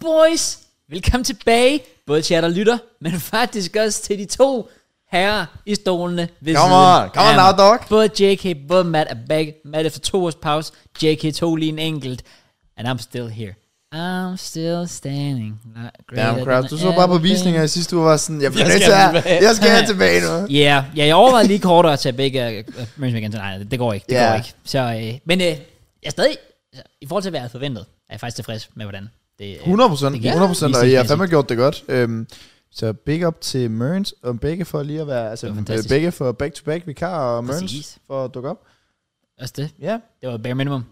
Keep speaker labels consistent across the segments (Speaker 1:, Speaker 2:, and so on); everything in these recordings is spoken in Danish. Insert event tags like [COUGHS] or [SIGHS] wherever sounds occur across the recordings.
Speaker 1: boys! Velkommen tilbage, både til jer, der lytter, men faktisk også til de to herrer i stolene ved
Speaker 2: Come
Speaker 1: siden
Speaker 2: on, come on
Speaker 1: af
Speaker 2: now,
Speaker 1: mig.
Speaker 2: dog.
Speaker 1: Både JK, både Matt er back. Matt efter to års pause. JK tog lige en enkelt. And I'm still here. I'm still standing. Not greater
Speaker 2: Damn crap,
Speaker 1: than
Speaker 2: du så bare på
Speaker 1: everything.
Speaker 2: visninger i sidste uge og var sådan, jeg bliver
Speaker 3: Jeg
Speaker 2: nødt til
Speaker 3: skal
Speaker 2: at,
Speaker 3: tilbage.
Speaker 2: jeg skal have tilbage nu.
Speaker 1: Ja, yeah. ja, jeg overvejede lige kortere at tage begge øh, øh, Mercy McKenzie. Nej, det går ikke. Det
Speaker 2: Ja.
Speaker 1: går ikke. Så, øh, men øh, jeg er stadig, altså, i forhold til hvad jeg havde forventet, er jeg faktisk tilfreds med, hvordan det øh,
Speaker 2: 100 procent,
Speaker 1: det gik.
Speaker 2: 100 procent, og I har
Speaker 1: Visningsmæssigt.
Speaker 2: fandme gjort det godt. Øhm, så big up til Mørns, og begge for lige at være, altså
Speaker 1: Det var fantastisk.
Speaker 2: øh, begge for back-to-back vikar og Mørns
Speaker 1: Præcis.
Speaker 2: for at dukke op.
Speaker 1: Også det.
Speaker 2: Ja.
Speaker 1: Det var bare minimum.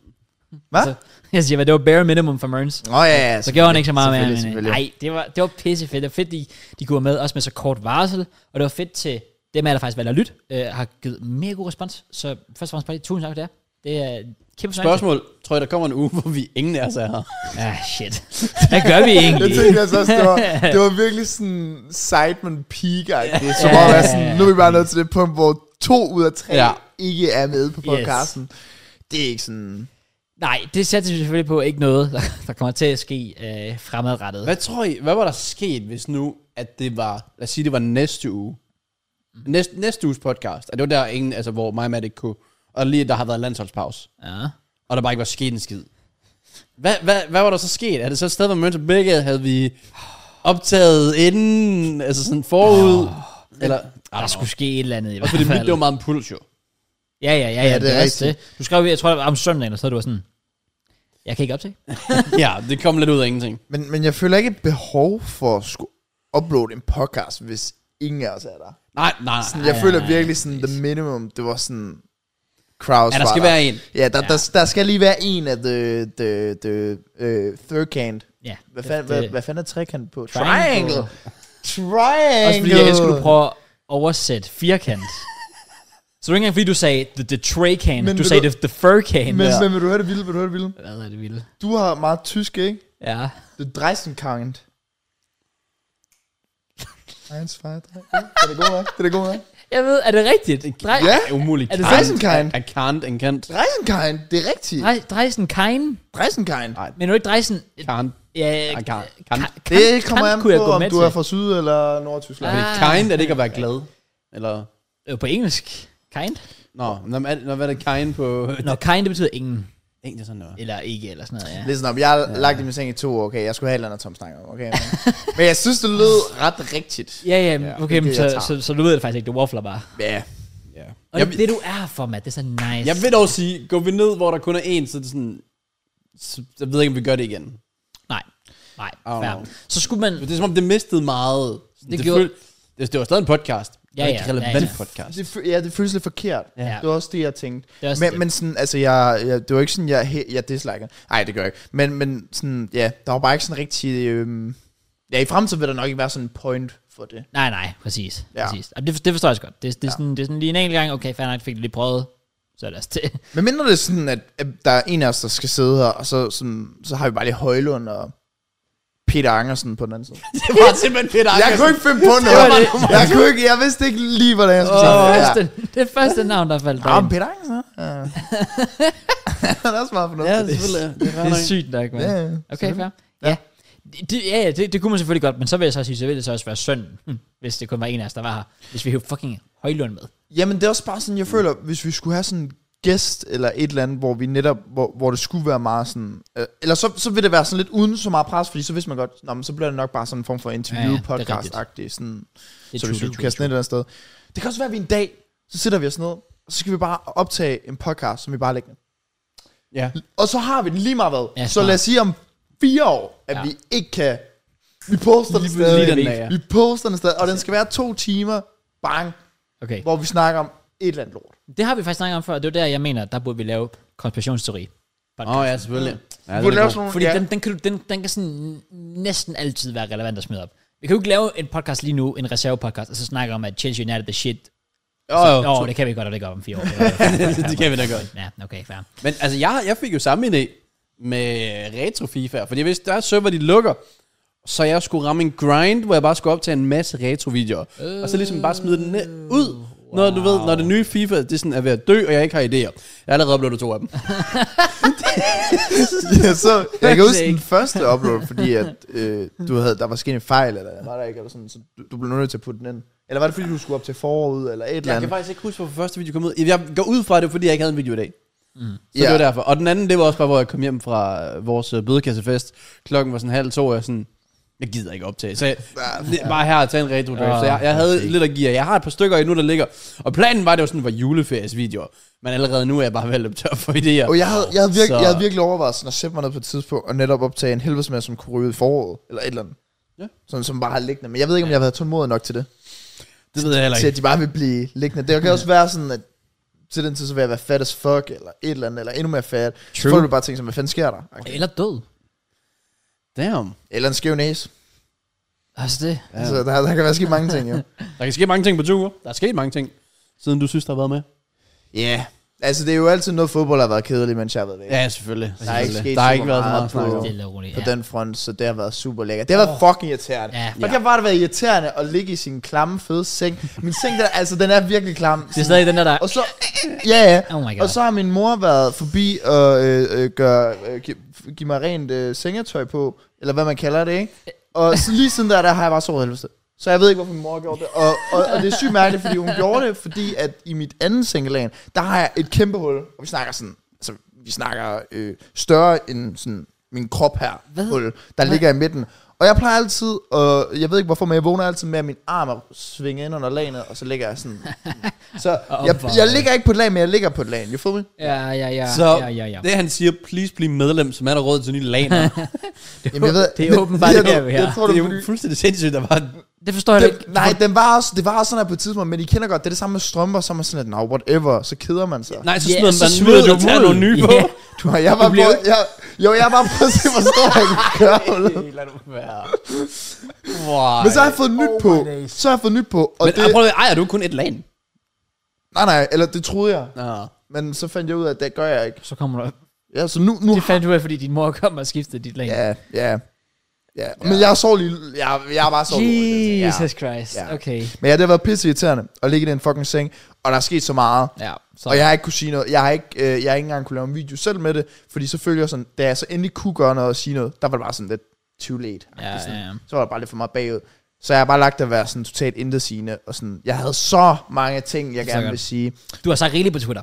Speaker 2: Hvad?
Speaker 1: Så, jeg siger, hvad, det var bare minimum for Merns.
Speaker 2: Nå ja, ja,
Speaker 1: Så gjorde han ikke så meget
Speaker 2: selvfølgelig,
Speaker 1: med.
Speaker 2: selvfølgelig.
Speaker 1: Nej, det var, det var pissefedt. Det var fedt, de, de kunne være med, også med så kort varsel. Og det var fedt til dem af jer, der faktisk valgte at lytte, øh, har givet mega god respons. Så først og fremmest bare lige tusind tak for det. Det er kæmpe fornøjelse.
Speaker 3: Spørgsmål. Tror I, der kommer en uge, hvor vi ingen af os er her?
Speaker 1: Ah, shit. [LAUGHS] Hvad gør vi
Speaker 2: Jeg
Speaker 1: egentlig?
Speaker 2: tænkte altså også, det var, det var virkelig sådan Sideman peak det som
Speaker 1: Ja.
Speaker 2: om at være sådan, nu er vi bare nået til det punkt, hvor to ud af tre
Speaker 3: Ja.
Speaker 2: ikke er med på podcasten. Det er ikke sådan...
Speaker 1: Nej, det satte vi selvfølgelig på ikke noget, der, der kommer til at ske øh, fremadrettet.
Speaker 3: Hvad tror I, hvad var der sket, hvis nu, at det var, lad os sige, det var næste uge? Næste, næste uges podcast. Og det var der ingen, altså hvor mig og Matt ikke kunne. Og lige der har været landsholdspause.
Speaker 1: Ja.
Speaker 3: Og der bare ikke var sket en skid. Hvad, hvad, hvad var der så sket? Er det så stadig, hvor Mønter begge havde vi optaget inden, altså sådan forud? Oh, eller,
Speaker 1: Og der skulle ske et eller andet i
Speaker 3: Også
Speaker 1: hvert
Speaker 3: fordi mit,
Speaker 1: fald.
Speaker 3: det var meget en puls, jo.
Speaker 1: Ja, ja, ja, ja, det, er også det.
Speaker 2: rigtigt.
Speaker 1: Du skrev, jeg tror, det var om søndagen, og så var du var sådan, jeg kan ikke optage.
Speaker 3: ja, det kom lidt ud af ingenting.
Speaker 2: Men, men jeg føler ikke et behov for at skulle uploade en podcast, hvis ingen af os er der.
Speaker 3: Nej, nej, nej.
Speaker 2: Sådan, jeg
Speaker 1: Ej,
Speaker 2: føler
Speaker 1: ej,
Speaker 2: virkelig sådan, the minimum, det var sådan... Kraus
Speaker 3: Ja, der
Speaker 2: var
Speaker 3: skal være en.
Speaker 2: Ja, der, der, der skal lige være en af the, the, the uh, third can.
Speaker 1: Ja,
Speaker 2: Hvad, fanden,
Speaker 1: det-
Speaker 2: hvad, hvad fanden er trekant på?
Speaker 1: Triangle.
Speaker 2: Triangle. Triangle.
Speaker 1: Også fordi jeg elsker, at du prøver at oversætte [LAUGHS] firkant. så det var ikke engang, fordi du sagde the, the tray can,
Speaker 2: Men
Speaker 1: du
Speaker 2: vil
Speaker 1: sagde
Speaker 2: du-
Speaker 1: the, the fur can.
Speaker 2: Men,
Speaker 1: Ja.
Speaker 2: men vil du høre det vilde? Vil du høre det vilde?
Speaker 1: Hvad er det vildt?
Speaker 2: Du har meget tysk, ikke?
Speaker 1: Ja.
Speaker 2: Det er Dreisenkind. Eins, zwei, drei. Er det god nok? Det er det god nok.
Speaker 1: Jeg ved, er det rigtigt? Drej,
Speaker 2: Ja,
Speaker 3: Det er umuligt.
Speaker 1: Er det
Speaker 3: Can't.
Speaker 2: Dreisenkind.
Speaker 3: I can't and can't.
Speaker 2: Dreisenkind. Det er rigtigt.
Speaker 1: drej, drejsen kein,
Speaker 2: Dreisenkind.
Speaker 3: Nej.
Speaker 1: men nu ikke drejsen...
Speaker 3: Can't.
Speaker 1: Ja,
Speaker 3: I can't. can't.
Speaker 2: Det kommer
Speaker 1: kan
Speaker 2: an
Speaker 1: kunne jeg
Speaker 2: på,
Speaker 1: gå
Speaker 2: om
Speaker 1: med
Speaker 2: du
Speaker 1: til.
Speaker 2: er fra Syd- eller Nordtyskland.
Speaker 3: Fordi
Speaker 1: Ah.
Speaker 3: kind er det ikke at være glad. Eller,
Speaker 1: Øh, på engelsk. Kind?
Speaker 3: nå, når, man- når hvad er det kind på...
Speaker 1: Nå, kind, det betyder ingen.
Speaker 3: Ikke det sådan noget.
Speaker 1: Eller ikke, eller sådan noget, ja.
Speaker 2: Listen op, jeg har lagt i min seng i to år, okay? Jeg skulle have et eller andet, Tom snakker om, okay? Men, men [LAUGHS] jeg synes, det lød ret rigtigt.
Speaker 1: Ja, ja,
Speaker 2: Ja,
Speaker 1: men okay, men
Speaker 2: det er det,
Speaker 1: så,
Speaker 2: jeg
Speaker 1: så, så, du ved det faktisk ikke, du waffler bare.
Speaker 2: Ja.
Speaker 3: Ja.
Speaker 1: Og
Speaker 3: Jeg,
Speaker 1: det, det, du er for, Matt, det er så nice.
Speaker 3: jeg vil dog sige, går vi ned, hvor der kun er én, så er det sådan... Så, jeg ved ikke, om vi gør det igen.
Speaker 1: Nej, nej,
Speaker 3: don't
Speaker 1: fair.
Speaker 3: know.
Speaker 1: Så skulle man...
Speaker 3: Men det er som om, det mistede meget. Det,
Speaker 1: gjorde-
Speaker 3: følte- det, det var stadig en podcast. Det var
Speaker 1: Ja,
Speaker 3: ikke
Speaker 1: ja,
Speaker 3: relevant
Speaker 1: ja, ja.
Speaker 3: podcast.
Speaker 2: Det, fø- ja, det føles lidt forkert.
Speaker 1: Ja.
Speaker 2: Det var også det, jeg tænkte.
Speaker 1: Det er også
Speaker 2: men,
Speaker 1: det.
Speaker 2: men sådan, altså, jeg, jeg, det var ikke sådan, jeg, he- jeg disliker. Nej, det gør jeg ikke. Men, men sådan, ja, der var bare ikke sådan rigtig... Øhm, ja, i fremtiden vil der nok ikke være sådan en point for det.
Speaker 1: Nej, nej, præcis.
Speaker 2: Ja.
Speaker 1: Ja. præcis. Jamen, Det, for- det forstår jeg også godt. Det, det, er
Speaker 2: Ja.
Speaker 1: sådan, det er sådan lige en enkelt gang, okay, fair nok, fik det lige prøvet. Så lad os til.
Speaker 2: Men mindre det er sådan, at, at der er en af os, der skal sidde her, og så, sådan, så har vi bare lige Højlund og Peter Andersen på den anden side.
Speaker 3: Det var simpelthen Peter
Speaker 2: [LAUGHS] Jeg kunne ikke finde på noget.
Speaker 1: var det.
Speaker 2: [LAUGHS] Jeg, kunne ikke, jeg vidste ikke lige, hvordan jeg skulle
Speaker 1: det,
Speaker 2: sige
Speaker 1: første, det første navn, der faldt
Speaker 2: Ja.
Speaker 1: dig.
Speaker 2: Ah, men Peter Andersen, ja. [LAUGHS] Ja. Han er også meget
Speaker 3: Ja,
Speaker 2: fornuftig.
Speaker 3: selvfølgelig. Det er
Speaker 1: Det er
Speaker 3: sygt.
Speaker 1: sygt nok,
Speaker 2: Ja,
Speaker 1: mand.
Speaker 2: ja,
Speaker 1: Okay,
Speaker 2: selvfølgelig.
Speaker 1: fair. Ja. Det, det- ja, ja det, det, kunne man selvfølgelig godt, men så vil jeg så sige, så ville det så også være søn, hvis det kun var en af os, der var her. Hvis vi havde fucking højlund med.
Speaker 2: Jamen, det er også bare sådan, jeg føler, hvis vi skulle have sådan en gæst eller et eller andet, hvor vi netop, hvor, hvor det skulle være meget sådan, øh, eller så, så vil det være sådan lidt uden så meget pres, fordi så vidste man godt, nå, men så bliver det nok bare sådan en form for
Speaker 1: Ja,
Speaker 2: interview
Speaker 1: ja, det er
Speaker 2: podcast agtigt sådan,
Speaker 1: Det
Speaker 2: så
Speaker 1: er
Speaker 2: hvis vi
Speaker 1: true,
Speaker 2: skulle
Speaker 1: det er
Speaker 2: kaste ned et eller andet sted. Det kan også være, at vi en dag, så sidder vi os ned, og så skal vi bare optage en podcast, som vi bare lægger.
Speaker 3: Ja.
Speaker 2: Og så har vi den lige meget hvad.
Speaker 1: Ja,
Speaker 2: Ja, så
Speaker 1: smart.
Speaker 2: lad os sige om fire år, at
Speaker 1: Ja.
Speaker 2: ja. vi ikke kan... Vi poster den
Speaker 3: Lige
Speaker 2: stadig.
Speaker 3: lige den dag, ja.
Speaker 2: Vi poster den stadig. Og den skal være to timer, bang,
Speaker 1: Okay.
Speaker 2: hvor vi snakker om et eller andet lort.
Speaker 1: Det har vi faktisk snakket om før, og det er der, jeg mener, der burde vi lave konspirationsteori.
Speaker 3: Åh, oh, ja, selvfølgelig. Ja,
Speaker 2: Ja,
Speaker 3: det
Speaker 2: vi
Speaker 3: er
Speaker 2: lave
Speaker 3: godt.
Speaker 2: sådan nogle,
Speaker 1: Fordi
Speaker 2: ja,
Speaker 1: den, den, kan, du- den, den kan sådan næsten altid være relevant at smide op. Vi kan jo ikke lave en podcast lige nu, en reservepodcast, og så snakke om, at Chelsea United er the shit.
Speaker 3: Jo, jo.
Speaker 1: Åh, oh, det kan vi godt, og det gør om fire år. Det,
Speaker 3: Det kan vi da godt.
Speaker 1: Ja, okay, fair.
Speaker 3: Men altså, jeg, jeg fik jo samme idé med Retro FIFA, fordi hvis der er server, de lukker, så jeg skulle ramme en grind, hvor jeg bare skulle optage en masse retro-videoer, øh. og så ligesom bare smide den ned, ud, Når du ved, når det nye FIFA, det sådan er ved at dø, og jeg ikke har idéer. Jeg er allerede blevet to af dem.
Speaker 2: [LAUGHS] ja, så, jeg kan huske
Speaker 1: Ikke.
Speaker 2: den første upload, fordi at, øh, du havde, der var sket en fejl, eller var der ikke, eller sådan, så du, du blev nødt til at putte den ind. Eller var det fordi, du skulle op til foråret, eller et eller
Speaker 3: Jeg kan
Speaker 2: andet?
Speaker 3: faktisk ikke huske, hvorfor første video kom ud. Jeg går ud fra det, fordi jeg ikke havde en video i dag. Så
Speaker 2: Ja.
Speaker 3: det var derfor. Og den anden, det var også bare, hvor jeg kom hjem fra øh, vores øh, bødekassefest. Klokken var sådan halv to, og jeg sådan, jeg gider ikke optage. Så jeg,
Speaker 2: Ah.
Speaker 3: det- bare her og tage en retro drive.
Speaker 1: Ah,
Speaker 3: Så jeg, jeg havde lidt at give jer. Jeg har et par stykker endnu, der ligger. Og planen var, at det var sådan, var juleferiesvideoer. Men allerede nu er jeg bare ved at løbe tør for idéer.
Speaker 2: Og jeg havde, jeg, havde virke,
Speaker 3: Så-
Speaker 2: jeg havde virkelig overvejet sådan at sætte mig ned på et tidspunkt, og netop optage en helvedes masse, som kunne ryge i foråret, eller et eller andet.
Speaker 3: Ja.
Speaker 2: Sådan, som bare har liggende. Men jeg ved ikke, om jeg havde været tålmodig nok til det.
Speaker 3: Det ved jeg heller
Speaker 2: Til
Speaker 3: ikke.
Speaker 2: at de bare vil blive liggende. Det kan også være sådan, at til den tid, så vil jeg være fat as fuck, eller et eller andet, eller endnu mere fat. Så
Speaker 1: True.
Speaker 2: folk vil bare tænke sig, hvad fanden sker der? Okay.
Speaker 1: Eller død.
Speaker 3: Damn.
Speaker 2: Eller en skæv næse.
Speaker 1: Altså det.
Speaker 2: Ja. Altså, der, der kan være sket mange ting, jo.
Speaker 3: Der kan ske mange ting på to uger. Der er sket mange ting, siden du synes, der har været med.
Speaker 2: Ja. Yeah. Altså, det er jo altid noget, fodbold har været kedeligt, mens jeg har været væk.
Speaker 3: Ja, selvfølgelig.
Speaker 2: Der er ikke
Speaker 3: Selvfølgelig.
Speaker 2: sket
Speaker 3: der
Speaker 2: så
Speaker 3: har ikke været så meget
Speaker 2: meget
Speaker 3: at snakke
Speaker 2: på-
Speaker 3: om.
Speaker 1: Stille og roligt.
Speaker 2: på
Speaker 1: Ja.
Speaker 2: ja. den front, så det har været super lækkert. Det har været fucking irriterende.
Speaker 1: Ja.
Speaker 2: Man kan bare være irriterende at ligge i sin klamme, fede seng. Min seng, der, altså, den er virkelig klam.
Speaker 1: Det er stadig den der, der...
Speaker 2: Og så, ja, ja.
Speaker 1: [LAUGHS] Oh my god.
Speaker 2: Og så har min mor været forbi og øh, øh, gør, øh, gi- give mig rent øh, sengetøj på, eller hvad man kalder det, ikke? Og så lige siden der, der har jeg bare sovet helvede. til. Så jeg ved ikke, hvorfor min mor gjorde det. Og, og, og det er sygt mærkeligt, fordi hun gjorde det, fordi at i mit andet sengelag, der har jeg et kæmpe hul. Og vi snakker sådan, altså vi snakker øh, større end sådan min krop her,
Speaker 1: Hvad?
Speaker 2: hul, der ligger i midten. Og jeg plejer altid, og jeg ved ikke hvorfor, men jeg vågner altid med, at min arm er svinget ind under lagene, og så ligger jeg sådan. Så
Speaker 1: Og
Speaker 2: jeg,
Speaker 1: opvarmet.
Speaker 2: jeg ligger ikke på et lag, men jeg ligger på et lag. You feel me?
Speaker 1: Ja, ja, ja.
Speaker 3: Så
Speaker 1: ja, ja, ja.
Speaker 3: det han siger, please bliv medlem, som er der råd til nye
Speaker 2: [LAUGHS]
Speaker 3: laner.
Speaker 2: Jamen, jeg ved,
Speaker 1: det er åbenbart
Speaker 2: jeg,
Speaker 1: det, her,
Speaker 2: jeg,
Speaker 1: vi
Speaker 2: jeg,
Speaker 1: har.
Speaker 2: jeg tror,
Speaker 3: det
Speaker 2: det,
Speaker 3: er
Speaker 2: det,
Speaker 3: jo fuldstændig sindssygt, der var...
Speaker 1: Det forstår jeg ikke.
Speaker 2: det, Nej, den var også, det var også sådan her på et tidspunkt, men I kender godt, det er det samme med strømper, som er sådan lidt, no, whatever, så keder man sig.
Speaker 3: Nej, så
Speaker 1: Ja,
Speaker 3: smider
Speaker 1: så
Speaker 3: man
Speaker 1: smider
Speaker 3: smider du
Speaker 1: du
Speaker 3: tager
Speaker 1: ud.
Speaker 3: nogle nye på.
Speaker 1: Ja.
Speaker 2: Du, jeg var
Speaker 1: bliver-
Speaker 2: på, jeg, jo, jeg var på at se, hvor stor jeg kunne
Speaker 1: [LAUGHS]
Speaker 2: gøre hullet.
Speaker 3: Lad nu være. Wow.
Speaker 2: Men så har jeg fået nyt
Speaker 1: Oh
Speaker 2: på.
Speaker 1: my days.
Speaker 2: Så har jeg fået nyt på. Og
Speaker 3: Men
Speaker 2: det,
Speaker 3: ah, prøv at ejer du kun et lag?
Speaker 2: nej, nej, eller det troede jeg.
Speaker 3: Nå.
Speaker 2: Men så fandt jeg ud af, at det gør jeg ikke.
Speaker 1: Så kommer du...
Speaker 2: Ja, så nu, nu
Speaker 1: Det fandt du af, fordi din mor kom og skiftede dit lag.
Speaker 2: Ja, ja. Ja, men jeg sov lige, jeg, jeg er bare sovet. dårligt. altså. Ja.
Speaker 1: Jesus Christ.
Speaker 2: Ja.
Speaker 1: Okay.
Speaker 2: Men ja, det har været pisse irriterende at ligge i den fucking seng, og der er sket så meget.
Speaker 1: Ja, så
Speaker 2: Og jeg har ikke kunne sige noget. Jeg har ikke, øh, jeg har ikke engang kunne lave en video selv med det, fordi selvfølgelig sådan, da jeg så endelig kunne gøre noget og sige noget, der var det bare sådan lidt too late.
Speaker 1: Ja,
Speaker 2: Sådan,
Speaker 1: ja, ja.
Speaker 2: Så var det bare lidt for meget bagud. Så jeg har bare lagt at være sådan totalt intetsigende, og sådan, jeg havde så mange ting, jeg
Speaker 1: Så
Speaker 2: gerne
Speaker 1: godt.
Speaker 2: vil sige.
Speaker 1: Du har sagt rigeligt på Twitter.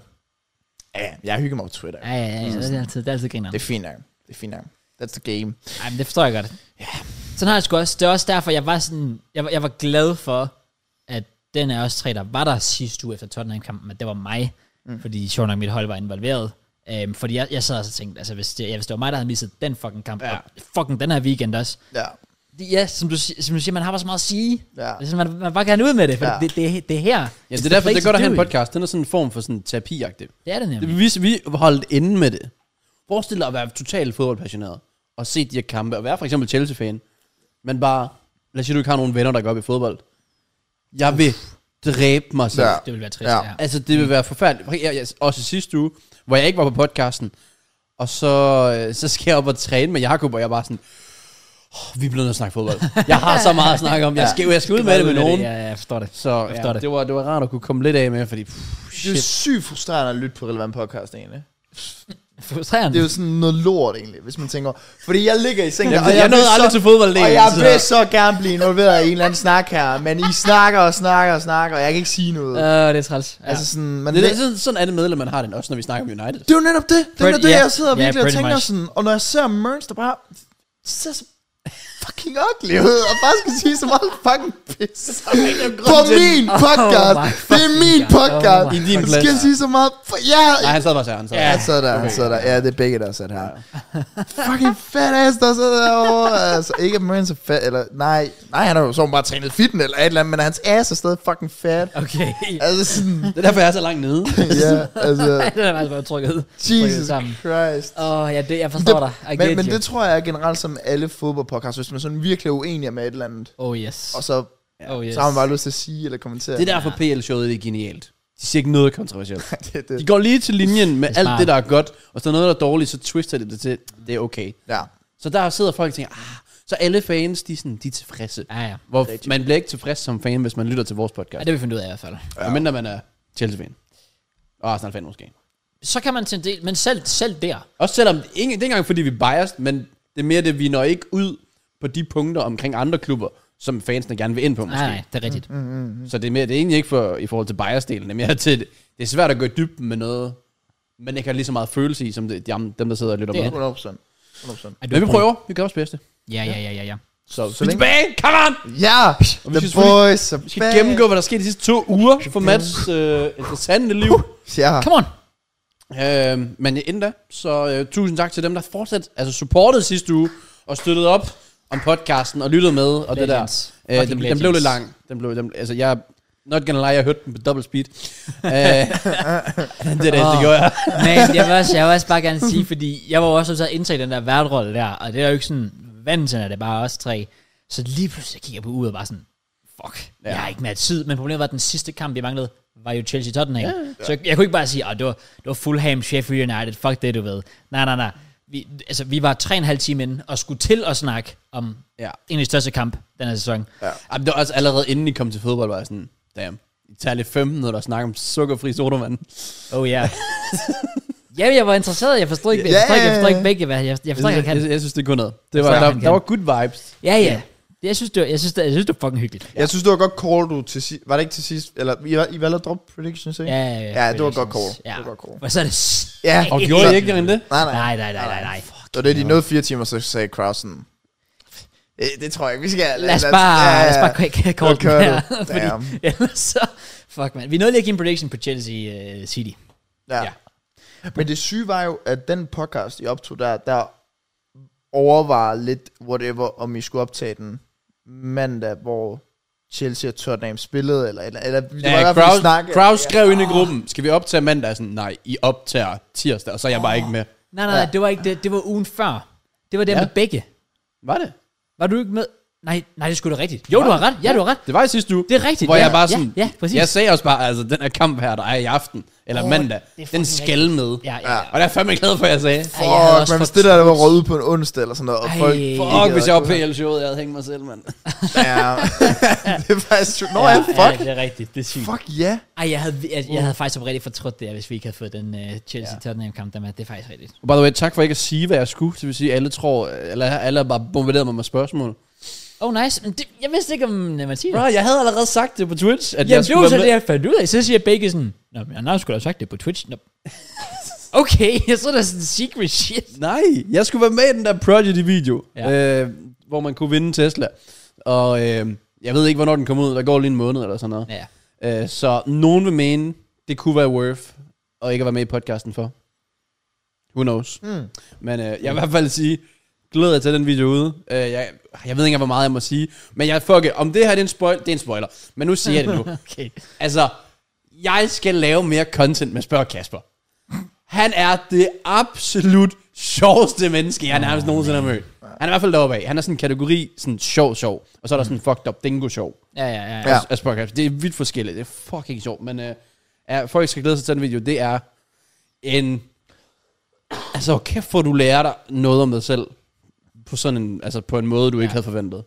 Speaker 2: Ja, jeg hygger mig på Twitter.
Speaker 1: Ja, ja, ja. ja. Det er altid, det er altid griner.
Speaker 2: Det er fint nok. Det er fint nok. That's the game.
Speaker 1: Ej, men det forstår jeg godt. Ja. Sådan har jeg sgu også. Det er også derfor, jeg var sådan... Jeg var, jeg var glad for, at den af os tre, der var der sidste uge efter Tottenham-kampen, at det var mig. Mm. Fordi sjovt nok, mit hold var involveret. Øhm, fordi jeg, jeg sad også og tænkte, altså hvis det, ja, hvis det var mig, der havde misset den fucking kamp,
Speaker 3: Ja.
Speaker 1: ja. og fucking den her weekend også.
Speaker 2: Ja.
Speaker 1: Det- Ja, som du, si- som du siger, man har bare så meget at sige.
Speaker 2: Ja.
Speaker 1: Altså, man, man vil bare gerne ud med det, for
Speaker 2: Ja.
Speaker 1: ja. det, det, det er her.
Speaker 3: Ja,
Speaker 1: It's
Speaker 3: det
Speaker 1: the
Speaker 3: er derfor,
Speaker 1: place
Speaker 3: det er godt
Speaker 1: to
Speaker 3: at have
Speaker 1: do it.
Speaker 3: en podcast. Den er sådan en form for sådan terapi -agtig.
Speaker 1: Det er det nemlig.
Speaker 3: Vi, vi holdt inde med det. Forestil dig at være totalt fodboldpassioneret. Og se de her kampe. Og være for eksempel Chelsea-fan. Men bare... Lad os sige, du ikke har nogen venner, der går op i fodbold. Jeg vil dræbe mig selv.
Speaker 2: Ja.
Speaker 1: Det vil være trist,
Speaker 2: Ja.
Speaker 1: ja. ja.
Speaker 3: Altså, det vil være forfærdeligt. Jeg- jeg- Også i sidste uge, hvor jeg ikke var på podcasten, og så, øh, så skal jeg op og træne med Jakob, og jeg er bare sådan, oh, vi bliver nødt til at snakke fodbold. jeg har så meget at snakke om. Jeg skal, jeg skal ud med det med nogen.
Speaker 1: Ja, ja, jeg forstår det.
Speaker 3: Så
Speaker 1: Jeg
Speaker 3: ja,
Speaker 1: forstår
Speaker 3: det.
Speaker 1: det.
Speaker 3: var, det var rart at kunne komme lidt af med, fordi pff,
Speaker 2: Det er jo
Speaker 3: shit.
Speaker 2: sygt frustrerende at lytte på relevant podcast, egentlig.
Speaker 1: Frustrerende.
Speaker 2: Det er jo sådan noget lort, egentlig, hvis man tænker... Fordi jeg ligger i sengen,
Speaker 3: Jamen,
Speaker 2: og
Speaker 3: jeg, jeg
Speaker 2: vil
Speaker 3: nåede aldrig til fodbold
Speaker 2: Og jeg vil så gerne blive involveret i en eller anden snak her, men I snakker og snakker og snakker, og jeg kan ikke sige noget. Ja.
Speaker 1: Øh, det er træls. Ja.
Speaker 2: Altså sådan, man
Speaker 3: det er
Speaker 2: det,
Speaker 3: sådan, sådan er det medlem, man har den også, når vi snakker om United.
Speaker 2: det er jo netop det. Det er
Speaker 1: Pretty-
Speaker 2: netop det,
Speaker 1: ja.
Speaker 2: jeg sidder
Speaker 1: Ja,
Speaker 2: virkelig og
Speaker 1: pretty
Speaker 2: tænker
Speaker 1: much.
Speaker 2: sådan. Og når jeg ser Merns, der bare ser så fucking ugly ud, og bare skal sige så meget fucking pis. På
Speaker 3: grund til det.
Speaker 2: min podcast!
Speaker 1: Oh my
Speaker 2: det er min
Speaker 1: fucking God.
Speaker 2: podcast!
Speaker 1: Oh
Speaker 3: my I din
Speaker 2: Du
Speaker 3: plads.
Speaker 2: skal sige så meget... For,
Speaker 3: Nej,
Speaker 2: ja,
Speaker 3: han sad bare sådan. Han sad.
Speaker 1: Ja.
Speaker 2: han sad der, han sad der. Ja, det er begge, der sad
Speaker 1: [LAUGHS]
Speaker 2: her. fucking fat ass, der sidder derovre. altså, ikke at Marines er fat, eller nej. Nej, han har jo så bare trænet fitness eller et eller andet, men hans ass er stadig fucking fat.
Speaker 1: Okay.
Speaker 2: Altså
Speaker 1: [LAUGHS]
Speaker 2: sådan,
Speaker 3: Det er derfor, jeg er så langt nede.
Speaker 2: ja, altså,
Speaker 1: det er faktisk bare trykket.
Speaker 2: Jesus
Speaker 1: sammen.
Speaker 2: Christ.
Speaker 1: Åh, oh, ja, det, jeg forstår dig. I
Speaker 2: men,
Speaker 1: get
Speaker 2: men
Speaker 1: you.
Speaker 2: det tror jeg er generelt som alle fodboldpodcasts, hvis man sådan virkelig er uenig med et eller andet,
Speaker 1: Oh yes.
Speaker 2: og så,
Speaker 1: Oh yes.
Speaker 2: så har man bare lyst til at sige eller kommentere.
Speaker 3: Det er derfor, PL-showet det er genialt. De siger ikke noget kontroversielt.
Speaker 2: [LAUGHS] det,
Speaker 3: De
Speaker 2: det.
Speaker 3: går lige til linjen med
Speaker 1: Det er
Speaker 3: alt
Speaker 1: smart.
Speaker 3: det, der er godt, og så noget, der er dårligt, så twister de det til, det er okay.
Speaker 2: Ja.
Speaker 3: Så der sidder folk og tænker, ah, Så alle fans, de, er sådan, de er tilfredse.
Speaker 1: Ja, ja.
Speaker 3: Hvor man bliver ikke tilfreds som fan, hvis man lytter til vores
Speaker 1: ja
Speaker 3: podcast.
Speaker 1: det har vi fundet ud af i hvert fald.
Speaker 3: Ja. Og mindre man er Chelsea-fan. Og Arsenal-fan måske.
Speaker 1: Så kan man til en del, men selv, selv der,
Speaker 3: Også selvom, ikke, det er ikke engang fordi vi er biased, men det er mere det, vi når ikke ud på de punkter omkring andre klubber, som fansene gerne vil ind på måske.
Speaker 1: nej, nej, det er rigtigt. Mm.
Speaker 3: Så det er, mere, det er egentlig ikke for, i forhold til bias-delen, det er mere til, det er svært at gå i dybden med noget, man ikke har lige så meget følelse i, som det, de, dem, der sidder og lytter
Speaker 1: Det er
Speaker 3: med.
Speaker 2: 100%. 100%.
Speaker 3: Men vi prøver, vi gør vores bedste.
Speaker 1: Ja, ja, ja, ja, ja.
Speaker 2: Så, så
Speaker 3: Vi er
Speaker 2: længe...
Speaker 3: tilbage, come on!
Speaker 2: Ja!
Speaker 3: Og vi
Speaker 2: The
Speaker 3: skal selvfølgelig-
Speaker 2: boys are
Speaker 3: Vi skal
Speaker 2: back.
Speaker 3: gennemgå, hvad der skete de sidste to uger for Mads øh, interessante liv.
Speaker 2: Ja.
Speaker 1: Come on!
Speaker 3: Øh, men inden da, så øh, tusind tak til dem, der fortsat altså supportede sidste uge og støttede op om podcasten og lyttede med og det der.
Speaker 1: Legends.
Speaker 3: Øh,
Speaker 1: Fucking
Speaker 3: den, den
Speaker 1: legends.
Speaker 3: blev lidt lang. Den blev, den, altså, jeg not gonna lie, jeg hørte den på double speed.
Speaker 1: [LAUGHS]
Speaker 3: øh, det er det, det
Speaker 1: Åh.
Speaker 3: gjorde jeg.
Speaker 1: Men jeg vil, også, jeg vil også bare gerne sige, fordi jeg var jo også nødt til at indtage den der værtrolle der, og det er jo ikke sådan, vant til, at det er bare os tre. Så lige pludselig kigger jeg på uret og bare sådan, fuck, ja. jeg har ikke mere tid. Men problemet var, at den sidste kamp, vi manglede, var jo Chelsea-Tottenham. Ja, ja. Så jeg, jeg, kunne ikke bare sige, at det var, det var Fulham, Sheffield United, fuck det, du ved. Nej, nej, nej. Vi, altså, vi var tre og en halv time inde og skulle til at snakke om
Speaker 3: Ja.
Speaker 1: en af de største kamp den her sæson. Ja.
Speaker 3: Jamen, det var også allerede inden I kom til fodbold, var jeg sådan, damn. I tager lidt 15 minutter og snakker om sukkerfri sodavand.
Speaker 1: Oh ja. Yeah. [LAUGHS] ja, jeg var interesseret. Jeg forstod ikke, jeg
Speaker 2: Ja,
Speaker 1: forstår ikke, jeg
Speaker 2: ja,
Speaker 1: forstår
Speaker 2: ja.
Speaker 1: ikke begge, hvad jeg, jeg forstår
Speaker 3: Jeg,
Speaker 1: ikke,
Speaker 3: jeg,
Speaker 1: han kan.
Speaker 3: jeg, jeg synes, det kunne noget. Det var,
Speaker 1: Forstår,
Speaker 3: der,
Speaker 1: han
Speaker 3: der
Speaker 1: kan.
Speaker 3: var good vibes.
Speaker 1: Ja, ja. Det, jeg synes, det var, jeg synes, det, jeg synes, det var fucking hyggeligt.
Speaker 2: Jeg synes, det var godt call, du til sidst. Var det ikke til sidst? Eller, I, var- I valgte at droppe predictions, ikke?
Speaker 1: Ja,
Speaker 2: Ja, det var godt
Speaker 1: predictions.
Speaker 2: call. Det var godt call.
Speaker 1: Og så er det... s-
Speaker 2: Ja.
Speaker 3: Og
Speaker 1: Ej.
Speaker 3: gjorde I ikke det?
Speaker 2: Nej, nej.
Speaker 1: Nej, nej, nej, nej, nej.
Speaker 2: Det var det, de nåede fire timer, så sagde Krausen. Det, det tror jeg ikke, vi skal...
Speaker 1: Lad os bare,
Speaker 2: ja, ja.
Speaker 1: lad os [LAUGHS] bare k- k- kort den
Speaker 2: kører
Speaker 1: her.
Speaker 2: [LAUGHS] du.
Speaker 1: Fordi
Speaker 2: Damn.
Speaker 1: ellers så... Fuck, man. Vi nåede lige at give en prediction på Chelsea uh, City.
Speaker 2: Ja.
Speaker 1: Ja.
Speaker 2: ja. Men det syge var jo, at den podcast, I optog der, der overvejer lidt, whatever, om I skulle optage den mandag, hvor Chelsea og Tottenham spillede, eller, eller, eller det var i
Speaker 3: Ja,
Speaker 2: hvert fald en
Speaker 3: Kraus,
Speaker 2: snak.
Speaker 3: Kraus skrev ind i gruppen, skal vi optage mandag? Jeg er Sådan, nej, I optager tirsdag, og så er jeg bare ikke med.
Speaker 1: Nej, nej, nej, det var ikke det. Det var ugen før. Det var det
Speaker 3: Ja.
Speaker 1: med begge.
Speaker 3: Var det?
Speaker 1: Var du ikke med? Nej, nej, det skulle da rigtigt. Jo, du har ret. Ja, du har ret.
Speaker 3: Det var i sidste uge.
Speaker 1: Det er rigtigt,
Speaker 3: Hvor
Speaker 1: ja.
Speaker 3: jeg bare
Speaker 1: Ja,
Speaker 3: sådan,
Speaker 1: ja, præcis.
Speaker 3: jeg sagde også bare, altså den her kamp her, der er i aften, eller
Speaker 1: Åh,
Speaker 3: mandag,
Speaker 1: det er
Speaker 3: den
Speaker 1: fucking
Speaker 3: skal med.
Speaker 1: Ja, ja, ja.
Speaker 3: Og der er jeg fandme glad for, at jeg sagde. Fuck,
Speaker 1: Ej, jeg havde
Speaker 2: Fuck,
Speaker 1: også
Speaker 2: men hvis
Speaker 1: fået-
Speaker 2: det der, der var rødt ud på en onsdag eller sådan noget, og
Speaker 1: Ej.
Speaker 2: folk...
Speaker 1: Fuck,
Speaker 2: ikke
Speaker 3: hvis
Speaker 2: havde-
Speaker 3: jeg var PL showet, jeg havde hængt mig selv, mand.
Speaker 2: Ja. [LAUGHS] det er faktisk... true. Nå ja, fuck.
Speaker 1: Ja, det er rigtigt. Det er sygt.
Speaker 2: Fuck Mm. ja.
Speaker 1: Ej, jeg havde, jeg, jeg havde faktisk oprigtigt fortrudt det, hvis vi ikke havde fået den uh, Chelsea-Tottenham-kamp der med. Det er faktisk rigtigt.
Speaker 3: By the way, tak for ikke at sige, hvad jeg skulle. Det vil sige, alle tror, eller alle har bare bombarderet mig med spørgsmål.
Speaker 1: Oh, nice. Men det, jeg vidste ikke, om øh, Mathias...
Speaker 3: Bro, jeg havde allerede sagt det på Twitch, at
Speaker 1: Jamen,
Speaker 3: jeg
Speaker 1: det var
Speaker 3: skulle
Speaker 1: så
Speaker 3: være
Speaker 1: det,
Speaker 3: med.
Speaker 1: jeg fandt ud af. Så siger Begge sådan, Nå, men jeg har sgu da sagt det på Twitch. Nå. [LAUGHS] Okay, jeg så der sådan secret shit.
Speaker 3: Nej, jeg skulle være med i den der Prodigy-video,
Speaker 1: Ja.
Speaker 3: ja. øh, hvor man kunne vinde en Tesla. Og øh, jeg ved ikke, hvornår den kommer ud. Der går lige en måned eller sådan noget.
Speaker 1: Ja,
Speaker 3: Øh, så nogen vil mene, det kunne være worth at ikke at være med i podcasten for. Who knows. Mm. Men øh, jeg vil i hvert fald sige, glæder jeg til den video ude. Øh, jeg, jeg ved ikke, engang, hvor meget jeg må sige. Men jeg, fuck it, om det her det er en spoil, det er en spoiler. Men nu siger jeg det nu.
Speaker 1: okay.
Speaker 3: Altså, jeg skal lave mere content med Spørg Kasper. Han er det absolut sjoveste menneske, jeg nærmest nogensinde har mødt. Han er i hvert fald deroppe af. Han er sådan en kategori, sådan sjov, sjov. Og så er der sådan fucked up dingo sjov
Speaker 1: Ja, ja, ja. ja.
Speaker 2: Ja.
Speaker 3: ja. af Spurgcaps. Det er vildt forskelligt. Det er fucking sjovt. Men øh, ja, folk skal glæde sig til den video. Det er en... Altså, kæft hvor du lærer dig noget om dig selv. På sådan en, altså på en måde, du ikke havde forventet.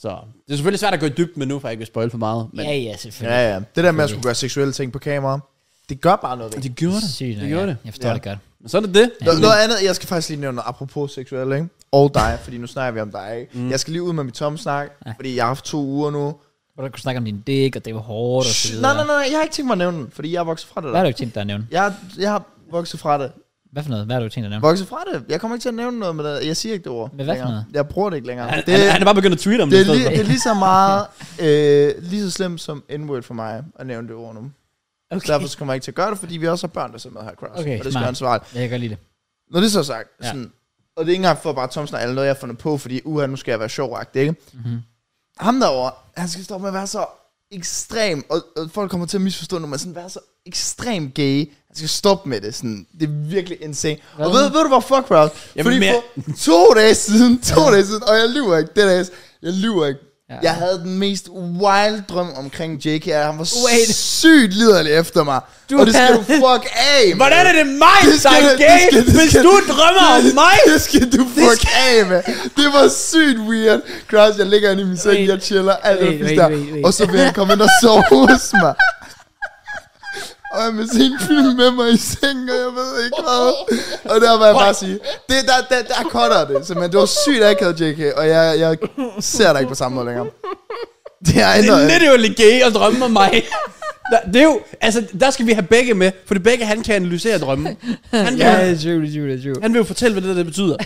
Speaker 3: Så det er selvfølgelig svært at gå i dybden med nu, for jeg ikke vil spoil for meget. Men
Speaker 1: Ja, ja, selvfølgelig.
Speaker 2: Ja, ja. Det der med at skulle gøre seksuelle ting på kamera, det gør bare noget ved
Speaker 3: det gjorde det.
Speaker 1: Sygt,
Speaker 3: det gjorde
Speaker 1: ja.
Speaker 3: det.
Speaker 1: Jeg forstår
Speaker 2: Ja.
Speaker 1: det godt.
Speaker 3: Men sådan er det.
Speaker 2: Nå, noget andet, jeg skal faktisk lige nævne noget apropos seksuel, ikke? Og dig, fordi nu snakker vi om dig, ikke? Mm. Jeg skal lige ud med mit tomme snak, fordi jeg har haft to uger nu.
Speaker 1: Hvor du kunne snakke om din dick, og det var hårdt og så
Speaker 2: Shh,
Speaker 1: videre.
Speaker 2: nej, nej, nej, jeg har ikke tænkt mig at nævne den, fordi jeg er vokset fra det.
Speaker 1: Hvad
Speaker 2: Der.
Speaker 1: har du ikke tænkt dig at nævne?
Speaker 2: Jeg, har- jeg har vokset fra det.
Speaker 1: Hvad for noget? Hvad har du tænkt dig at nævne?
Speaker 2: Vokset fra det. Jeg kommer ikke til at nævne noget med det. Jeg siger ikke det ord.
Speaker 1: Men hvad for
Speaker 2: længere.
Speaker 1: noget?
Speaker 2: Jeg bruger det ikke længere.
Speaker 3: Han,
Speaker 2: Det,
Speaker 3: han, han er bare begyndt at tweete om
Speaker 2: det, er,
Speaker 3: i stedet
Speaker 2: lige,
Speaker 3: for.
Speaker 2: det er lige så meget, øh, lige så slemt som N-word for mig at nævne det ord nu. Okay.
Speaker 1: Okay.
Speaker 2: Derfor kommer jeg ikke til at gøre det, fordi vi også har børn, der ser med her, Cross.
Speaker 1: Okay,
Speaker 2: og det skal
Speaker 1: smart.
Speaker 2: være ansvarligt.
Speaker 1: Ja, jeg kan godt lide det.
Speaker 2: Når det så er sagt,
Speaker 1: Ja.
Speaker 2: ja. sådan, og det er ikke engang for bare Thomsen eller noget, jeg har fundet på, fordi uha, nu skal jeg være sjovagtig, ikke? Mm-hmm.
Speaker 1: Mhm.
Speaker 2: Ham derovre, han skal stoppe med at være så ekstrem, og, og folk kommer til at misforstå, når man sådan være så ekstrem gay. Han skal stoppe med det, sådan. Det er virkelig insane. Hvad? Og ved, ved du hvor fuck, bro?
Speaker 3: Jamen,
Speaker 2: Fordi
Speaker 3: men-
Speaker 1: [LAUGHS]
Speaker 2: for to dage siden, to dage siden, og jeg lyver ikke, det er jeg lyver ikke.
Speaker 1: Ja.
Speaker 2: Jeg havde den mest wild drøm omkring JK, og han var
Speaker 1: Wait.
Speaker 2: sygt liderlig efter mig.
Speaker 1: Du
Speaker 2: Du og det skal
Speaker 1: havde-
Speaker 2: du fuck af,
Speaker 1: [LAUGHS] Hvordan er det mig, der er gay, hvis du drømmer om mig?
Speaker 2: Det skal du fuck af, med. Det var sygt weird. Kraus, jeg ligger inde i min seng,
Speaker 1: Wait.
Speaker 2: jeg chiller, alt
Speaker 1: Wait,
Speaker 2: det fisk
Speaker 1: wait,
Speaker 2: der.
Speaker 1: wait, wait.
Speaker 2: Og så vil han komme ind og sove hos mig. Og jeg vil se en film med mig i sengen, og jeg ved ikke hvad. Og der var jeg bare sige, det, der, der, der cutter det. Så, men det var sygt akavet, JK, og jeg, jeg ser dig ikke på samme måde længere. Det er
Speaker 3: Det er
Speaker 2: ændret.
Speaker 3: literally gay at drømme om mig. Der- Det er jo, altså, der skal vi have begge med, for det begge, han kan analysere drømme. Han,
Speaker 1: Ja,
Speaker 3: yeah.
Speaker 1: det er true, det er true, det er true.
Speaker 3: han vil jo fortælle, hvad det der det betyder.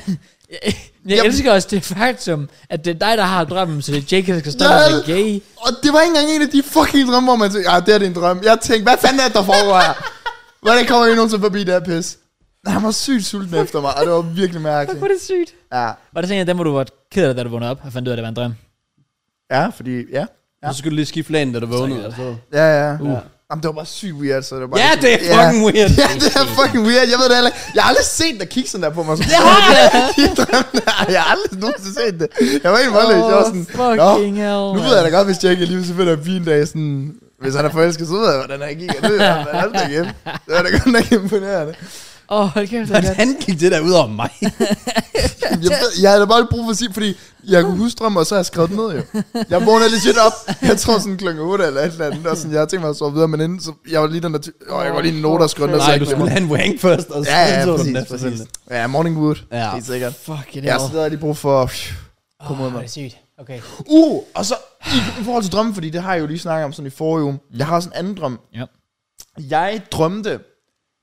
Speaker 1: Jeg, jeg elsker også det faktum, at det er dig, der har drømmen, så det er Jake, der skal stå
Speaker 2: Ja.
Speaker 1: og være gay.
Speaker 2: Og det var ikke engang en af de fucking drømme, hvor man tænkte, ah, det her det er en drøm. Jeg tænkte, hvad fanden er det, der foregår her? Hvordan kommer I nogensinde forbi det her pis? Han var sygt sulten efter mig, og det var virkelig mærkeligt.
Speaker 1: Hvor er det sygt.
Speaker 2: Ja,
Speaker 1: Var det sådan, at den, hvor du var ked af, det, da du vågnede op og fandt ud af, at det var en drøm?
Speaker 2: ja fordi, ja.
Speaker 3: Ja. Så skulle du lige skifte lagen, da du vågnede.
Speaker 1: godt.
Speaker 3: og Så.
Speaker 2: Ja, ja. Uh.
Speaker 3: Ja.
Speaker 2: Jamen, det var bare sygt weird, så det var bare...
Speaker 3: Ja, det er fucking weird.
Speaker 2: [LAUGHS] Ja, det er fucking weird. Jeg ved det heller ikke. Jeg har aldrig set dig kigge sådan der på mig. [LAUGHS] Sådan, ja. jeg har aldrig nogensinde set det. Jeg var helt voldelig. Jeg var sådan,
Speaker 1: fucking hell.
Speaker 2: nu ved jeg da godt, hvis Jack lige så finder en fin dag, sådan... Hvis han er forelsket, så ved jeg, hvordan han gik. Og det er han aldrig igen. Det var da godt nok imponerende.
Speaker 1: Åh, hold kæft, det er godt.
Speaker 3: Hvordan gik det der ud over mig?
Speaker 2: Jeg, ved- jeg havde da bare brug for at sige, fordi jeg kunne huske drømme, og så har jeg skrevet den ned jo. Jeg vågnede legit op, jeg tror sådan klokken 8 eller et eller andet, og sådan, jeg havde tænkt mig at sove videre, men inden, så jeg var lige den der, ty- åh, jeg var lige en note og skrev den ned, så
Speaker 3: Nej,
Speaker 2: jeg
Speaker 3: du
Speaker 2: ikke
Speaker 3: skulle
Speaker 2: glemmer
Speaker 3: have en wank først, og
Speaker 2: den.
Speaker 3: så
Speaker 2: Ja, ja,
Speaker 3: så du den
Speaker 2: præcis, præcis.
Speaker 3: efterfølgende.
Speaker 2: Ja, morning wood,
Speaker 3: Ja.
Speaker 2: ja. helt sikkert.
Speaker 1: Fuck, det
Speaker 2: Jeg
Speaker 1: er
Speaker 2: har stadig lige brug for,
Speaker 1: Åh, hvor er det sygt. Okay.
Speaker 2: uh, og så i, i forhold til drømmen, fordi det har jeg jo lige snakket om sådan i forrige uge, jeg har også en anden drøm.
Speaker 1: Ja.
Speaker 2: Jeg drømte,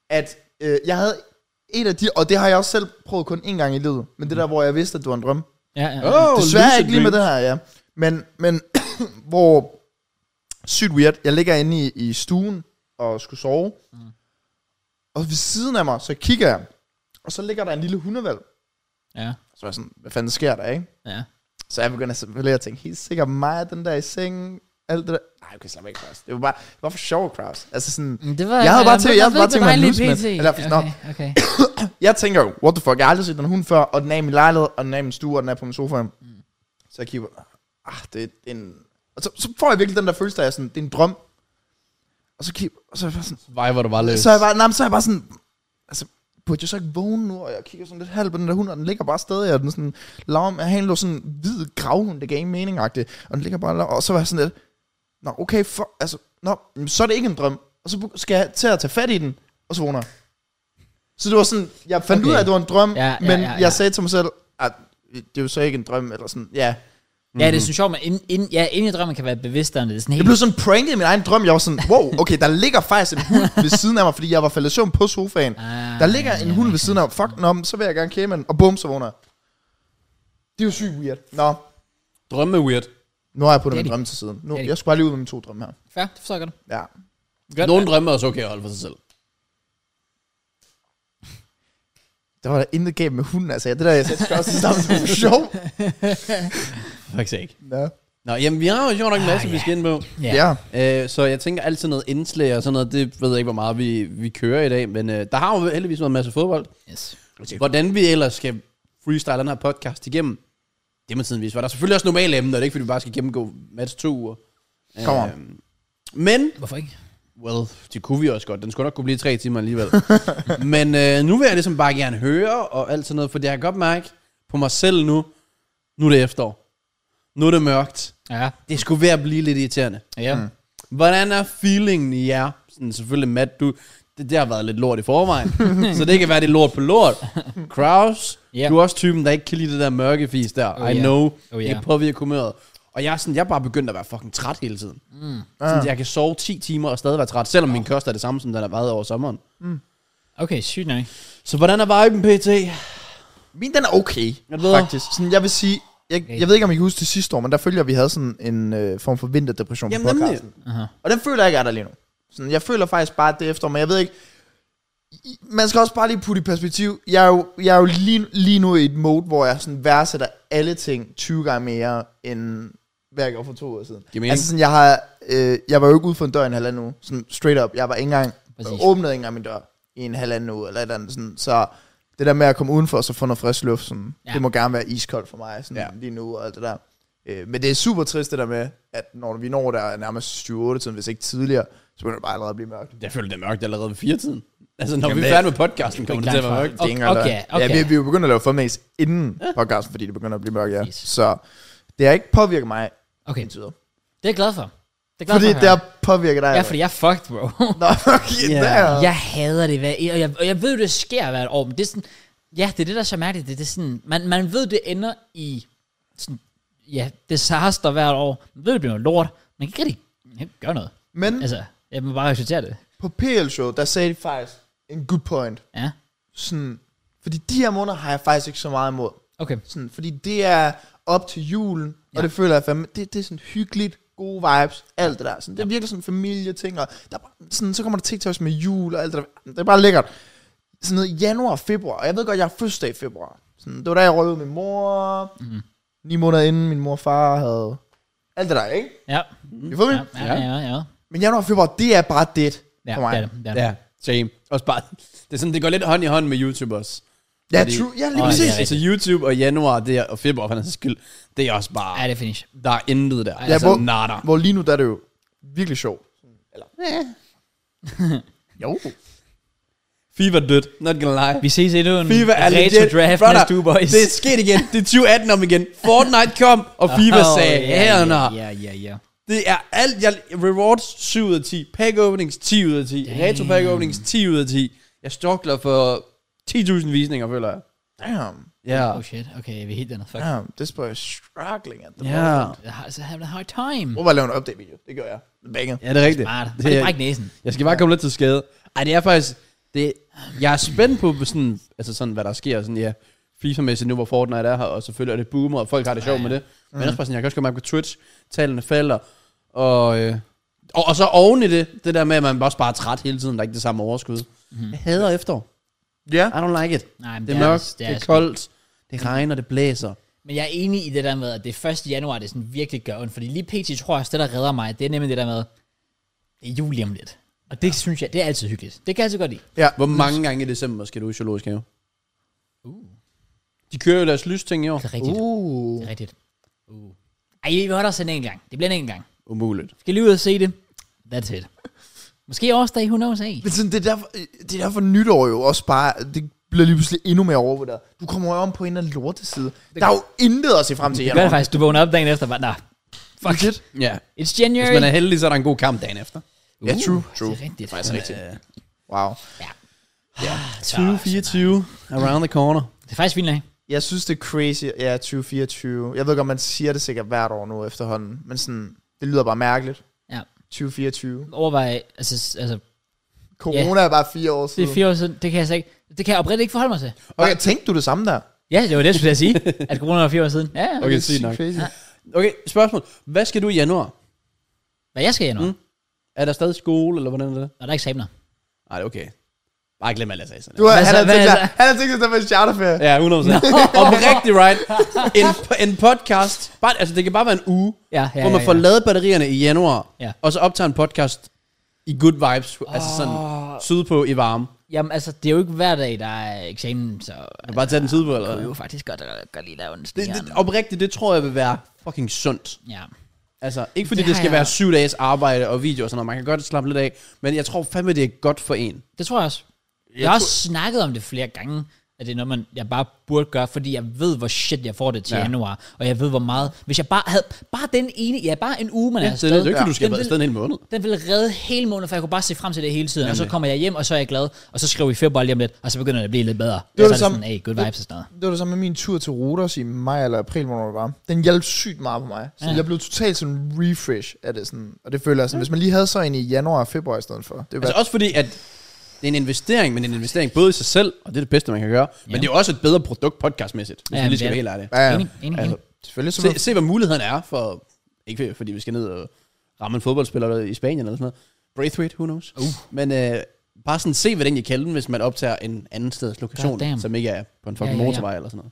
Speaker 2: at øh, jeg havde et af de, og det har jeg også selv prøvet kun en gang i livet, men det der, hvor jeg vidste, at det var en drøm.
Speaker 1: Ja, ja.
Speaker 3: Oh,
Speaker 2: Desværre ikke lige med det her, ja. Men, men [CLEARS THROAT] hvor sygt weird, jeg ligger inde i, i stuen og skulle sove. Mm. Og ved siden af mig, så kigger jeg, og så ligger der en lille hundevalg.
Speaker 1: Ja,
Speaker 2: Så var jeg sådan, hvad fanden sker der, ikke?
Speaker 1: ja.
Speaker 2: Så jeg begynder selvfølgelig at tænke, helt sikkert mig, den der i sengen, alt det der. Nej, okay, slap af, Kraus. Det var bare, det var for sjov, Kraus. Altså sådan,
Speaker 1: Men Det var,
Speaker 2: Jeg havde bare tænkt-
Speaker 1: ved-
Speaker 2: jeg havde
Speaker 1: ved
Speaker 2: bare
Speaker 1: det
Speaker 2: tænkt mig
Speaker 1: dejlige
Speaker 2: en lus med.
Speaker 1: PT.
Speaker 2: Eller, nå.
Speaker 1: okay, okay.
Speaker 2: jeg tænker jo, what the fuck, jeg har aldrig set den hund før, og den er i min lejlighed, og den er i min stue, og den er på min sofa. Mm. Så jeg kigger, ah, det er en... Og så, så får jeg virkelig den der følelse, der er sådan, det er en drøm. Og så kigger, og så er jeg bare sådan,
Speaker 3: Vej, hvor du bare løs.
Speaker 2: så er jeg bare, nej, men så er jeg bare sådan, altså, burde jeg så ikke vågne nu? Og jeg kigger sådan lidt halvt på den der hund, og den ligger bare stadig, og den sådan, laver med han lå sådan en hvid gravhund, det gav ingen mening og den ligger bare, og laver- og så var jeg sådan lidt, nå, okay, for, altså, nå, jamen, så er det ikke en drøm. Og så skal jeg til at tage fat i den, og så vågner jeg. Så det var sådan, jeg fandt
Speaker 1: Okay.
Speaker 2: okay. ud af, at det var en drøm,
Speaker 1: Ja, ja,
Speaker 2: men
Speaker 1: ja, ja.
Speaker 2: jeg sagde til mig selv, at det er jo så ikke en drøm, eller sådan, ja.
Speaker 1: Ja, det er sådan sjovt, men ind, ind, ja, inde i drømmen kan være bevidst om det. Det er sådan
Speaker 2: Jeg
Speaker 1: helt...
Speaker 2: blev sådan pranket i min egen drøm. Jeg var sådan, wow, okay, der ligger faktisk en hund ved siden af mig, fordi jeg var faldet i søvn på sofaen.
Speaker 1: Ah,
Speaker 2: Der ligger en hund ved siden af mig. Fuck, nå, men så vil jeg gerne kæme den. Og bum, så vågner jeg. Det er jo sygt weird. Nå,
Speaker 3: Drømme er weird.
Speaker 2: nu har jeg puttet min
Speaker 1: det.
Speaker 2: drøm til siden. Nu,
Speaker 1: Det er det.
Speaker 2: jeg skulle bare lige ud med mine to drømme her.
Speaker 1: Fair, det forstår jeg godt.
Speaker 2: Ja.
Speaker 1: Godt.
Speaker 3: Nogle drømmer er også okay at holde for sig selv.
Speaker 2: Der var der intet galt med hunden, altså. Det der, jeg satte også sammen [LAUGHS] det var sjov.
Speaker 3: Faktisk ikke.
Speaker 2: Nå.
Speaker 3: Nå, jamen, vi har jo sjovt nok en masse, vi skal ind på.
Speaker 1: Ah, Ja.
Speaker 2: Ja.
Speaker 3: Øh, så jeg tænker altid noget indslag og sådan noget. Det ved jeg ikke, hvor meget vi, vi kører i dag. Men øh, der har jo heldigvis været en masse fodbold.
Speaker 1: Yes.
Speaker 3: Hvordan vi ellers skal freestyle den her podcast igennem, det må tiden vise. For der er selvfølgelig også normale emner. Det er ikke, fordi vi bare skal gennemgå match to uger.
Speaker 2: Kom on.
Speaker 3: men,
Speaker 1: Hvorfor ikke?
Speaker 3: well, det kunne vi også godt. Den skulle nok kunne blive tre timer alligevel. [LAUGHS] men øh, nu vil jeg ligesom bare gerne høre og alt sådan noget. For jeg kan godt mærke på mig selv nu, nu er det efterår. Nu er det mørkt.
Speaker 1: Ja.
Speaker 3: Det skulle være at blive lidt irriterende.
Speaker 1: Ja. Mm.
Speaker 3: Hvordan er feelingen i jer? Sådan, selvfølgelig, Matt, du, det, det har været lidt lort i
Speaker 1: [LAUGHS]
Speaker 3: forvejen. så det kan være, det er lort på lort. Kraus,
Speaker 1: Ja.
Speaker 3: yeah. du er også typen, der ikke kan lide det der mørke fis der.
Speaker 1: Oh,
Speaker 3: I
Speaker 1: ja.
Speaker 3: know.
Speaker 1: Oh, ja.
Speaker 3: Det påvirker humøret. Og jeg er, sådan, jeg er bare begyndt at være fucking træt hele tiden. Mm. Sådan, at jeg kan sove 10 timer og stadig være træt, selvom min kost er det samme, som den har været over sommeren.
Speaker 1: Okay, sygt nok.
Speaker 3: Så hvordan er viben, PT?
Speaker 2: Min, den er okay.
Speaker 3: Er det bedre?
Speaker 2: Faktisk. Sådan, jeg vil sige, jeg,
Speaker 1: Okay.
Speaker 2: jeg ved ikke, om I kan huske det sidste år, men der følger vi havde sådan en øh, form for vinterdepression
Speaker 3: Jamen,
Speaker 2: på
Speaker 3: nemlig.
Speaker 2: podcasten. Og den føler jeg ikke er der lige nu. Sådan, jeg føler faktisk bare at det er efter, men jeg ved ikke... I- Man skal også bare lige putte i perspektiv. Jeg er jo, jeg er jo lige, lige nu i et mode, hvor jeg sådan værdsætter alle ting 20 gange mere, end hvad jeg gjorde for to år siden.
Speaker 3: Giver mening.
Speaker 2: Altså sådan, jeg, har, øh, jeg var jo ikke ude for en dør i en halvanden uge. Sådan straight up. Jeg var ikke engang,
Speaker 1: Præcis.
Speaker 2: jeg åbnede ikke engang min dør i en halvanden uge, eller et eller andet sådan. Så det der med at komme udenfor, og så få noget frisk luft, sådan,
Speaker 1: Ja.
Speaker 2: ja. det må gerne være iskoldt for mig sådan,
Speaker 3: Ja.
Speaker 2: ja. lige nu, og alt det der. Øh, men det er super trist det der med, at når vi når der nærmest 7-8-tiden, hvis ikke tidligere, så begynder det bare allerede at blive mørkt.
Speaker 3: Jeg føler, det er mørkt allerede ved firetiden. Altså, når Jamen,
Speaker 2: Jamen,
Speaker 3: vi er
Speaker 2: det-
Speaker 3: færdige med podcasten, kommer det til at være
Speaker 1: langt
Speaker 3: mørkt.
Speaker 1: fra.
Speaker 2: Ikke
Speaker 1: Okay,
Speaker 2: engang
Speaker 1: okay,
Speaker 2: løgn. Ja, vi, vi er jo begyndt at lave formæs inden podcasten, fordi det begynder at blive mørkt, ja.
Speaker 1: Præcis.
Speaker 2: Så det har ikke påvirket mig
Speaker 1: Okay,
Speaker 2: indtil videre.
Speaker 1: det er jeg glad for. Det er jeg glad
Speaker 2: Fordi
Speaker 1: for at
Speaker 2: det
Speaker 1: høre.
Speaker 2: har påvirket dig.
Speaker 1: Ja,
Speaker 2: eller?
Speaker 1: fordi jeg er fucked, bro.
Speaker 2: Nå, okay,
Speaker 3: Ja.
Speaker 2: der.
Speaker 1: jeg hader det, hver, og, jeg, og jeg ved, det sker hvert år, men det er sådan, ja, det er det, der er så mærkeligt. Det, det er sådan, man, man ved, det ender i sådan, ja, disaster hvert år. Man ved, det bliver noget lort. Man kan ikke rigtig man kan ikke gøre noget.
Speaker 2: Men
Speaker 1: Altså, jeg må bare acceptere det.
Speaker 2: på PL-show, der sagde de faktisk en good point.
Speaker 1: Ja,
Speaker 2: Sådan, fordi de her måneder har jeg faktisk ikke så meget imod.
Speaker 1: okay.
Speaker 2: Sådan, fordi det er op til julen, ja.
Speaker 1: Ja.
Speaker 2: og det føler jeg fandme, det, det er sådan hyggeligt, gode vibes, alt det der. Sådan, det er virkelig sådan familieting, og der, er bare- sådan, så kommer der TikToks med jul og alt det der. Det er bare lækkert. Sådan noget i januar, februar, og jeg ved godt, jeg har fødselsdag i februar. Sådan, det var da, jeg røg ud med min mor,
Speaker 1: Mhm.
Speaker 2: mm. ni måneder inden min mor og far havde... Alt det der, ikke?
Speaker 1: Ja,
Speaker 2: Jeg får
Speaker 1: ja,
Speaker 2: ja.
Speaker 1: Mhm. ja, ja. ja, ja.
Speaker 2: Men januar og februar, det er bare det
Speaker 1: Ja,
Speaker 2: for mig.
Speaker 1: det er det. det, er det.
Speaker 3: Ja, same. Også bare, det er sådan, det går lidt hånd i hånd med YouTube også.
Speaker 2: Ja,
Speaker 3: Fordi-
Speaker 2: true. Ja, lige
Speaker 1: Åh,
Speaker 2: præcis.
Speaker 1: ja, ja.
Speaker 3: Så Altså, YouTube og januar det er, og februar for den sags skyld, det er også bare,
Speaker 1: Ja, det er finish.
Speaker 3: der er intet der. Ja, altså,
Speaker 2: hvor-
Speaker 3: nada.
Speaker 2: Hvor lige nu, der er det jo virkelig sjovt. Eller, [LAUGHS] ja. jo.
Speaker 3: FIFA er dødt, not gonna lie.
Speaker 1: Vi ses endnu en
Speaker 3: FIFA er
Speaker 1: retro
Speaker 3: legit.
Speaker 1: draft
Speaker 3: Brother,
Speaker 1: næste uge, boys.
Speaker 3: Det er sket igen. Det er 2018 om igen. Fortnite kom, og FIFA oh,
Speaker 1: ja,
Speaker 3: sagde, yeah,
Speaker 1: ja,
Speaker 3: yeah,
Speaker 1: ja, ja, ja.
Speaker 3: Det er alt. Jeg, rewards 7 ud af 10. Pack openings 10 ud af 10.
Speaker 1: Damn.
Speaker 3: Retro pack openings 10 ud af 10. Jeg stokler for 10.000 visninger, føler jeg.
Speaker 2: Damn.
Speaker 3: Ja.
Speaker 1: Oh shit, okay, vi er helt andet. Fuck.
Speaker 2: Damn. This boy is struggling at the
Speaker 3: Ja.
Speaker 2: moment.
Speaker 1: Jeg har så having a hard time.
Speaker 2: Prøv bare at lave en update-video. Det gør jeg. Banget.
Speaker 3: Ja, det er rigtigt.
Speaker 1: Smart. Det
Speaker 3: Det
Speaker 1: er
Speaker 3: er,
Speaker 1: ikke næsen.
Speaker 3: jeg skal bare komme lidt til skade. Ej, det er faktisk... Det, jeg er spændt på, sådan, altså sådan, hvad der sker. Sådan, ja, FIFA-mæssigt nu, hvor Fortnite er her, og selvfølgelig er det boomer, og folk har det sjovt med det. Men også bare sådan, jeg kan også godt mærke på Twitch, tallene falder, og, øh, og, og så oven i det, det der med, at man også bare er træt hele tiden, der er ikke det samme overskud. Mm-hmm. Jeg hader efterår.
Speaker 2: Ja.
Speaker 3: I don't like it.
Speaker 1: Mhm. Nej, men
Speaker 3: Det er
Speaker 1: det er-
Speaker 3: mørkt,
Speaker 1: det
Speaker 3: det
Speaker 1: er
Speaker 3: er, det
Speaker 1: sgu-
Speaker 3: er koldt, det regner, det blæser.
Speaker 1: Men jeg er enig i det der med, at det er 1. januar, det sådan virkelig gør ondt. Fordi lige pt. tror jeg også, det der redder mig, det er nemlig det der med, det er jul lige om lidt. Og det synes jeg, det er altid hyggeligt. Det kan jeg altid godt lide.
Speaker 2: Ja.
Speaker 3: Hvor mange gange i december skal du i zoologisk have?
Speaker 1: Uh.
Speaker 3: De kører jo deres lysting i år.
Speaker 1: Det er rigtigt. Uh.
Speaker 2: Uh.
Speaker 1: Det er rigtigt. Uh. Ej, vi holder os en enkelt gang. Det bliver en enkelt gang.
Speaker 3: Umuligt.
Speaker 1: Skal lige ud og se det. That's it. Måske årsdag, who knows, hey.
Speaker 2: Men sådan, det, er derfor, det er derfor nytår jo også bare... Det bliver lige pludselig endnu mere overvurderet. Du kommer jo om på en af lorteside. Der er jo intet at se frem til i
Speaker 1: Det gør det
Speaker 2: januar.
Speaker 1: faktisk, du vågner op dagen efter, og bare, nah, fuck it.
Speaker 3: Ja.
Speaker 1: It's January.
Speaker 3: Hvis man er heldig, så er der en god kamp dagen efter. øh,
Speaker 1: uh,
Speaker 2: Ja, true, true.
Speaker 1: Det er rigtigt.
Speaker 2: Faktisk rigtigt.
Speaker 3: Ja.
Speaker 2: Wow.
Speaker 1: Så-
Speaker 3: 2024, around the corner.
Speaker 1: Det er faktisk vildt, ikke?
Speaker 2: Jeg synes, det er crazy. Ja, 2024. Jeg ved godt, man siger det sikkert hvert år nu efterhånden. Men sådan, det lyder bare mærkeligt.
Speaker 1: Ja.
Speaker 2: 2024.
Speaker 1: Overvej, altså, s- altså,
Speaker 2: Corona er bare fire år
Speaker 1: det
Speaker 2: siden.
Speaker 1: er fire år siden, det kan jeg slet ikke, det kan jeg oprigtigt ikke forholde mig til.
Speaker 2: Okay, tænkte du det samme der?
Speaker 1: Ja, det var det, jeg skulle jeg sige, at corona var fire år siden. Ja, ja.
Speaker 3: Okay,
Speaker 2: Det er
Speaker 3: sygt
Speaker 2: sygt
Speaker 3: nok.
Speaker 2: Crazy.
Speaker 3: Okay, spørgsmål. Hvad skal du i januar?
Speaker 1: Hvad jeg skal i januar?
Speaker 3: Mm. Er der stadig skole, eller hvordan er det?
Speaker 1: Når der er eksamener.
Speaker 3: Nej, det er okay. Bare glem alt, jeg sagde sådan.
Speaker 2: Du,
Speaker 1: Hvad
Speaker 2: han,
Speaker 1: så-
Speaker 2: har
Speaker 1: hvad
Speaker 2: tænkt sig,
Speaker 1: så?
Speaker 2: han har tænkt sig, at der var en charterferie.
Speaker 3: Ja, 100%. Om rigtig right. En, en podcast. Bare, altså, det kan bare være en uge,
Speaker 1: Ja, ja,
Speaker 3: hvor man
Speaker 1: ja,
Speaker 3: får
Speaker 1: ja.
Speaker 3: lavet batterierne i januar,
Speaker 1: Ja.
Speaker 3: og så optager en podcast i good vibes, altså sådan sydpå i varme.
Speaker 1: Jamen, altså, det er jo ikke hver dag, der er eksamen, så
Speaker 3: Du bare tage den sydpå, eller
Speaker 1: det er jo
Speaker 3: hvad?
Speaker 1: faktisk godt, øh, godt lige lave en
Speaker 3: øh. Det, det, oprigtigt, det tror jeg vil være fucking sundt.
Speaker 1: Ja.
Speaker 3: Altså, ikke fordi
Speaker 1: Det
Speaker 3: det, det
Speaker 1: har
Speaker 3: skal
Speaker 1: jeg-
Speaker 3: være syv dages arbejde og video og sådan noget. Man kan godt slappe lidt af, men jeg tror fandme, det er godt for en.
Speaker 1: Det tror jeg også. Jeg, har også snakket om det flere gange, at det er noget, man, jeg bare burde gøre, fordi jeg ved, hvor shit jeg får det til
Speaker 3: Ja.
Speaker 1: ja. januar, og jeg ved, hvor meget... Hvis jeg bare havde bare den ene... Ja, bare en uge, man
Speaker 3: Ja,
Speaker 1: er
Speaker 3: det, er det, det er jo ikke, fordi du skal
Speaker 1: Den
Speaker 3: være
Speaker 1: vil-
Speaker 3: afsted en hel måned.
Speaker 1: Den ville redde hele måneden, for jeg kunne bare se frem til det hele tiden. Og så
Speaker 3: Nemlig.
Speaker 1: kommer jeg hjem, og så er jeg glad. Og så skriver vi februar lige om lidt, og så begynder det at blive lidt bedre.
Speaker 2: det
Speaker 1: og så er
Speaker 2: samme-
Speaker 1: det sådan, hey, good vibes og sådan noget.
Speaker 2: Det var det samme med min tur til Rodos i maj eller april, hvor det var. Den hjalp sygt meget på mig. Så
Speaker 1: Ja.
Speaker 2: ja. jeg blev totalt sådan refresh af det. Sådan. Og det føler jeg sådan, hvis man lige havde så en i januar og februar i stedet for. Det var,
Speaker 3: Altså også fordi, at det er en investering, men en investering både i sig selv, og det er det bedste, man kan gøre. Ja. Men det er jo også et bedre produkt podcastmæssigt, hvis
Speaker 1: Ja,
Speaker 3: ja, vi lige
Speaker 1: men
Speaker 3: skal
Speaker 1: det
Speaker 3: være
Speaker 1: er
Speaker 3: helt ærlige.
Speaker 2: ja,
Speaker 1: Enig, enig,
Speaker 2: altså,
Speaker 1: enig.
Speaker 2: selvfølgelig så
Speaker 3: Se, se, hvad muligheden er for, ikke fordi vi skal ned og ramme en fodboldspiller i Spanien eller sådan noget. Braithwaite, who knows? Uh. Men øh, bare sådan se, hvad den i kalden, hvis man optager en anden steds
Speaker 1: God
Speaker 3: lokation,
Speaker 1: damn.
Speaker 3: som ikke er på en fucking
Speaker 1: Ja, ja, ja.
Speaker 3: motorvej eller sådan noget.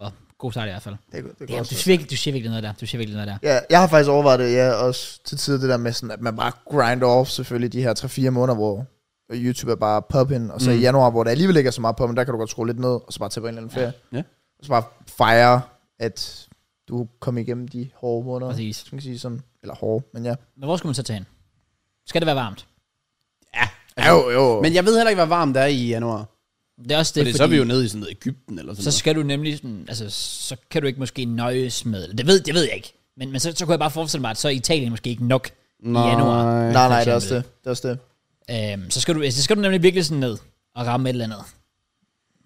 Speaker 1: Well, god start i hvert fald.
Speaker 2: det, det, det
Speaker 1: Damn,
Speaker 2: Damn,
Speaker 1: du, siger virkelig, du siger virkelig noget der. Du siger virkelig noget der.
Speaker 2: Ja, jeg har faktisk overvejet det, ja, også til tider det der med sådan, at man bare grinder off selvfølgelig de her 3-4 måneder, hvor YouTube er bare poppin, og så mm. i januar, hvor der alligevel ikke er så meget poppin, der kan du godt skrue lidt ned, og så bare tage på en eller anden ferie.
Speaker 3: Ja.
Speaker 2: Og så bare fejre, at du kom igennem de hårde måneder.
Speaker 1: Præcis.
Speaker 2: Man kan sige sådan, eller hårde, men ja.
Speaker 1: Men hvor skal man så tage hen? Skal det være varmt?
Speaker 2: Jo, jo.
Speaker 3: Men jeg ved heller ikke, hvor varmt der er i januar. Det
Speaker 1: Det er også det,
Speaker 3: fordi, så er vi jo nede i sådan noget Ægypten eller sådan
Speaker 1: så skal du nemlig sådan, altså, så kan du ikke måske nøjes med, det ved, det ved jeg ikke, men, men så, så kunne jeg bare forestille mig, at så er Italien måske ikke nok
Speaker 3: noget.
Speaker 1: i januar.
Speaker 3: Nej.
Speaker 2: nej, nej, det er
Speaker 1: for
Speaker 2: også det. Det er også det.
Speaker 1: Øhm, så, skal du, så skal du nemlig virkelig sådan ned og ramme et eller andet.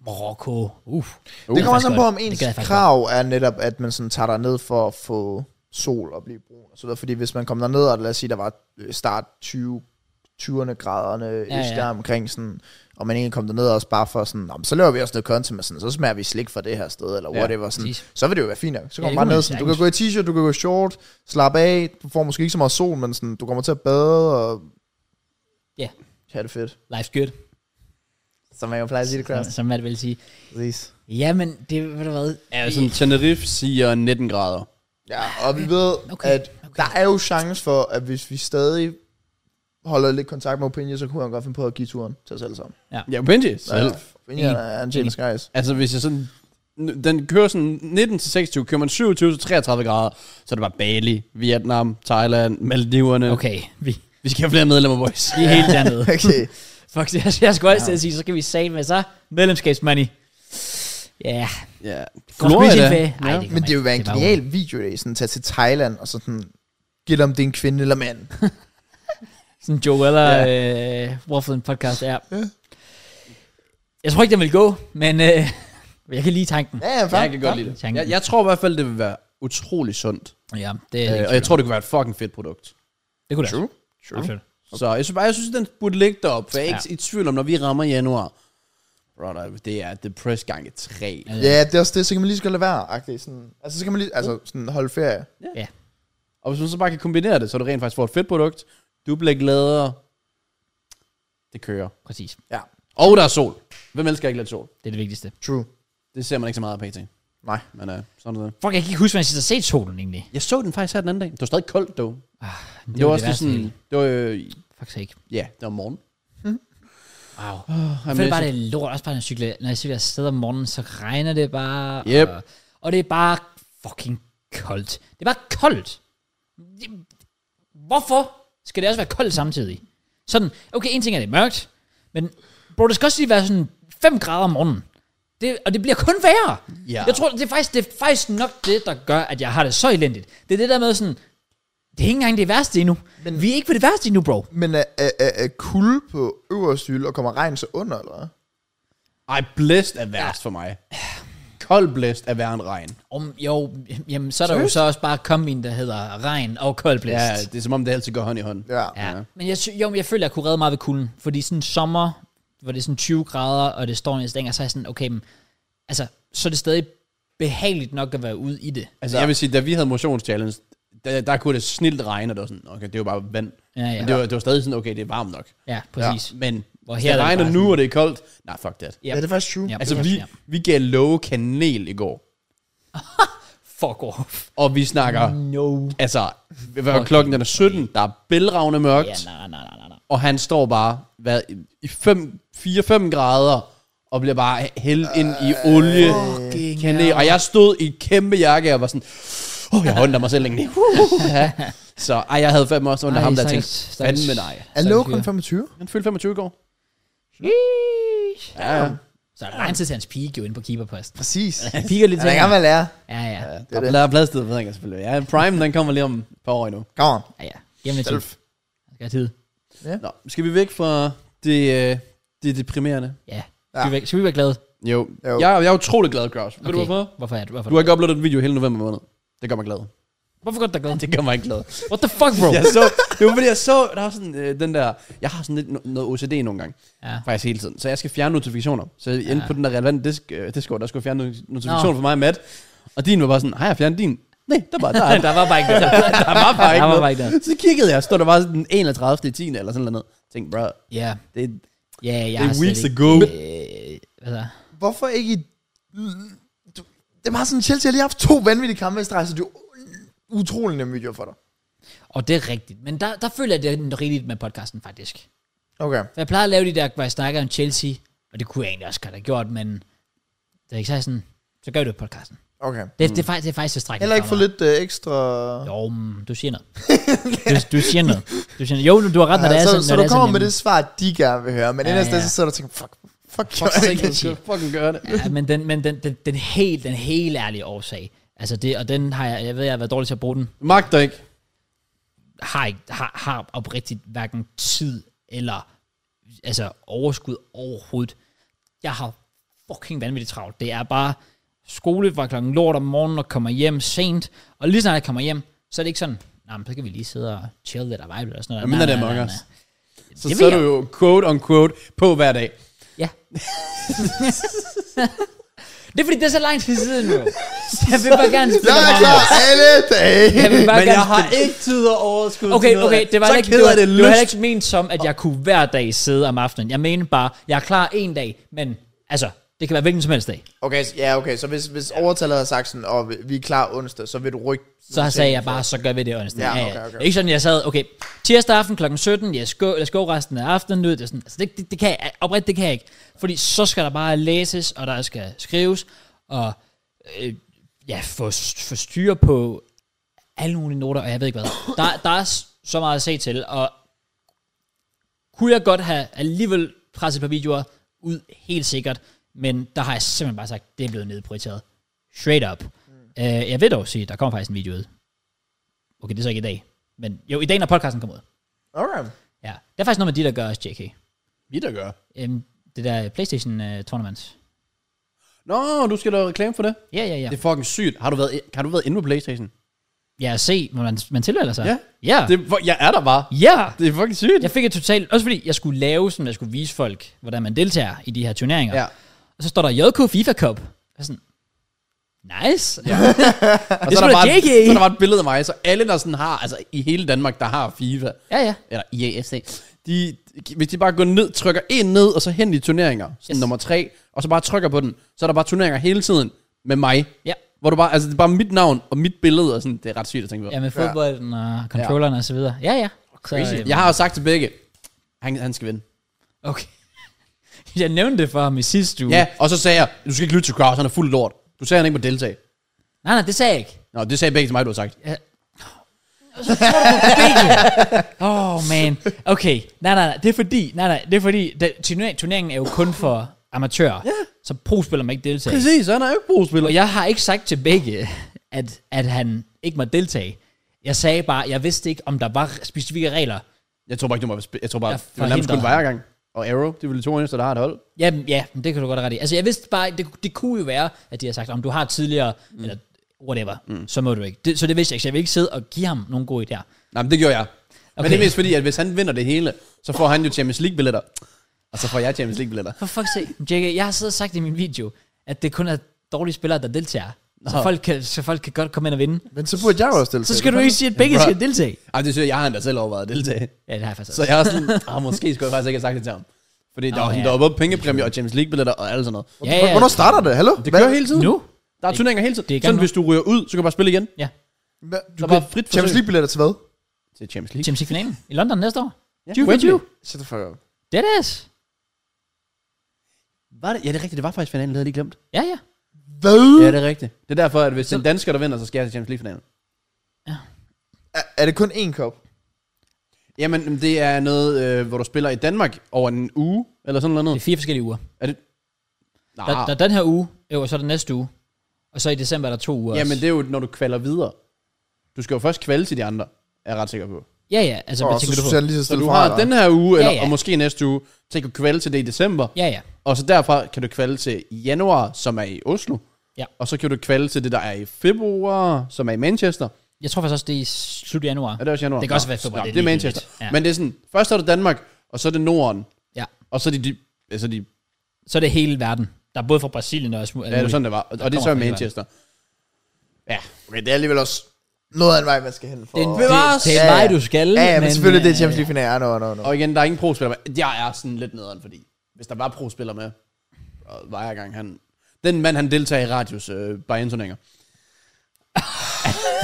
Speaker 1: Marokko. Uh.
Speaker 2: Uh, det kommer
Speaker 1: faktisk
Speaker 2: også an på,
Speaker 1: godt.
Speaker 2: om
Speaker 1: Det
Speaker 2: ens
Speaker 1: gad jeg faktisk
Speaker 2: krav er netop, at man sådan tager dig ned for at få sol og blive brun. Og så videre. Fordi hvis man kom derned, og lad os sige, der var øh, start 20, 20'erne graderne ja,
Speaker 1: ja.
Speaker 2: ja. der omkring, sådan, og man egentlig kom derned også bare for sådan, "Nå, men så laver vi også noget content med sådan, så smager vi slik fra det her sted, eller
Speaker 3: Ja,
Speaker 2: whatever. Sådan,
Speaker 1: præcis.
Speaker 2: så vil det jo være fint nok. Så
Speaker 1: Ja,
Speaker 2: kommer
Speaker 1: det
Speaker 2: ja, man
Speaker 1: kunne
Speaker 2: ned,
Speaker 1: man
Speaker 2: sådan, du kan gå i t-shirt, du kan gå i short, slappe af, du får måske ikke så meget sol, men sådan, du kommer til at bade, og
Speaker 1: Ja.
Speaker 2: ja, det er fedt.
Speaker 1: Life's good,
Speaker 2: Som man jo plejer at sige det,
Speaker 1: som,
Speaker 2: Klaus.
Speaker 1: som Matt vil sige.
Speaker 2: Præcis.
Speaker 1: Jamen, det ved du hvad.
Speaker 3: Ja, sådan Tenerife siger 19 grader.
Speaker 2: Ja, og vi
Speaker 1: [SIGHS]
Speaker 2: ved,
Speaker 1: Okay,
Speaker 2: okay, at
Speaker 1: okay.
Speaker 2: okay. der er jo chance for, at hvis vi stadig holder lidt kontakt med Opinion, så kunne han godt finde på at give turen til os alle sammen.
Speaker 3: Ja, Benji.
Speaker 2: Ja,
Speaker 3: Selv.
Speaker 2: Opinion er en James Guys.
Speaker 3: Altså, hvis jeg sådan... n- Den kører sådan 19 til 26, kører man 27 til 33 grader, så er det bare Bali, Vietnam, Thailand, Maldiverne.
Speaker 1: Okay, vi,
Speaker 3: Vi skal have flere medlemmer, boys.
Speaker 1: vi er helt dernede.
Speaker 2: [LAUGHS] [LAUGHS] Okay.
Speaker 1: Fuck, jeg, jeg skulle også til at sige, så skal vi save med så medlemskabsmoney. Ja,
Speaker 3: Ja.
Speaker 1: Florida.
Speaker 3: Florida.
Speaker 1: Nej, det kan
Speaker 2: Men
Speaker 1: man
Speaker 2: det
Speaker 1: ikke.
Speaker 2: ville være en
Speaker 1: Det var
Speaker 2: genial video, det er sådan, tage til Thailand og så sådan, gæt om det er en kvinde eller mand.
Speaker 1: Sådan Joella øh, Waffle podcast er. Ja. Jeg tror ikke, den vil gå, men øh, [LAUGHS] jeg kan lige tanken.
Speaker 2: Ja, ja, fair.
Speaker 3: Jeg kan godt lide det.
Speaker 1: Tanken.
Speaker 3: Jeg, jeg tror i hvert fald, det vil være utrolig sundt.
Speaker 1: Ja, det,
Speaker 3: Øh, og jeg tror, det kunne være et fucking fedt produkt.
Speaker 1: det kunne det. True.
Speaker 2: True.
Speaker 1: Absolut.
Speaker 3: Så jeg synes bare, jeg synes, den burde ligge deroppe, for jeg er ikke
Speaker 1: Ja.
Speaker 3: i tvivl om, når vi rammer januar. Brother, det er The Press gange 3.
Speaker 1: Ja.
Speaker 2: Ja, det er også det, så kan man lige så godt lade være. agtigt, Sådan, altså, så kan man lige altså, sådan, holde ferie.
Speaker 3: Og hvis man så bare kan kombinere det, så du rent faktisk får et fedt produkt, du bliver gladere, det kører.
Speaker 1: Præcis.
Speaker 2: Ja,
Speaker 3: Og der er sol. Hvem elsker ikke lidt sol?
Speaker 1: Det er det vigtigste.
Speaker 2: true.
Speaker 3: Det ser man ikke så meget af pt.
Speaker 2: Nej.
Speaker 3: Men uh, sådan er det.
Speaker 1: Fuck, jeg kan ikke huske, hvad jeg sidst har set solen egentlig.
Speaker 3: Jeg så den faktisk her den anden dag. Det var stadig koldt, dog. Det, det var
Speaker 1: var
Speaker 3: også
Speaker 1: det
Speaker 3: det sådan...
Speaker 1: værste
Speaker 3: Det var øh,
Speaker 1: Fuck sake.
Speaker 3: Ja, det var morgen.
Speaker 1: Wow.
Speaker 3: Oh,
Speaker 1: Jeg føler bare, det er lort, også bare, når jeg cykler, når jeg cykler afsted om morgenen, så regner det bare.
Speaker 3: Yep.
Speaker 1: Og, og det er bare fucking koldt. Det er bare koldt. Det- Hvorfor skal det også være koldt samtidig? Sådan, okay, en ting er det er mørkt, men bro, det skal også lige være sådan 5 grader om morgenen. Det, og det bliver kun værre.
Speaker 3: Ja.
Speaker 1: Jeg tror, det er, faktisk, det er faktisk nok det, der gør, at jeg har det så elendigt. Det er det der med sådan, det er ikke engang det værste endnu. Men,
Speaker 2: Men-
Speaker 1: Vi er ikke på det værste endnu, bro.
Speaker 2: Men er, er, er, er kulde på øverste hylde, og kommer regn så under, eller hvad?
Speaker 3: Ej, blæst er værst for mig. Kold blæst er værre end regn.
Speaker 1: Om, jo, jamen, så er der jo så også bare kombin, der hedder regn og kold blæst.
Speaker 3: Ja, det er som om, det altid går hånd i hånd.
Speaker 2: Ja.
Speaker 1: Ja. Men jeg, sy- jo, men jeg føler, jeg kunne redde meget ved kulden. Fordi sådan sommer, hvor det er sådan 20 grader, og det står i en stænger, så er jeg sådan, okay, men, altså, så er det stadig behageligt nok at være ude i det.
Speaker 3: Altså, jeg vil sige, da vi havde motionschallenge, der, der kunne det snilt regne, og det var sådan, okay, det var bare vand.
Speaker 1: Ja, ja.
Speaker 3: Men det var, det var stadig sådan, okay, det er varmt nok.
Speaker 1: Ja, præcis. Ja.
Speaker 3: Men
Speaker 1: Hvor
Speaker 3: hvis
Speaker 1: her er
Speaker 3: det
Speaker 1: det
Speaker 3: regner
Speaker 1: bare
Speaker 3: nu, og det er koldt, nej, fuck that.
Speaker 1: Ja.
Speaker 2: Ja, det er faktisk true.
Speaker 1: Ja.
Speaker 3: Altså,
Speaker 1: det er
Speaker 3: vi,
Speaker 1: rigtigt,
Speaker 3: vi gav love kanel i går,
Speaker 1: Fuck off.
Speaker 3: og vi snakker,
Speaker 1: No.
Speaker 3: altså, hvad, klokken den er 17, der er bælragende mørkt,
Speaker 1: Ja, nej, nej, nej, nej, nej.
Speaker 3: og han står bare hvad, i 4-5 grader, og bliver bare hældt ind i olie.
Speaker 1: Øh, fucking
Speaker 3: kanel. Og jeg stod i et kæmpe jakke, og var sådan, åh, oh, jeg håndter mig selv længe. så ej, jeg havde fandme også under
Speaker 1: Ej,
Speaker 3: ham, der
Speaker 1: stakkels-
Speaker 3: tænkte,
Speaker 1: stakkels-
Speaker 3: fandme nej.
Speaker 2: Er
Speaker 1: Sådan
Speaker 2: Lowe
Speaker 1: fyre.
Speaker 2: kun 25?
Speaker 3: Han fyldte 25 i går.
Speaker 1: Sheesh.
Speaker 3: Ja, ja.
Speaker 1: Så er der lang tid til hans peak jo inde på keeperposten.
Speaker 2: Præcis.
Speaker 1: Han piker lidt
Speaker 2: Han er gammel at lære.
Speaker 1: Ja, ja.
Speaker 3: ja
Speaker 2: det er
Speaker 3: der er plads til det, ved jeg selvfølgelig. Ja, Prime, den kommer lige om et par år endnu.
Speaker 2: Come on.
Speaker 1: Ja, ja. Jamen, det
Speaker 2: Self.
Speaker 1: skal have tid.
Speaker 3: Nå, skal vi væk fra det, øh, det deprimerende?
Speaker 1: Ja.
Speaker 2: Ja.
Speaker 1: Skal vi, være- skal vi være glade?
Speaker 3: Jo,
Speaker 2: Jo.
Speaker 3: Jeg, jeg er utrolig glad, Kraus. Ved du hvorfor?
Speaker 1: Hvorfor er det? Hvorfor,
Speaker 3: Du har ikke uploadet en video hele november måned. Det gør mig glad.
Speaker 1: hvorfor går det dig glad?
Speaker 3: Det gør mig glad.
Speaker 1: What the fuck, bro?
Speaker 3: [LAUGHS] Jeg så, det var fordi, jeg så, der var sådan øh, den der, jeg har sådan lidt no- noget OCD nogle gange.
Speaker 1: Ja.
Speaker 3: faktisk hele tiden. Så jeg skal fjerne notifikationer. Så jeg endte
Speaker 1: Ja.
Speaker 3: på den der relevante disk, øh, Discord, der skulle fjerne not- notifikationer for mig og Matt. Og din var bare sådan, har jeg fjernet din? Nej, der var, der,
Speaker 1: [LAUGHS]
Speaker 3: er-
Speaker 1: der var bare ikke det.
Speaker 3: der var bare
Speaker 1: Der
Speaker 3: ikke
Speaker 1: var
Speaker 3: noget.
Speaker 1: bare ikke noget.
Speaker 3: Så kiggede jeg, stod der bare sådan den 31. 10. eller sådan noget. Tænkte, bro,
Speaker 1: Ja.
Speaker 3: det er
Speaker 1: Ja, jeg
Speaker 3: Det er
Speaker 1: har slet
Speaker 3: weeks
Speaker 1: ikke-
Speaker 3: ago.
Speaker 1: Øh, hvad så?
Speaker 2: Hvorfor ikke i... Du, det er meget sådan, Chelsea har lige haft to vanvittige kampe i streg, så det er jo utrolig nemme video for dig.
Speaker 1: Og det er rigtigt. Men der, der føler jeg, det er rigtigt med podcasten, faktisk.
Speaker 2: Okay.
Speaker 1: For jeg plejer at lave de der, hvor jeg snakker om Chelsea, og det kunne jeg egentlig også godt have gjort, men det er ikke så sådan, så gør vi det på podcasten.
Speaker 2: Okay.
Speaker 1: Det, mm. det, er, faktisk, det er faktisk tilstrækkeligt.
Speaker 2: Heller ikke for
Speaker 1: mig.
Speaker 2: lidt øh, ekstra...
Speaker 1: Jo, men du siger noget. du, du, siger noget. Du siger noget. Jo, du- du har ret, når det er
Speaker 2: så,
Speaker 1: sådan.
Speaker 2: så
Speaker 1: når
Speaker 2: du
Speaker 1: det er
Speaker 2: kommer
Speaker 1: sådan
Speaker 2: med
Speaker 1: en-
Speaker 2: det svar, de gerne vil høre, men
Speaker 1: Ja,
Speaker 2: ja, ellers
Speaker 1: ja.
Speaker 2: ja. så sidder du og tænker, fuck, fuck,
Speaker 3: Fuck,
Speaker 2: fuck
Speaker 3: sikkert, du skal fucking gøre det.
Speaker 1: Ja, men den, men den, den, den, helt, den helt ærlige årsag, altså det, og den har jeg, jeg ved, jeg har været dårlig til at bruge den,
Speaker 3: Du magter ikke.
Speaker 1: har, ikke, har, har oprigtigt hverken tid eller altså overskud overhovedet. Jeg har fucking vanvittigt travlt. Det er bare skole fra klokken lort om morgenen og kommer hjem sent, og lige snart jeg kommer hjem, så er det ikke sådan, nej, men så kan vi lige sidde og chill lidt og vibe lidt og sådan noget.
Speaker 3: Hvad
Speaker 1: Nej,
Speaker 3: mindre det er
Speaker 1: nej,
Speaker 3: Among
Speaker 1: nej,
Speaker 3: Us?
Speaker 1: nej.
Speaker 3: Så,
Speaker 1: Det
Speaker 3: så
Speaker 1: ved
Speaker 3: er du
Speaker 1: jeg.
Speaker 3: jo quote on quote på hver dag.
Speaker 1: Ja. [LAUGHS] det er fordi, det er så lang tid
Speaker 3: [LAUGHS]
Speaker 1: siden nu. Jeg vil bare gerne spille
Speaker 2: Jeg er
Speaker 1: Among
Speaker 2: klar
Speaker 1: Us.
Speaker 2: alle dage!
Speaker 1: Jeg vil bare
Speaker 3: Men
Speaker 1: gerne
Speaker 3: jeg har
Speaker 1: spille-
Speaker 3: ikke tid og overskud
Speaker 1: Okay,
Speaker 3: til noget
Speaker 1: okay,
Speaker 3: af
Speaker 1: det var,
Speaker 3: Så
Speaker 1: heller ikke, det,
Speaker 3: keder
Speaker 1: var, det
Speaker 3: det,
Speaker 1: var heller
Speaker 3: lyst.
Speaker 1: ikke ment som, at jeg kunne hver dag sidde om aftenen. Jeg mener bare, jeg er klar en dag, men altså, det kan være hvilken som helst dag.
Speaker 2: Okay, så- ja, okay, så hvis, hvis overtallet havde sagt sådan, og vi er klar onsdag, så vil du rykke...
Speaker 1: Så har sagde jeg bare, så gør vi det onsdag.
Speaker 2: Ja,
Speaker 1: Ja,
Speaker 2: okay,
Speaker 1: ja.
Speaker 2: okay.
Speaker 1: Det er Ikke sådan, jeg sad, okay, tirsdag aften kl. 17, jeg skal, lad os gå resten af aftenen ud. Det, er sådan, altså, det, det, det kan jeg, oprigtigt, det kan jeg ikke. Fordi så skal der bare læses, og der skal skrives, og øh, ja, få, få styr på alle mulige noter, og jeg ved ikke hvad. Der, der er s- så meget at se til, og kunne jeg godt have alligevel presset et par videoer ud, helt sikkert, men der har jeg simpelthen bare sagt, det er blevet nedprioriteret. Straight up. Mm. Uh, jeg vil dog sige, der kommer faktisk en video ud. Okay, det er så ikke i dag. Men jo, i dag, når podcasten kommer ud.
Speaker 2: Okay.
Speaker 1: Ja. Det er faktisk noget med de, der gør os, JK.
Speaker 3: Vi der gør.
Speaker 1: Um, det der Playstation uh, tournament.
Speaker 3: Nå, du skal lave reklame for det.
Speaker 1: Ja, ja, ja.
Speaker 3: Det er fucking sygt. Har du været, har du været inde på Playstation?
Speaker 1: Ja, se, hvor man, man tilmelder sig.
Speaker 3: Ja.
Speaker 1: Ja.
Speaker 3: Det, er- jeg er der bare.
Speaker 1: ja.
Speaker 3: Det er fucking sygt.
Speaker 1: Jeg fik et totalt... Også fordi jeg skulle lave sådan, jeg skulle vise folk, hvordan man deltager i de her turneringer.
Speaker 3: Ja.
Speaker 1: Og så står der JK FIFA Cup. Jeg er sådan, nice. Ja.
Speaker 3: Og
Speaker 1: Det
Speaker 3: så
Speaker 1: er
Speaker 3: er, der
Speaker 1: sgu da E.
Speaker 3: bare,
Speaker 1: JK.
Speaker 3: så er der bare et billede af mig, så alle der sådan har, altså i hele Danmark, der har FIFA,
Speaker 1: ja, ja.
Speaker 3: eller EAFC, de, hvis de bare går ned, trykker en ned, og så hen i turneringer, sådan
Speaker 1: Yes.
Speaker 3: yes. nummer tre, og så bare trykker på den, så er der bare turneringer hele tiden med mig.
Speaker 1: Ja.
Speaker 3: Hvor du bare, altså det er bare mit navn og mit billede, og sådan, det er ret sygt at tænke på.
Speaker 1: Ja, med fodbolden og controllerne og så videre. Ja, ja. Crazy. Så, øh,
Speaker 3: Jeg har jo sagt til begge, han, han skal vinde.
Speaker 1: Okay. [LAUGHS] jeg nævnte det for ham i sidste uge.
Speaker 3: Ja, og så sagde jeg, du skal ikke lytte til Kraus, han er fuld lort. Du sagde, han ikke må deltage.
Speaker 1: Nej, nej, det sagde jeg ikke.
Speaker 3: Nå, det sagde begge til mig, du har sagt.
Speaker 1: Åh, oh, man. Okay. Nej, nej, nej. Det er fordi, nej, nej, det er fordi det, turnering, turneringen er jo kun for amatører. Ja. Så pro-spiller må ikke deltage.
Speaker 3: Præcis, han er jo ikke brugspiller.
Speaker 1: Og jeg har ikke sagt til begge, at, at han ikke må deltage. Jeg sagde bare, jeg vidste ikke, om der var specifikke regler.
Speaker 3: Jeg tror bare ikke, du må være sp- Jeg tror bare,
Speaker 1: Jeg
Speaker 3: det var nærmest kun
Speaker 1: forhindrer ham.
Speaker 3: Vejergang og Arrow. Det var de to eneste, der har et hold.
Speaker 1: Jamen, ja, men det kan du godt have ret i. Altså, jeg vidste bare, det, det kunne jo være, at de har sagt, om du har tidligere, mm. eller whatever, mm. så må du ikke. Det, så det vidste jeg ikke, så jeg vil ikke sidde og give ham nogle gode idéer.
Speaker 3: Nej, men det gjorde jeg. Okay.
Speaker 1: Okay.
Speaker 3: Men det er mest fordi, at hvis han vinder det hele, så får han jo Champions League-billetter. Og så får jeg Champions League-billetter.
Speaker 1: For fuck's sake, JK, jeg har siddet og sagt i min video, at det kun er dårlige spillere, der deltager. Så
Speaker 3: Nå.
Speaker 1: folk, kan, så folk kan godt komme ind og vinde.
Speaker 2: Men så burde jeg jo også stille
Speaker 1: Så skal du ikke sige, at begge
Speaker 3: Bruh.
Speaker 1: skal deltage.
Speaker 3: Ej, det synes jeg, jeg har endda selv overvejet at deltage.
Speaker 1: Ja, det har jeg faktisk
Speaker 3: Så
Speaker 1: også.
Speaker 3: jeg er [LAUGHS] sådan, ah, måske skulle jeg faktisk ikke have sagt det til ham. Fordi der,
Speaker 1: Nå,
Speaker 3: var,
Speaker 1: ja.
Speaker 3: der var både pengepræmier og Champions League-billetter og alt sådan noget.
Speaker 1: Ja, ja,
Speaker 2: Hvornår starter det? Hallo?
Speaker 3: Det kører hele tiden.
Speaker 1: Nu?
Speaker 3: Der er turneringer hele tiden.
Speaker 1: Det er i gang
Speaker 3: sådan,
Speaker 1: nu.
Speaker 3: hvis du ryger ud, så kan du bare spille igen.
Speaker 1: Ja.
Speaker 2: Hva?
Speaker 3: Du
Speaker 2: Du
Speaker 3: kan frit
Speaker 2: Champions
Speaker 3: forsøg.
Speaker 2: League-billetter til hvad?
Speaker 3: Til Champions League.
Speaker 1: Champions League-finalen i London næste år.
Speaker 3: Ja,
Speaker 1: 2024.
Speaker 3: Wembley.
Speaker 2: Shut the fuck up.
Speaker 1: Det er det.
Speaker 3: Var det? Ja, det er rigtigt. Det var faktisk finalen, det havde jeg lige glemt.
Speaker 1: Ja, ja.
Speaker 2: Hvad?
Speaker 3: Ja, det er rigtigt. Det er derfor, at hvis en dansker, der vinder, så skal jeg til Champions League-finalen.
Speaker 2: Er, er det kun én kop?
Speaker 3: Jamen, det er noget, øh, hvor du spiller i Danmark over en uge, eller sådan noget.
Speaker 1: Det er fire forskellige uger.
Speaker 3: Er det... Nej,
Speaker 1: Der, der er den her uge, jo, og så er der næste uge. Og så i december er der to uger
Speaker 3: jamen
Speaker 1: også.
Speaker 3: det er jo, når du kvaler videre. Du skal jo først kvalde til de andre, er jeg ret sikker på.
Speaker 1: Ja, ja, altså
Speaker 2: Åh,
Speaker 1: hvad
Speaker 2: så
Speaker 1: tænker du
Speaker 2: synes
Speaker 1: på?
Speaker 2: jeg lige så
Speaker 3: Så
Speaker 2: stille
Speaker 3: du
Speaker 2: fra
Speaker 3: har
Speaker 2: dig.
Speaker 3: den her uge, eller,
Speaker 1: Ja, ja.
Speaker 3: og måske næste uge, til at kunne kvalde til det i december.
Speaker 1: Ja, ja.
Speaker 3: Og så derfra kan du kvalde til januar, som er i Oslo.
Speaker 1: Ja.
Speaker 3: Og så kan du kvalde til det, der er i februar, som er i Manchester.
Speaker 1: Jeg tror faktisk også, det er i slut af januar.
Speaker 3: Er det også januar?
Speaker 1: Det kan også
Speaker 3: Nå,
Speaker 1: være februar,
Speaker 3: nå,
Speaker 1: det er
Speaker 3: Det er
Speaker 1: ligegyldigt.
Speaker 3: Manchester.
Speaker 1: Ja.
Speaker 3: Ja. Men det er sådan, først er det Danmark, og så er det Norden,
Speaker 1: Ja.
Speaker 3: og så er det de, altså de
Speaker 1: Så er det hele verden. Der er både fra Brasilien og... Smu-
Speaker 3: Ja, det var sådan, det var. Og, og det er så i
Speaker 1: kommer fra
Speaker 3: Manchester. Ja.
Speaker 2: Okay, det er alligevel også noget af en vej, man skal hen for.
Speaker 1: Det, det, det er mig, du skal.
Speaker 2: Ja, ja, men selvfølgelig, det er
Speaker 1: øh,
Speaker 2: Champions League-finalen. Ja, no, no, no.
Speaker 3: Og igen, der er ingen pro-spiller. med. Jeg er sådan lidt nederen, fordi hvis der var pro-spiller med, og var jeg gang, han... Den mand, han deltager i radios øh, bayern turneringer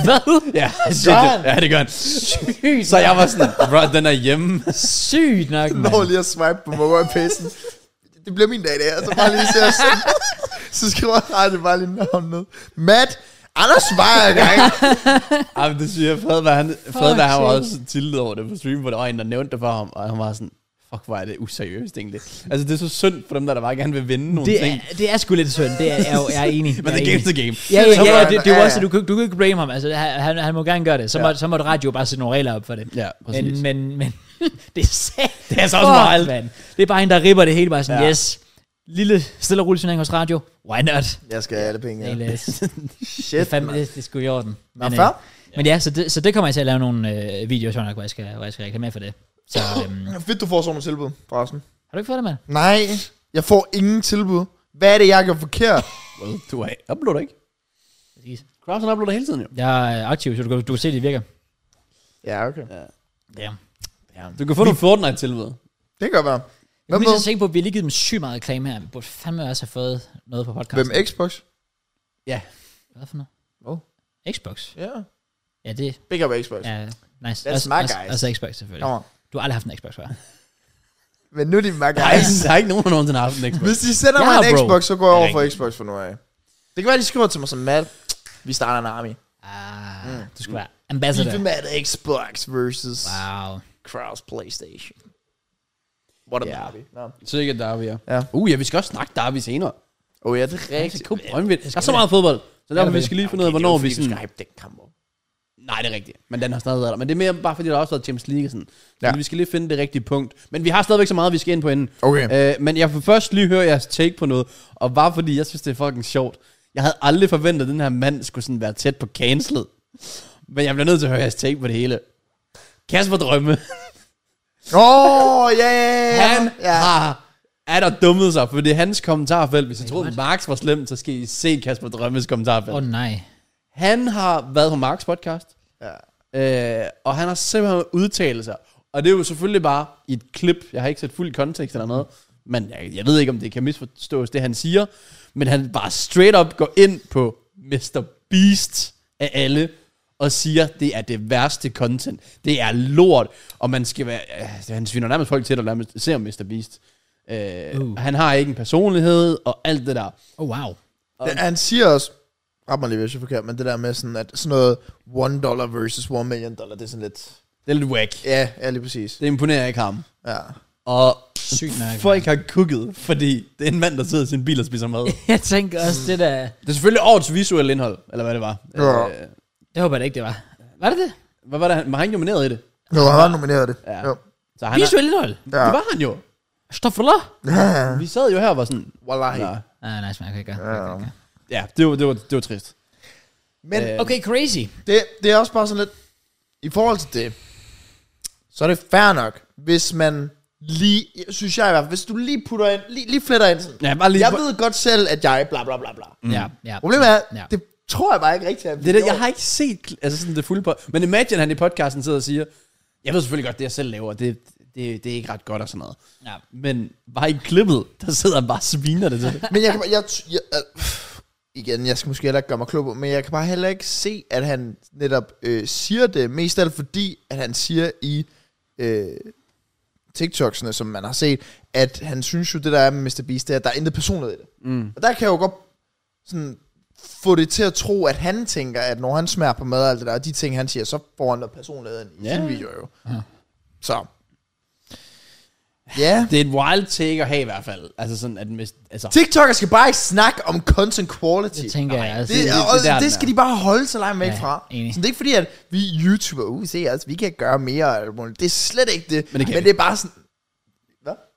Speaker 1: Hvad?
Speaker 3: Ja, det,
Speaker 2: gør
Speaker 3: det,
Speaker 2: han?
Speaker 3: ja, det gør han. Så jeg var sådan, bro, den er hjemme.
Speaker 1: Sygt nok,
Speaker 2: Nå,
Speaker 1: mand.
Speaker 2: lige at swipe på mobile pacen. Det bliver min dag i dag, altså bare lige se os. så skriver Rane bare lige navn ned. Matt Anders Meyer gang.
Speaker 3: Ej, men det siger jeg. Fred, var han, Fred, var, han var
Speaker 1: sake.
Speaker 3: også tiltet over det på stream, hvor der var en, der nævnte det for ham, og han var sådan, fuck, hvor er det useriøst egentlig. Altså, det er så synd for dem, der, der bare gerne vil vinde nogle
Speaker 1: Det
Speaker 3: ting.
Speaker 1: er, det er sgu lidt synd, det er jeg, jo- jeg er enig.
Speaker 3: men
Speaker 1: jeg er
Speaker 3: det er games
Speaker 1: enig.
Speaker 3: the game.
Speaker 1: Ja, ja,
Speaker 2: Så må
Speaker 1: ja,
Speaker 2: han-
Speaker 1: det, det er jo
Speaker 2: ja,
Speaker 1: også,
Speaker 2: ja.
Speaker 1: du kan, du kan ikke blame ham. Altså, han, han- han må gerne gøre det. Så må, så må radio bare sætte nogle regler op for det.
Speaker 3: Ja, præcis.
Speaker 1: Men, men, [LAUGHS] men det er sæt. Det
Speaker 3: er så også meget.
Speaker 1: mand. Det er bare en, der ripper det hele bare sådan,
Speaker 3: Ja.
Speaker 1: ja. yes. Lille, stille og rolig turnering hos radio. Why not?
Speaker 2: Jeg skal have alle penge.
Speaker 1: Ja. Det,
Speaker 2: Ja. [LAUGHS]
Speaker 1: er
Speaker 2: Shit.
Speaker 1: fandme,
Speaker 2: mand.
Speaker 1: det, det er sgu i orden.
Speaker 2: Nå,
Speaker 1: øh,
Speaker 2: fair.
Speaker 1: men ja, så det, så det kommer jeg til at lave nogle øh, videoer, sjovt nok, hvor jeg skal, hvor jeg skal reklamere for det. Så øhm,
Speaker 2: Fedt, du får sådan nogle tilbud, forresten.
Speaker 1: har du ikke fået det, mand?
Speaker 2: Nej, jeg får ingen tilbud. Hvad er det, jeg gør forkert?
Speaker 3: Well, du er uploader ikke.
Speaker 1: Præcis.
Speaker 3: Crowdson uploader hele tiden jo.
Speaker 1: Jeg er aktiv, så du kan, du kan se, det virker.
Speaker 2: Ja, okay.
Speaker 3: Ja.
Speaker 1: Ja. ja.
Speaker 3: Du kan få nogle Fortnite-tilbud.
Speaker 2: Det kan godt være.
Speaker 1: Jeg
Speaker 2: Hvem,
Speaker 1: kunne lige så
Speaker 2: ved,
Speaker 1: tænke på, at vi har lige givet dem sygt meget reklame her. Vi burde fandme også have fået noget på podcasten.
Speaker 2: hvem Xbox?
Speaker 1: Hvad for noget?
Speaker 2: Hvad?
Speaker 1: Xbox.
Speaker 2: Ja. Yeah.
Speaker 1: Ja, det
Speaker 2: Big up Xbox. Ja.
Speaker 1: er nice.
Speaker 2: That's
Speaker 1: også,
Speaker 2: my
Speaker 1: også,
Speaker 2: guys.
Speaker 1: Også Xbox selvfølgelig.
Speaker 2: Kom on.
Speaker 1: Du har aldrig haft en Xbox, hva'?
Speaker 2: Men nu er de my
Speaker 3: Der er,
Speaker 2: guys.
Speaker 3: ikke, der er ikke nogen, der nogensinde har haft en Xbox.
Speaker 2: Hvis de sender mig
Speaker 1: Ja,
Speaker 2: en
Speaker 1: bro.
Speaker 2: Xbox, så går jeg
Speaker 3: Det er
Speaker 2: over for Xbox for nu af. Det kan være, de skriver til mig som Matt. Vi starter en army.
Speaker 1: Ah,
Speaker 2: Mm.
Speaker 1: du skulle være
Speaker 2: Altså,
Speaker 1: ambassador.
Speaker 2: FIFA Matt Xbox versus wow.
Speaker 1: Wow.
Speaker 2: Kraus Playstation. What an
Speaker 3: Ja.
Speaker 2: army. No.
Speaker 3: Sikkert Derby, ja.
Speaker 2: Ja.
Speaker 3: Uh, ja, vi skal også snakke Derby senere.
Speaker 2: Oh ja, det er
Speaker 3: Rigtig
Speaker 2: rigtigt.
Speaker 3: god Brøndby. Der er så meget fodbold. Så derfor, vi skal lige finde ud af, hvornår vi sådan...
Speaker 2: hype den kamp op.
Speaker 3: Nej, det er rigtigt. Men den har stadig været der. Men det er mere bare, fordi der også har været Champions League og sådan. Ja.
Speaker 2: Ja.
Speaker 3: Men vi skal lige finde det rigtige punkt. Men vi har stadigvæk så meget, vi skal ind på inden.
Speaker 2: Okay.
Speaker 3: Øh, men jeg vil først lige høre jeres take på noget. Og bare fordi, jeg synes, det er fucking sjovt. Jeg havde aldrig forventet, at den her mand skulle sådan være tæt på cancelet. Men jeg bliver nødt til at høre jeres take på det hele. Kasper Drømme.
Speaker 2: Åh, ja, ja, ja.
Speaker 3: Han
Speaker 2: ja.
Speaker 3: har er der dummet sig, for det er hans kommentarfelt. Hvis I troede,
Speaker 1: what?
Speaker 3: Marx var slem, så skal I se Kasper Drømmes kommentarfelt.
Speaker 1: Åh oh, nej.
Speaker 3: Han har været på Marks podcast,
Speaker 2: ja.
Speaker 3: øh, og han har simpelthen udtalt sig. Og det er jo selvfølgelig bare i et klip. Jeg har ikke set fuld kontekst eller noget, men jeg, jeg ved ikke, om det kan misforstås, det han siger. Men han bare straight up går ind på Mr. Beast af alle, og siger, det er det værste content. Det er lort, og man skal være... Øh, han sviner nærmest folk til, der nærmest ser Mr. Beast. Øh,
Speaker 1: Uh.
Speaker 3: Han har ikke en personlighed, og alt det der.
Speaker 1: Oh wow.
Speaker 2: Det- Han siger også, ret mig lige, hvis jeg er forkert, men det der med sådan, at sådan noget 1 dollar versus 1 million dollar, det er sådan lidt...
Speaker 3: Det er lidt whack.
Speaker 2: Ja, ja, lige præcis.
Speaker 3: Det imponerer ikke ham.
Speaker 2: Ja.
Speaker 3: Og
Speaker 1: Sygt nok.
Speaker 3: folk har kukket, fordi det er en mand, der sidder i sin bil og spiser mad.
Speaker 1: Jeg tænker også, det der...
Speaker 3: det er selvfølgelig årets visuelle indhold, eller hvad det var.
Speaker 2: Ja.
Speaker 3: Øh,
Speaker 1: Det håber jeg da ikke, det var. Var det det?
Speaker 3: hvad var det? han- Var han nomineret i det?
Speaker 2: Jo, han har nomineret det.
Speaker 3: Ja.
Speaker 2: Jo.
Speaker 3: Så han
Speaker 1: Han Visuel indhold.
Speaker 2: Ja.
Speaker 3: Er, det var han jo.
Speaker 1: Stoffeler.
Speaker 3: Vi sad jo her og var sådan...
Speaker 2: Wallahi.
Speaker 3: Nå,
Speaker 1: Ah, nice, man. Okay, godt.
Speaker 2: Ja.
Speaker 3: ja, det var, det, var, det var trist.
Speaker 2: Men
Speaker 3: Øh,
Speaker 1: Okay, crazy.
Speaker 2: det, det er også bare sådan lidt, i forhold til det, så er det fair nok, hvis man lige, synes jeg i hvert fald, hvis du lige putter ind, lige, lige fletter ind sådan.
Speaker 3: Ja, bare lige...
Speaker 2: Jeg ved godt selv, at jeg bla bla bla bla.
Speaker 1: Mm. Ja, ja.
Speaker 2: Problemet er,
Speaker 1: Ja.
Speaker 2: det tror jeg bare ikke rigtigt, at
Speaker 3: Det er det, jeg har ikke set kl- altså sådan det fulde på. Men imagine, han i podcasten sidder og siger, jeg ved selvfølgelig godt, det jeg selv laver, det, det, det er ikke ret godt og sådan noget.
Speaker 1: Ja.
Speaker 3: Men bare i klippet, der sidder han bare og sviner det til. [LAUGHS]
Speaker 2: Men jeg kan bare, jeg, jeg, øh, igen, jeg skal måske heller ikke gøre mig klog på, men jeg kan bare heller ikke se, at han netop øh, siger det, mest af alt fordi, at han siger i øh, TikToksene, som man har set, at han synes jo, det der er med Mr. Beast, det er, at der er intet personligt i det. Mm. Og der kan jeg jo godt sådan, få det til at tro, at han tænker, at når han smager på mad og alt det der, og de ting, han siger, så får han noget personlighed ind i
Speaker 3: Ja.
Speaker 2: yeah. sin video jo. Så. Ja.
Speaker 3: Det er et wild take at have i hvert fald. Altså sådan, at... mis- Altså,
Speaker 2: TikTokere skal bare ikke snakke om content quality.
Speaker 1: Det tænker jeg altså.
Speaker 2: Det, det,
Speaker 3: det-
Speaker 2: og
Speaker 3: det er
Speaker 2: det,
Speaker 3: der, den
Speaker 2: det
Speaker 3: er.
Speaker 2: skal de bare holde så langt væk
Speaker 1: Ja,
Speaker 2: ja, fra.
Speaker 1: enig.
Speaker 2: Så det er ikke fordi, at vi YouTuber, uh, se os, vi kan gøre mere. og alt muligt. Det er slet ikke det.
Speaker 3: Men det kan
Speaker 2: men
Speaker 3: vi.
Speaker 2: det er bare sådan,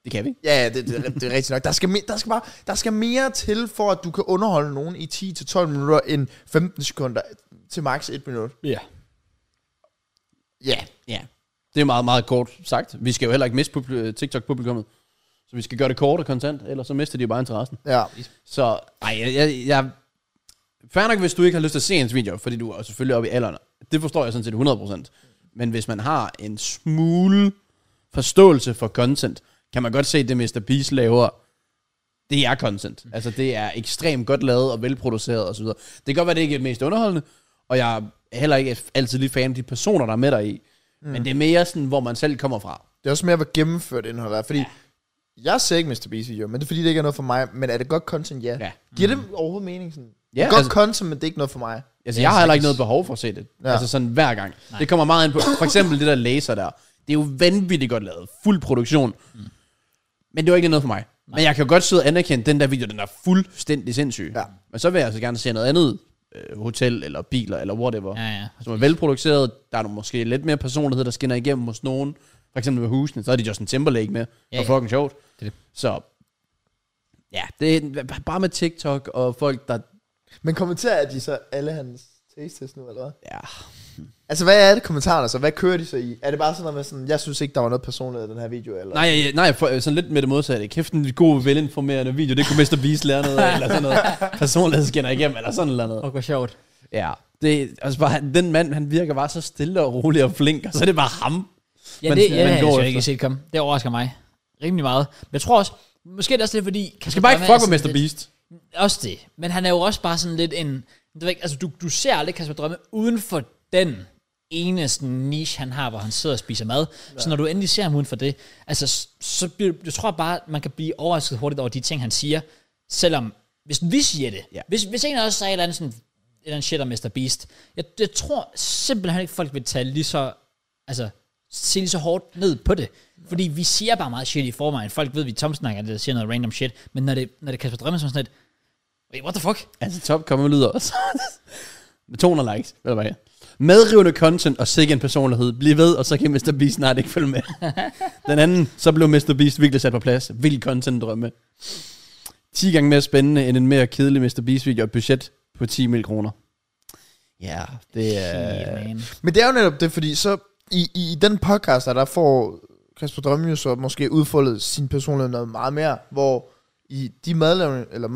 Speaker 3: det kan vi.
Speaker 2: ja, ja det, det, det, er rigtigt nok. Der skal, me- der, skal bare, der skal mere til, for at du kan underholde nogen i 10-12 minutter, end 15 sekunder til maks 1 minut.
Speaker 1: Ja.
Speaker 2: Ja.
Speaker 3: Ja. Det er meget, meget kort sagt. Vi skal jo heller ikke miste publ- øh, TikTok-publikummet. Så vi skal gøre det kort og kontant, ellers så mister de jo bare interessen.
Speaker 2: Ja.
Speaker 3: Så, ej, jeg, jeg, jeg Fair nok, hvis du ikke har lyst til at se ens video, fordi du er selvfølgelig oppe i alderen. Det forstår jeg sådan set 100%. Men hvis man har en smule forståelse for content, kan man godt se, at det Mr. Beast laver, det er content. Altså, det er ekstremt godt lavet og velproduceret osv. Det kan godt være, det ikke er det mest underholdende, og jeg er heller ikke altid lige fan af de personer, der er med dig i. Mm. Men det er mere sådan, hvor man selv kommer fra.
Speaker 2: Det er også mere, hvor gennemført indholdet er, fordi ja. Jeg ser ikke Mr. Beast video, men det er fordi, det ikke er noget for mig. Men er det godt content? Ja.
Speaker 3: Ja. Mm.
Speaker 2: Giver det overhovedet mening? Sådan?
Speaker 3: Ja,
Speaker 2: godt
Speaker 3: altså-
Speaker 2: content, men det er ikke noget for mig.
Speaker 3: Altså,
Speaker 1: Ja,
Speaker 3: jeg har heller
Speaker 1: sagtens.
Speaker 3: ikke noget behov for at se det.
Speaker 2: Ja.
Speaker 3: Ja. Altså sådan hver gang. Nej. Det kommer meget ind på. For eksempel det der laser der. Det er jo vanvittigt godt lavet. Fuld produktion. Mm. Men det var ikke noget for mig. Nej. Men jeg kan jo godt sidde og anerkende, den der video, den er fuldstændig sindssyg.
Speaker 2: Ja.
Speaker 3: Men så vil jeg altså gerne se noget andet. Øh, hotel eller biler eller whatever.
Speaker 1: Ja, ja.
Speaker 3: Som er velproduceret. Der er nogle måske lidt mere personlighed, der skinner igennem hos nogen. For eksempel med husene. Så er det Justin Timberlake med.
Speaker 1: Ja,
Speaker 3: Ja, og
Speaker 1: ja.
Speaker 3: fucking sjovt.
Speaker 1: Det er det.
Speaker 3: Så ja, det er bare med TikTok og folk, der...
Speaker 2: Men kommenterer de så alle hans taste test nu, eller hvad?
Speaker 3: Ja,
Speaker 2: Altså, hvad er det kommentarerne så? Hvad kører de så i? Er det bare sådan noget med sådan, jeg synes ikke, der var noget personligt i den her video, eller?
Speaker 3: Nej, ja, nej, for, øh, sådan lidt med det modsatte. Kæft, en god, velinformerende video, det kunne Mr. Beast lære noget af, eller sådan [LAUGHS] noget. Personlighed skinner igennem, eller sådan eller noget.
Speaker 1: Åh, hvor sjovt.
Speaker 3: Ja. Det, altså bare, han- den mand, han virker bare så stille og rolig og flink, og så er det bare ham.
Speaker 1: Ja,
Speaker 3: man-
Speaker 1: det, ja,
Speaker 3: man
Speaker 1: jeg
Speaker 3: går
Speaker 1: har jeg
Speaker 3: efter.
Speaker 1: ikke set komme. Det overrasker mig rimelig meget. Men jeg tror også, måske er det også lidt fordi...
Speaker 3: Jeg skal bare ikke fuck med
Speaker 1: Beast.
Speaker 3: Mr. Beast.
Speaker 1: Også det. Men han er jo også bare sådan lidt en... Du, ved ikke, altså, du, du ser aldrig Kasper Drømme uden for den ene sådan, niche, han har, hvor han sidder og spiser mad. Ja. Så når du endelig ser ham uden for det, altså, s- så bliver, jeg tror bare, man kan blive overrasket hurtigt over de ting, han siger. Selvom, hvis vi siger det,
Speaker 3: Ja.
Speaker 1: hvis, hvis en af os sagde et eller andet, sådan, et eller andet shit om Mr. Beast, jeg, jeg tror simpelthen ikke, folk vil tage lige så, altså, se lige så hårdt ned på det. Fordi vi siger bare meget shit i forvejen. Folk ved, vi tomsnakker det, der siger noget random shit. Men når det, når det er Kasper Drømme, så er man sådan lidt, Wait, what the fuck?
Speaker 3: Altså top kommer lyder også. [LAUGHS] med 200 likes, eller hvad? Medrivende content og sikke en personlighed. Bliv ved, og så kan Mr. Beast snart ikke følge med.
Speaker 2: [LAUGHS]
Speaker 3: Den anden, så blev Mr. Beast virkelig sat på plads. Vild content drømme. 10 gange mere spændende end en mere kedelig Mr. Beast video og et budget på 10 mil kroner. Ja, det
Speaker 1: Yeah,
Speaker 3: er...
Speaker 1: man.
Speaker 2: Men det er jo netop det, fordi så i, i, i den podcast, der, der får Kasper Drømme jo så måske udfoldet sin personlighed noget meget mere, hvor i de madlavning, eller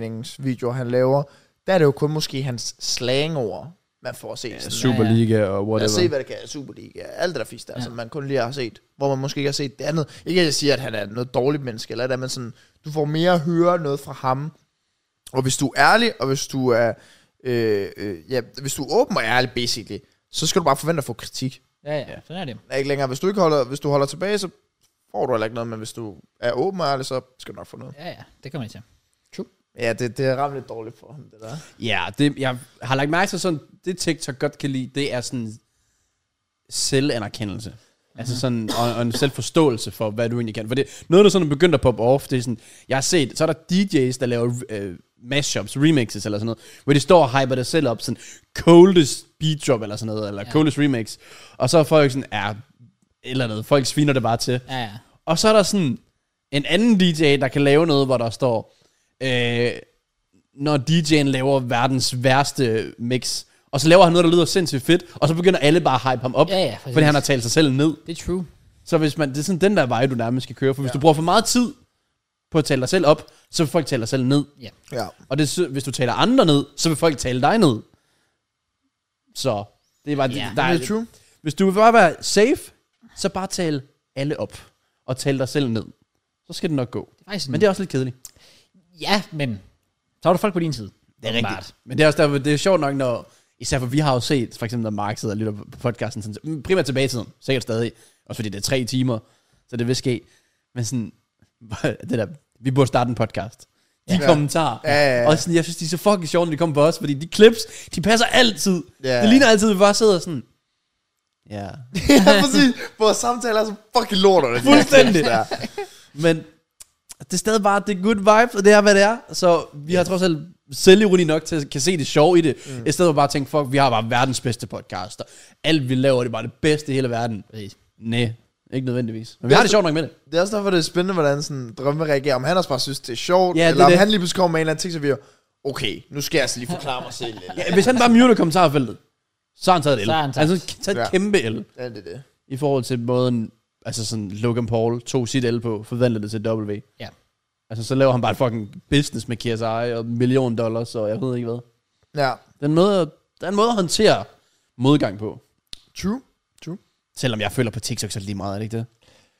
Speaker 2: madsmagningsvideoer, han laver, der er det jo kun måske hans slangord, man får set. Ja,
Speaker 3: Superliga og
Speaker 2: Lad os se,
Speaker 3: whatever.
Speaker 2: hvad det kan. Superliga, alt det der fisk der,
Speaker 1: Ja.
Speaker 2: ja. som man kun lige har set. Hvor man måske ikke har set det andet. Ikke at jeg siger, at han er noget dårligt menneske, eller det, men sådan, du får mere at høre noget fra ham. Og hvis du er ærlig, og hvis du er, øh, øh, ja, hvis du er åben og ærlig, basically, så skal du bare forvente at få kritik.
Speaker 1: Ja, ja, sådan er det.
Speaker 2: Der er Ikke længere. Hvis du ikke holder, hvis du holder tilbage, så får du heller ikke noget, men hvis du er åben og ærlig, så skal du nok få noget.
Speaker 1: Ja, ja, det kommer jeg til.
Speaker 2: Ja, det, det er ramt lidt dårligt for ham, det der.
Speaker 3: Ja, det, jeg har lagt mærke til sådan, det TikTok godt kan lide, det er sådan selvanerkendelse. Altså sådan, og, og en selvforståelse for, hvad du egentlig kan. For det, noget, der sådan er begyndt at poppe off, det er sådan, jeg har set, så er der DJ's, der laver øh, mashups, remixes eller sådan noget, hvor de står og hyper det selv op, sådan, coldest beat drop eller sådan noget, eller
Speaker 1: Ja.
Speaker 3: ja. coldest remix. Og så er folk sådan, ja, et eller andet, folk sviner det bare til.
Speaker 1: Ja, ja.
Speaker 3: Og så er der sådan en anden DJ, der kan lave noget, hvor der står, øh, når DJ'en laver verdens værste mix, og så laver han noget, der lyder sindssygt fedt, og så begynder alle bare at hype ham op,
Speaker 1: Ja, ja, præcis.
Speaker 3: fordi han har talt sig selv ned.
Speaker 1: Det er true.
Speaker 3: Så hvis man, det er sådan den der vej, du nærmest skal køre, for hvis ja. du bruger for meget tid på at tale dig selv op, så vil folk tale dig selv ned.
Speaker 1: Ja.
Speaker 2: Ja. [LAUGHS]
Speaker 3: Og det, er så- hvis du taler andre ned, så vil folk tale dig ned. Så det var
Speaker 1: Ja.
Speaker 3: yeah.
Speaker 2: Det
Speaker 3: der,
Speaker 2: er true.
Speaker 3: hvis du vil bare være safe, så bare tale alle op. Og tale dig selv ned. Så skal det nok gå.
Speaker 1: Faktisk,
Speaker 3: Men det er også lidt kedeligt.
Speaker 1: Ja, men så har du folk på din side. Det
Speaker 3: Men det er også derfor, det er sjovt nok, når... Især for vi har jo set, for eksempel når Mark sidder og lytter på podcasten, sådan, mm, primært tilbage i tiden, sikkert stadig, også fordi det er tre timer, så det vil ske. Men sådan, [LAUGHS] det der, vi burde starte en podcast. De
Speaker 2: Ja.
Speaker 3: ja. kommentarer.
Speaker 2: Ja, ja, ja.
Speaker 3: Og sådan, jeg synes, de er så fucking sjove, når de kommer på os, fordi de clips, de passer altid.
Speaker 2: Ja.
Speaker 3: Det ligner altid, at vi bare sidder sådan, ja,
Speaker 2: ja, præcis. Vores samtaler er så fucking lort. og det er
Speaker 3: Fuldstændig.
Speaker 2: der.
Speaker 3: Men det er stadig bare, det er good vibes, og det er, hvad det er. Så vi har trods alt selvironi nok til at kan se det sjove i det. Mm. I stedet for bare at tænke, fuck, vi har bare verdens bedste podcast, og alt vi laver, det er bare det bedste i hele verden.
Speaker 1: Præcis.
Speaker 3: Nej, ikke nødvendigvis. Men vi har det sjovt nok med det.
Speaker 2: Det er også derfor, det er spændende, hvordan sådan, drømme reagerer. Om han også bare synes, det er sjovt,
Speaker 3: Ja, det er
Speaker 2: eller om
Speaker 3: det.
Speaker 2: han lige pludselig kommer med en eller anden ting, så vi er, okay, nu skal jeg altså lige forklare mig selv. Eller.
Speaker 3: Ja, hvis han bare muter kommentarfeltet, så har han taget et el.
Speaker 1: Så har han taget-
Speaker 3: altså, taget et
Speaker 2: Ja.
Speaker 3: kæmpe el
Speaker 2: Ja, det er det.
Speaker 3: i forhold til måden, altså sådan Logan Paul tog sit el på, forvandlede det til W.
Speaker 1: Ja.
Speaker 3: Altså, så laver han bare et fucking business med KSI og en million dollars, og jeg ved ikke hvad.
Speaker 2: Ja,
Speaker 3: Den måde, der er en måde at håndtere modgang på.
Speaker 2: true. True.
Speaker 3: Selvom jeg føler på TikTok, så er det lige meget, er det ikke det?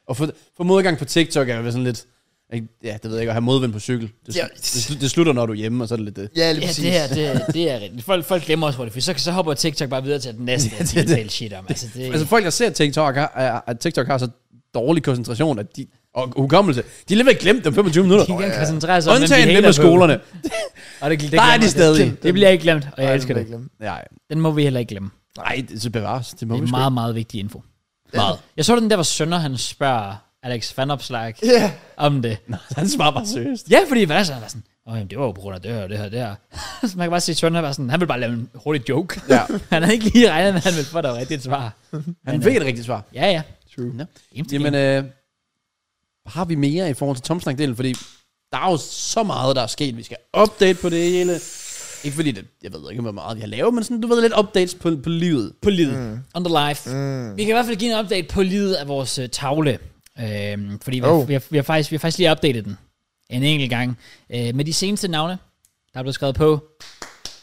Speaker 3: Og for, for modgang på TikTok er jo sådan lidt... ikke- Ja, det ved jeg ikke, at have modvind på cykel. Det,
Speaker 2: Ja.
Speaker 3: ja. det, det slutter, når du er hjemme, og så er det lidt det.
Speaker 2: Ja, lige
Speaker 1: Ja,
Speaker 2: præcis.
Speaker 1: det er, det, er- det er rigtigt. Folk, folk glemmer også hurtigt, for så, så hopper TikTok bare videre til den næste, [LAUGHS] ja, det, det, shit om. Altså, det,
Speaker 3: Altså folk, der ser TikTok, har, er- at TikTok har så dårlig koncentration, at de, Og hukommelse. De har lige glemt dem 25 minutter.
Speaker 1: De kan ikke engang koncentrere sig om, hvem
Speaker 3: Undtagen
Speaker 1: de
Speaker 3: dem med
Speaker 1: hater på.
Speaker 3: skolerne.
Speaker 1: Og det, det
Speaker 3: Der er
Speaker 1: glemmer
Speaker 3: de
Speaker 1: jeg.
Speaker 3: stadig.
Speaker 1: Det bliver ikke glemt, og jeg elsker det.
Speaker 3: Nej,
Speaker 1: Den må vi heller ikke glemme.
Speaker 3: nej, det så bevares. Det må
Speaker 1: Det
Speaker 3: vi
Speaker 1: er
Speaker 3: sgu
Speaker 1: meget, meget vigtig info.
Speaker 3: Meget.
Speaker 1: Jeg så den der, hvor Sønder han spørger Alex Vanopslag
Speaker 2: Ja.
Speaker 1: om det.
Speaker 3: ikke. Han svarer
Speaker 1: [LAUGHS]
Speaker 3: bare seriøst.
Speaker 1: Ja, fordi hvad så? Han var sådan, Åh, jamen, det var jo på grund af det her, det her, det her. [LAUGHS] så man kan bare se, Sønder var sådan, han ville bare lave en hurtig joke.
Speaker 3: Ja.
Speaker 1: [LAUGHS] han havde ikke lige regnet med, at han ville få det rigtigt svar.
Speaker 3: Han
Speaker 1: øh,
Speaker 3: ved et rigtigt svar.
Speaker 1: Ja, ja.
Speaker 2: True.
Speaker 3: Nå.
Speaker 1: Jamen,
Speaker 3: Jamen, øh, har vi mere i forhold til tomsnakdelen? Fordi der er jo så meget, der er sket. Vi skal update på det hele. Ikke fordi, det, jeg ved ikke, hvor meget vi har lavet, men sådan, du ved lidt updates på, på livet.
Speaker 1: på livet. Mm. On the life. Mm. Vi kan i hvert fald give en update på livet af vores uh, tavle. Øhm, fordi vi, oh.
Speaker 2: Oh.
Speaker 1: vi, har, vi, har faktisk, vi har faktisk lige opdateret den en enkelt gang. Øh, med de seneste navne, der er blevet skrevet på.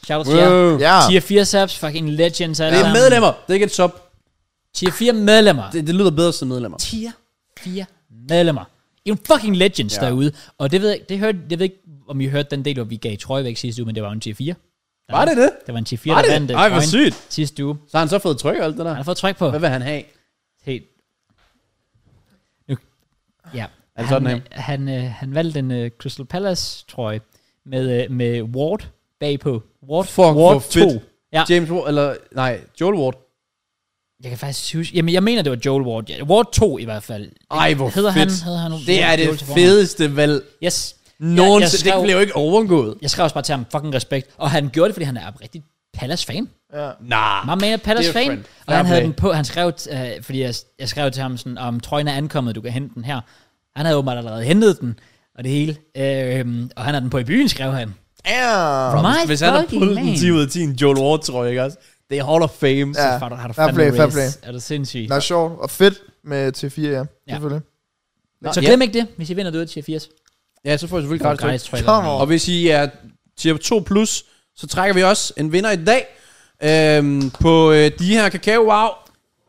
Speaker 1: Shout out til jer.
Speaker 2: Ja.
Speaker 1: Tier 4 subs, fucking legends alle
Speaker 3: Det er
Speaker 1: sammen.
Speaker 3: medlemmer. Det er ikke et sub.
Speaker 1: Tier 4 medlemmer.
Speaker 3: Det, det lyder bedre som medlemmer.
Speaker 1: Tier 4 medlemmer. I er en fucking legends
Speaker 3: Ja.
Speaker 1: ja. derude. Og det ved jeg, det hørte, jeg ved ikke, om I hørte den del, hvor vi gav trøje væk sidste uge, men det var jo en tier 4.
Speaker 3: Var det det?
Speaker 1: Det var en tier 4,
Speaker 3: Var
Speaker 1: der
Speaker 3: det
Speaker 1: vandt
Speaker 3: det?
Speaker 1: øh,
Speaker 3: Ej, hvor
Speaker 1: trøjen
Speaker 3: sygt.
Speaker 1: sidste uge.
Speaker 3: Så har han så fået tryk og alt det der.
Speaker 1: Han har fået tryk på.
Speaker 3: Hvad vil han have?
Speaker 1: helt... Nu, ja.
Speaker 3: Er det
Speaker 1: han,
Speaker 3: sådan
Speaker 1: øh, han, øh, han valgte en øh, Crystal Palace trøje med, øh, med Ward bagpå. Ward,
Speaker 3: Fuck, hvor
Speaker 1: Ward
Speaker 3: fedt.
Speaker 1: Ja.
Speaker 3: James Ward, eller nej, Joel Ward.
Speaker 1: Jeg kan faktisk huske... Jamen, jeg mener, det var Joel Ward. Ja, Ward 2 i hvert fald.
Speaker 3: Ej, hvor
Speaker 1: hedder Han,
Speaker 3: fedt.
Speaker 1: hedder han
Speaker 3: Det er
Speaker 1: Ward
Speaker 3: det
Speaker 1: Joel til fornavn.
Speaker 3: fedeste valg
Speaker 1: Yes.
Speaker 3: nogensinde.
Speaker 1: jeg skrev-
Speaker 3: Det bliver jo ikke overgået.
Speaker 1: Jeg skrev også bare til ham, fucking respekt. Og han gjorde det, fordi han er oprigtigt Palace-fan.
Speaker 2: ja.
Speaker 3: Nej.
Speaker 1: My man er Palace
Speaker 3: Different.
Speaker 1: fan, og
Speaker 3: Fair
Speaker 1: han havde
Speaker 3: play.
Speaker 1: den på, han skrev, øh, fordi jeg, jeg skrev til ham sådan, om trøjen er ankommet, du kan hente den her. Han havde åbenbart allerede hentet den, og det hele, øh, og han har den på i byen, skrev han.
Speaker 2: Yeah.
Speaker 1: My
Speaker 3: Hvis han har
Speaker 1: fucking
Speaker 3: pullet den
Speaker 1: man.
Speaker 3: 10 ud af 10, en Joel Ward, tror jeg ikke også. Det er Hall of Fame.
Speaker 2: Ja.
Speaker 3: Ja.
Speaker 1: Har du, har du
Speaker 2: Fair
Speaker 1: fandme
Speaker 2: play, fair
Speaker 1: race. Er du sindssyg?
Speaker 2: Nå, sjovt. Og fedt med T4, ja.
Speaker 1: Ja.
Speaker 2: Selvfølgelig.
Speaker 1: Så
Speaker 3: ja.
Speaker 1: glem ikke det, hvis I vinder det ud til 80.
Speaker 3: ja, så får jeg selvfølgelig gratis tryk.
Speaker 2: Come on.
Speaker 3: Og hvis I er tier 2+, plus, så trækker vi også en vinder i dag øhm, på øh, de her kakao wow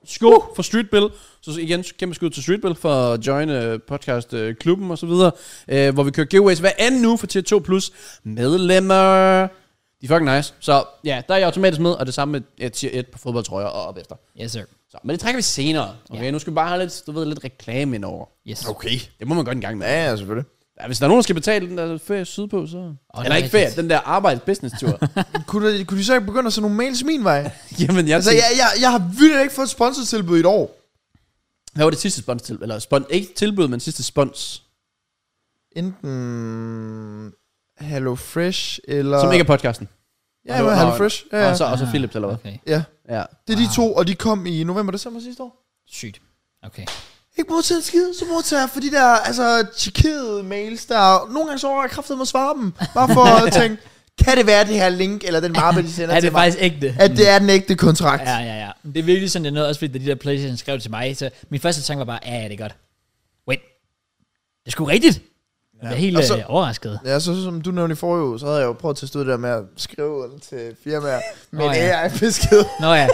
Speaker 3: sko uh. for Streetbill. Så igen, kæmpe skud til Streetbill for at join øh, podcast øh, klubben og så videre, øh, hvor vi kører giveaways hver anden uge for tier 2 plus medlemmer. De er fucking nice. Så ja, der er jeg automatisk med, og det samme med øh, tier 1 på fodboldtrøjer og op efter.
Speaker 1: Yes, sir.
Speaker 3: Så, men det trækker vi senere. Okay,
Speaker 1: Ja.
Speaker 3: nu skal vi bare have lidt, du ved, lidt reklame indover.
Speaker 1: Yes.
Speaker 2: Okay.
Speaker 3: Det må man godt en gang med.
Speaker 2: Ja, ja, selvfølgelig.
Speaker 3: Ja, hvis der er nogen, der skal betale den der ferie sydpå, så...
Speaker 1: er
Speaker 3: Oh, Eller ikke ferie,
Speaker 1: rigtigt.
Speaker 3: den der arbejds-business-tur.
Speaker 2: kunne, de, kunne de så ikke begynde at sende nogle mails min [LAUGHS] vej?
Speaker 3: [LAUGHS] Jamen, jeg,
Speaker 2: Altså,
Speaker 3: tænkte,
Speaker 2: jeg, jeg, jeg har virkelig ikke fået et sponsortilbud i et år.
Speaker 3: Hvad var det sidste spons til? Eller spon, ikke tilbud, men sidste spons.
Speaker 2: Enten Hello Fresh eller...
Speaker 3: Som ikke er podcasten.
Speaker 2: Ja,
Speaker 3: Nå,
Speaker 2: men
Speaker 3: nå,
Speaker 2: Hello Fresh. Ja, ja.
Speaker 3: Og så, og så
Speaker 1: Ah,
Speaker 3: Philips, eller hvad?
Speaker 1: Okay.
Speaker 2: ja.
Speaker 3: Ja.
Speaker 2: Det er de to, og de kom i november december sidste år.
Speaker 1: Sygt. Okay.
Speaker 2: Ikke modtaget en skid, så modtager jeg for de der, altså, tjekkede mails, der nogle gange så overvejer jeg kraftet med at svare dem. Bare for [LAUGHS] at tænke, kan det være det her link, eller den mappe, de sender
Speaker 1: Er
Speaker 2: til
Speaker 1: det
Speaker 2: mig,
Speaker 1: faktisk ægte?
Speaker 2: at det er den ægte kontrakt.
Speaker 1: Ja, ja, ja. Men Det er virkelig sådan, det er noget, også fordi da de der Playstation skrev til mig, så min første tanke var bare, ja, ja, det er godt. Wait. Det er sgu rigtigt. Jeg blev helt
Speaker 2: Og så-
Speaker 1: så, overrasket.
Speaker 2: Ja, så som du nævnte i forrige uge, så havde jeg jo prøvet at teste ud det der med at skrive den til firmaer med
Speaker 1: Nå,
Speaker 2: oh,
Speaker 1: ja.
Speaker 2: ja. AI-besked.
Speaker 1: Nå ja,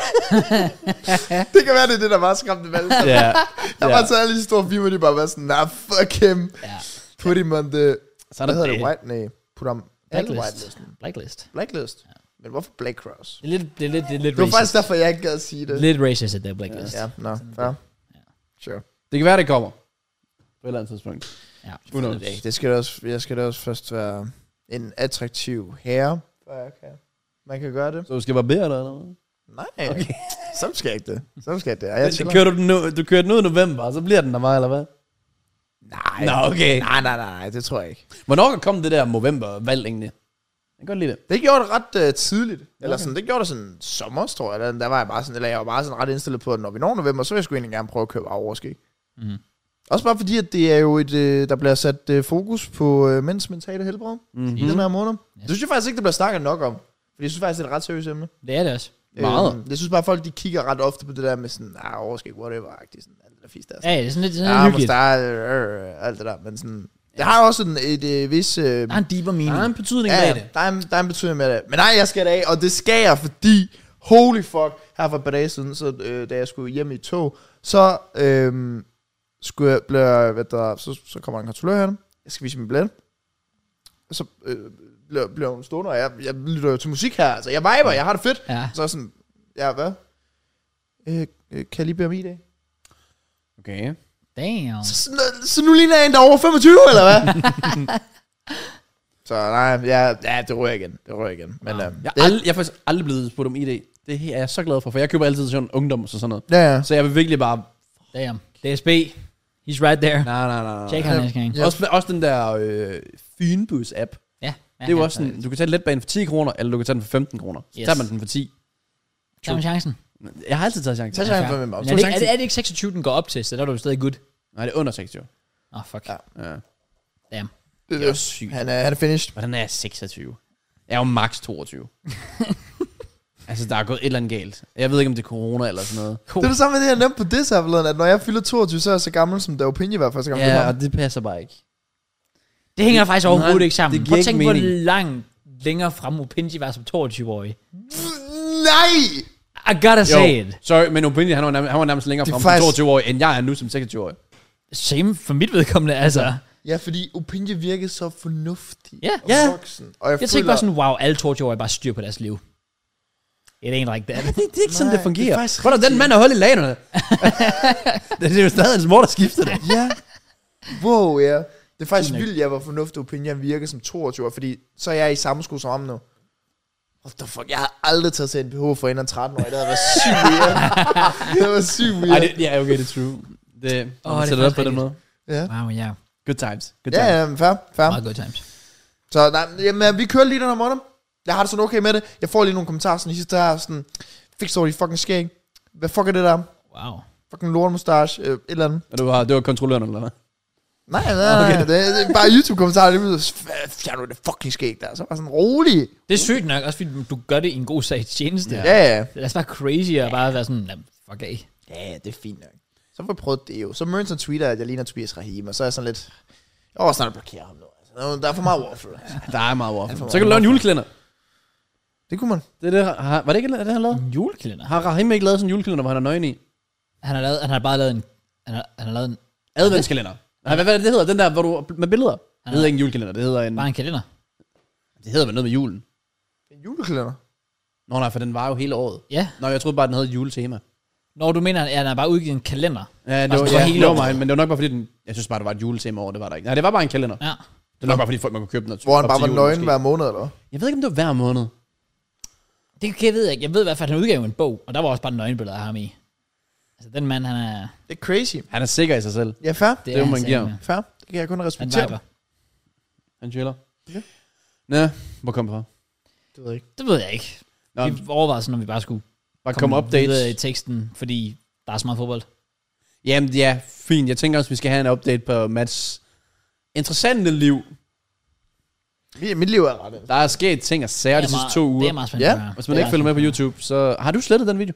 Speaker 2: Det kan være, det er det, der var skræmt valg. [LAUGHS] Ja.
Speaker 3: Ja.
Speaker 2: Der var så alle de store firmaer, de bare var sådan, nah, fuck him.
Speaker 1: ja.
Speaker 2: Put him on the...
Speaker 3: Så
Speaker 2: Hvad
Speaker 3: er der
Speaker 2: hedder
Speaker 3: det.
Speaker 2: det? White? Nej, put ham... alle
Speaker 1: Blacklist.
Speaker 2: whitelisten.
Speaker 1: Blacklist.
Speaker 2: Blacklist. Men hvorfor Black Cross?
Speaker 1: Det er lidt, det er lidt, det er lidt
Speaker 2: Det var
Speaker 1: racist.
Speaker 2: faktisk derfor, jeg ikke gad at sige det.
Speaker 1: Lidt racist, at det er blacklist.
Speaker 2: Ja, nå, fair. Sure.
Speaker 3: Det kan være, det kommer. På et eller andet tidspunkt.
Speaker 1: Ja.
Speaker 3: Who knows?
Speaker 2: Ja, Det skal da også, jeg skal da også først være en attraktiv herre. før jeg kan- Man kan gøre det.
Speaker 3: Så du skal barbere dig, eller hvad?
Speaker 2: Nej, okay. så skal jeg ikke det. Så skal jeg det. Og
Speaker 3: Ja,
Speaker 2: Jeg
Speaker 3: det
Speaker 2: chiller.
Speaker 3: kører du, den nu, du kører den ud i november, og så bliver den der meget, eller hvad?
Speaker 2: Nej.
Speaker 3: Nå, okay.
Speaker 2: Nej, nej, nej, nej, det tror jeg ikke.
Speaker 3: Hvornår kom det der november-valg egentlig? Jeg kan godt lide det.
Speaker 2: Det gjorde det ret uh, tidligt. Eller
Speaker 3: Okay.
Speaker 2: sådan, det gjorde det sådan sommer, tror jeg. Der, der var jeg bare sådan, eller jeg var bare sådan ret indstillet på, at når vi når november, så vil jeg sgu egentlig gerne prøve at købe overskæg.
Speaker 1: Mhm.
Speaker 2: Også bare fordi, at det er jo et, øh, der bliver sat øh, fokus på øh, mænds mentale helbred
Speaker 1: Mhm.
Speaker 2: mm. i den her måned. Det synes jeg faktisk ikke, der bliver snakket nok om. Fordi jeg synes faktisk, det er et ret seriøst emne.
Speaker 1: Det er det også.
Speaker 3: Meget.
Speaker 2: Øhm, jeg synes bare, at folk de kigger ret ofte på det der med sådan, ah, overskæg, whatever, agtigt, sådan, alt det der "Ah, fisk der.
Speaker 1: Ja, ja, det er sådan lidt, sådan lidt
Speaker 2: Ja,
Speaker 1: hyggeligt.
Speaker 2: måske, øh, alt det der, men sådan, det har jo også en, et, et vis... Øh,
Speaker 1: Der er en deeper mening.
Speaker 3: Der er en betydning
Speaker 2: ja,
Speaker 3: ja.
Speaker 2: ja,
Speaker 3: af det.
Speaker 2: der er, en, der er en betydning med det. Men nej, jeg skal det af, og det skal jeg, fordi, holy fuck, her for et par dage siden, så, øh, da jeg skulle hjem i tog, så, øh, skulle jeg, blev, jeg- hvad der, så, så kommer der en kontrollør her, jeg skal vise min billet, så øh, bliver, bliver hun stående, og jeg, jeg lytter jo til musik her, altså, jeg viber, jeg har det fedt,
Speaker 1: Ja.
Speaker 2: så er jeg sådan, ja, hvad? Øh, øh, kan jeg lige bede om ID?
Speaker 3: Okay.
Speaker 1: Damn.
Speaker 2: Så, så, så nu ligner jeg en, der er over 25, eller hvad? [LAUGHS] så nej, ja, ja, det rører igen. Det rører igen. Men, ja. Øh,
Speaker 3: Jeg,
Speaker 2: det,
Speaker 3: er ald- jeg er faktisk aldrig blevet spurgt om ID. Det her er jeg så glad for, for jeg køber altid sådan ungdom og sådan noget.
Speaker 2: ja, ja.
Speaker 3: Så jeg vil virkelig bare...
Speaker 1: Damn. DSB. He's right there.
Speaker 3: Nej, nej, nej. nej.
Speaker 1: Check ham næste gang.
Speaker 2: Ja.
Speaker 3: Også, også den der øh, Fynbus-app.
Speaker 1: Ja.
Speaker 3: Det er jo også sådan, du kan tage letbanen for 10 kroner, eller du kan tage den for 15 kroner. Så
Speaker 1: Yes.
Speaker 3: tager man den for 10.
Speaker 1: Tag med chancen.
Speaker 3: Jeg har altid taget chancen.
Speaker 2: Tag chancen for hvem
Speaker 1: Men
Speaker 2: også.
Speaker 1: er, det ikke, er, det, er det ikke 26, den går op til, så der er du stadig good.
Speaker 3: Nej, det er under 26.
Speaker 1: Åh, oh, fuck.
Speaker 2: Ja.
Speaker 3: Ja.
Speaker 1: Damn.
Speaker 2: Det,
Speaker 3: Det er også sygt.
Speaker 2: Han er, han er finished.
Speaker 3: Hvordan er jeg 26? Jeg er jo max 22. altså, der er gået et eller andet galt. Jeg ved ikke, om det er corona eller sådan noget.
Speaker 2: Det er det samme med det, jeg nævnte på det her forleden, at når jeg fylder 22, så er jeg så gammel, som da Opinje var første gang. jeg
Speaker 3: Ja,
Speaker 2: mødte
Speaker 3: og det passer bare ikke.
Speaker 1: Det hænger faktisk overhovedet
Speaker 3: nej,
Speaker 1: ikke sammen.
Speaker 3: det giver
Speaker 1: Prøv at tænke på,
Speaker 3: ikke
Speaker 1: hvor
Speaker 3: mening.
Speaker 1: langt længere frem Opinji var som 22-årig.
Speaker 2: ham. Nej!
Speaker 1: I gotta say it.
Speaker 3: sorry, men Opinion, han var nærmest, han var nærmest længere
Speaker 2: Det er
Speaker 3: frem
Speaker 2: faktisk-
Speaker 3: faktisk... 22 år, end jeg er nu som 26 år.
Speaker 1: Same for mit vedkommende, altså.
Speaker 2: Ja, fordi Opinje virkede så fornuftig
Speaker 1: Ja.
Speaker 2: og
Speaker 1: Ja.
Speaker 2: voksen. Og jeg,
Speaker 1: Jeg tænker bare sådan, wow, alle 22-årige bare styr på deres liv. It ain't like
Speaker 3: [LAUGHS]
Speaker 1: that.
Speaker 3: Det, det er ikke sådan,
Speaker 2: Nej,
Speaker 3: det fungerer.
Speaker 2: det er faktisk
Speaker 3: Hvor er der den mand, der holdt i lagerne? [LAUGHS] det, det er jo stadig hans mor, der skifter det.
Speaker 2: Ja. Wow, ja. Det er faktisk vildt, jeg var fornuftig Opinje, han virkede som 22 år, fordi så er jeg i samme sko som ham nu. What the fuck, jeg har aldrig taget til en BH for en 13 år. Det havde været sygt weird. det havde været sygt
Speaker 3: Ej,
Speaker 2: weird.
Speaker 3: det, ja, okay, det er true. Det,
Speaker 1: Åh, det
Speaker 3: oh,
Speaker 1: er
Speaker 3: det sætter det op på
Speaker 1: faktisk
Speaker 3: den måde.
Speaker 2: Ja.
Speaker 1: Wow, ja.
Speaker 3: Good times. Good times.
Speaker 2: Ja, ja, men fair, fair.
Speaker 1: Meget good times.
Speaker 2: Så nej, jamen, øh, vi kører lige den her måned. Jeg har det sådan okay med det. Jeg får lige nogle kommentarer sådan i sidste her, sådan, fik så de fucking skæg. Hvad fuck er det der?
Speaker 1: Wow.
Speaker 2: Fucking lortmustache, øh, et eller andet.
Speaker 3: Og det var, det var kontrolløren, eller hvad?
Speaker 2: Nej, nej, nej, okay. det, det, er bare YouTube-kommentarer, det bliver fjern nu det fucking skæg der. Så bare sådan rolig.
Speaker 1: Det er sygt nok, også fordi du gør det i en god sag tjeneste.
Speaker 2: Ja,
Speaker 1: Yeah.
Speaker 2: ja.
Speaker 1: Det er altså bare crazy at bare være sådan, "Jamen, fuck af.
Speaker 2: Ja, det er fint nok. Så får vi prøvet det jo. Så mødte han tweeter, at jeg ligner Tobias Rahim, og så er jeg sådan lidt... Jeg var snart at blokere ham nu. Altså, der er for meget waffle. Altså.
Speaker 3: Der er meget waffle.
Speaker 2: for
Speaker 3: Så kan du
Speaker 2: meget
Speaker 3: lave en juleklænder.
Speaker 2: Det kunne man.
Speaker 3: Det er det, har, var det ikke det, han lavede?
Speaker 1: En julekalender.
Speaker 3: Har Rahim ikke lavet sådan en juleklænder, hvor han er nøgen i?
Speaker 1: Han har, lavet, han har bare lavet en... Han har, han har lavet en,
Speaker 3: Adventskalender. Nej, hvad, hvad er det, det hedder? Den der, hvor du med billeder? Det hedder ikke en julekalender, det hedder en...
Speaker 1: bare en kalender.
Speaker 3: Det hedder vel noget med julen?
Speaker 2: En juleklæder.
Speaker 3: Nå nej, for den var jo hele året.
Speaker 1: Ja.
Speaker 3: Nå, jeg troede bare, den havde et juletema.
Speaker 1: Når du mener, at han har bare udgivet en kalender.
Speaker 3: Ja, det
Speaker 1: Altså,
Speaker 3: var,
Speaker 1: det var
Speaker 3: ja,
Speaker 1: hele
Speaker 3: hele
Speaker 1: året.
Speaker 3: mig, men det var nok bare fordi, den, jeg synes bare, der var et juletema over, det var der ikke. Nej, det var bare en kalender.
Speaker 1: Ja.
Speaker 3: Det var nok bare fordi, folk man kunne købe den. og-
Speaker 2: Hvor han
Speaker 3: op
Speaker 2: bare
Speaker 3: til
Speaker 2: var
Speaker 3: julen
Speaker 2: nøgen
Speaker 3: måske.
Speaker 2: hver måned, eller hvad?
Speaker 3: Jeg ved ikke, om det var hver måned.
Speaker 1: Det kan jeg ved jeg ikke. Jeg ved i hvert fald, at han udgav en bog, og der var også bare nøgenbilleder af ham i. Altså, den mand, han er...
Speaker 2: Det er crazy.
Speaker 3: Han er sikker i sig selv.
Speaker 2: Ja, fair.
Speaker 1: Det,
Speaker 3: Det
Speaker 1: er øh,
Speaker 3: må
Speaker 1: han
Speaker 3: man give
Speaker 1: sagde
Speaker 3: ham.
Speaker 1: med.
Speaker 2: Fair. Det kan jeg kun
Speaker 1: Han
Speaker 2: respektere.
Speaker 1: viber.
Speaker 3: Han chiller.
Speaker 2: Ja.
Speaker 3: Nå, hvor kom det fra?
Speaker 2: Det ved jeg ikke.
Speaker 1: Det ved jeg ikke.
Speaker 3: Nå,
Speaker 1: Vi overvejede sådan, om vi bare skulle
Speaker 3: bare kom updates.
Speaker 1: videre i teksten, fordi der er så meget fodbold.
Speaker 3: Jamen, ja, fint. Jeg tænker også, vi skal have en update på Mats interessante liv.
Speaker 2: Mit- Mit liv er ret. altså.
Speaker 3: Der er sket ting og sager de
Speaker 1: Det er
Speaker 3: sidste
Speaker 1: meget-
Speaker 3: to uger.
Speaker 1: Det er meget spændende.
Speaker 2: Ja,
Speaker 1: at høre.
Speaker 3: Hvis
Speaker 1: Det
Speaker 3: man
Speaker 1: er
Speaker 3: ikke
Speaker 1: meget
Speaker 3: følger med på
Speaker 1: spændende.
Speaker 3: YouTube, så har du slettet den video?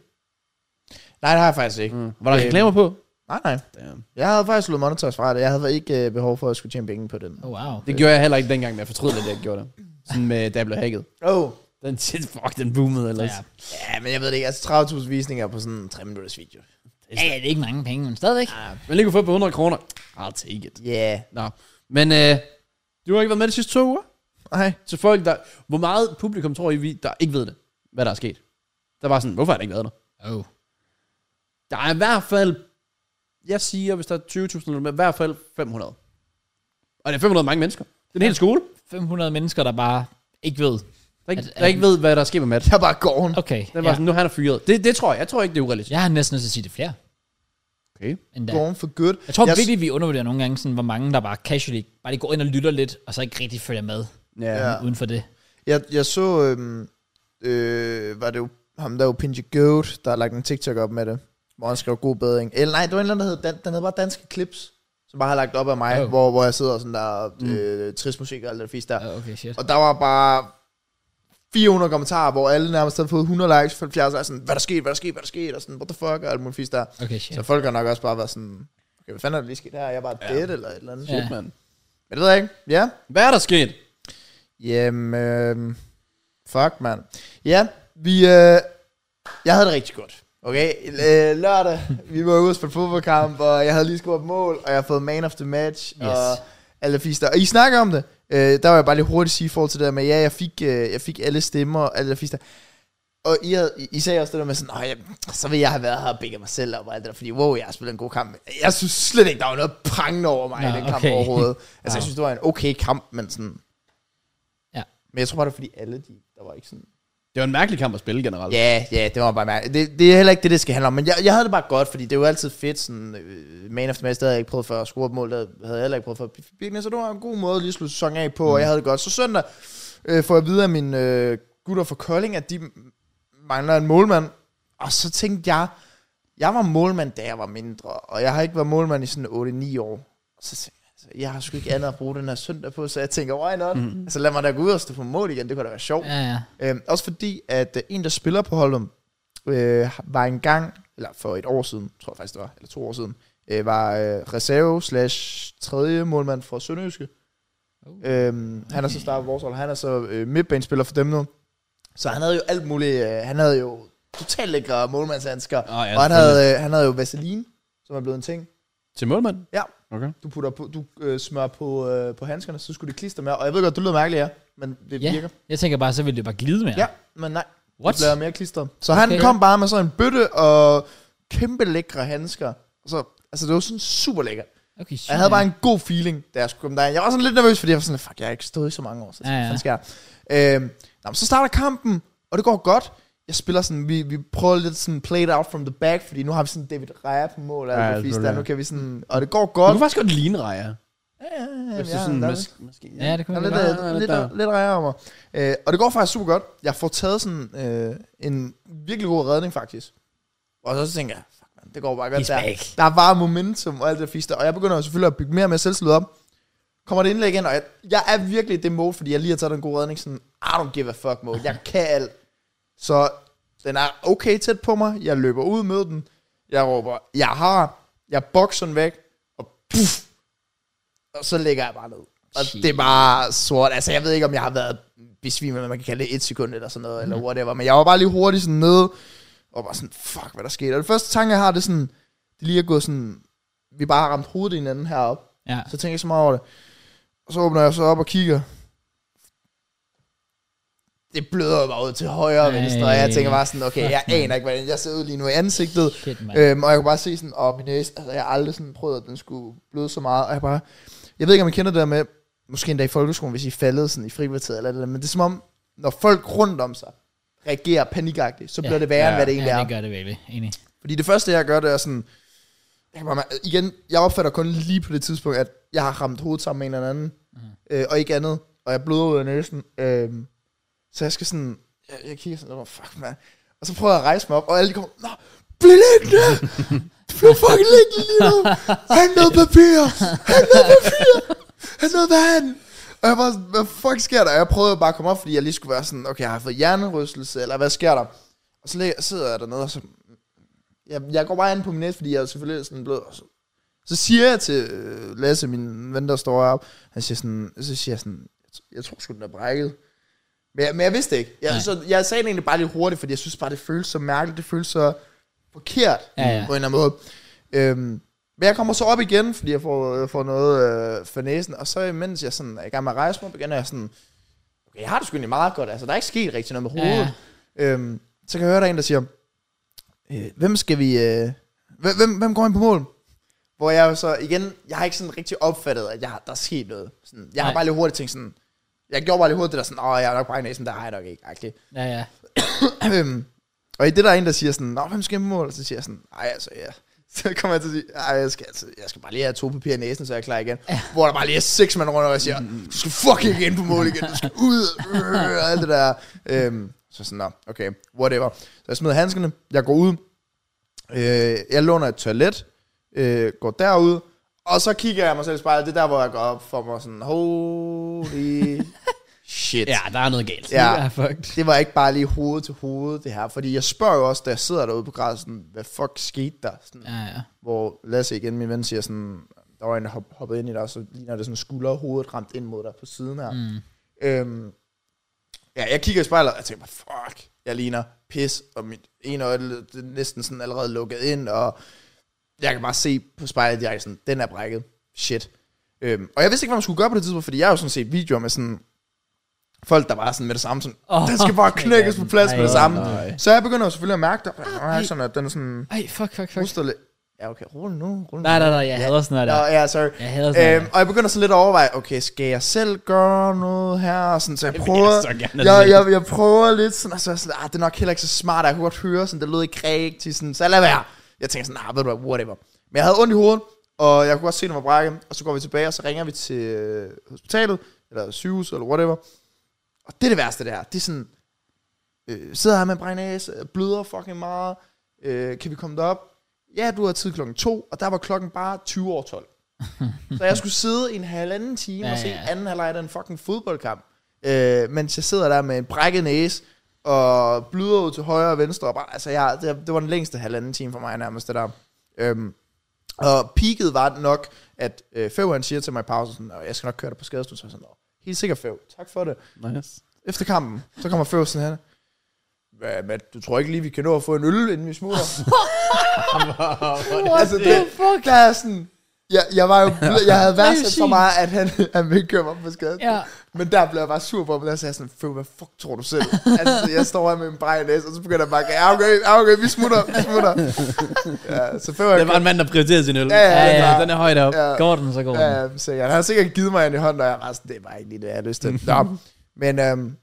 Speaker 2: Nej, det har jeg faktisk ikke.
Speaker 3: Mm. Var der
Speaker 2: Øhm.
Speaker 3: reklamer på?
Speaker 2: Nej, nej.
Speaker 3: Damn.
Speaker 2: Jeg havde faktisk slået monitors fra det. Jeg havde ikke øh, behov for at skulle tjene penge på den.
Speaker 1: Oh, wow.
Speaker 3: Det gjorde jeg heller ikke dengang, men jeg fortryder lidt, at jeg gjorde det. Sådan med, da jeg blev hacket.
Speaker 2: Oh.
Speaker 3: Den shit, fuck, den boomede ellers.
Speaker 1: Ja.
Speaker 3: Ja.
Speaker 2: Ja, men jeg ved det ikke. Altså 30.000 visninger på sådan en 3 minutters video.
Speaker 1: Ja, ja, det er ikke mange penge, men stadigvæk.
Speaker 3: Men lige kunne få på 100 kroner. I'll take it.
Speaker 2: Yeah.
Speaker 3: Nå. Men øh, du har ikke været med de sidste to uger?
Speaker 2: Nej.
Speaker 3: Til folk, der... Hvor meget publikum tror I, vi, der ikke ved det? Hvad der er sket? Der var sådan, hvorfor har der ikke været der?
Speaker 1: Oh.
Speaker 3: Der er i hvert fald... Jeg siger, hvis der er 20.000 eller mere, i hvert fald 500. Og det er 500 mange mennesker. Det er en hel skole,
Speaker 1: 500 mennesker, der bare ikke ved.
Speaker 3: der ikke,
Speaker 1: Er- er
Speaker 3: der ikke ved, hvad der sker med Matt.
Speaker 2: Jeg er bare gården.
Speaker 1: Okay.
Speaker 3: Den var
Speaker 1: Ja.
Speaker 3: sådan, nu han er fyret. Det, det tror jeg. Jeg tror ikke, det er urealistisk.
Speaker 1: Jeg har næsten nødt til at sige det flere.
Speaker 3: Okay.
Speaker 1: End da.
Speaker 2: Gården for good.
Speaker 1: Jeg tror
Speaker 2: jeg,
Speaker 1: virkelig, vi undervurderer nogle gange, sådan, hvor mange der bare casually, bare lige går ind og lytter lidt, og så ikke rigtig følger med
Speaker 3: Ja.
Speaker 2: Ja.
Speaker 3: ja.
Speaker 1: uden for det.
Speaker 2: Jeg, jeg så, øhm, øh, var det jo ham, der er jo Pinji Goat, der har lagt en TikTok op med det, hvor han skrev god bedring. Eller nej, det var en eller anden, der hed, Dan, den hed bare Danske Clips, som bare har lagt op af mig,
Speaker 1: Oh.
Speaker 2: oh. hvor, hvor jeg sidder sådan der, øh, trist musik og alt det fisk der.
Speaker 1: Ah, Okay, shit.
Speaker 2: Og der var bare 400 kommentarer, hvor alle nærmest havde fået 100 likes, 70 likes, sådan, hvad der skete, hvad der skete, hvad der skete, og sådan, what the fuck, og alt muligt fisk der.
Speaker 1: Okay, shit.
Speaker 2: Så folk har nok også bare været sådan, okay, hvad fanden er der lige sket her? Jeg er bare dead, eller et eller andet.
Speaker 1: Ja.
Speaker 2: Ja.
Speaker 3: Shit, man.
Speaker 2: Men det ved jeg ikke. Ja.
Speaker 3: Hvad er der sket?
Speaker 2: Jamen, øh, fuck, mand. Ja, vi... Øh, jeg havde det rigtig godt. Okay, øh, lørdag, vi var ude og spille fodboldkamp, og jeg havde lige scoret et mål, og jeg har fået man of the match, yes. og
Speaker 1: Yes.
Speaker 2: alle fister. Og I snakker om det. Øh, der var jeg bare lige hurtigt sige i forhold til det der med, ja, jeg fik, øh, jeg fik alle stemmer, og alle fister. og I, havde, I- I sagde også det der med sådan, "Nå, jeg, så vil jeg have været her og bækket mig selv op og alt det der, fordi wow, jeg har spillet en god kamp. Jeg synes slet ikke, der var noget prangende over mig Nå, i
Speaker 1: Nå,
Speaker 2: den kamp
Speaker 1: okay. [LAUGHS]
Speaker 2: overhovedet. Altså,
Speaker 1: Wow.
Speaker 2: jeg synes, det var en okay kamp, men sådan...
Speaker 1: Ja.
Speaker 2: Men jeg tror bare, det var fordi alle de, der var ikke sådan...
Speaker 3: Det var en mærkelig kamp at spille generelt.
Speaker 2: Ja, ja, det var bare mærkeligt. Det, det er heller ikke det, det skal handle om, men jeg, jeg havde det bare godt, fordi det er jo altid fedt, sådan, øh, man of the match, det havde jeg ikke prøvet før, at score et mål, det havde jeg heller ikke prøvet før. Birkene, Så det var en god måde at lige slutte sæsonen af på, mm. og jeg havde det godt. Så søndag øh, får jeg videre af mine øh, gutter fra Kolding, at de mangler en målmand, og så tænkte jeg, jeg var målmand, da jeg var mindre, og jeg har ikke været målmand i sådan 8-9 år. Og så tænkte jeg, altså, jeg har sgu ikke andet at bruge den her søndag på, så jeg tænker, why not?
Speaker 3: Mhm.
Speaker 2: Mm. Altså lad mig da gå ud og stå på mål igen, det kunne da være sjovt.
Speaker 1: Ja, ja.
Speaker 2: Øhm, også fordi, at øh, en, der spiller på holdet, øh, var engang, eller for et år siden, tror jeg faktisk det var, eller to år siden, øh, var øh, reserve slash tredje målmand fra Sønderjyske.
Speaker 1: Uh.
Speaker 2: Øhm, han er så startet vores hold, han er så øh, midtbanespiller for dem nu. Så han havde jo alt muligt, øh, han havde jo totalt lækre målmandshandsker,
Speaker 3: Åh, ja,
Speaker 2: og han havde, øh, han havde jo vaseline, som er blevet en ting.
Speaker 3: Til målmand?
Speaker 2: Ja.
Speaker 3: Okay.
Speaker 2: Du, putter på, du øh, smører på, øh, på handskerne, så skulle det klister med, og jeg ved godt, det lyder mærkeligt, ja, men det
Speaker 1: Ja.
Speaker 2: virker.
Speaker 1: Jeg tænker bare, så ville det bare glide med.
Speaker 2: Ja, men nej.
Speaker 1: What?
Speaker 2: Det bliver mere klistret. Så han
Speaker 1: Okay.
Speaker 2: okay. kom bare med sådan en bøtte og kæmpe lækre handsker. Så, altså, det var sådan super lækkert.
Speaker 1: Okay,
Speaker 2: Og jeg havde bare en god feeling, da jeg skulle komme derind. Jeg var sådan lidt nervøs, fordi jeg var sådan, fuck, jeg har ikke stået i så mange år, så
Speaker 1: Ja, ja.
Speaker 2: ja, ja. skal jeg. Øhm, nå, men så starter kampen, og det går godt. Jeg spiller sådan, vi, vi prøver lidt sådan play it out from the back, fordi nu har vi sådan David Raya på mål, og
Speaker 3: Ja,
Speaker 2: ja, det
Speaker 3: selvfølgelig,
Speaker 2: der,
Speaker 3: ja.
Speaker 2: nu kan vi sådan, og det går
Speaker 3: Du
Speaker 2: godt.
Speaker 3: kan faktisk godt ligne Raja.
Speaker 2: Ja, ja, ja,
Speaker 3: Hvis du
Speaker 2: ja,
Speaker 3: sådan,
Speaker 2: der er det.
Speaker 3: måske, måske,
Speaker 1: Ja, det kunne
Speaker 2: Der er
Speaker 1: jeg
Speaker 2: lidt,
Speaker 1: godt.
Speaker 3: der er
Speaker 2: øh,
Speaker 3: lidt
Speaker 2: lidt,
Speaker 3: der.
Speaker 2: lidt, lidt rejer om mig. Øh, og det går faktisk super godt. Jeg får taget sådan øh, en virkelig god redning, faktisk. Og så tænker jeg, fuck man, det går bare godt
Speaker 1: He's
Speaker 2: der.
Speaker 1: back.
Speaker 2: Der er bare momentum og alt det fister. Og jeg begynder jo selvfølgelig at bygge mere og mere selvtillid op. Kommer det indlæg ind, og jeg, jeg er virkelig i det mode, fordi jeg lige har taget en god redning. Sådan, I don't give a fuck mode. Jeg kan alt. Så den er okay tæt på mig. Jeg løber ud med den. Jeg råber, jeg har. Jeg bokser den væk. Og puff. Og så lægger jeg bare ned. Og
Speaker 1: Shit.
Speaker 2: det er bare sort. Altså, jeg ved ikke, om jeg har været besvimet, men man kan kalde det et sekund eller sådan noget, mm. eller whatever. Men jeg var bare lige hurtigt sådan nede, og var sådan, fuck, hvad der skete. Og det første tanke, jeg har, det er sådan, det lige er gået sådan, vi bare har ramt hovedet i hinanden heroppe.
Speaker 1: Ja.
Speaker 2: Så tænker jeg så meget over det. Og så åbner jeg så op og kigger. Det bløder jo bare ud til højre og venstre, og jeg tænker bare sådan, okay, jeg aner ikke, hvordan jeg ser ud lige nu i ansigtet.
Speaker 1: Shit, mand.
Speaker 2: Øhm, og jeg kunne bare se sådan, åh, min næse, altså, jeg har aldrig sådan prøvet, at den skulle bløde så meget. Og jeg bare, jeg ved ikke, om I kender det der med, måske endda i folkeskolen, hvis I faldede sådan i frikvarteret eller det der, men det er som om, når folk rundt om sig reagerer panikagtigt, så bliver
Speaker 1: Ja.
Speaker 2: ja. det værre, ja. end hvad det egentlig
Speaker 1: ja,
Speaker 2: er.
Speaker 1: det gør det virkelig. Enig.
Speaker 2: Fordi det første, jeg gør, det er sådan... Jeg kan bare, mær- igen, jeg opfatter kun lige på det tidspunkt, at jeg har ramt hovedet sammen med en eller anden, mm. øh, og ikke andet, og jeg bløder ud af næsen. Øh, så jeg skal sådan... Jeg, jeg kigger sådan, oh, fuck, man. Og så prøver jeg at rejse mig op, og alle de kommer, Nå, bliv liggende! Bliv fucking liggende lige nu! Hang noget papir! Hang noget papir! Hang noget vand! Og jeg var sådan, hvad fuck sker der? Og jeg prøvede bare at komme op, fordi jeg lige skulle være sådan, okay, jeg har fået hjernerystelse, eller hvad sker der? Og så ligger- sidder jeg dernede, og så jeg, jeg går bare ind på min næse, fordi jeg er selvfølgelig sådan blød. og Så, så siger jeg til øh, Lasse, min ven, der står op, han siger sådan, så siger jeg sådan, jeg, tr- jeg tror sgu, den er brækket. Men jeg, men jeg vidste ikke.
Speaker 1: Nej.
Speaker 2: Jeg, så, jeg sagde det egentlig bare lidt hurtigt, fordi jeg synes bare, det føles så mærkeligt, det føles så forkert
Speaker 1: Ja, ja.
Speaker 2: på en eller anden måde. Øhm, men jeg kommer så op igen, fordi jeg får, jeg får noget øh, for næsen, og så imens jeg sådan er i gang med at rejse mig, op, begynder jeg sådan, okay, jeg har det sgu egentlig meget godt, altså der er ikke sket rigtig noget med
Speaker 1: Ja, ja.
Speaker 2: hovedet. Ja. Øhm, så kan jeg høre, der er en, der siger, øh, hvem skal vi, øh, hvem, hvem, hvem går ind på mål? Hvor jeg jo så, igen, jeg har ikke sådan rigtig opfattet, at jeg, der er sket noget. Sådan, jeg har
Speaker 1: Nej.
Speaker 2: bare lidt hurtigt tænkt sådan, jeg gjorde bare lidt hurtigt det der sådan, åh, jeg har nok bare i næsen, der har jeg nok ikke, agtigt.
Speaker 1: Ja, ja.
Speaker 2: Øhm, og i det, der er en, der siger sådan, Nå, hvem skal på mål? Så siger jeg sådan, nej, altså, ja. [LAUGHS] Så kommer jeg til at sige, ej, jeg skal, altså, jeg skal bare lige have to papirer i næsen, så jeg er klar igen. Ja. Hvor der bare lige er seks mand rundt, og jeg siger, du skal fucking ikke ind på mål igen, du skal ud, [LAUGHS] øh, og alt det der. Øhm, så sådan, nå, okay, whatever. Så jeg smider handskerne, jeg går ud, øh, jeg låner et toilet, øh, går derud, og så kigger jeg mig selv i spejlet, det er der, hvor jeg går op for mig sådan, holy shit.
Speaker 3: Ja, der er noget galt.
Speaker 2: Ja.
Speaker 1: Ja, fucked.
Speaker 2: Det var ikke bare lige hoved til hoved, det her. Fordi jeg spørger jo også, da jeg sidder derude på græsset, hvad fuck skete der? Sådan, ja.
Speaker 1: Ja, ja.
Speaker 2: Hvor Lasse igen, min ven, siger sådan, der var en, der hop- hoppede ind i dig, og så ligner det sådan skulder og hovedet ramt ind mod dig på siden her. Mm. Øhm, ja, jeg kigger i spejlet, og jeg tænker, bare, fuck, jeg ligner pis, og mit ene øje det er næsten sådan allerede lukket ind, og jeg kan bare se på spejlet, jeg er sådan, den er brækket. Shit. Øhm, og jeg vidste ikke, hvad man skulle gøre på det tidspunkt, fordi jeg har jo sådan set videoer med sådan, folk, der bare sådan med det samme, sådan,
Speaker 1: Åh,
Speaker 2: oh, den skal bare
Speaker 1: nej,
Speaker 2: knækkes på plads med det
Speaker 1: nej,
Speaker 2: samme.
Speaker 3: nej.
Speaker 2: Så jeg begynder jo selvfølgelig at mærke det, og sådan, at den er sådan,
Speaker 1: Ej, fuck, fuck, fuck.
Speaker 2: ruster lidt. Ja, okay, rulle nu, rulle
Speaker 1: Nej,
Speaker 2: nu.
Speaker 1: nej, nej, jeg hader sådan noget
Speaker 2: Nå,
Speaker 1: der.
Speaker 2: ja, sorry.
Speaker 1: Jeg hader sådan
Speaker 2: Øhm,
Speaker 1: noget
Speaker 2: og jeg begynder så lidt at overveje, okay, skal jeg selv gøre noget her? Og Sådan, så jeg
Speaker 1: vil jeg
Speaker 2: prøver,
Speaker 1: så gerne
Speaker 2: jeg, jeg, jeg prøver lidt, sådan, og så er jeg sådan, ah, det er nok heller ikke så smart, og jeg kunne godt høre, sådan, det lød ikke rigtigt, sådan, så lad være. Jeg tænker sådan, ah, ved du hvad, whatever. Men jeg havde ondt i hovedet, og jeg kunne godt se, den var brækket, og så går vi tilbage, og så ringer vi til øh, hospitalet, eller sygehus, eller whatever. Og det er det værste, det her. Det er sådan, øh, sidder her med en brækket næse, øh, bløder fucking meget, øh, kan vi komme derop? Ja, du har tid klokken to, og der var klokken bare 20
Speaker 1: [LAUGHS]
Speaker 2: over 12. så jeg skulle sidde i en halvanden time
Speaker 1: Ja,
Speaker 2: ja, og se
Speaker 1: ja.
Speaker 2: anden halvleg af den fucking fodboldkamp, øh, mens jeg sidder der med en brækket næse, og bløder ud til højre og venstre, og bare, altså jeg, det, det var den længste halvanden time for mig nærmest, det der. Øhm, og peaket var nok, at øh, Fev han siger til mig i pausen, sådan, "Nå, jeg skal nok køre dig på skadestuen, så er jeg sådan, "Nå, helt sikkert Fev, tak for det.
Speaker 3: Nice.
Speaker 2: Efter kampen, så kommer Fev sådan her, hvad, Matt, du tror ikke lige, vi kan nå at få en øl, inden vi smutter? [LAUGHS] altså, det, fuck? der er sådan, jeg, jeg, var jo, jeg havde værdsat så meget, at han, han ville køre mig på skade.
Speaker 1: Ja.
Speaker 2: Men der blev jeg bare sur på ham, og der sagde jeg sådan, Føv, hvad fuck tror du selv? altså, jeg står her med en brej næse, og så begynder jeg bare, ja, okay, ja, okay, vi smutter, vi [LAUGHS] smutter. ja, så Føv,
Speaker 3: Det var en mand, der prioriterede sin øl.
Speaker 2: Ja, ja,
Speaker 1: ja.
Speaker 3: Den er højt op.
Speaker 2: ja,
Speaker 1: Går den, så går den.
Speaker 2: ja, sikkert. Han har sikkert givet mig en i hånden, og jeg var sådan, det er bare ikke lige det, jeg har lyst til. Nå, men øhm,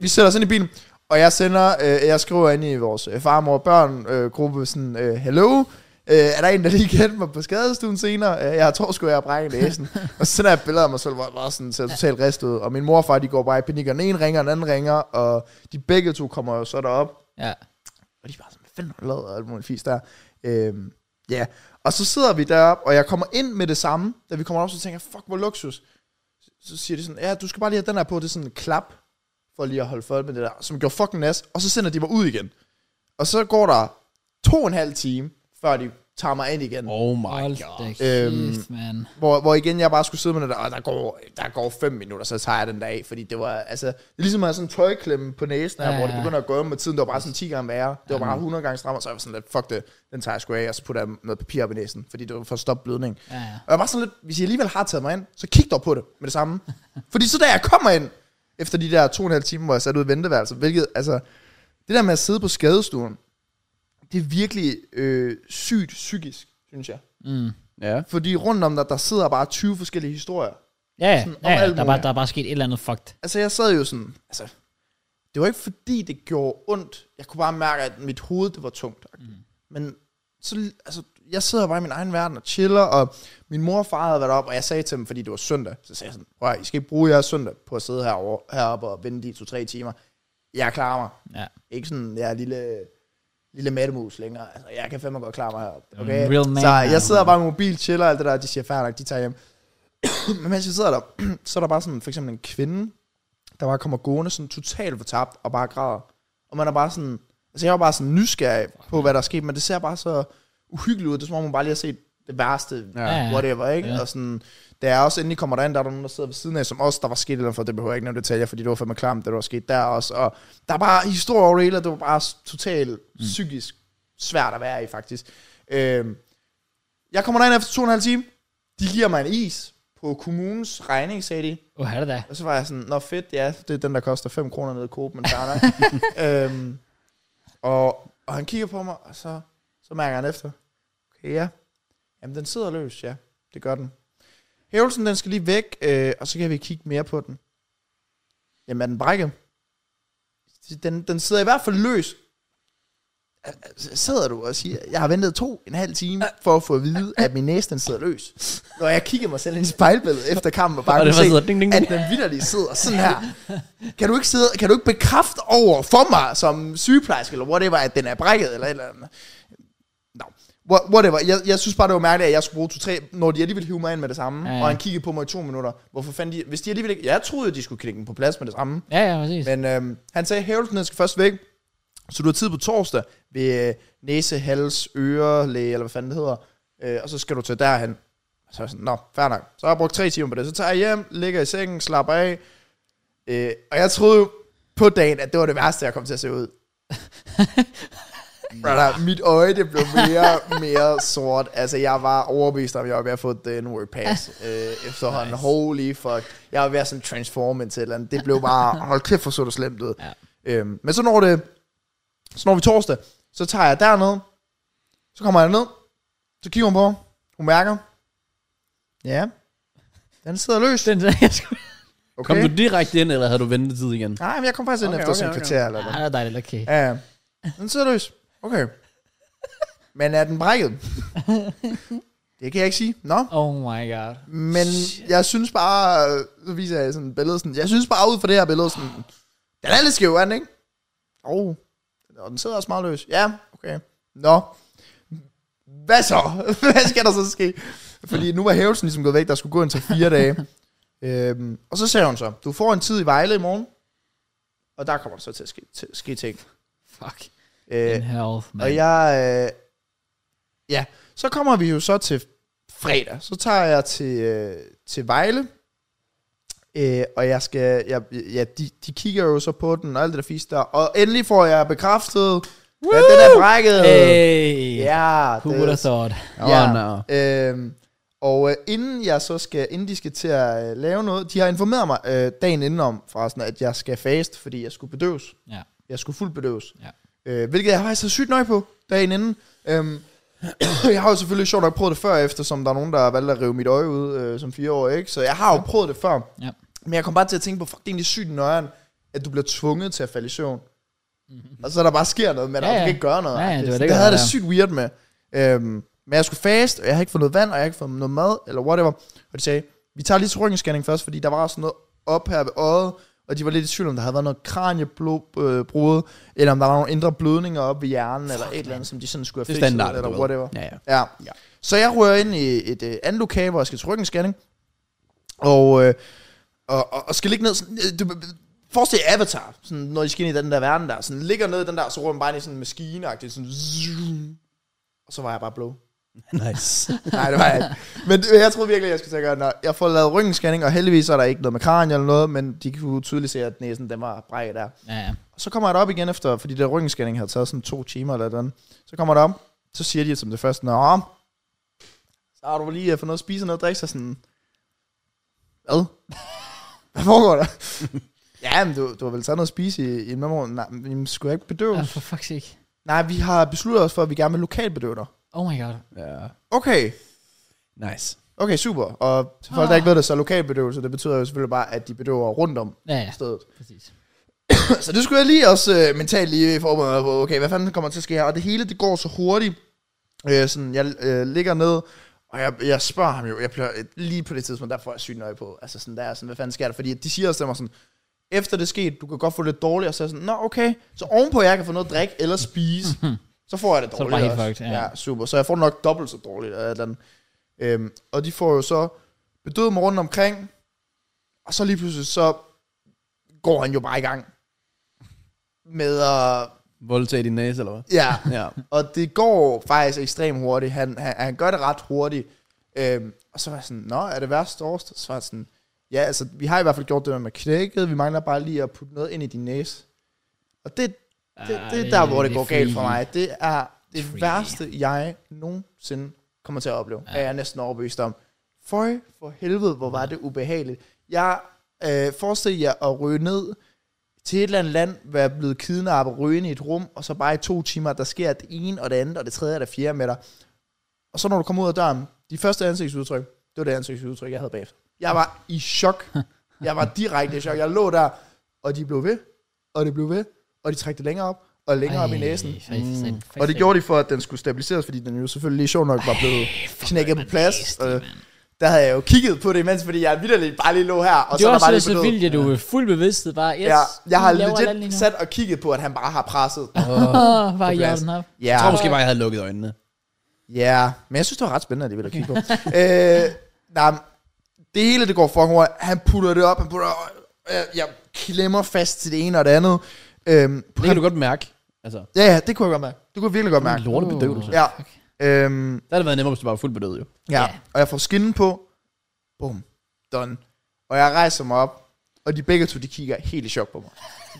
Speaker 2: vi sætter os ind i bilen, og jeg sender, øh, jeg skriver ind i vores øh, far, mor, børn øh, gruppe, sådan, øh, hello, øh, er der en, der lige kendte mig på skadestuen senere? Øh, jeg tror sgu, jeg har brækket næsen. og så sender jeg billeder af mig selv, hvor jeg bare sådan ser totalt ristet ud. Og min mor og far, de går bare i panik, og den ene ringer, og den anden ringer, og de begge to kommer jo så derop.
Speaker 1: Ja.
Speaker 2: Og de er bare sådan, hvad fanden har du lavet? Og alt muligt fisk der. Øhm, ja, og så sidder vi deroppe, og jeg kommer ind med det samme. Da vi kommer op, så tænker jeg, fuck, hvor luksus. Så siger de sådan, ja, du skal bare lige have den her på. Det er sådan en klap, for lige at holde for med det der, som gjorde fucking nas. Og så sender de mig ud igen. Og så går der to og en halv time, før de tager mig ind igen.
Speaker 3: Oh my
Speaker 1: Hold
Speaker 3: god.
Speaker 1: da
Speaker 2: Øhm,
Speaker 1: kæft, man.
Speaker 2: Hvor, hvor igen jeg bare skulle sidde med det der, og der går, der går fem minutter, så tager jeg den der af, fordi det var, altså, det er ligesom at have sådan en tøjklemme på næsen her,
Speaker 1: Ja,
Speaker 2: ja, hvor det
Speaker 1: ja.
Speaker 2: begynder at gå med tiden, det var bare sådan 10 gange værre, det var bare 100 gange strammere, så jeg var sådan lidt, fuck det, den tager jeg sgu af, og så putter jeg noget papir op i næsen, fordi det var for at stoppe blødning.
Speaker 1: Ja, ja.
Speaker 2: Og jeg var sådan lidt, hvis I alligevel har taget mig ind, så kig dog på det med det
Speaker 1: [LAUGHS]
Speaker 2: samme. Fordi så da jeg kommer ind, efter de der to og en halv time, hvor jeg sat ud i venteværelset, hvilket, altså, det der med at sidde på skadestuen, det er virkelig øh, sygt psykisk, synes jeg.
Speaker 1: Mm.
Speaker 3: Ja.
Speaker 2: Fordi rundt om dig, der sidder bare 20 forskellige historier.
Speaker 1: Ja, ja,
Speaker 2: Sådan om
Speaker 1: ja, ja.
Speaker 2: alt
Speaker 1: Der, er bare,
Speaker 2: muligt.
Speaker 1: der er bare sket et eller andet fucked.
Speaker 2: Altså, jeg sad jo sådan, altså, det var ikke fordi, det gjorde ondt. Jeg kunne bare mærke, at mit hoved, det var tungt. Mm. Men så, altså, jeg sidder bare i min egen verden og chiller, og min mor og far havde været op, og jeg sagde til dem, fordi det var søndag, så sagde jeg sådan, prøv at høre, I skal ikke bruge jeres søndag på at sidde herovre, heroppe og vente de to-tre timer. Jeg klarer mig.
Speaker 1: Ja.
Speaker 2: Ikke sådan, jeg er lille, lille mattemus længere. Altså, jeg kan fandme godt klare mig heroppe.
Speaker 1: en Mm, real man
Speaker 2: så
Speaker 1: now.
Speaker 2: jeg sidder bare med mobil, chiller og alt det der, og de siger, fair nok, de tager hjem. [CLEARS THROAT] Men mens jeg sidder der, [CLEARS THROAT] så er der bare sådan, for eksempel en kvinde, der bare kommer gående sådan totalt fortabt og bare græder. Og man er bare sådan, altså jeg var bare sådan nysgerrig på, hvad der er sket, men det ser bare så uhyggeligt ud. Det er som om, man bare lige har set det værste,
Speaker 3: Ja.
Speaker 1: Ja,
Speaker 2: ja.
Speaker 1: ja.
Speaker 2: whatever, ikke?
Speaker 1: Ja.
Speaker 2: Ja. Og sådan, da jeg også endelig kommer derind, der er der nogen, der sidder ved siden af, som også, der var sket et eller andet for, det behøver jeg ikke nævne detaljer, fordi det var fandme klamt, det der var sket der også. Og der er bare historier over det hele, og det var bare s- totalt mm. psykisk svært at være i, faktisk. Øhm, jeg kommer derind efter to og en halv time, de giver mig en is på kommunens regning, sagde de.
Speaker 1: Åh, er det da.
Speaker 2: Og så var jeg sådan, nå fedt, ja, det er den, der koster 5 kroner nede i Coop, men fair nok.
Speaker 3: [LAUGHS]
Speaker 2: øhm, og, og han kigger på mig, og så, så mærker han efter. Okay, ja. Jamen, den sidder løs, ja. Det gør den. Hævelsen, den skal lige væk, øh, og så kan vi kigge mere på den. Jamen, er den brækket? Den, den sidder i hvert fald løs. Altså, Sidder du og siger, jeg har ventet to en halv time for at få at vide, at min næse den sidder løs. Når jeg kigger mig selv ind i spejlbilledet efter kampen og bare
Speaker 3: Og det
Speaker 2: kunne
Speaker 3: var
Speaker 2: se,
Speaker 3: sådan, ding, ding, ding.
Speaker 2: at den vidderlige sidder sådan her. Kan du ikke, sidde, kan du ikke bekræfte over for mig som sygeplejerske, eller whatever, at den er brækket, eller et eller andet? No. Wha- Whatever. Jeg, jeg synes bare, det var mærkeligt, at jeg skulle bruge to-tre, når de alligevel hive mig ind med det samme,
Speaker 1: Ja,
Speaker 2: ja,
Speaker 1: ja.
Speaker 2: og han kiggede på mig i to minutter. Hvorfor fanden de... Hvis de alligevel ikke... Jeg troede, at de skulle klikke den på plads med det samme.
Speaker 1: Ja, ja, præcis.
Speaker 2: Men øhm, han sagde, at hævelsen den skal først væk, så du har tid på torsdag ved øh, næse, hals, øre, læge, eller hvad fanden det hedder. Øh, og så skal du til derhen. Så er jeg sådan, nå, fair nok. Så har jeg brugt tre timer på det. Så tager jeg hjem, ligger i sengen, slapper af. Øh, og jeg troede jo på dagen, at det var det værste, jeg kom til at se ud. Brother, mit øje, det blev mere mere sort. Altså, jeg var overbevist om, at jeg var ved at få den word pass øh, efterhånden. Nice. Holy fuck. Jeg var ved at sådan transforme til et eller andet. Det blev bare, hold kæft, hvor så det slemt ud.
Speaker 1: Ja.
Speaker 2: Øhm, men så når det, så når vi torsdag, så tager jeg derned, så kommer jeg ned, så kigger hun på mig. hun mærker, ja, den sidder løs.
Speaker 1: Den, [LAUGHS] jeg skulle...
Speaker 2: Okay.
Speaker 3: Kom du direkte ind, eller havde du ventetid igen?
Speaker 2: Nej, men jeg kom faktisk ind
Speaker 3: Okay,
Speaker 2: okay, efter
Speaker 3: okay,
Speaker 2: okay, sådan en
Speaker 3: okay.
Speaker 2: kvarter eller
Speaker 1: Ej,
Speaker 2: noget.
Speaker 1: det var dejligt, okay.
Speaker 2: Ja, ja. Den sidder løs. Okay. Men er den brækket? Det kan jeg ikke sige. Nå.
Speaker 1: Oh my god.
Speaker 2: Men jeg synes bare, øh, så viser jeg sådan billedet sådan, jeg synes bare ud fra det her billede sådan, den er lidt skæv, er den ikke? Oh. Og den sidder også meget løs. Ja, okay. Nå. Hvad så? [LAUGHS] Hvad skal der så ske? Fordi nu var hævelsen ligesom gået væk, der skulle gå ind til fire dage. øhm, og så sagde hun så, du får en tid i Vejle i morgen, og der kommer der så til at ske, til, ske ting.
Speaker 1: Fuck.
Speaker 2: Øh,
Speaker 1: In health, man.
Speaker 2: og jeg... Øh, ja, så kommer vi jo så til fredag. Så tager jeg til, øh, til Vejle. Øh, og jeg skal... Jeg, ja, de, de kigger jo så på den og alt det der fisk der. Og endelig får jeg bekræftet, at den er brækket.
Speaker 1: Hey. Yeah.
Speaker 2: Ja,
Speaker 1: Who would have thought? Oh,
Speaker 3: Åh,
Speaker 2: Ja.
Speaker 3: nå.
Speaker 2: Øhm, og øh, inden jeg så skal, inden de skal til at øh, lave noget, de har informeret mig øh, dagen indenom, forresten, at jeg skal faste, fordi jeg skulle bedøves.
Speaker 1: Ja.
Speaker 2: Jeg skulle fuldt bedøves.
Speaker 1: Ja.
Speaker 2: Øh, hvilket jeg faktisk havde sygt nøje på dagen inden. Øhm, [CLEARS THROAT] jeg har jo selvfølgelig sjovt nok prøvet det før, eftersom der er nogen, der har valgt at rive mit øje ud øh, som fire år, ikke? Så jeg har jo prøvet det før.
Speaker 1: Ja.
Speaker 2: Men jeg kom bare til at tænke på, fuck, det er egentlig sygt nøjeren, at du bliver tvunget til at falde i søvn. Og så der bare sker noget med dig,
Speaker 1: Mhm. Ja, ja.
Speaker 2: ja, ja. du kan ikke gøre noget.
Speaker 1: Ja, ja, det var
Speaker 2: Så
Speaker 1: det,
Speaker 2: det havde jeg det
Speaker 1: der.
Speaker 2: sygt weird med. Øhm, men jeg skulle fast, og jeg har ikke fået noget vand, og jeg har ikke fået noget mad, eller whatever. Og de sagde, vi tager lige til ryggenscanning først, fordi der var sådan noget op her ved øjet, og de var lidt i tvivl om, der havde været noget kraniebrud, eller om der var nogle indre blødninger op i hjernen, eller et eller andet, som de sådan skulle
Speaker 3: Det
Speaker 2: have
Speaker 3: er
Speaker 2: fikset,
Speaker 3: standard,
Speaker 2: eller
Speaker 3: du ved.
Speaker 2: whatever.
Speaker 3: Ja, [LAUGHS] ja.
Speaker 2: Ja.
Speaker 3: Ja.
Speaker 2: ja. Så jeg rører ind i et øh, andet lokale, hvor jeg skal til ryggenscanning. Og, øh, og, og, og skal ligge ned sådan... Øh, du, forestil jer Avatar, sådan, når de skal ind i den der verden der. Sådan ligger ned i den der, så rører man bare ind i sådan en maskine sådan, zoom. Og så var jeg bare blå.
Speaker 3: Nice.
Speaker 2: Nej, det var jeg ikke. Men det- jeg troede virkelig, jeg skulle til at gøre det. Nå, Jeg får lavet ryggenscanning, og heldigvis er der ikke noget med kraniet eller noget, men de kunne tydeligt se, at næsen den var brækket der.
Speaker 1: Ja, ja.
Speaker 2: Og så kommer jeg derop igen efter, fordi det ryggenscanning havde taget sådan to timer eller den. Så kommer jeg derop, så siger de som det første, Nå, så har du lige øh, fået noget at spise og noget at drikke, så sådan, hvad? [LAUGHS] Hvad foregår der? [LAUGHS] ja, men du, du har vel taget noget at spise i, i morgen. Nej, men jamen, skulle jeg ikke bedøves?
Speaker 1: Ja, for fuck's sake.
Speaker 2: Nej, vi har besluttet os for, at vi gerne vil lokalt bedøve dig.
Speaker 1: Oh my god.
Speaker 3: ja.
Speaker 2: Okay,
Speaker 3: Nice.
Speaker 2: okay, super. Og til
Speaker 1: Ah.
Speaker 2: folk, der ikke ved det, så lokal bedøvelse, det betyder jo selvfølgelig bare, at de bedøver rundt om
Speaker 1: Ja, ja.
Speaker 2: stedet.
Speaker 1: Præcis.
Speaker 2: Så det skulle jeg lige også øh, mentalt lige forberede mig på, okay, hvad fanden kommer til at ske her? Og det hele, det går så hurtigt. Øh, sådan, jeg øh, ligger ned, og jeg, jeg spørger ham jo, jeg bliver, lige på det tidspunkt, der får jeg sygt nøje på. Altså sådan, der er sådan, hvad fanden sker der? Fordi de siger også til mig sådan, efter det skete, du kan godt få det lidt dårligt, og så er jeg sådan, nå okay, så ovenpå jeg kan få noget at drikke eller
Speaker 1: [LAUGHS]
Speaker 2: spise, så får jeg det
Speaker 1: Så er du
Speaker 2: dårligt
Speaker 1: bare helt
Speaker 2: også.
Speaker 1: fucked, ja.
Speaker 2: ja. super. Så jeg får det nok dobbelt så dårligt. Eller et eller andet. Øhm, og de får jo så bedøvet mig rundt omkring, og så lige pludselig, så går han jo bare i gang med at...
Speaker 3: Voldtag i din næse, eller hvad?
Speaker 2: Ja,
Speaker 3: Ja.
Speaker 2: og det går faktisk ekstremt hurtigt. Han, han, han gør det ret hurtigt. Øhm, og så var jeg sådan, nå, er det værst årst? Så var jeg sådan, ja, altså, vi har i hvert fald gjort det med, med knækket. Vi mangler bare lige at putte noget ind i din næse. Og det, det,
Speaker 1: Ah,
Speaker 2: det er der, hvor det, går galt for
Speaker 1: freaky.
Speaker 2: mig. Det er det
Speaker 1: Freaky.
Speaker 2: værste, jeg nogensinde kommer til at opleve.
Speaker 1: Ja.
Speaker 2: Ja. Jeg er næsten overbevist om. Føj for helvede, hvor var det ubehageligt. Jeg øh, forestiller jer at ryge ned til et eller andet land, være blevet kidnappet, rygende i et rum, og så bare i to timer, der sker det ene og det andet, og det tredje og det fjerde med dig. Og så når du kommer ud af døren, de første ansigtsudtryk, det var det ansigtsudtryk, jeg havde bagefter. Jeg var i chok.
Speaker 1: [LAUGHS]
Speaker 2: Jeg var direkte i chok. Jeg lå der, og de blev ved, og det blev ved, og de trækte det længere op, og længere Ej, op i næsen.
Speaker 1: altså,
Speaker 2: Mm. Og det gjorde de for, at den skulle stabiliseres, fordi den jo selvfølgelig lige sjov nok var blevet knækket på plads. øh, Og der havde jeg jo kigget på det imens, fordi jeg vidderligt bare lige lå her, og
Speaker 1: Og det
Speaker 2: så
Speaker 1: var
Speaker 2: der
Speaker 1: også
Speaker 2: bare lige
Speaker 1: så
Speaker 2: bedøvet.
Speaker 1: vildt, at du er fuld bevidsthed bare, yes,
Speaker 2: Ja, jeg har
Speaker 1: vi laver et
Speaker 2: legit
Speaker 1: andet
Speaker 2: sat og kigget på, at han bare har presset.
Speaker 1: lige nu. Åh, bare
Speaker 2: på
Speaker 1: jorden
Speaker 2: pladsen.
Speaker 1: op.
Speaker 2: Ja,
Speaker 3: Jeg tror måske bare, jeg havde lukket øjnene.
Speaker 2: ja. men jeg synes, det var ret spændende alligevel at kigge
Speaker 3: [LAUGHS]
Speaker 2: på. øh, nej, men det hele det går fucking hurtigt. Han putter det op, han putter jeg, jeg klemmer fast til det ene og det andet. Øhm,
Speaker 3: Det kan du godt mærke. Altså,
Speaker 2: Ja, ja, det kunne jeg godt mærke. Det kunne jeg virkelig godt mærke.
Speaker 3: lorte bedøvelse.
Speaker 2: Ja. Øhm,
Speaker 3: Der havde det været nemmere, hvis du bare var fuldt bedøvet, jo.
Speaker 2: Ja,
Speaker 1: Ja.
Speaker 2: og jeg får skinnen på. Bum. Done. Og jeg rejser mig op. Og de begge to, de kigger helt i chok på mig.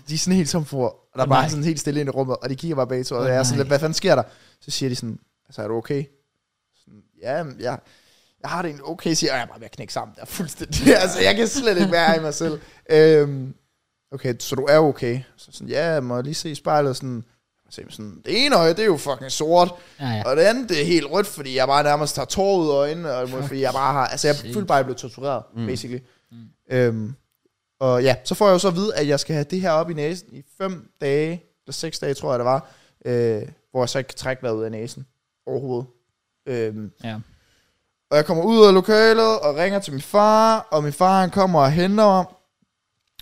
Speaker 2: De er sådan helt som for, og der er
Speaker 1: Åh,
Speaker 2: bare
Speaker 1: nej.
Speaker 2: sådan helt stille ind i rummet, og de kigger bare bag to, og
Speaker 1: Åh,
Speaker 2: jeg er sådan
Speaker 1: nej.
Speaker 2: lidt, hvad fanden sker der? Så siger de sådan, altså er du okay? Sådan, ja, men jeg, jeg har det egentlig okay, siger jeg, jeg er bare ved at knække sammen, der er fuldstændig, [LAUGHS] altså jeg kan slet ikke være i mig selv. Øhm, okay, så du er okay? Så sådan, ja, må jeg lige se i spejlet, sådan, så er jeg sådan, det ene øje, det er jo fucking sort,
Speaker 1: Ja, ja.
Speaker 2: og det andet, det er helt rødt, fordi jeg bare nærmest har tårer ud af øjnene,
Speaker 1: [LAUGHS]
Speaker 2: og fordi jeg bare har, altså jeg
Speaker 1: Shit.
Speaker 2: følte bare, at jeg blev tortureret,
Speaker 3: Mm.
Speaker 2: mm. basically. Mm. Øhm, og ja, så får jeg jo så at vide, at jeg skal have det her op i næsen i fem dage, eller seks dage, tror jeg det var, øh, hvor jeg så ikke kan trække vejret ud af næsen overhovedet. Øhm,
Speaker 1: Ja.
Speaker 2: og jeg kommer ud af lokalet og ringer til min far, og min far han kommer og henter mig.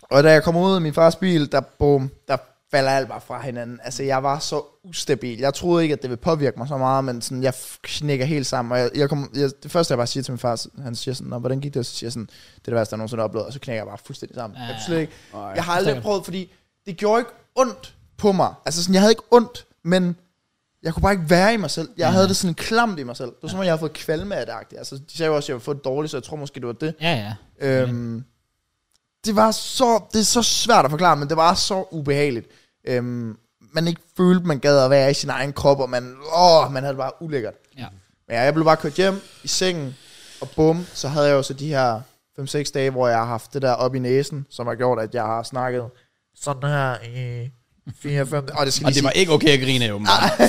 Speaker 2: Og da jeg kommer ud af min fars bil, der, boom, der falder alt bare fra hinanden. Altså, jeg var så ustabil. Jeg troede ikke, at det ville påvirke mig så meget, men sådan, jeg f- knækker helt sammen. Og jeg, jeg kom, jeg, det første, jeg bare siger til min far, så- han siger sådan, "Nå, hvordan gik det? Og så siger jeg sådan, det er det værste, jeg nogensinde har oplevet. Og så knækker jeg bare fuldstændig sammen.
Speaker 1: Ja,
Speaker 2: Jeg, kunne
Speaker 1: ja.
Speaker 2: slet ikke,
Speaker 3: Ej.
Speaker 2: jeg har aldrig
Speaker 1: forstår
Speaker 2: prøvet, fordi det gjorde ikke ondt på mig. Altså, sådan, jeg havde ikke ondt, men jeg kunne bare ikke være i mig selv. Jeg havde det sådan klamt i mig selv. Det var som om, jeg havde fået kvalme af det. agtigt. Altså, de sagde jo også, at jeg ville få det dårligt, så jeg tror måske, det var det.
Speaker 1: Ja, ja.
Speaker 2: Øhm, det var så, det er så svært at forklare, men det var så ubehageligt. Øhm, man ikke følte, man gad at være i sin egen krop, og man, åh, man havde det bare ulækkert.
Speaker 1: Ja.
Speaker 2: Men ja, jeg blev bare kørt hjem i sengen, og bum, så havde jeg jo så de her 5-6 dage, hvor jeg har haft det der op i næsen, som har gjort, at jeg har snakket sådan her i 4-5... Og det skal
Speaker 3: Og
Speaker 2: lige
Speaker 3: det var ikke okay at grine, jo.
Speaker 2: Ah.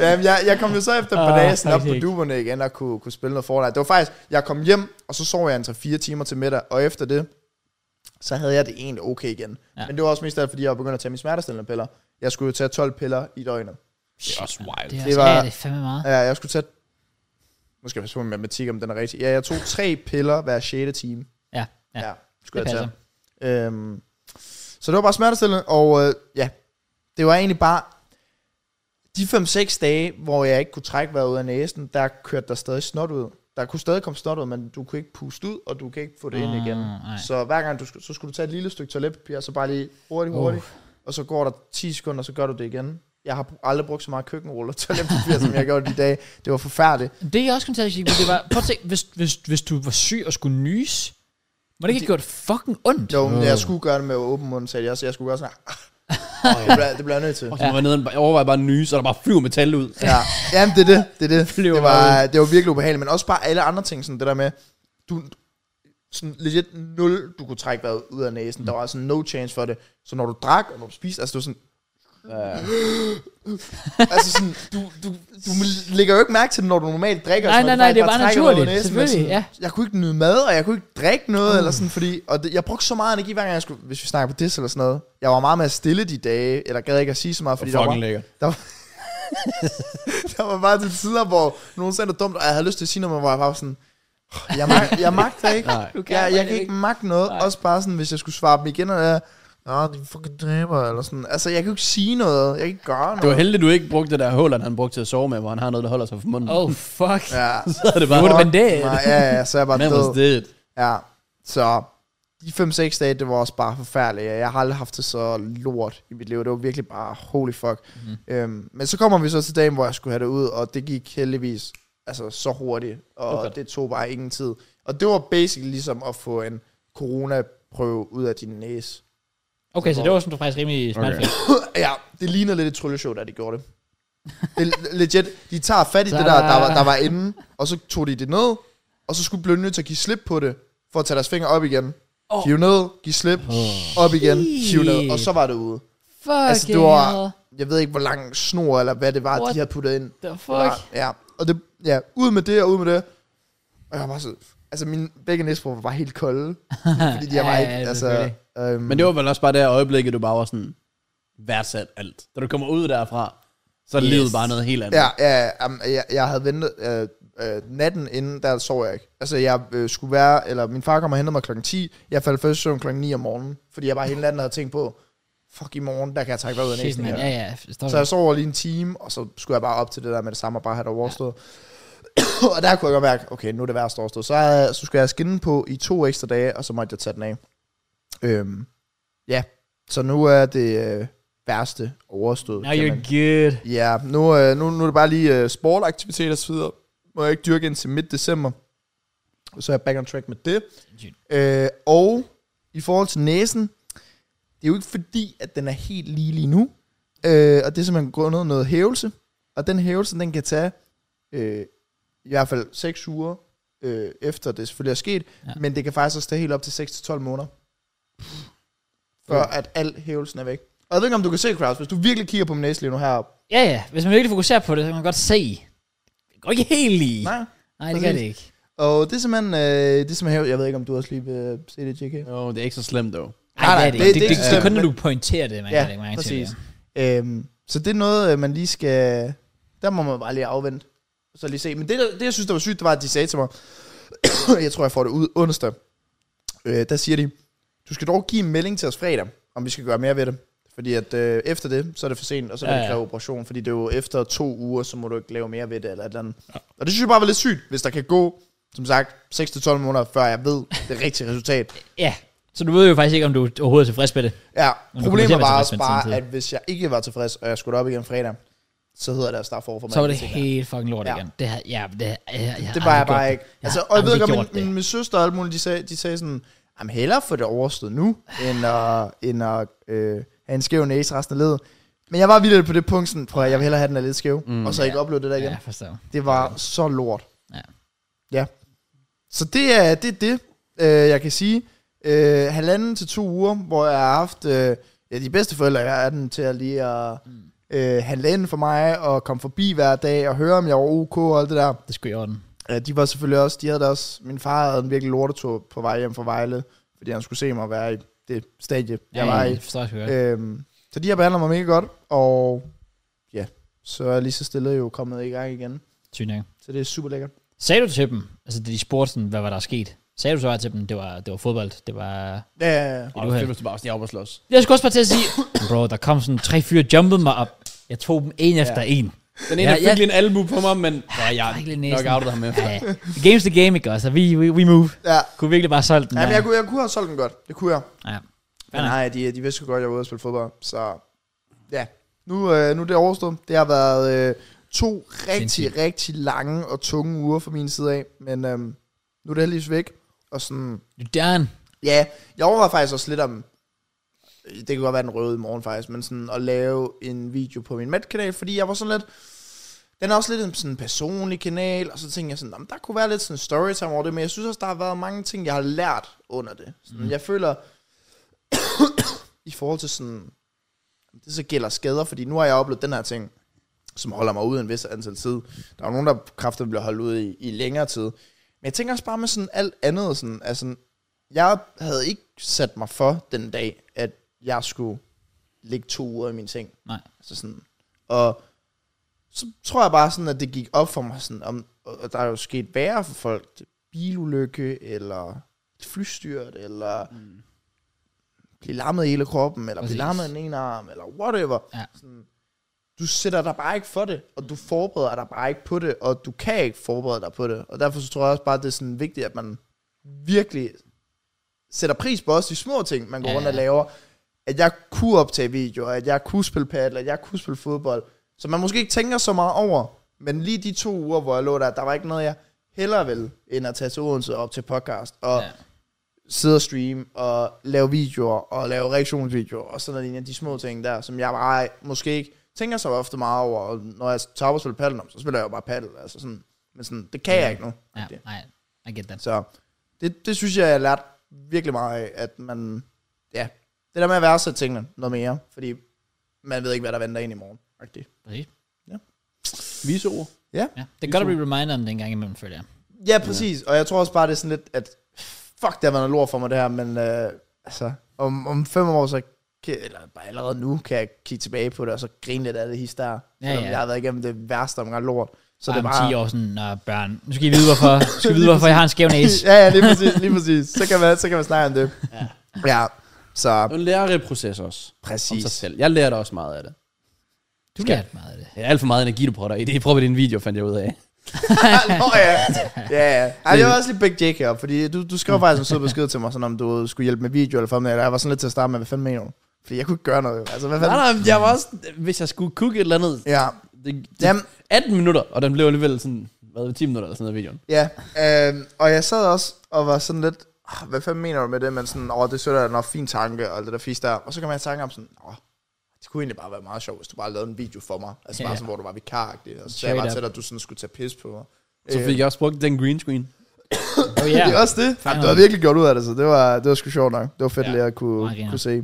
Speaker 2: Jamen, jeg, jeg kom jo så efter et par
Speaker 1: Åh,
Speaker 2: dage sådan op på
Speaker 1: faktisk.
Speaker 2: duberne igen og kunne, kunne spille noget Fortnite. Det var faktisk, jeg kom hjem, og så sov jeg en 3-4 timer til middag, og efter det, så havde jeg det egentlig okay igen.
Speaker 1: Ja.
Speaker 2: Ja. Men det var også mest af, alt, fordi jeg var begyndt at tage mine smertestillende piller. Jeg skulle jo tage 12 piller i døgnet.
Speaker 3: Det er også wild.
Speaker 1: Det, er
Speaker 2: Det
Speaker 1: også,
Speaker 2: var-
Speaker 1: ja, det er fandme meget.
Speaker 2: Ja, jeg skulle tage... Nu skal jeg passe på med matematik, om den er rigtig. Ja, jeg tog tre piller hver 6. time.
Speaker 1: Ja, ja.
Speaker 2: Ja,
Speaker 1: Det
Speaker 2: skulle jeg
Speaker 1: passer.
Speaker 2: tage. Øhm, så det var bare smertestillende, og øh, ja, det var egentlig bare de 5-6 dage, hvor jeg ikke kunne trække vejret ud af næsen, der kørte der stadig snot ud. Der kunne stadig komme snot ud, men du kunne ikke puste ud, og du kan ikke få det ind igen.
Speaker 1: Ah, nej.
Speaker 2: Så hver gang du skulle, så skulle du tage et lille stykke toiletpapir, og så bare lige hurtigt,
Speaker 1: Uh.
Speaker 2: hurtigt, og så går der 10 sekunder, og så gør du det igen. Jeg har aldrig brugt så meget køkkenrulle og toiletpapir, som jeg gjorde de dage. Det var forfærdeligt.
Speaker 1: Det jeg også kom til at sige, det var, prøv at tænke, hvis, hvis, hvis du var syg og skulle nys, må det ikke have gjort fucking ondt?
Speaker 2: Jo, men jeg skulle gøre det med åben mund, sagde jeg, så jeg skulle gøre sådan her. Det bliver, det bliver jeg nødt til.
Speaker 3: Og så var jeg nede, og jeg overvejede bare at nyse, og der bare flyver metal ud.
Speaker 2: Ja, jamen det er det, det er det.
Speaker 1: Flyver
Speaker 2: Det var, det var virkelig ubehageligt, men også bare alle andre ting, sådan det der med, du, sådan legit nul, du kunne trække vejret ud af næsen,
Speaker 1: Mm.
Speaker 2: der var sådan no chance for det, så når du drak, og når du spiste, altså du var sådan,
Speaker 3: Ja.
Speaker 2: altså sådan, du, du, du lægger jo ikke mærke til det, når du normalt drikker.
Speaker 1: Nej,
Speaker 2: så
Speaker 1: nej,
Speaker 2: man
Speaker 1: nej,
Speaker 2: faktisk
Speaker 1: det er bare
Speaker 2: trækker ud af
Speaker 1: naturligt,
Speaker 2: men
Speaker 1: selvfølgelig, Mm.
Speaker 2: sådan, Jeg kunne ikke nyde mad, og jeg kunne ikke drikke noget, eller sådan, fordi, og det, jeg brugte så meget energi, hver gang jeg skulle, hvis vi snakker på det eller sådan noget, jeg var meget med at stille de dage, eller gad ikke at sige så meget, fordi der var,
Speaker 3: Fucking lækker.
Speaker 2: [LAUGHS] der var bare til tider, hvor nogen sagde noget dumt, og jeg havde lyst til at sige noget, men hvor jeg bare var sådan, "Åh, jeg, mag, jeg magter ikke.
Speaker 3: [LAUGHS] Nej.
Speaker 1: Du kan
Speaker 2: jeg, jeg
Speaker 1: bare
Speaker 2: kan ikke
Speaker 1: ikke."
Speaker 2: magte noget.
Speaker 1: Nej.
Speaker 2: Nej. Også bare sådan, hvis jeg skulle svare dem igen, og jeg, Nå, de fucking dræber, eller sådan. Altså, jeg kan jo ikke sige noget. Jeg kan ikke gøre noget.
Speaker 3: Det var heldigt, du ikke brugte det der huller, han brugte til at sove med, hvor han har noget, der holder sig for munden.
Speaker 1: Oh, fuck. Ja.
Speaker 2: Ja.
Speaker 3: [LAUGHS] Så er det bare...
Speaker 1: Burde man det?
Speaker 2: Nej, ja, ja, så er jeg bare
Speaker 3: Man was
Speaker 2: død.
Speaker 3: dead.
Speaker 2: Ja, så de 5-6 dage, det var også bare forfærdeligt. Jeg har aldrig haft det så lort i mit liv. Det var virkelig bare holy fuck.
Speaker 1: Mhm.
Speaker 2: Mm. Øhm, men så kommer vi så til dagen, hvor jeg skulle have det ud, og det gik heldigvis altså, så hurtigt, og
Speaker 1: Okay.
Speaker 2: okay. det tog bare ingen tid. Og det var basically ligesom at få en coronaprøve ud af din næse.
Speaker 1: Okay, så det var sådan, du faktisk rimelig smertefri. Okay.
Speaker 2: ja, det ligner lidt et trylleshow, da de gjorde det. det er legit, de tager fat i
Speaker 1: Så
Speaker 2: det
Speaker 1: er
Speaker 2: der,
Speaker 1: der-
Speaker 2: der var, der var inde, og så tog de det ned, og så skulle blinde nødt til at give slip på det, for at tage deres fingre op igen.
Speaker 1: Åh.
Speaker 2: Oh. Hiv ned, giv slip, oh. op igen, hiv ned, og så var det ude.
Speaker 1: Fuck,
Speaker 2: Altså, det var, jeg ved ikke, hvor lang snor eller hvad det var,
Speaker 1: What
Speaker 2: What? de havde puttet ind.
Speaker 1: The fuck.
Speaker 2: Ja, og det, ja, ud med det og ud med det. Og jeg var bare så, altså mine begge næsbruger var bare helt
Speaker 1: [LAUGHS]
Speaker 2: kolde, fordi de
Speaker 1: Ja,
Speaker 2: ja, var
Speaker 1: ja,
Speaker 2: ikke,
Speaker 1: ja,
Speaker 2: altså,
Speaker 1: selvfølgelig.
Speaker 2: øhm,
Speaker 3: Men det var vel også bare det her øjeblikket, du bare var sådan, værdsat alt. Da du kommer ud derfra, så er
Speaker 1: Yes.
Speaker 3: livet bare noget helt andet.
Speaker 2: Ja,
Speaker 1: Altså.
Speaker 2: ja, ja um, jeg, jeg havde ventet øh, øh, natten inden, der sov jeg ikke. Altså, jeg øh, skulle være, eller min far kom og hentede mig klokken 10. Jeg faldt først i søvn klokken 9 om morgenen, fordi jeg bare hele natten havde tænkt på, fuck i morgen, der kan jeg trække vejret ud af
Speaker 1: Shit,
Speaker 2: næsen.
Speaker 1: man.
Speaker 2: igen.
Speaker 1: Ja, ja. Stop.
Speaker 2: Så jeg sov over lige en time, og så skulle jeg bare op til det der med det samme, og bare have det overstået. [COUGHS] Ja. og der kunne jeg godt mærke, okay, nu er det værst overstået. Så, havde- så skulle jeg skinne på i to ekstra dage, og så måtte jeg tage den af. Øhm, ja, så nu er det øh, værste overstået.
Speaker 1: Now
Speaker 2: kan
Speaker 1: you're
Speaker 2: man-
Speaker 1: good.
Speaker 2: Ja, nu, øh, nu, nu er det bare lige øh, sportaktiviteter og så videre. Må jeg ikke dyrke indtil midt december. Og så er jeg back on track med det.
Speaker 1: Sindssygt.
Speaker 2: Øh, og i forhold til næsen, det er jo ikke fordi, at den er helt lige lige nu. Øh, og det er simpelthen grundet noget, noget hævelse. Og den hævelse, den kan tage øh, i hvert fald 6 uger øh, efter det selvfølgelig er sket.
Speaker 1: Ja.
Speaker 2: Ja. Men det kan faktisk også tage helt op til 6-12 måneder. Før
Speaker 3: Ja.
Speaker 2: at al hævelsen er væk. Og jeg ved ikke, om du kan se, Kraus, hvis du virkelig kigger på min næse lige nu heroppe.
Speaker 1: Ja, ja. Hvis man virkelig fokuserer på det, så kan man godt se. Det går ikke helt lige.
Speaker 2: Nej.
Speaker 1: Nej det gør det
Speaker 2: præcis.
Speaker 1: ikke.
Speaker 2: Og det er simpelthen, øh, det er simpelthen hævelse. Jeg ved ikke, om du også lige vil se det, JK.
Speaker 3: Jo, det er ikke så slemt, dog.
Speaker 1: Nej, det er det, ikke. det, det, det, det er kun,
Speaker 2: men-
Speaker 1: når du pointerer det, man
Speaker 2: Ja,
Speaker 1: kan lægge mærke til.
Speaker 2: præcis.
Speaker 1: det.
Speaker 2: Øhm, så det er noget, øh, man lige skal... Der må man bare lige afvente. og Så lige se. Men det, der- det jeg synes, der var sygt, det var, at de sagde til mig... [COUGHS] jeg tror, jeg får det ud onsdag. Øh, der siger de, du skal dog give en melding til os fredag, om vi skal gøre mere ved det. Fordi at øh, efter det, så er det for sent, og så er det,
Speaker 1: Ja,
Speaker 2: ja, ja.
Speaker 1: ja.
Speaker 2: kræver operation. Fordi det er jo efter to uger, så må du ikke lave mere ved det eller et eller andet. Ja. Og det synes jeg bare var lidt sygt, hvis der kan gå, som sagt, 6-12 måneder, før jeg ved det rigtige resultat.
Speaker 1: [LAUGHS] Ja, så du ved jo faktisk ikke, om du overhovedet er tilfreds med det.
Speaker 2: Ja,
Speaker 1: Men du kommer til
Speaker 2: problemet
Speaker 1: at være
Speaker 2: var
Speaker 1: tilfreds
Speaker 2: også
Speaker 1: med det
Speaker 2: bare,
Speaker 1: samtidig.
Speaker 2: at hvis jeg ikke var tilfreds, og jeg skulle op igen fredag, så hedder det at starte forfra.
Speaker 1: Så var det helt fucking lort
Speaker 2: Ja.
Speaker 1: igen. Det her, ja, det her, jeg, jeg, har
Speaker 2: Det
Speaker 1: aldrig
Speaker 2: var
Speaker 1: gjort
Speaker 2: jeg bare
Speaker 1: det.
Speaker 2: ikke.
Speaker 1: Jeg
Speaker 2: Altså,
Speaker 1: har
Speaker 2: og jeg ved
Speaker 1: aldrig
Speaker 2: ikke, om
Speaker 1: gjort
Speaker 2: min, min,
Speaker 1: det.
Speaker 2: min søster og alle mulige, de sagde, de sagde sådan, jamen hellere få det overstået nu, end at, end at øh, have en skæv næse resten af livet. Men jeg var vildt på det punkt, sådan, prøv at jeg vil hellere have den er lidt skæv, mm, og så ikke opleve det der igen.
Speaker 1: Ja, forstår.
Speaker 2: Det var så lort.
Speaker 1: Ja.
Speaker 2: Ja. Så det er det, er det øh, jeg kan sige. Øh, halvanden til to uger, hvor jeg har haft øh, ja, de bedste forældre, jeg er den til at lige at øh, handle ind for mig, og komme forbi hver dag, og høre, om jeg var ok og alt det der.
Speaker 1: Det skulle i orden.
Speaker 2: Ja, de var selvfølgelig også, de havde da også, min far havde en virkelig lortetur på vej hjem fra Vejle, fordi han skulle se mig være i det stadie, jeg var i.
Speaker 1: Forstår jeg sgu godt.
Speaker 2: Øhm, så de har behandlet mig mega godt, og ja, så er jeg lige så stille jo kommet i gang igen.
Speaker 1: Sygt nok.
Speaker 2: Så det er super lækkert.
Speaker 1: Sagde du til dem, altså da de spurgte sådan, hvad var der sket? Sagde du så bare til dem, det var, det var fodbold, det var...
Speaker 2: Ja, ja, ja.
Speaker 3: Og
Speaker 1: du
Speaker 3: det er
Speaker 1: have-
Speaker 3: fedt, hvis du bare sådan, jeg er oppe og slås.
Speaker 1: Jeg skulle også bare til at sige, bro, der kom sådan tre fyre jumpede mig op. Jeg tog dem en efter en.
Speaker 3: Den ene
Speaker 1: Ja,
Speaker 3: ja,
Speaker 1: ja.
Speaker 3: fik lige en albu på mig, men ja, jeg
Speaker 1: Fuck, lidt
Speaker 3: nok
Speaker 1: næsen.
Speaker 3: outet ham efter.
Speaker 1: Ja, the game's the game, ikke også? Og vi, we, we move.
Speaker 2: ja.
Speaker 1: Kunne virkelig bare solgt den.
Speaker 2: ja men
Speaker 1: der.
Speaker 2: jeg, kunne, jeg kunne have solgt den godt. Det kunne jeg.
Speaker 1: Ja. Ja.
Speaker 2: Men nej, de, de vidste jo godt, at jeg var ude og spille fodbold. Så ja, nu, øh, nu er det overstået. Det har været øh, to rigtig,
Speaker 1: Sindssygt.
Speaker 2: rigtig lange og tunge uger fra min side af. Men øh, nu er det heldigvis væk. Og sådan,
Speaker 1: You done.
Speaker 2: ja, jeg overvejer faktisk også lidt om, øh, det kunne godt være den røde i morgen faktisk, men sådan at lave en video på min Mac-kanal, fordi jeg var sådan lidt, den er også lidt en sådan personlig kanal, og så tænkte jeg sådan, "Nå, men der kunne være lidt sådan storytime over det, men jeg synes også, der har været mange ting, jeg har lært under det. Sådan, mm. Jeg føler, [COUGHS] i forhold til sådan, det så gælder skader, fordi nu har jeg oplevet den her ting, som holder mig ude en vis antal tid. Der er jo nogen, der kræfter bliver holdt ude i, i længere tid. Men jeg tænker også bare med sådan alt andet, sådan, altså, jeg havde ikke sat mig for den dag, at jeg skulle ligge to uger i min seng.
Speaker 1: Nej.
Speaker 2: Altså sådan, og så tror jeg bare sådan, at det gik op for mig sådan, om, og der er jo sket værre for folk, bilulykke, eller et flystyrt, eller mm. blive lammet i hele kroppen, eller
Speaker 1: Præcis.
Speaker 2: blive lammet i den ene arm, eller whatever.
Speaker 1: Ja.
Speaker 2: Sådan, du sætter dig bare ikke for det, og du forbereder dig bare ikke på det, og du kan ikke forberede dig på det. Og derfor så tror jeg også bare, at det er sådan vigtigt, at man virkelig sætter pris på også de små ting, man går
Speaker 1: Ja,
Speaker 2: ja, rundt
Speaker 1: ja.
Speaker 2: og laver. At jeg kunne optage videoer, at jeg kunne spille paddle, at jeg kunne spille fodbold. Så man måske ikke tænker så meget over. Men lige de to uger, hvor jeg lå der, der var ikke noget, jeg hellere ville, end at tage til Odense op til podcast, og
Speaker 1: Ja.
Speaker 2: ja. sidde og streame, og lave videoer, og lave reaktionsvideoer, og sådan noget lignende. De små ting der, som jeg bare måske ikke tænker så ofte meget over. Og når jeg tager op og spiller paddle, så spiller jeg jo bare paddle. Altså sådan. Men sådan, det kan jeg ikke nu.
Speaker 1: Ja, nej, I get that.
Speaker 2: Så det, det synes jeg, jeg har lært virkelig meget af, at man, ja, det der med at værdsætte tingene noget mere, fordi man ved ikke, hvad der venter ind i morgen. Rigtig.
Speaker 1: Præcis.
Speaker 3: Vise ord.
Speaker 2: Ja.
Speaker 1: Ja, det er godt at blive reminded om den gang imellem, føler jeg.
Speaker 2: ja, præcis. Og jeg tror også bare, det er sådan lidt, at fuck, det har været noget lort for mig det her, men øh, altså, om, om fem år, så kan, eller bare allerede nu, kan jeg kigge tilbage på det, og så grine lidt af det his der.
Speaker 1: Ja,
Speaker 2: Selvom
Speaker 1: ja.
Speaker 2: jeg har været igennem det værste omgang lort.
Speaker 1: Så
Speaker 2: Så
Speaker 1: det om
Speaker 2: det er bare...
Speaker 1: 10 år sådan, Nå, børn, nu skal I vide, hvorfor, nu skal I vide, hvorfor jeg har en skæv næse.
Speaker 2: [LAUGHS] ja, ja, lige præcis, lige præcis. Så kan man, så kan man snakke om det. Ja. ja.
Speaker 3: Det
Speaker 2: Så
Speaker 3: er en læreproces også. Om sig
Speaker 2: præcis.
Speaker 3: selv. Jeg lærte også meget af det.
Speaker 1: Du lærte meget af det.
Speaker 3: Ja, alt for meget energi, du prøver i det. Jeg prøver din video, fandt jeg ud af.
Speaker 2: Ah, Nå ja, ja, ja. Ej, det var også lidt big dick her, fordi du, du skrev faktisk en sød besked til mig, sådan om du skulle hjælpe med video eller thumbnail, og jeg var sådan lidt til at starte med, hvad fanden mener du? Fordi jeg kunne ikke gøre noget, jo. altså hvad
Speaker 3: Nej,
Speaker 2: fanden?
Speaker 3: nej, jeg var også... Hvis jeg skulle kukke et eller andet...
Speaker 2: Ja,
Speaker 3: Det, det,
Speaker 2: Jamen.
Speaker 3: 18 minutter, og den blev alligevel sådan... Hvad, 10 minutter eller sådan noget, videoen.
Speaker 2: ja. Øhm, og jeg sad også og var sådan lidt, "Ah, hvad fanden mener du med det? Men sådan, åh, det synes jeg er en fin tanke, og alt det der fisk der. Og så kan man i tanke om sådan, åh, det kunne egentlig bare være meget sjovt, hvis du bare lavede en video for mig. Altså
Speaker 1: Ja.
Speaker 2: bare sådan, hvor du var vikaragtig. Og så sagde
Speaker 1: Straight
Speaker 2: jeg bare
Speaker 1: up.
Speaker 2: til dig, at du sådan skulle tage pis på mig.
Speaker 3: Så fik jeg også brugt den green screen.
Speaker 1: Oh,
Speaker 2: Ja. [LAUGHS] Det er
Speaker 1: yeah.
Speaker 2: også det.
Speaker 1: Fandme.
Speaker 2: Jamen, du har virkelig gjort ud af det, så det var, det var sgu sjovt nok. Det var fedt
Speaker 1: Ja.
Speaker 2: ja. lige at kunne,
Speaker 1: Meget griner.
Speaker 2: kunne se.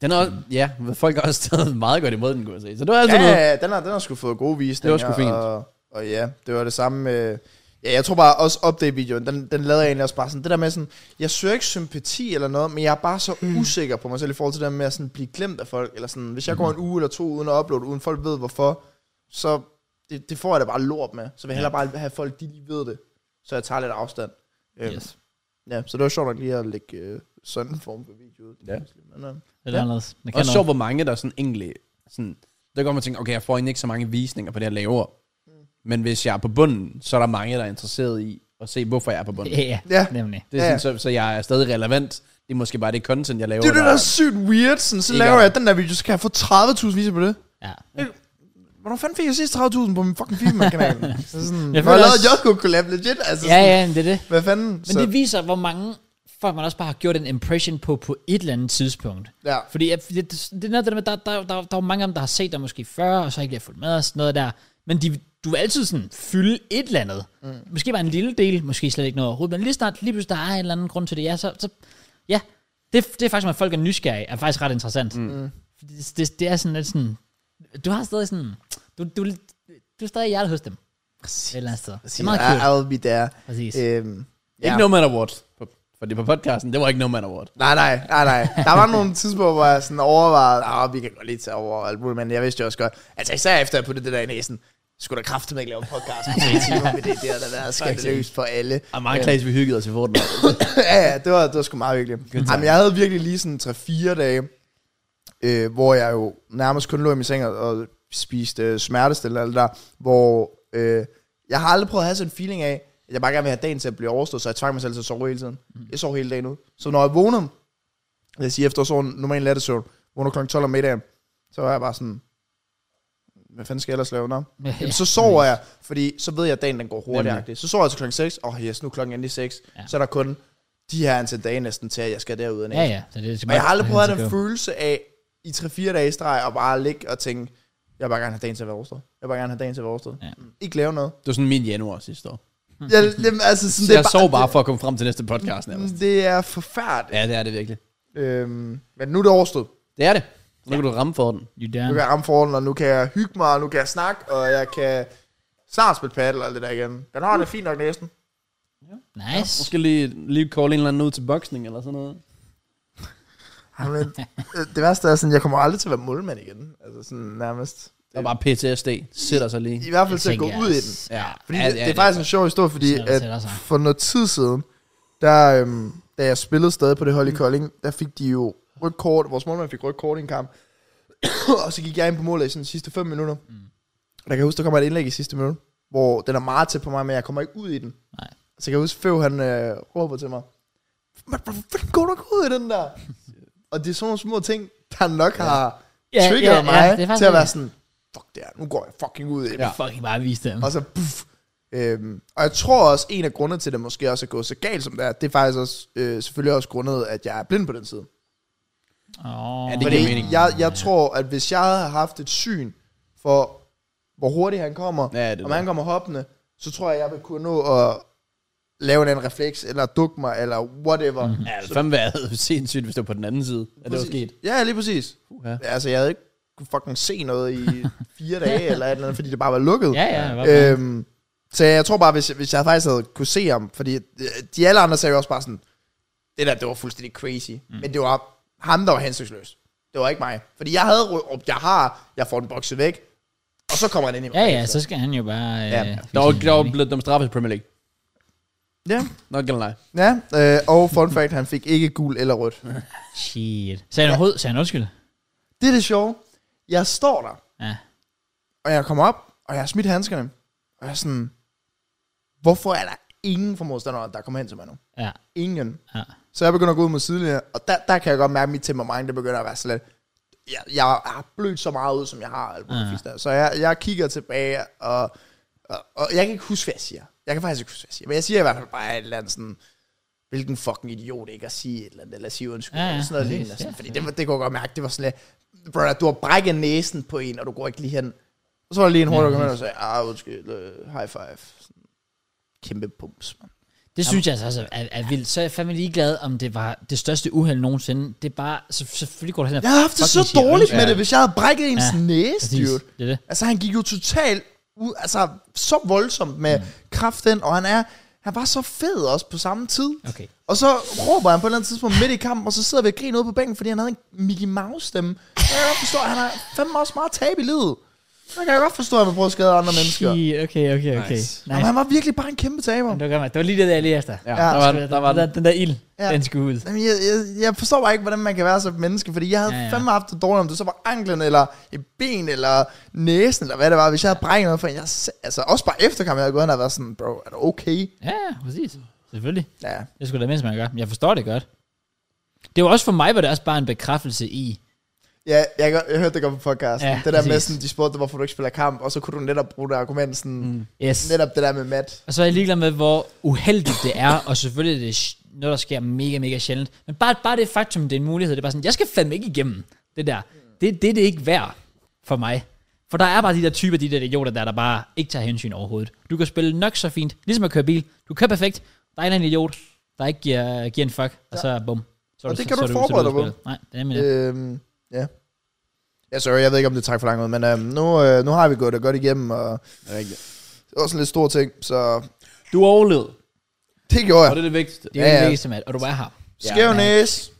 Speaker 3: Den er også, ja, folk er også stadig meget godt imod den, kunne jeg se. Så det var altså
Speaker 2: Mm. Ja,
Speaker 3: noget.
Speaker 2: ja, ja, den har, den har sgu fået gode visninger.
Speaker 3: Det var sgu fint.
Speaker 2: Og, og ja, det var det samme med... Ja, jeg tror bare også update-videoen, den, den lavede jeg egentlig også bare sådan, det der med sådan, jeg søger ikke sympati eller noget, men jeg er bare så mm. usikker på mig selv i forhold til det der med at sådan blive glemt af folk, eller sådan, hvis jeg går en uge eller to uden at uploade, uden folk ved hvorfor, så det, det får jeg da bare lort med, så vil jeg hellere bare have folk, de lige ved det, så jeg tager lidt afstand. Øhm,
Speaker 1: Yes.
Speaker 2: Ja, så det var sjovt nok lige at lægge øh, sådan en form for video. ud.
Speaker 3: Ja.
Speaker 2: Men, øh,
Speaker 1: Det er anderledes. Det
Speaker 3: Og
Speaker 1: kan
Speaker 3: også sjovt,
Speaker 1: noget.
Speaker 3: hvor mange der sådan egentlig... Sådan, der går man og tænker, okay, jeg får egentlig ikke så mange visninger på det, jeg laver.
Speaker 2: Mm.
Speaker 3: Men hvis jeg er på bunden, så er der mange, der er interesseret i at se, hvorfor jeg er på bunden.
Speaker 1: Ja,
Speaker 2: Ja.
Speaker 1: nemlig.
Speaker 3: Det er
Speaker 2: Ja,
Speaker 3: sådan, så, så jeg er stadig relevant. Det er måske bare det content, jeg laver.
Speaker 2: det er det, der er sygt weird. Sådan, så
Speaker 3: Ikke
Speaker 2: laver
Speaker 3: om-
Speaker 2: jeg den der video, så kan jeg få 30.000 viser på det.
Speaker 1: Ja.
Speaker 2: Hvornår fanden fik jeg sidst 30.000 på min fucking
Speaker 1: [LAUGHS]
Speaker 2: Filmman-kanal? Så sådan,
Speaker 1: Jeg
Speaker 2: jeg har
Speaker 1: føler
Speaker 2: lavet
Speaker 1: også-
Speaker 2: Jokko collab legit, altså
Speaker 1: Ja,
Speaker 2: sådan,
Speaker 1: ja, men det er det.
Speaker 2: hvad fanden?
Speaker 1: Men det viser, hvor mange folk man også bare har gjort en impression på, på et eller andet tidspunkt.
Speaker 2: ja.
Speaker 1: Fordi jeg, det, det er noget af det der med, der, der, der, der er jo mange af dem, der har set dig måske før, og så ikke lige har fulgt med og sådan noget der. Men de, du vil altid sådan fylde et eller andet. Mm. Måske bare en lille del, måske slet ikke noget overhovedet, men lige snart, lige pludselig, der er en eller anden grund til det, ja, så, så ja, det, det er faktisk, at folk er nysgerrige, er faktisk ret interessant. Mm. Det, det, det, er sådan lidt sådan, du har stadig sådan, du, du, du er stadig i hjertet hos dem. Præcis. Et eller andet sted. Det er meget
Speaker 2: I,
Speaker 1: cute.
Speaker 2: I'll be there.
Speaker 1: Præcis.
Speaker 2: Øhm,
Speaker 3: Ikke
Speaker 2: ja.
Speaker 3: No Man Award. På- For det på podcasten, det var ikke No Man Award.
Speaker 2: Nej, nej, nej, nej. Der var nogle tidspunkter, hvor jeg sådan overvejede, at vi kan godt lige tage over og alt muligt, men jeg vidste jo også godt, altså især efter jeg puttede det der i næsen, skulle der kraftigt med ikke lave en podcast på tre
Speaker 1: [LAUGHS]
Speaker 2: timer med det der, der er skandaløst for alle.
Speaker 3: Og meget klart, vi hyggede os i Fortnite.
Speaker 2: [LAUGHS] ja, ja, det var, det var sgu meget hyggeligt. Jamen, jeg havde virkelig lige sådan 3-4 dage, øh, hvor jeg jo nærmest kun lå i min seng og, og spiste øh, smertestillende og alt det der, hvor øh, jeg har aldrig prøvet at have sådan en feeling af, at jeg bare gerne vil have dagen til at blive overstået, så jeg tvang mig selv til at sove hele tiden. Jeg sov hele dagen ud. Så når jeg vågnede, lad os sige efter sådan normal nattesøvn, vågner kl. 12 om middagen, så var jeg bare sådan, hvad fanden skal jeg ellers lave? Nå?
Speaker 1: [LAUGHS]
Speaker 2: Jamen, så sover jeg, fordi så ved jeg, at dagen den går hurtigt. Så sover jeg til klokken 6, og oh, yes, nu er klokken endelig 6.
Speaker 1: Ja.
Speaker 2: Ja. Så er der kun de her antal dage næsten til, at jeg skal derud.
Speaker 1: Ja, ja. Så det er
Speaker 2: Og jeg har aldrig prøvet at have den
Speaker 1: det.
Speaker 2: følelse af, i 3-4 dage i streg, og bare ligge og tænke, jeg vil bare gerne have dagen til at være overstået. Jeg vil bare gerne have dagen til at være overstået.
Speaker 1: Ja.
Speaker 2: Ja. Ikke lave noget.
Speaker 3: Det var sådan min januar sidste år.
Speaker 2: Jeg, det, altså, sådan,
Speaker 3: Så
Speaker 2: det,
Speaker 3: jeg
Speaker 2: er
Speaker 3: sov bare for at komme frem til næste podcast nærmest.
Speaker 2: bare, det er forfærdeligt.
Speaker 3: Ja, det er det virkelig.
Speaker 2: Øhm, men nu er det overstået.
Speaker 3: Det er det. Nu kan du ramme for den.
Speaker 1: You
Speaker 2: Nu
Speaker 1: done.
Speaker 2: kan jeg ramme forholdene, og nu kan jeg hygge mig, og nu kan jeg snakke, og jeg kan snart spille paddle og alt det der igen. Den har det fint nok næsten.
Speaker 1: Nice.
Speaker 3: Måske lige, lige call en eller anden ud til boksning eller sådan noget.
Speaker 2: Jamen, øh, det værste er sådan, jeg kommer aldrig til at være målmand igen. Altså sådan nærmest.
Speaker 3: Det er bare PTSD. Sætter sig lige.
Speaker 2: I hvert fald til at gå
Speaker 1: tænker jeg
Speaker 2: ud i
Speaker 1: også.
Speaker 2: den.
Speaker 3: Ja.
Speaker 2: Fordi
Speaker 3: ja,
Speaker 2: det, det er faktisk en sjov historie, fordi
Speaker 1: Sådan er det til
Speaker 2: at
Speaker 1: dig, så.
Speaker 2: for noget tid siden, der, øhm, da jeg spillede stadig på det
Speaker 1: Mm.
Speaker 2: hold i Kolding, der fik de jo rødt kort, vores målmand fik rødt kort i en kamp. [COUGHS] og så gik jeg ind på målet i sådan de sidste 5 minutter. Mm. Og jeg kan huske, der kommer et indlæg i sidste minut, hvor den er meget tæt på mig, men jeg kommer ikke ud i den.
Speaker 1: Nej.
Speaker 2: Så kan jeg huske, Fev han øh, råber til mig, "Men hvorfor fanden går du ikke ud i
Speaker 1: [LAUGHS]
Speaker 2: den der? og det er sådan nogle små ting, der nok har
Speaker 1: Ja,
Speaker 2: ja, triggeret
Speaker 1: ja,
Speaker 2: ja,
Speaker 1: ja, det er
Speaker 2: mig ja,
Speaker 1: faktisk
Speaker 2: til at være
Speaker 1: rigtigt.
Speaker 2: sådan, fuck det her, nu går jeg fucking ud i den.
Speaker 1: Ja. Fucking bare vise dem.
Speaker 2: Og så puff. Øhm, og jeg tror også, en af grundene til, at det måske også er gået så galt som det er, det er faktisk også, øh, selvfølgelig også grundet, at jeg er blind på den side.
Speaker 1: Oh.
Speaker 3: Ja, det giver
Speaker 2: Fordi
Speaker 3: mening.
Speaker 2: jeg, jeg tror, at hvis jeg havde haft et syn for, hvor hurtigt han kommer,
Speaker 3: Ja, det er
Speaker 2: om
Speaker 3: det.
Speaker 2: han kommer hoppende, så tror jeg, jeg vil kunne nå at lave en anden refleks, eller dukke mig, eller whatever. Mm.
Speaker 3: Ja, det fandme [LAUGHS] været sindssygt, hvis det var på den anden side. At det var sket.
Speaker 2: Ja, lige præcis.
Speaker 3: Uha.
Speaker 2: Altså, jeg havde ikke kunne fucking se noget i fire
Speaker 3: [LAUGHS]
Speaker 2: dage, eller et eller andet, fordi det bare var lukket.
Speaker 1: Ja, ja. det var bare-
Speaker 2: Øhm, så jeg tror bare, hvis, hvis jeg faktisk havde kunne se ham, fordi øh, de alle andre sagde jo også bare sådan, det der, det var fuldstændig crazy. Mm. Men det var ham, der var hensynsløs. Det var ikke mig. Fordi jeg havde råbt, jeg har, jeg får den bokset væk, og så kommer han ind i mig.
Speaker 1: Ja, ja, så skal han jo bare...
Speaker 2: Ja.
Speaker 1: Øh,
Speaker 3: Der var, der var blevet dem straffet i Premier League.
Speaker 2: Ja,
Speaker 3: Not gonna lie.
Speaker 2: ja øh, og fun fact, han fik ikke gul eller
Speaker 1: [LAUGHS]
Speaker 2: rødt.
Speaker 1: Shit. Sagde han overhovedet? Sagde han undskyld?
Speaker 2: Det er det sjove. Jeg står der,
Speaker 1: Ja.
Speaker 2: og jeg kommer op, og jeg har smidt handskerne. Og jeg er sådan, hvorfor er der ingen fra modstanderne, der kommer hen til mig nu?
Speaker 1: Ja.
Speaker 2: Ingen.
Speaker 1: Ja.
Speaker 2: Så jeg begynder at gå ud mod sidelinjen, og der, der kan jeg godt mærke, at mit temperament det begynder at være sådan lidt, jeg, jeg har blødt så meget ud, som jeg har. Alt
Speaker 1: Ja.
Speaker 2: ja. der. Så jeg, jeg kigger tilbage, og, og, og jeg kan ikke huske, hvad jeg siger. Jeg kan faktisk ikke huske, hvad jeg siger. Men jeg siger i hvert fald bare et eller andet sådan, hvilken fucking idiot ikke at sige et eller andet, eller sige undskyld,
Speaker 1: Ja,
Speaker 2: ja,
Speaker 1: ja,
Speaker 2: ja, sådan noget
Speaker 1: præcis,
Speaker 2: lignende. Sådan,
Speaker 1: ja.
Speaker 2: fordi det, var- det kunne jeg godt mærke, det var sådan lidt, brother, du har brækket næsen på en, og du går ikke lige hen. Og så var der lige en hurtig ja, og sagde, ah, undskyld, øh, high five. Sådan, kæmpe pums, man.
Speaker 1: Det synes jeg altså også er, er vildt. Så er jeg fandme ligeglad, om det var det største uheld nogensinde. Det er bare, så, selvfølgelig går du hen og
Speaker 2: Jeg har haft det
Speaker 1: fucking
Speaker 2: så
Speaker 1: siger
Speaker 2: dårligt
Speaker 1: undskyld.
Speaker 2: med det, hvis jeg havde brækket ens
Speaker 1: Ja,
Speaker 2: ja, næse,
Speaker 1: Præcis.
Speaker 2: dude.
Speaker 1: Det er det.
Speaker 2: Altså, han gik jo totalt ud, altså, så voldsomt med mm. kraften, og han er, han var så fed også på samme tid.
Speaker 1: Okay.
Speaker 2: Og så råber han på et eller andet tidspunkt midt i kampen, og så sidder vi og griner ude på bænken, fordi han havde en Mickey Mouse-stemme. Og Jeg kan godt forstå, at han har fandme også meget tab i livet. Så kan jeg godt forstå, at man prøver at skade andre mennesker. Nice.
Speaker 1: Okay, okay, okay. okay.
Speaker 3: Nice.
Speaker 1: Nice.
Speaker 2: Jamen, han var virkelig bare en kæmpe taber.
Speaker 1: Det var, godt, mand. det var lige det, der jeg lige efter.
Speaker 3: Ja,
Speaker 2: Ja.
Speaker 3: der var den. Der var
Speaker 1: den,
Speaker 3: den.
Speaker 1: der, den der ild, ja.
Speaker 2: Ja.
Speaker 1: den skulle ud.
Speaker 2: Jamen, jeg, jeg, jeg forstår bare ikke, hvordan man kan være så et menneske, fordi jeg havde
Speaker 1: Ja,
Speaker 2: ja,
Speaker 1: ja.
Speaker 2: ja. fandme haft det dårligt, om det så var anklen, eller et ben, eller næsen, eller hvad det var, hvis jeg havde brækket noget for en. Jeg, se- altså, også bare efter kampen, jeg havde gået hen og været sådan, bro, er du okay?
Speaker 1: Ja, ja, præcis. Selvfølgelig.
Speaker 2: Ja,
Speaker 1: Det skulle da mindst, man gør. Men Jeg forstår det godt. Det var også for mig, var det også bare en bekræftelse i.
Speaker 2: ja jeg, jeg, jeg hørte det godt på podcasten.
Speaker 1: Ja,
Speaker 2: Ja, det der med,
Speaker 1: præcis.
Speaker 2: sådan, de spurgte dig, hvorfor du ikke spiller kamp, og så kunne du netop bruge det argument, sådan, mm.
Speaker 1: Yes.
Speaker 2: netop det der med Matt.
Speaker 1: Og så er jeg ligeglad med, hvor uheldigt det er, og selvfølgelig er det sj- noget, der sker mega, mega sjældent. Men bare, bare det faktum, det er en mulighed, det er bare sådan, jeg skal fandme ikke igennem det der. Det, det er det ikke værd for mig. For der er bare de der typer, de der idioter der, der bare ikke tager hensyn overhovedet. Du kan spille nok så fint, ligesom at køre bil. Du kører perfekt, der er en eller anden idiot, der ikke giver, giver en fuck, og så bum. Så er
Speaker 2: Og det
Speaker 1: så-
Speaker 2: kan
Speaker 1: så
Speaker 2: du
Speaker 1: er
Speaker 2: ikke
Speaker 1: så er
Speaker 2: forberede dig på.
Speaker 1: ude af spillet. Nej, det er nemlig det.
Speaker 2: Øhm, ja. Ja, sorry, jeg ved ikke, om det trækker for langt ud, men øhm, nu, øh, nu har vi gået det godt igennem, og
Speaker 3: Det er rigtigt.
Speaker 2: det var også en lidt stor ting, så
Speaker 3: Du overlevede,
Speaker 2: det gjorde jeg.
Speaker 3: og det er det vigtigste.
Speaker 1: Det er jo
Speaker 2: ja,
Speaker 1: det
Speaker 2: ja.
Speaker 1: vigtigste, Matt, og du er her.
Speaker 2: Skæv ja,
Speaker 1: Ja.
Speaker 2: næse,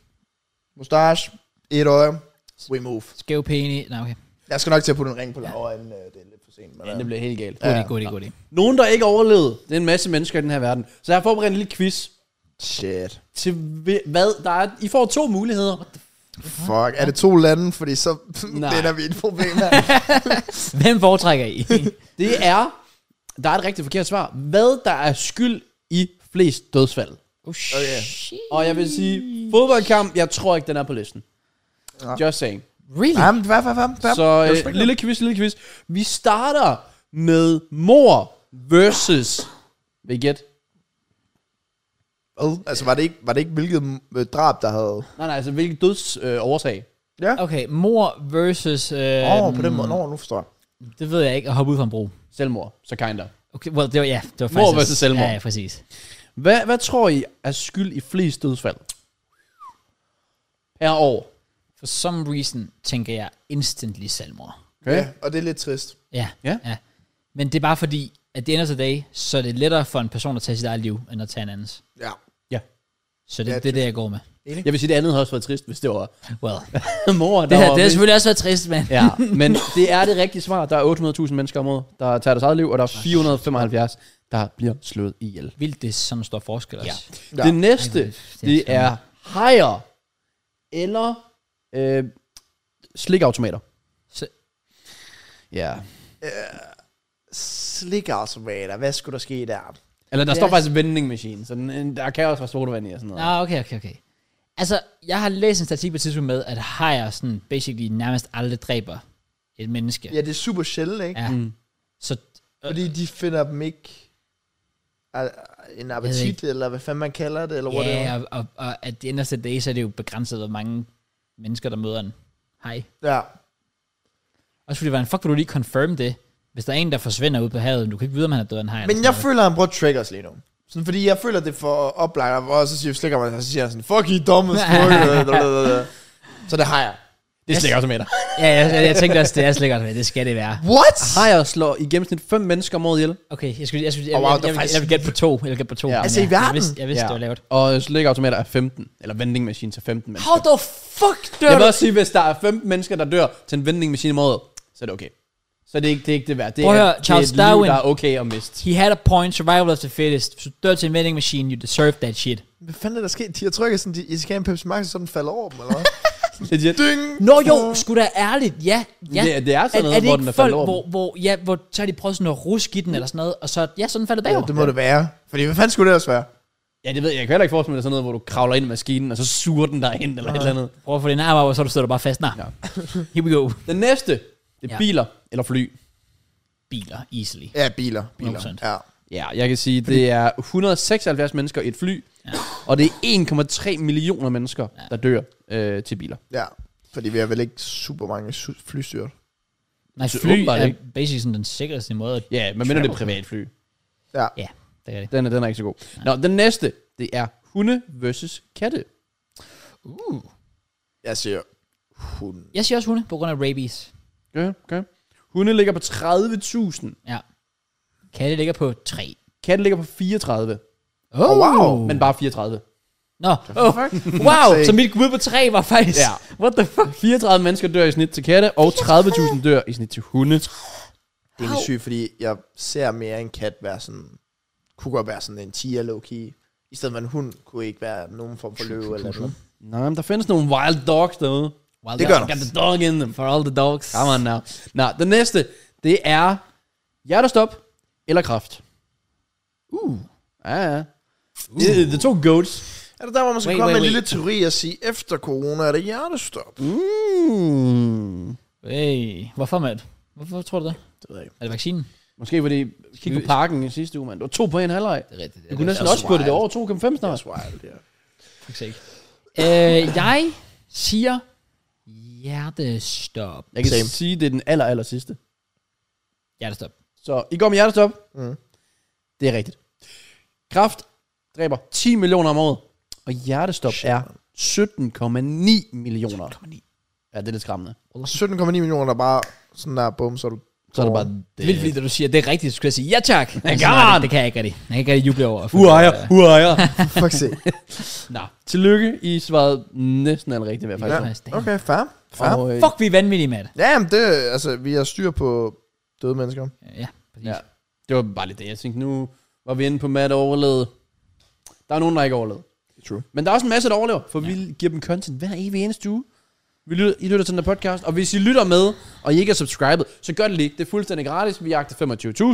Speaker 2: mustache, et øje, we move.
Speaker 1: Skæv pæne. Nej, okay.
Speaker 2: Jeg skal nok til at putte en ring på Laura, inden øh, det er lidt for sent. Men,
Speaker 3: Ja, det
Speaker 2: øh,
Speaker 3: blev helt galt.
Speaker 1: God idé, god idé, god idé.
Speaker 3: Nogen, der ikke overlevede, det er en masse mennesker i den her verden. Så jeg har forberedt en lille quiz.
Speaker 2: shit.
Speaker 3: Til hvi- hvad? Der er, I får to muligheder.
Speaker 2: Fuck, er det to lande? Fordi [LAUGHS] så
Speaker 3: Nej.
Speaker 2: vinder vi et problem her.
Speaker 1: Hvem foretrækker
Speaker 2: [LAUGHS]
Speaker 1: I?
Speaker 3: Det er, der er et rigtig forkert svar. Hvad der er skyld i flest dødsfald?
Speaker 1: oh,
Speaker 2: Okay.
Speaker 1: shit.
Speaker 3: Og jeg vil sige, fodboldkamp, jeg tror ikke, den er på listen. Just saying.
Speaker 1: Really?
Speaker 2: [LAUGHS] Jamen, hvad, hvad, hvad? hvad?
Speaker 3: Så
Speaker 2: Det er
Speaker 3: øh,
Speaker 2: sgu
Speaker 3: lille quiz, lille quiz. Vi starter med mor versus... Vil I gætte?
Speaker 2: ikke- Hvad? Altså, var det ikke, var det ikke hvilket øh, drab, der havde...
Speaker 3: Nej, nej, altså hvilken dødsårsag? Øh, årsag?
Speaker 2: Ja,
Speaker 1: Okay, mor versus... Øh,
Speaker 2: åh,
Speaker 3: Øhm,
Speaker 2: oh, på den måde. Nå, nu forstår jeg.
Speaker 1: Det ved jeg ikke, at hoppe ud fra en bro.
Speaker 3: Selvmord, så kinder.
Speaker 1: Okay, well, det var, ja, det var faktisk...
Speaker 3: Mor versus selvmord.
Speaker 1: Ja, ja, præcis.
Speaker 3: Hvad, hvad tror I er skyld i flest dødsfald? Per år.
Speaker 1: For some reason tænker jeg instantly selvmord.
Speaker 3: Okay?
Speaker 2: Ja, og det er lidt trist.
Speaker 1: Ja,
Speaker 3: Ja.
Speaker 1: ja. Men det er bare fordi, at det ender til dag, så er det lettere for en person at tage sit eget liv, end at tage en andens.
Speaker 2: Ja.
Speaker 3: ja.
Speaker 1: Så det,
Speaker 2: Ja,
Speaker 1: ja, det er det, jeg går med.
Speaker 3: Jeg vil sige, det andet havde også været trist, hvis det var
Speaker 2: [LAUGHS]
Speaker 1: Well,
Speaker 3: mor, [LAUGHS] der
Speaker 1: det,
Speaker 3: var
Speaker 1: har, det har
Speaker 3: mest-
Speaker 1: selvfølgelig også været trist, men...
Speaker 3: [LAUGHS] Ja, men det er det rigtige svar. Der er 800.000 mennesker om året, der tager deres eget liv, og der er 475, der bliver slået ihjel.
Speaker 1: Vildt, det er sådan en stor forskel også. Ja.
Speaker 3: Ja. Det næste,
Speaker 1: Ej, hvor er det- det er
Speaker 3: det er hajer eller øh, slikautomater.
Speaker 1: Så-
Speaker 3: Ja.
Speaker 2: Slikautomater, hvad skulle der ske der?
Speaker 3: Eller der
Speaker 1: Det
Speaker 3: står
Speaker 1: er-
Speaker 3: faktisk vending machine, så den, øh, der kan også være sodavand i og sådan noget.
Speaker 1: Ah, okay, okay, okay. Altså, jeg har læst en statistik på et tidspunkt med, at hajer sådan basically nærmest aldrig dræber et menneske.
Speaker 2: Ja, det er super sjældent, ikke?
Speaker 1: Ja. Mm. Så
Speaker 2: Fordi de finder dem ikke al- en appetit, eller hvad fanden man kalder det, eller
Speaker 1: Ja,
Speaker 2: hvor det
Speaker 1: yeah, og, og, og at det ender til dag, så er det jo begrænset, hvor mange mennesker, der møder en. Hej.
Speaker 2: Ja.
Speaker 1: Også fordi, hvordan fuck vil du lige confirm det, hvis der er en, der forsvinder ud på havet, du kan ikke vide, om han er død af en hej.
Speaker 2: Men jeg føler, at han bruger triggers lige nu. Sådan, fordi jeg føler, det er for oplagt, og så siger jeg slikker mig, og så siger han sådan, fuck, I er dumme as fuck. Så det har jeg.
Speaker 3: Det er [LAUGHS] slikautomater.
Speaker 1: ja, jeg, jeg, jeg, tænkte også, det er slikkert, men det skal det være.
Speaker 2: What?
Speaker 3: Hajer slår i gennemsnit fem mennesker om året ihjel.
Speaker 1: Okay, jeg skulle, jeg, skulle, jeg,
Speaker 2: Oh, wow,
Speaker 1: jeg,
Speaker 2: det er
Speaker 1: jeg, jeg,
Speaker 2: faktisk-
Speaker 1: jeg vil gætte på to. Jeg vil gætte på to.
Speaker 3: Ja.
Speaker 1: men
Speaker 2: Altså, i
Speaker 1: jeg, Jeg
Speaker 2: verden?
Speaker 1: vidste, jeg vidste det var lavt.
Speaker 3: Og slikautomater er 15, eller vending machine til 15 mennesker.
Speaker 1: How the fuck dør
Speaker 3: Jeg vil
Speaker 1: du?
Speaker 3: også sige, hvis der er 15 mennesker, der dør til en vending machine om året, så er det okay. Så det er ikke det, er ikke det værd. Det
Speaker 1: Prøv at høre,
Speaker 3: er,
Speaker 1: Charles
Speaker 3: det er et liv,
Speaker 1: Darwin.
Speaker 3: der er okay at
Speaker 1: [LAUGHS]
Speaker 3: miste.
Speaker 1: He had a point, survival of the fittest. Hvis du dør til en vending machine, you deserve that shit.
Speaker 2: Hvad fanden er der sket? De har trykket sådan, de, I skal have en Pepsi Max, og så den falder over dem, eller hvad?
Speaker 3: Legit.
Speaker 2: Ding!
Speaker 1: Nå jo, skulle da ærligt, ja. ja.
Speaker 3: Det- det er sådan noget,
Speaker 1: det
Speaker 3: hvor
Speaker 1: ikke
Speaker 3: den er faldet
Speaker 1: folk,
Speaker 3: over
Speaker 1: hvor, hvor, ja, hvor så har de prøvet sådan at ruske i den eller sådan noget, og så, ja, sådan falder det
Speaker 2: Ja,
Speaker 1: bagover.
Speaker 2: det må det være. Fordi hvad fanden skulle det ellers være?
Speaker 3: Ja, det ved jeg. Jeg kan heller ikke forestille mig det er sådan noget, hvor du kravler ind i maskinen, og så suger den dig ind, eller
Speaker 1: Ah.
Speaker 3: et eller andet.
Speaker 1: Prøv at få din arm op, og så du sidder du bare fast. Nej.
Speaker 3: Ja.
Speaker 1: Here we go.
Speaker 3: Den næste, det er
Speaker 1: Ja.
Speaker 3: ja. biler eller fly.
Speaker 1: Biler, easily.
Speaker 2: Ja, biler. biler.
Speaker 1: 100%.
Speaker 2: Ja.
Speaker 3: Ja, jeg kan sige, det er 176 mennesker i et fly, ja. Og det er 1,3 millioner mennesker, der dør øh, til biler.
Speaker 2: Ja, fordi vi har vel ikke super mange su- flystyrt.
Speaker 1: Nej,
Speaker 3: Så
Speaker 1: fly
Speaker 3: åbenbart
Speaker 1: er
Speaker 3: ikke.
Speaker 1: basically sådan den sikreste måde. at-
Speaker 3: Ja, men mindre det er privatfly.
Speaker 2: Ja.
Speaker 1: Ja, det er det.
Speaker 3: Den er, den er ikke så god. Nå, den næste, det er hunde versus katte.
Speaker 1: Uh.
Speaker 2: Jeg siger hun.
Speaker 1: Jeg siger også hunde, på grund af rabies.
Speaker 3: Ja, okay. Hunde ligger på 30.000.
Speaker 1: Ja. Katte ligger på 3.
Speaker 3: Katte ligger på 34.
Speaker 2: Oh, wow.
Speaker 3: Men bare 34.
Speaker 1: Nå, oh, wow, så mit bud på 3 var faktisk...
Speaker 3: [LAUGHS] Ja.
Speaker 1: What the fuck?
Speaker 3: 34 mennesker dør i snit til katte, og 30.000 dør i snit til hunde.
Speaker 2: Det er lidt sygt, fordi jeg ser mere en kat være sådan, kunne godt være sådan en tiger low key. I stedet for en hund kunne ikke være nogen form for løve eller noget.
Speaker 3: Nej, men der findes nogle wild dogs derude.
Speaker 1: Well,
Speaker 2: Det gør der.
Speaker 3: Got the dog in them.
Speaker 1: For all the dogs.
Speaker 3: Come on now. Nå, den næste, det er hjertestop eller kraft.
Speaker 1: Uh.
Speaker 3: Ja, ja. Uh. Det, det er to goats.
Speaker 2: Er det der, hvor man skal
Speaker 1: Wait,
Speaker 2: komme
Speaker 1: wait,
Speaker 2: med en
Speaker 1: wait.
Speaker 2: lille teori og sige, efter corona er det hjertestop?
Speaker 3: Mm.
Speaker 1: Hey, hvorfor, Matt? Hvorfor tror du det?
Speaker 2: Det ved jeg ikke.
Speaker 1: Er det vaccinen?
Speaker 3: Måske fordi, kig på parken i sidste uge, mand. Det var to på en halvleg.
Speaker 1: Det er rigtigt.
Speaker 3: Du kunne næsten også putte det over 2,5 snart.
Speaker 2: That's wild, ja.
Speaker 1: ikke. Øh, jeg siger hjertestop.
Speaker 3: Jeg kan
Speaker 2: Same.
Speaker 3: sige, det er den aller, aller sidste.
Speaker 1: Hjertestop.
Speaker 3: Så I går med hjertestop. Mm. Det er rigtigt. Kraft dræber 10 millioner om året, og hjertestop
Speaker 2: Shit,
Speaker 3: er 17,9 millioner.
Speaker 1: 17,9.
Speaker 3: Ja, det er lidt skræmmende.
Speaker 2: 17,9 millioner, der bare sådan der, bum, så er du...
Speaker 3: Så er det bare...
Speaker 1: Det. Vildt, fordi da du siger, det er rigtigt, så skulle jeg sige, ja tak. Altså,
Speaker 3: come
Speaker 1: nej,
Speaker 3: on.
Speaker 1: det, det kan jeg ikke rigtig. Jeg kan ikke rigtig juble over. for-
Speaker 3: Uejer, uejer.
Speaker 2: Fuck se.
Speaker 3: Nå, tillykke. I svarede næsten alt rigtigt, hvad jeg
Speaker 2: Ja. Ah,
Speaker 3: faktisk.
Speaker 2: Okay, fair.
Speaker 3: Ja.
Speaker 2: Fair.
Speaker 3: Og, øh,
Speaker 1: Fuck, vi er vanvittige, Matt.
Speaker 2: Ja, men det, altså, vi har styr på døde mennesker.
Speaker 1: Ja, præcis.
Speaker 3: ja. Det var bare lidt det, jeg tænkte. Nu var vi inde på Matt og overlevede. Der er nogen, der ikke overlevede.
Speaker 2: True.
Speaker 3: Men der er også en masse, der overlever, for ja. vi giver dem content hver evig eneste uge. Vi lytter, I lytter til den her podcast, og hvis I lytter med, og I ikke er subscribet, så gør det lige. Det er fuldstændig gratis. Vi jagter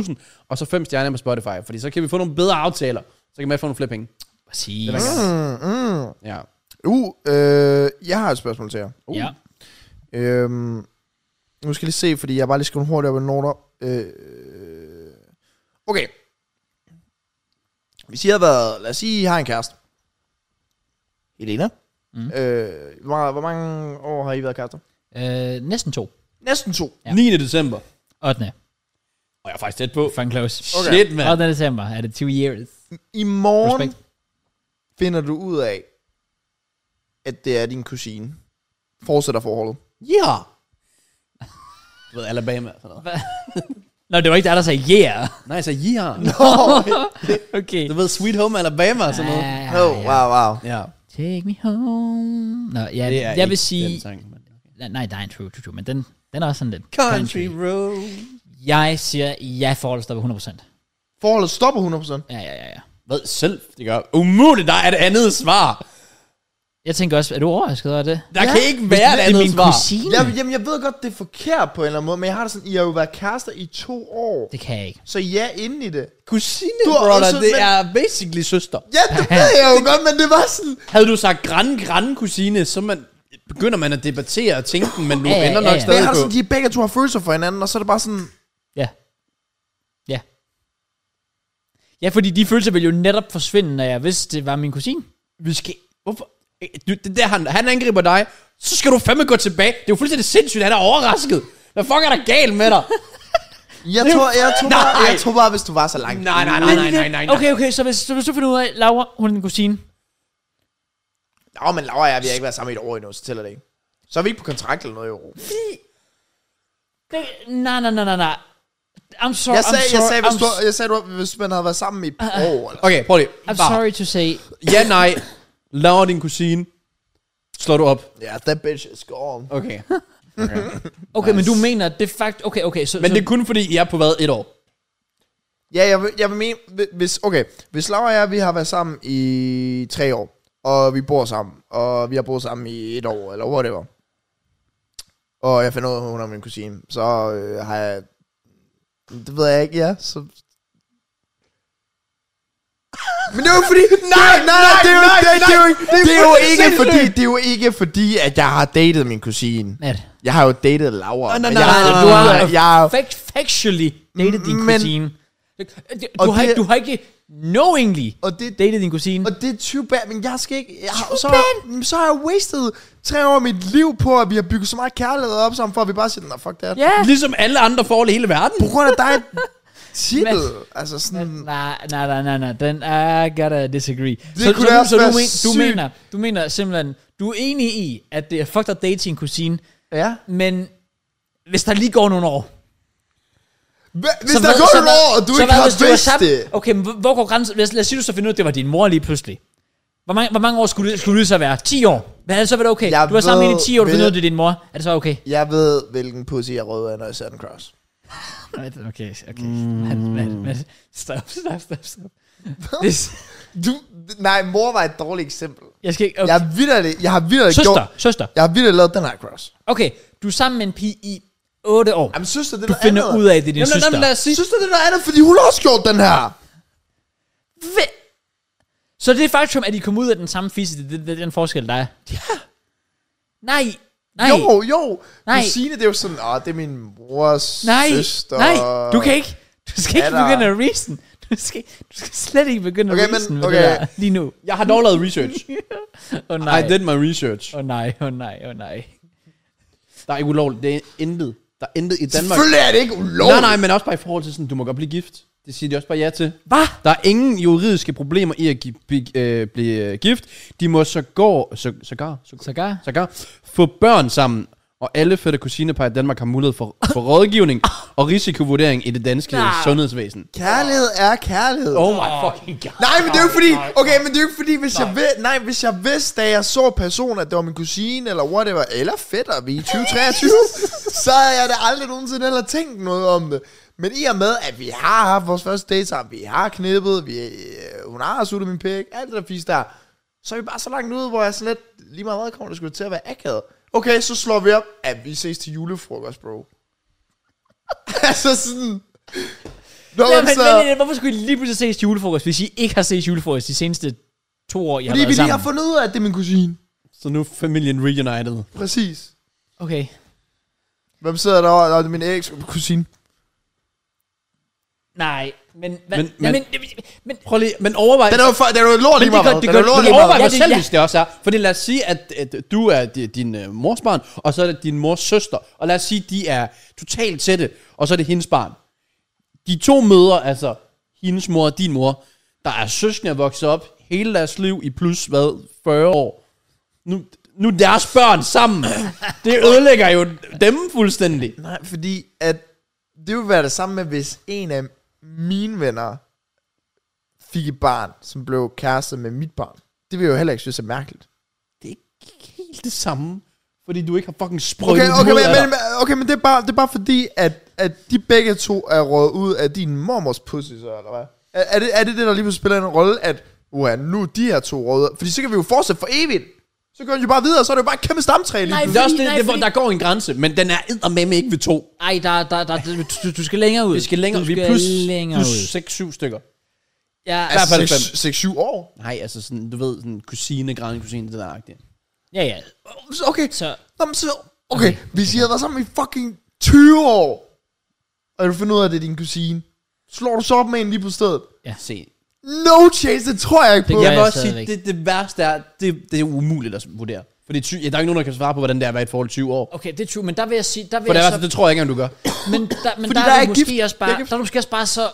Speaker 3: 25.000, og så 5 stjerner på Spotify, fordi så kan vi få nogle bedre aftaler. Så kan man få nogle flere penge.
Speaker 1: Præcis.
Speaker 3: Det er der
Speaker 2: Mm, mm.
Speaker 3: Ja.
Speaker 2: Uh, øh, jeg har et spørgsmål til jer.
Speaker 3: Uh.
Speaker 1: Ja.
Speaker 2: Øhm, nu skal jeg lige se, fordi jeg har bare lige skrevet hurtigt op i noter. Øh, okay. Hvis I har været... Lad os sige, I har en kæreste. Helena.
Speaker 1: Mm.
Speaker 2: Mm. Øh, hvor, hvor mange år har I været kærester?
Speaker 1: Øh, næsten to.
Speaker 2: Næsten to.
Speaker 1: Ja.
Speaker 3: 9. december.
Speaker 1: 8.
Speaker 3: Og jeg er faktisk tæt på.
Speaker 1: Fucking close.
Speaker 2: Okay.
Speaker 3: Shit, mand.
Speaker 1: 8. december er det two years.
Speaker 2: I morgen
Speaker 1: Respekt.
Speaker 2: Respekt. finder du ud af, at det er din kusine. Fortsætter forholdet.
Speaker 3: Ja. Du ved, Alabama og sådan noget.
Speaker 1: Nå, det var ikke der, der sagde yeah.
Speaker 3: Nej, jeg sagde ja.
Speaker 1: okay.
Speaker 3: Du ved, Sweet Home Alabama og sådan noget.
Speaker 1: Ah,
Speaker 2: Oh,
Speaker 1: ja.
Speaker 2: wow, wow.
Speaker 3: Ja.
Speaker 1: Take me home. Nå, ja,
Speaker 3: Det er
Speaker 1: jeg
Speaker 3: ikke
Speaker 1: vil sige...
Speaker 3: Den sang, men...
Speaker 1: Nej, nej, der er en true, true, true, men den, den er også sådan lidt...
Speaker 3: Country Road.
Speaker 1: Jeg siger, ja, forholdet stopper 100%.
Speaker 2: Forholdet stopper 100%.
Speaker 1: Ja, ja, ja, ja.
Speaker 3: Hvad selv? Det gør umuligt, der er et andet svar.
Speaker 1: Jeg tænker også, er du overrasket over det?
Speaker 3: Der kan ikke være et
Speaker 1: det er
Speaker 3: andet
Speaker 1: min
Speaker 3: svar.
Speaker 1: kusine.
Speaker 2: Jeg, jamen, jeg ved godt, det er forkert på en eller anden måde, men jeg har det sådan, I har jo været kærester i to år.
Speaker 1: Det kan jeg ikke.
Speaker 2: Så ja, inde i det.
Speaker 3: Kusine,
Speaker 2: Du er
Speaker 3: brother,
Speaker 2: også-
Speaker 3: det
Speaker 2: men-
Speaker 3: er basically søster.
Speaker 2: Ja, det ved jeg [LAUGHS] jo godt, men det var sådan...
Speaker 3: Havde du sagt græn, græn, kusine, så man, begynder man at debattere og tænke den, men du
Speaker 1: Ja, ja,
Speaker 3: ender
Speaker 1: ja,
Speaker 3: nok
Speaker 1: ja.
Speaker 2: Men jeg
Speaker 3: stadig
Speaker 2: har det
Speaker 3: på.
Speaker 2: sådan, de begge to har følelser for hinanden, og så er det bare sådan...
Speaker 1: Ja. Ja. Ja, fordi de følelser ville jo netop forsvinde, når jeg vidste, det var min kusine.
Speaker 3: Vi skal... Hvorfor? Øh, Du, det der, han, han angriber dig, så skal du fandme gå tilbage. Det er jo fuldstændig sindssygt, han er overrasket. Hvad fuck er der galt med dig?
Speaker 2: Jeg tror, jeg tror, bare,
Speaker 3: Nej.
Speaker 2: jeg tror bare, hvis du var så langt.
Speaker 3: nej, nej, nej, nej, nej, nej. nej.
Speaker 1: Okay, okay, så hvis, så hvis du finder ud af, Laura, hun er din kusine.
Speaker 2: Nå, men Laura og jeg, vi har ikke været sammen i et år endnu, så tæller det ikke. Så er vi ikke på kontrakt eller noget i år.
Speaker 1: Det, nej, nej, nej, nej, nej. I'm sorry,
Speaker 2: Jeg sagde,
Speaker 1: I'm sorry,
Speaker 2: jeg sagde, hvis,
Speaker 1: I'm,
Speaker 2: du,
Speaker 1: s-
Speaker 2: jeg sagde, du- hvis man havde været sammen i et år. Eller.
Speaker 3: Okay, prøv lige.
Speaker 1: I'm
Speaker 3: Bare.
Speaker 1: sorry to say.
Speaker 3: Ja, nej. Laver din kusine. Slår du op.
Speaker 2: Ja, yeah, that bitch is gone.
Speaker 3: Okay.
Speaker 1: Okay, men du mener, det er fakt... Okay, okay, så...
Speaker 3: Men
Speaker 1: så,
Speaker 3: det er kun fordi, I er på hvad? Et år.
Speaker 2: Ja, jeg vil, jeg vil mene, hvi- hvis, okay, hvis Laura og jeg, vi har været sammen i tre år, og vi bor sammen, og vi har boet sammen i et år, eller whatever, og jeg finder ud af, at hun er min kusine, så øh, har jeg, det ved jeg ikke, ja, så... Men det er jo fordi, nej, nej, nej, det er jo, det, det er jo, ikke- det er jo ikke fordi, det er jo ikke fordi, at jeg har datet min kusine.
Speaker 1: Matt,
Speaker 2: Jeg har jo datet Laura.
Speaker 3: Nej, nej,
Speaker 2: men
Speaker 3: nej,
Speaker 2: jeg-
Speaker 3: nej, nej,
Speaker 2: du
Speaker 3: nej,
Speaker 2: ved,
Speaker 1: nej.
Speaker 2: Jeg,
Speaker 1: fact, factually dated din
Speaker 2: Men-
Speaker 1: kusine. Du, du,
Speaker 2: Og
Speaker 1: har
Speaker 2: det-
Speaker 1: ikke, du har ikke knowingly
Speaker 2: Og det,
Speaker 1: datet din kusine.
Speaker 2: og det er too bad, men jeg skal ikke... Jeg,
Speaker 1: Too
Speaker 2: så, bad. så har jeg wasted tre år af mit liv på, at vi har bygget så meget kærlighed op sammen, for at vi bare siger, nej, fuck det.
Speaker 1: Ja.
Speaker 3: Ligesom alle andre forhold i hele verden.
Speaker 2: På grund af
Speaker 1: [LAUGHS]
Speaker 2: dig, titel.
Speaker 1: Men-
Speaker 2: altså sådan...
Speaker 1: Nej, nej, nej, nej, nej. Den I gotta disagree. Det
Speaker 2: kunne da
Speaker 1: du-
Speaker 2: også
Speaker 1: så du,
Speaker 2: være
Speaker 1: men, du,
Speaker 2: sygt.
Speaker 1: mener, du mener simpelthen, du er enig i, at det er fucked at date sin kusine,
Speaker 2: ja.
Speaker 1: men hvis der lige går nogle år,
Speaker 2: Hva- Hvis
Speaker 1: Så
Speaker 2: der
Speaker 1: hvad-
Speaker 2: går
Speaker 1: så
Speaker 2: et
Speaker 1: hvad-
Speaker 2: år, og du
Speaker 1: så
Speaker 2: ikke
Speaker 1: hvad,
Speaker 2: har
Speaker 1: hvis du var
Speaker 2: vidst
Speaker 1: sammen-
Speaker 2: det...
Speaker 1: Okay, men hvor- hvor går grænsen? Lad os, lad os sige, du så finder ud af, at det var din mor lige pludselig. Hvor mange, hvor mange år skulle, det- skulle det så være? 10 år? Hvad er det så været okay?
Speaker 2: Jeg
Speaker 1: du var sammen med
Speaker 2: ved-
Speaker 1: hende i 10 år, du
Speaker 2: ved-
Speaker 1: finder ud af, det er din mor. Er det så okay?
Speaker 2: Jeg ved, hvilken pussy jeg rød af, når jeg ser den cross.
Speaker 1: Okay, okay.
Speaker 2: Mm.
Speaker 1: Men, men, men, stop, stop, stop, stop. Det,
Speaker 2: Du, nej, mor var et dårligt eksempel. Okay.
Speaker 1: jeg skal ikke... Okay.
Speaker 2: Jeg, har vidderligt, jeg har vidderligt
Speaker 1: Søster,
Speaker 2: gjort...
Speaker 1: søster.
Speaker 2: Jeg har vidderligt lavet den her cross.
Speaker 1: Okay, du er sammen med en pige i 8 år.
Speaker 2: Jamen, søster, det er
Speaker 1: Du
Speaker 2: noget
Speaker 1: finder
Speaker 2: andet.
Speaker 1: ud af, at det er din
Speaker 3: Jamen, lad,
Speaker 1: søster.
Speaker 3: lad, lad os sige,
Speaker 2: Søster, det er noget andet, fordi hun har også gjort den her.
Speaker 1: Ve- Så det er faktum, at I kom ud af den samme fisse, det, det, det er den forskel, der er. Ja. Nej, nej.
Speaker 2: Jo, jo.
Speaker 1: Nej.
Speaker 2: Nej. Kusine, det er jo sådan, åh, det er min mors
Speaker 1: Nej,
Speaker 2: søster.
Speaker 1: nej, du kan ikke, du skal ikke
Speaker 2: Datter.
Speaker 1: begynde at reason. Du skal, du skal slet ikke begynde
Speaker 2: Okay,
Speaker 1: at
Speaker 2: men-
Speaker 1: reason med
Speaker 2: okay.
Speaker 1: det der lige nu.
Speaker 3: jeg har dog lavet
Speaker 2: [LAUGHS]
Speaker 3: research.
Speaker 1: Åh oh,
Speaker 3: I
Speaker 1: nej, åh
Speaker 3: did my research.
Speaker 1: oh, nej, åh oh, nej, åh oh, nej.
Speaker 3: Der er ikke ulovligt. Det er intet. Der er intet i Danmark.
Speaker 2: Selvfølgelig er det ikke ulovligt.
Speaker 3: Nej, nej, men også bare i forhold til sådan, du må godt blive gift. Det siger de også bare ja til.
Speaker 1: Hvad?
Speaker 3: Der er ingen juridiske problemer i at gi- bi- øh, blive øh, gift. De må så gå, så, sågar, så,
Speaker 1: Sågar?
Speaker 3: sågar få børn sammen. Og alle fætter kusinepar i Danmark har mulighed for, for rådgivning og risikovurdering i det danske
Speaker 1: Nej.
Speaker 3: sundhedsvæsen.
Speaker 2: Kærlighed er kærlighed.
Speaker 3: Oh my fucking god.
Speaker 2: Nej, men det er jo fordi, okay, men det er jo fordi, hvis jeg, ved, nej, hvis jeg vidste, da jeg så personen, at det var min kusine, eller whatever, eller fætter, vi er i 2023, [LAUGHS] så havde jeg da aldrig nogensinde heller tænkt noget om det. Men i og med, at vi har haft vores første date sammen, vi har knippet, vi, øh, hun har suttet min pik, alt det der fisk der, så er vi bare så langt ude, hvor jeg sådan lidt, lige meget hvad kommer det skulle til at være akavet. Okay, så slår vi op, at vi ses til julefrokost, bro. [LAUGHS] altså sådan... Nå, altså,
Speaker 1: Ja,
Speaker 2: men,
Speaker 1: men,
Speaker 2: så,
Speaker 1: men, men, hvorfor skulle I lige pludselig ses til julefrokost, hvis I ikke har ses til julefrokost de seneste to år, I har
Speaker 2: fordi vi
Speaker 1: været
Speaker 2: lige
Speaker 1: sammen?
Speaker 2: har fundet ud af, at det er min kusine.
Speaker 3: Så nu er familien reunited.
Speaker 2: Præcis.
Speaker 1: Okay.
Speaker 2: Hvem sidder derovre? Nå, det er min eks kusine.
Speaker 1: Nej, men... Hvad,
Speaker 3: Men-
Speaker 1: men, men,
Speaker 3: men-
Speaker 1: men, men,
Speaker 3: Prøv lige, men overvej.
Speaker 2: Den er jo, for, den er jo lort
Speaker 3: Men
Speaker 2: lige
Speaker 3: det
Speaker 2: meget.
Speaker 3: gør,
Speaker 2: hvad?
Speaker 3: det
Speaker 2: Den
Speaker 3: gør,
Speaker 2: er jo lort
Speaker 3: det
Speaker 2: lige
Speaker 1: gør-
Speaker 2: meget.
Speaker 3: overvej,
Speaker 1: Ja,
Speaker 3: hvor
Speaker 1: det-
Speaker 3: selvisk
Speaker 1: ja.
Speaker 3: det også er. Fordi lad os sige, at, at du er di- din øh, mors barn, og så er det din mors søster. Og lad os sige, de er totalt tætte, og så er det hendes barn. De to mødre, altså hendes mor og din mor, der er søskende er vokset op hele deres liv i plus, hvad, 40 år. Nu, nu er deres børn sammen. Det ødelægger jo dem fuldstændig.
Speaker 2: Nej, fordi at det ville være det samme med, hvis en af mine venner fik et barn, som blev kærester med mit barn. Det vil jeg jo heller ikke synes er mærkeligt.
Speaker 3: Det er ikke helt det samme, fordi du ikke har fucking sprøjtet
Speaker 2: Okay, okay,
Speaker 3: ud
Speaker 2: men,
Speaker 3: af dig.
Speaker 2: men, okay, men det, er bare, det er bare fordi, at, at de begge to er røget ud af din mormors pussy, så, eller hvad? Er, er, det, er det det, der lige pludselig spiller en rolle, at uha, nu er de her to røde? Fordi så kan vi jo fortsætte for evigt. Så går de jo bare videre, så er det jo bare et kæmpe stamtræ lige
Speaker 1: Nej,
Speaker 3: Det er også det,
Speaker 1: Fordi- nej,
Speaker 3: det, hvor
Speaker 1: fordi-
Speaker 3: der går en grænse, men den er med ikke ved to.
Speaker 1: ej, der, der, der, du, du skal længere ud.
Speaker 3: Vi skal længere,
Speaker 1: du
Speaker 3: vi
Speaker 1: skal
Speaker 3: er plus,
Speaker 1: længere
Speaker 3: plus
Speaker 1: ud.
Speaker 3: 6-7 stykker.
Speaker 1: Ja,
Speaker 3: hvert fald
Speaker 2: Altså,
Speaker 3: fem.
Speaker 2: 6-7 år?
Speaker 3: Nej, altså sådan, du ved, sådan kusine, græn, kusine, det der agtige.
Speaker 1: ja, ja.
Speaker 2: Så Okay,
Speaker 1: Så
Speaker 2: Nå, men så, okay, okay, hvis I havde været sammen i fucking 20 år, og du finder ud af, at det er din kusine, slår du så op med en lige på stedet?
Speaker 3: Se.
Speaker 2: No chance, det tror jeg ikke
Speaker 1: Det
Speaker 2: på.
Speaker 1: gør
Speaker 3: Jeg vil
Speaker 1: jeg
Speaker 3: også sige,
Speaker 1: stadigvæk.
Speaker 3: det, det værste er, det, det er umuligt at vurdere. Fordi ty, ja, der er ikke nogen, der kan svare på, hvordan det er at være i et forhold i 20 år.
Speaker 1: Okay, det er true, men der vil jeg sige, der vil
Speaker 3: For det, er,
Speaker 1: jeg
Speaker 3: altså,
Speaker 1: så,
Speaker 3: det tror jeg ikke engang, du gør.
Speaker 2: [COUGHS]
Speaker 1: men der, men
Speaker 2: Fordi
Speaker 1: der,
Speaker 2: der
Speaker 1: er
Speaker 2: er
Speaker 1: du måske
Speaker 2: gift.
Speaker 1: også
Speaker 2: Der
Speaker 1: bare,
Speaker 2: er gift.
Speaker 1: der er du måske også bare så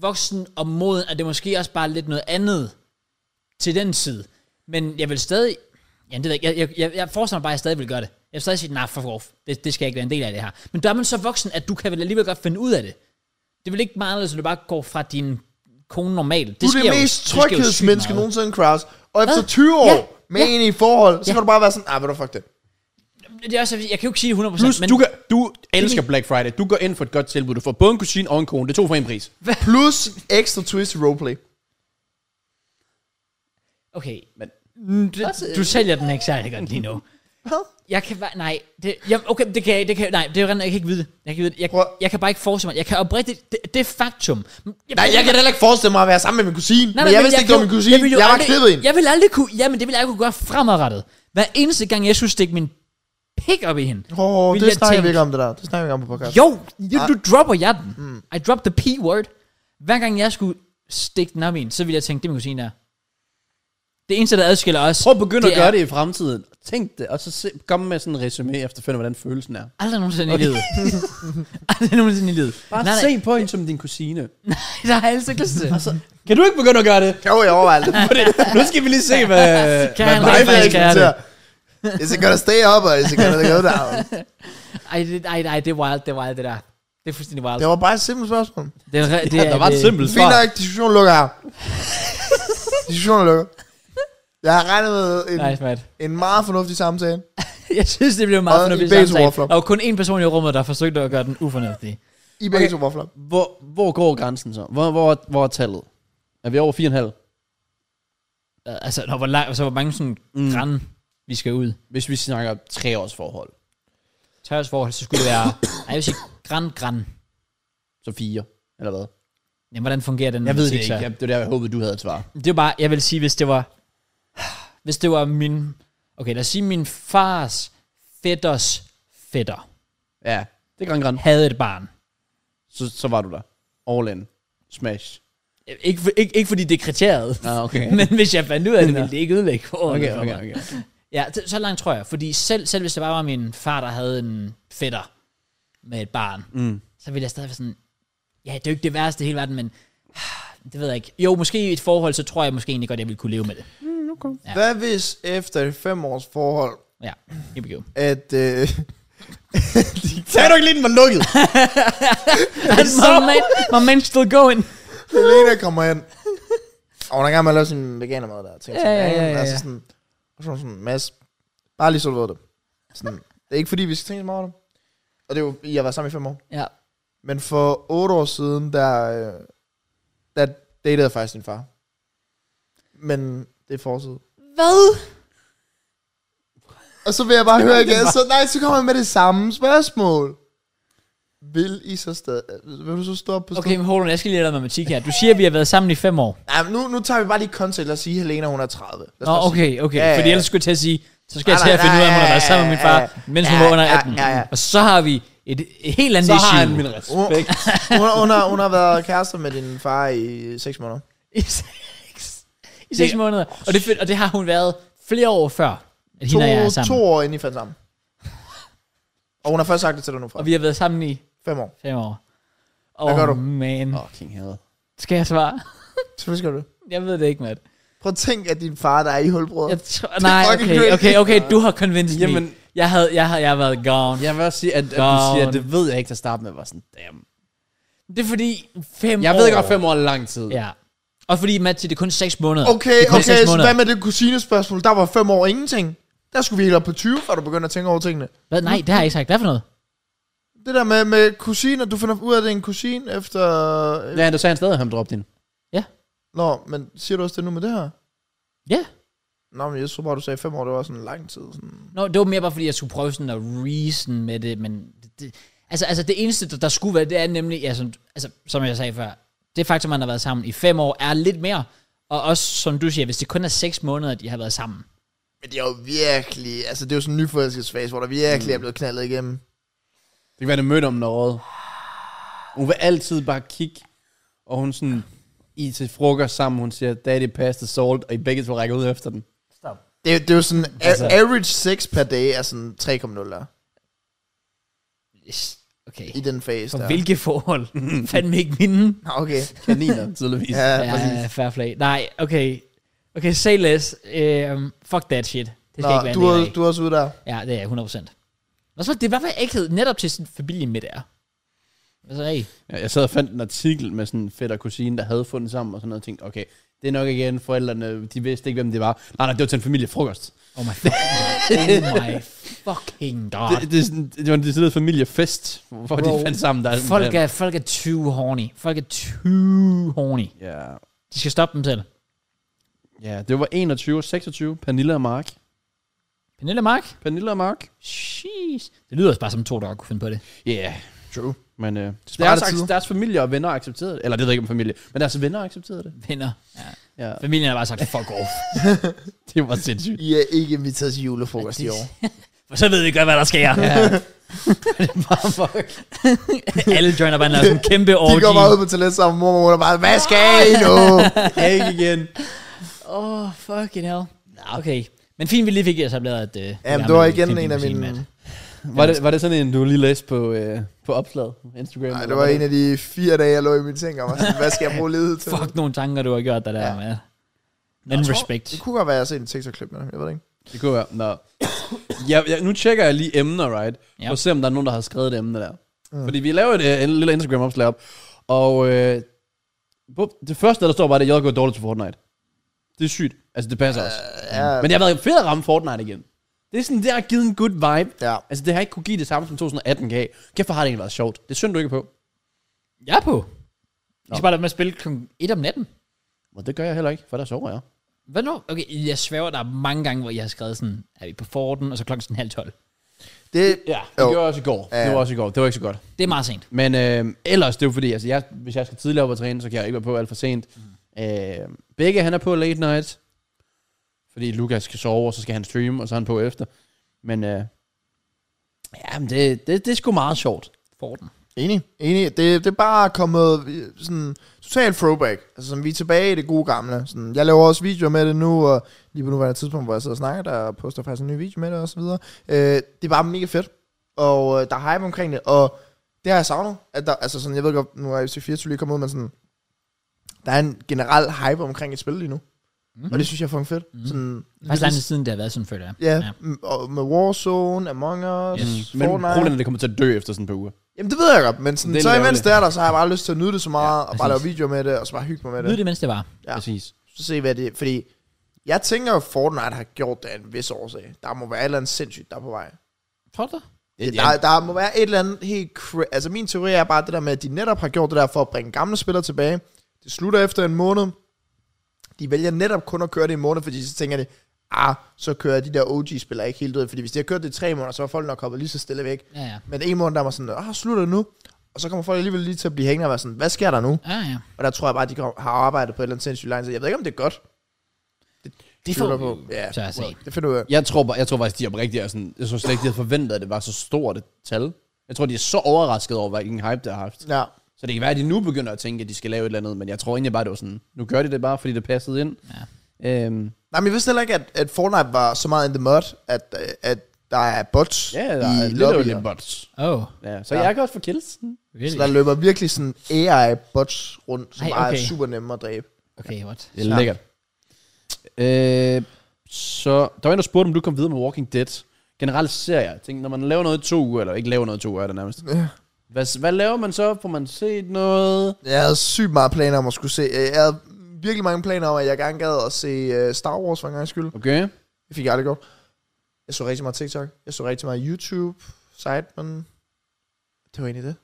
Speaker 1: voksen og moden, at det måske også bare er lidt noget andet til den side. Men jeg vil stadig, ja, det ved jeg, ikke. jeg, jeg, jeg, jeg forestiller mig bare, at jeg stadig vil gøre det. Jeg vil stadig sige, nej, for off. Det, det skal ikke være en del af det her. Men der er man så voksen, at du kan vel alligevel godt finde ud af det. Det vil ikke meget anderledes, at du bare går fra din kone normalt.
Speaker 2: Du
Speaker 1: Det
Speaker 2: er det mest tryghedsmenneske
Speaker 1: nogensinde.
Speaker 2: nogensinde, Kraus. Og efter
Speaker 1: Hvad?
Speaker 2: 20 år
Speaker 1: Ja.
Speaker 2: med
Speaker 1: Ja.
Speaker 2: en i et forhold, så
Speaker 1: Ja.
Speaker 2: kan du bare være sådan, ah, ved du, fuck det.
Speaker 1: Det er også, jeg kan jo ikke sige 100%,
Speaker 3: Plus,
Speaker 1: men
Speaker 3: du, kan, du elsker Black Friday. Du går ind for et godt tilbud. Du får både en kusine og en kone. Det er to for en pris.
Speaker 2: Plus ekstra twist i roleplay.
Speaker 1: okay,
Speaker 3: Men
Speaker 1: Du, du sælger den ikke særlig godt lige nu.
Speaker 2: Hvad?
Speaker 1: Jeg kan bare, nej, det, jeg, okay, det kan jeg, det kan, nej, det er jo rent, jeg kan ikke vide det. Jeg kan, ikke vide det.
Speaker 2: Prøv.
Speaker 1: jeg, jeg kan bare ikke forestille mig, jeg kan oprigtigt, det, det er faktum. Jeg,
Speaker 2: Nej, jeg kan heller ikke forestille mig at være sammen med min kusine. Nej, men jeg vidste ikke, det var min kusine. Jeg,
Speaker 1: vil jo
Speaker 2: jeg var
Speaker 1: aldrig-
Speaker 2: klippet ind.
Speaker 1: Jeg vil aldrig kunne, ja, men det vil jeg ikke kunne gøre fremadrettet. Hver eneste gang, jeg skulle stikke min pik op i hende.
Speaker 2: Åh,
Speaker 1: vil
Speaker 2: det
Speaker 1: jeg
Speaker 2: snakker vi
Speaker 1: tænke-
Speaker 2: ikke om det der. Det snakker vi ikke om på podcast. Mm.
Speaker 1: Jo, du, du dropper jeg den. I dropped the p-word. Hver gang jeg skulle stikke den op i en, så ville jeg tænke, det er min kusine der. Det eneste, der adskiller os,
Speaker 3: Prøv at begynde
Speaker 1: det
Speaker 3: at gøre
Speaker 1: er
Speaker 3: det i fremtiden. Tænk det, og så se, kom med sådan en resume efterfølgende, hvordan følelsen er.
Speaker 1: aldrig nogensinde i livet. [LAUGHS] aldrig nogensinde i livet.
Speaker 3: Bare
Speaker 1: nej,
Speaker 3: se på hende som din kusine.
Speaker 1: nej, der har jeg altså ikke lyst til.
Speaker 3: Altså, kan du ikke begynde at gøre det?
Speaker 2: Jo, jeg overvejer det.
Speaker 3: Fordi, nu skal vi lige se, hvad... [LAUGHS]
Speaker 1: Kan
Speaker 3: hvad
Speaker 1: han
Speaker 3: viben
Speaker 2: Nej,
Speaker 1: rent
Speaker 2: jeg
Speaker 1: faktisk
Speaker 2: ikke
Speaker 1: gøre det?
Speaker 2: Is it gonna stay up, or is it gonna go down?
Speaker 1: Ej, det, ej, ej, det er wild, det er wild, det der. Det er fuldstændig wild.
Speaker 2: Det var bare et simpelt spørgsmål.
Speaker 1: Det, er, re- det,
Speaker 3: [LAUGHS] Ja,
Speaker 1: er-
Speaker 3: der var et
Speaker 1: det-
Speaker 3: simpelt
Speaker 2: Fint
Speaker 3: svar.
Speaker 2: nok, diskussionen lukker her. diskussionen lukker. Jeg har regnet med en,
Speaker 1: Nice, Matt. [LAUGHS]
Speaker 2: en meget fornuftig samtale.
Speaker 1: Jeg synes, det blev
Speaker 2: Og
Speaker 1: meget
Speaker 2: I
Speaker 1: fornuftigt
Speaker 2: begge to
Speaker 1: samtale.
Speaker 2: waffler.
Speaker 1: Der var kun én person i rummet, der forsøgte at gøre den ufornuftig.
Speaker 2: I begge
Speaker 3: Okay.
Speaker 2: to vafler.
Speaker 3: Hvor, hvor går grænsen så? Hvor, hvor, hvor er tallet? Er vi over 4,5?
Speaker 1: Øh, Altså, når, hvor, lang, så hvor mange sådan mm. græn, vi skal ud.
Speaker 3: Hvis vi snakker tre års forhold,
Speaker 1: Tørresforhold, så skulle det være... Nej, jeg vil sige græn, græn.
Speaker 3: så fire, eller hvad?
Speaker 1: Jamen, hvordan fungerer den?
Speaker 3: Jeg ved Mm, det
Speaker 1: matematik
Speaker 3: ikke.
Speaker 1: så?
Speaker 3: Jeg, det var der, jeg håbede, du havde et svar.
Speaker 1: Det er bare, jeg vil sige, hvis det var... Hvis det var min... Okay, lad os sige, min fars fætters fætter
Speaker 3: Ja, det er græn, græn.
Speaker 1: havde et barn.
Speaker 3: Så, så var du der. All in. Smash.
Speaker 1: Ikke, for, ikke, ikke fordi det er kriteriet,
Speaker 3: Ah, [LAUGHS] okay.
Speaker 1: [LAUGHS] men hvis jeg fandt ud af det, ville det ikke ødelægge forholdet
Speaker 3: Okay,
Speaker 1: for
Speaker 3: okay,
Speaker 1: mig.
Speaker 3: okay.
Speaker 1: Ja, t- så langt tror jeg. Fordi selv, selv hvis det bare var min far, der havde en fætter med et barn, mm. så ville jeg stadig være sådan, ja, det er jo ikke det værste i hele verden, men [SIGHS] ah, det ved jeg ikke. Jo, måske i et forhold, så tror jeg måske egentlig godt, jeg ville kunne leve med det. Ja.
Speaker 2: Hvad hvis efter et fem års forhold,
Speaker 1: Ja, here we go.
Speaker 2: at... Øh,
Speaker 3: Sagde du ikke lige, den var lukket?
Speaker 1: And [LAUGHS] my, man, my man's still going.
Speaker 2: [LAUGHS] Helena kommer ind. Og hun er i gang med at lave sin veganermad der. Tænker,
Speaker 1: Ja, ja, ja, ja,
Speaker 2: Altså
Speaker 1: ja.
Speaker 2: sådan, og så er hun sådan, Mads, bare lige så du ved det. Sådan, det er ikke fordi, vi skal tænke så meget over det. Og det er jo, I har været sammen i fem år.
Speaker 1: Ja.
Speaker 2: Men for otte år siden, der, øh, der datede jeg faktisk din far. Men det er forsiden.
Speaker 1: Hvad?
Speaker 2: Og så vil jeg bare høre igen. Så, nej, så kommer jeg med det samme spørgsmål. Vil I så stadig... Vil du så stå op på
Speaker 1: Okay, men hold on, jeg skal lige have noget matematik her. Du siger, at vi har været sammen i fem år.
Speaker 2: Nej, men nu, nu tager vi bare lige kontekst. Lad os sige, at Helena hun er 30. Lad os
Speaker 1: Nå,
Speaker 2: bare sige-
Speaker 1: okay, okay.
Speaker 2: Ja, ja,
Speaker 1: Fordi
Speaker 2: ja.
Speaker 1: ellers skulle jeg til at sige, så skal jeg
Speaker 2: Nej,
Speaker 1: til at
Speaker 2: nej,
Speaker 1: finde ud af, om hun har
Speaker 2: nej,
Speaker 1: været sammen med min
Speaker 2: ja,
Speaker 1: far, mens hun
Speaker 2: ja,
Speaker 1: var under
Speaker 2: ja,
Speaker 1: 18.
Speaker 2: ja, ja.
Speaker 1: Og så har vi et, et helt andet
Speaker 3: Så
Speaker 1: issue.
Speaker 3: har han min respekt.
Speaker 2: hun, har- hun, har, hun har været kærester med din far i 6 måneder.
Speaker 1: [LAUGHS] I seks, i seks måneder. Og det, og det har hun været flere år før, at hende og jeg er
Speaker 2: To,
Speaker 1: sammen.
Speaker 2: to år inden I fandt sammen. Og hun har først sagt det til dig nu fra.
Speaker 1: Og vi har været sammen i
Speaker 2: 5 år.
Speaker 1: fem år.
Speaker 2: Hvad gør du?
Speaker 1: Oh, man.
Speaker 3: Fucking hell.
Speaker 1: Skal jeg svare?
Speaker 2: Selvfølgelig skal du det.
Speaker 1: Jeg ved det ikke, Matt.
Speaker 2: Prøv at tænke, at din far, der er i hulbrød.
Speaker 1: Jeg tror, nej,
Speaker 2: fucking
Speaker 1: okay,
Speaker 2: crazy.
Speaker 1: okay, okay, du har convinced Jamen. me.
Speaker 3: Jamen.
Speaker 1: Jeg havde, jeg havde, jeg havde været gone.
Speaker 3: Jeg vil også sige, at, at du
Speaker 1: Down.
Speaker 3: siger, at det ved jeg ikke til at starte med, var sådan, damn.
Speaker 1: Det er fordi fem
Speaker 3: Jeg
Speaker 1: år.
Speaker 3: ved godt, fem år er lang tid.
Speaker 1: Ja. Og fordi, Matt, det er kun 6 måneder.
Speaker 2: Okay,
Speaker 1: det er kun
Speaker 2: okay,
Speaker 1: seks
Speaker 2: så
Speaker 1: måneder.
Speaker 2: hvad med det kusinespørgsmål? Der var 5 år ingenting. Der skulle vi helt op på 20, før du begyndte at tænke over tingene.
Speaker 1: Hvad? Nej, det har jeg ikke sagt. Hvad for noget?
Speaker 2: Det der med, med kusiner, du finder ud af, at det er en kusin efter... Ja.
Speaker 3: Ja, du sagde han stadig, at han droppede din.
Speaker 2: Nå, men siger du også det nu med det her?
Speaker 1: Ja.
Speaker 2: Nå, men jeg tror bare, du sagde 5 år, det var sådan lang tid. Sådan.
Speaker 1: Nå, det var mere bare, fordi jeg skulle prøve sådan at reason med det, men... Det, det, altså, altså, det eneste, der, der skulle være, det er nemlig, ja, sådan, altså, som jeg sagde før, det faktum, at man har været sammen i fem år, er lidt mere. Og også, som du siger, hvis det kun er seks måneder, de har været sammen.
Speaker 2: Men det er jo virkelig... Altså, det er jo sådan en nyforelskelsesfase, hvor der virkelig er blevet knaldet igennem.
Speaker 3: Det kan være, det mødte om noget. Hun vil altid bare kigge, og hun sådan, i til frokost sammen, hun siger, daddy pasta salt, og I begge to rækker ud efter den.
Speaker 2: Det, er- det er jo sådan... Altså.
Speaker 3: Altså.
Speaker 2: Average sex per day er sådan 3,0 der,
Speaker 1: Yes, Okay.
Speaker 2: i den fase
Speaker 1: For
Speaker 2: der.
Speaker 1: hvilke
Speaker 2: [LAUGHS]
Speaker 1: forhold? Fandme ikke mine.
Speaker 2: Nå, Okay.
Speaker 1: [LAUGHS]
Speaker 3: Kaniner, tydeligvis.
Speaker 2: [LAUGHS] Ja, ja.
Speaker 1: Ja, fair play. Nej, okay. Okay, say less. Um, fuck that shit. Det skal
Speaker 2: Nå,
Speaker 1: Nå, ikke være
Speaker 2: du,
Speaker 1: en del
Speaker 2: er,
Speaker 1: af.
Speaker 2: du er også ude der.
Speaker 1: Ja, det er jeg 100%. Og så det er i hvert fald ægthed netop til sin familie med der. Altså, hey.
Speaker 3: Ja, jeg sad og fandt en artikel med sådan en fætter og kusine, der havde fundet sammen og sådan noget, og tænkte, okay, det er nok igen forældrene, de vidste ikke, hvem det var. Nej, nej, det var til en familiefrokost.
Speaker 1: Oh my fucking god. Oh my fucking god.
Speaker 3: Det, det, er sådan- det var en decideret familiefest, hvor hvor
Speaker 1: Bro,
Speaker 3: de fandt sammen. Der er sådan-
Speaker 1: Folk er, folk er 20 horny. Folk er 20 horny.
Speaker 3: Ja,
Speaker 1: De skal stoppe dem selv.
Speaker 3: ja, det var 21 26, Pernille og Mark.
Speaker 1: Pernille Mark?
Speaker 3: Pernille og Mark?
Speaker 1: Jeez. Det lyder også bare som to, der kunne finde på det.
Speaker 3: Ja. Yeah.
Speaker 2: True.
Speaker 3: Men øh,
Speaker 2: sparer
Speaker 3: deres,
Speaker 2: dig tid.
Speaker 3: ac- deres familie og venner accepterede det. Eller det ved jeg ikke om familie, men deres venner accepterede det.
Speaker 1: Venner. Ja.
Speaker 3: Ja,
Speaker 1: Familien har bare sagt, fuck off.
Speaker 3: [LAUGHS] det var sindssygt.
Speaker 2: I er ikke inviteret til julefrokost i år.
Speaker 1: [LAUGHS] For så ved vi godt, hvad der sker.
Speaker 3: Ja. det er bare fuck.
Speaker 1: Alle joiner bare en sådan en kæmpe orgy.
Speaker 2: De går bare ud på toilet sammen, mor og mor, og bare, hvad skal I nu?
Speaker 3: Ikke igen.
Speaker 1: [LAUGHS] Åh, oh, fucking hell. Nå, Okay. Men fint, vi lige fik etableret, at... Uh,
Speaker 2: Jamen, det var igen en af mine...
Speaker 3: [LAUGHS] Var det, var det sådan en, du lige læste på, øh, på opslaget på
Speaker 2: Nej,
Speaker 3: Instagram? eller
Speaker 2: det var
Speaker 3: hvad?
Speaker 2: en af de fire dage, jeg lå i min seng, og var sådan, hvad skal jeg bruge ledighed til?
Speaker 1: Fuck nogle tanker, du har gjort dig der, ja.
Speaker 2: Ja.
Speaker 1: med. Men
Speaker 2: Jeg tror-
Speaker 1: respekt.
Speaker 2: Det kunne godt være, at jeg har set en TikTok-klip med dem, jeg ved det ikke.
Speaker 3: Det kunne være. Nå. Ja, ja, nu tjekker jeg lige emner, right?
Speaker 1: Ja.
Speaker 3: Ja. For at se, om der er nogen, der har skrevet det emne der. Mm. Fordi vi laver et, øh, en lille Instagram-opslag op. Og øh, bup, det første, der står bare, det er, at jeg går dårligt til Fortnite. Det er sygt. Altså, det passer også.
Speaker 2: Ja,
Speaker 3: Men det har været fedt at ramme Fortnite igen. Det er sådan, det har givet en good vibe.
Speaker 2: ja.
Speaker 3: Altså, det har ikke kunne give det samme, som 2018 gav. Kæft, hvor har det egentlig været sjovt. Det er synd, du ikke er på.
Speaker 1: Jeg er på. Vi skal bare lade med at spille kl. 1 om natten.
Speaker 3: Men det gør jeg heller ikke, for der sover jeg.
Speaker 1: Hvad nu? Okay, jeg sværger, der er mange gange, hvor jeg har skrevet sådan, er vi på Forden, og så klokken sådan halv tolv.
Speaker 2: Det,
Speaker 3: Ja, det
Speaker 2: Jo.
Speaker 3: gjorde jeg også i går.
Speaker 2: Ja.
Speaker 3: Det var også i går. Det var ikke så godt.
Speaker 1: Det er meget sent.
Speaker 3: Men øh, ellers, det er jo fordi, altså, jeg, hvis jeg skal tidligere op og træne, så kan jeg ikke være på alt for sent. Mm. Øh, begge, han er på late night, fordi Lukas skal sove, og så skal han streame, og så er han på efter. Men øh, ja, men det, det, det er sgu meget sjovt.
Speaker 1: Forden.
Speaker 2: Enig, enig. Det, det er bare kommet øh, sådan totalt throwback. Altså, sådan, vi er tilbage i det gode gamle. Sådan, jeg laver også videoer med det nu, og lige på nuværende tidspunkt, hvor jeg sidder og snakker, der poster faktisk en ny video med det og så videre. Øh, det er bare mega fedt, og øh, der er hype omkring det, og det har jeg savnet. At der, altså sådan, jeg ved godt, nu er FC 24 lige kommet ud, men sådan, der er en generel hype omkring et spil lige nu. Mm. Og det synes jeg er fucking fedt. Mm. Sådan,
Speaker 1: Faktisk lang tid siden, det har været sådan, føler jeg.
Speaker 2: Ja, m- og med Warzone, Among Us,
Speaker 1: Yes.
Speaker 2: yes.
Speaker 3: Men
Speaker 2: Fortnite.
Speaker 3: problemet er, det kommer til at dø efter sådan et par uger.
Speaker 2: Jamen det ved jeg godt, men sådan,
Speaker 3: Det er
Speaker 2: så
Speaker 3: lidt
Speaker 2: imens
Speaker 3: ærgerligt.
Speaker 2: det er der, så har jeg bare lyst til at nyde det så meget, ja, og bare lave
Speaker 1: præcis.
Speaker 2: videoer med det, og så bare hygge mig med
Speaker 1: Nyd
Speaker 2: det.
Speaker 1: det, mens det var.
Speaker 3: Ja.
Speaker 2: Ja.
Speaker 3: Præcis.
Speaker 2: Så se hvad det er, fordi jeg tænker, at Fortnite har gjort det af en vis årsag. Der må være et eller andet sindssygt, der er på vej.
Speaker 1: Tror du det?
Speaker 3: Det,
Speaker 2: Der, der må være et eller andet helt... Cra- altså min teori er bare det der med, at de netop har gjort det der for at bringe gamle spillere tilbage. Det slutter efter en måned. De vælger netop kun at køre det i en måned, fordi så tænker de, ah, så kører de der OG-spillere ikke helt ud. Fordi hvis de har kørt det i tre måneder, så er folk nok hoppet lige så stille væk.
Speaker 1: Ja, ja.
Speaker 2: Men en måned, der var sådan, ah, slutter det nu? Og så kommer folk alligevel lige til at blive hængende og være sådan, hvad sker der nu?
Speaker 1: Ja, Ah, ja.
Speaker 2: Og der tror jeg bare, at de kom- har arbejdet på et eller andet sindssygt lang tid. Jeg ved ikke, om det er godt.
Speaker 1: Det
Speaker 2: tvivler jeg på. Ja,
Speaker 1: så at se.
Speaker 2: det finder du ud af.
Speaker 3: Jeg tror, bare- jeg tror faktisk, de er oprigtigt er sådan, jeg tror slet ikke, de havde forventet, at det var så stort et tal. Jeg tror, de er så overrasket over, hvilken hype det har haft.
Speaker 2: Ja.
Speaker 3: Så det kan være, at de nu begynder at tænke, at de skal lave et eller andet, men jeg tror egentlig bare, det var sådan, nu gør de det bare, fordi det passede ind. Ja. Øhm,
Speaker 2: Nej, men jeg vidste heller ikke, at, at Fortnite var så meget in the mud, at, øh, at der er bots
Speaker 3: ja, der er
Speaker 2: i
Speaker 3: literally
Speaker 2: lobbyer.
Speaker 3: bots.
Speaker 1: Oh,
Speaker 3: Ja, så
Speaker 2: Ja.
Speaker 3: ja. jeg kan også få kills.
Speaker 2: Så
Speaker 1: really?
Speaker 2: der løber virkelig sådan AI-bots rundt, som
Speaker 1: Ej,
Speaker 2: Ej, okay. bare
Speaker 1: okay.
Speaker 2: er super nemme at dræbe.
Speaker 1: Okay, what?
Speaker 3: Det er lækkert. Øh, så der var en, der spurgte, om du kom videre med Walking Dead. Generelt ser jeg, tænkte, når man laver noget i to uger, eller ikke laver noget i to uger, er det nærmest. Hvad, hvad laver man så? Får man set noget?
Speaker 2: Jeg havde sygt meget planer om at skulle se... øh, Jeg havde virkelig mange planer om, at jeg gerne gad at se øh, Star Wars for en gang skyld.
Speaker 3: Okay.
Speaker 2: Det fik jeg aldrig godt. Jeg så rigtig meget TikTok. Jeg så rigtig meget YouTube. Sidemen. Det var egentlig det.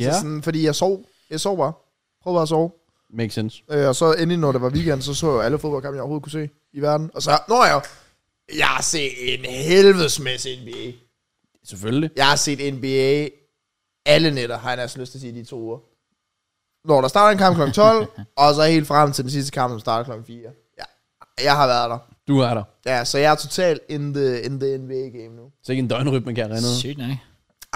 Speaker 3: Ja.
Speaker 2: Altså sådan, fordi jeg sov. Jeg sov bare. Prøv bare at sove.
Speaker 3: Makes sense.
Speaker 2: Øh, og så endelig, når det var weekend, så så jeg jo alle fodboldkampe, jeg overhovedet kunne se i verden. Og så, når jeg, jeg har set en helvedes masse NBA.
Speaker 3: Selvfølgelig.
Speaker 2: Jeg har set NBA alle nætter, har jeg næsten lyst til at sige, de to uger. Når der starter en kamp kl. 12, og så helt frem til den sidste kamp, som starter kl. 4. Ja, jeg har været der.
Speaker 3: Du er der.
Speaker 2: Ja, så jeg er totalt in the, in the NBA-game nu.
Speaker 3: Så ikke en døgnrytme kan jeg rende.
Speaker 1: Sygt nok.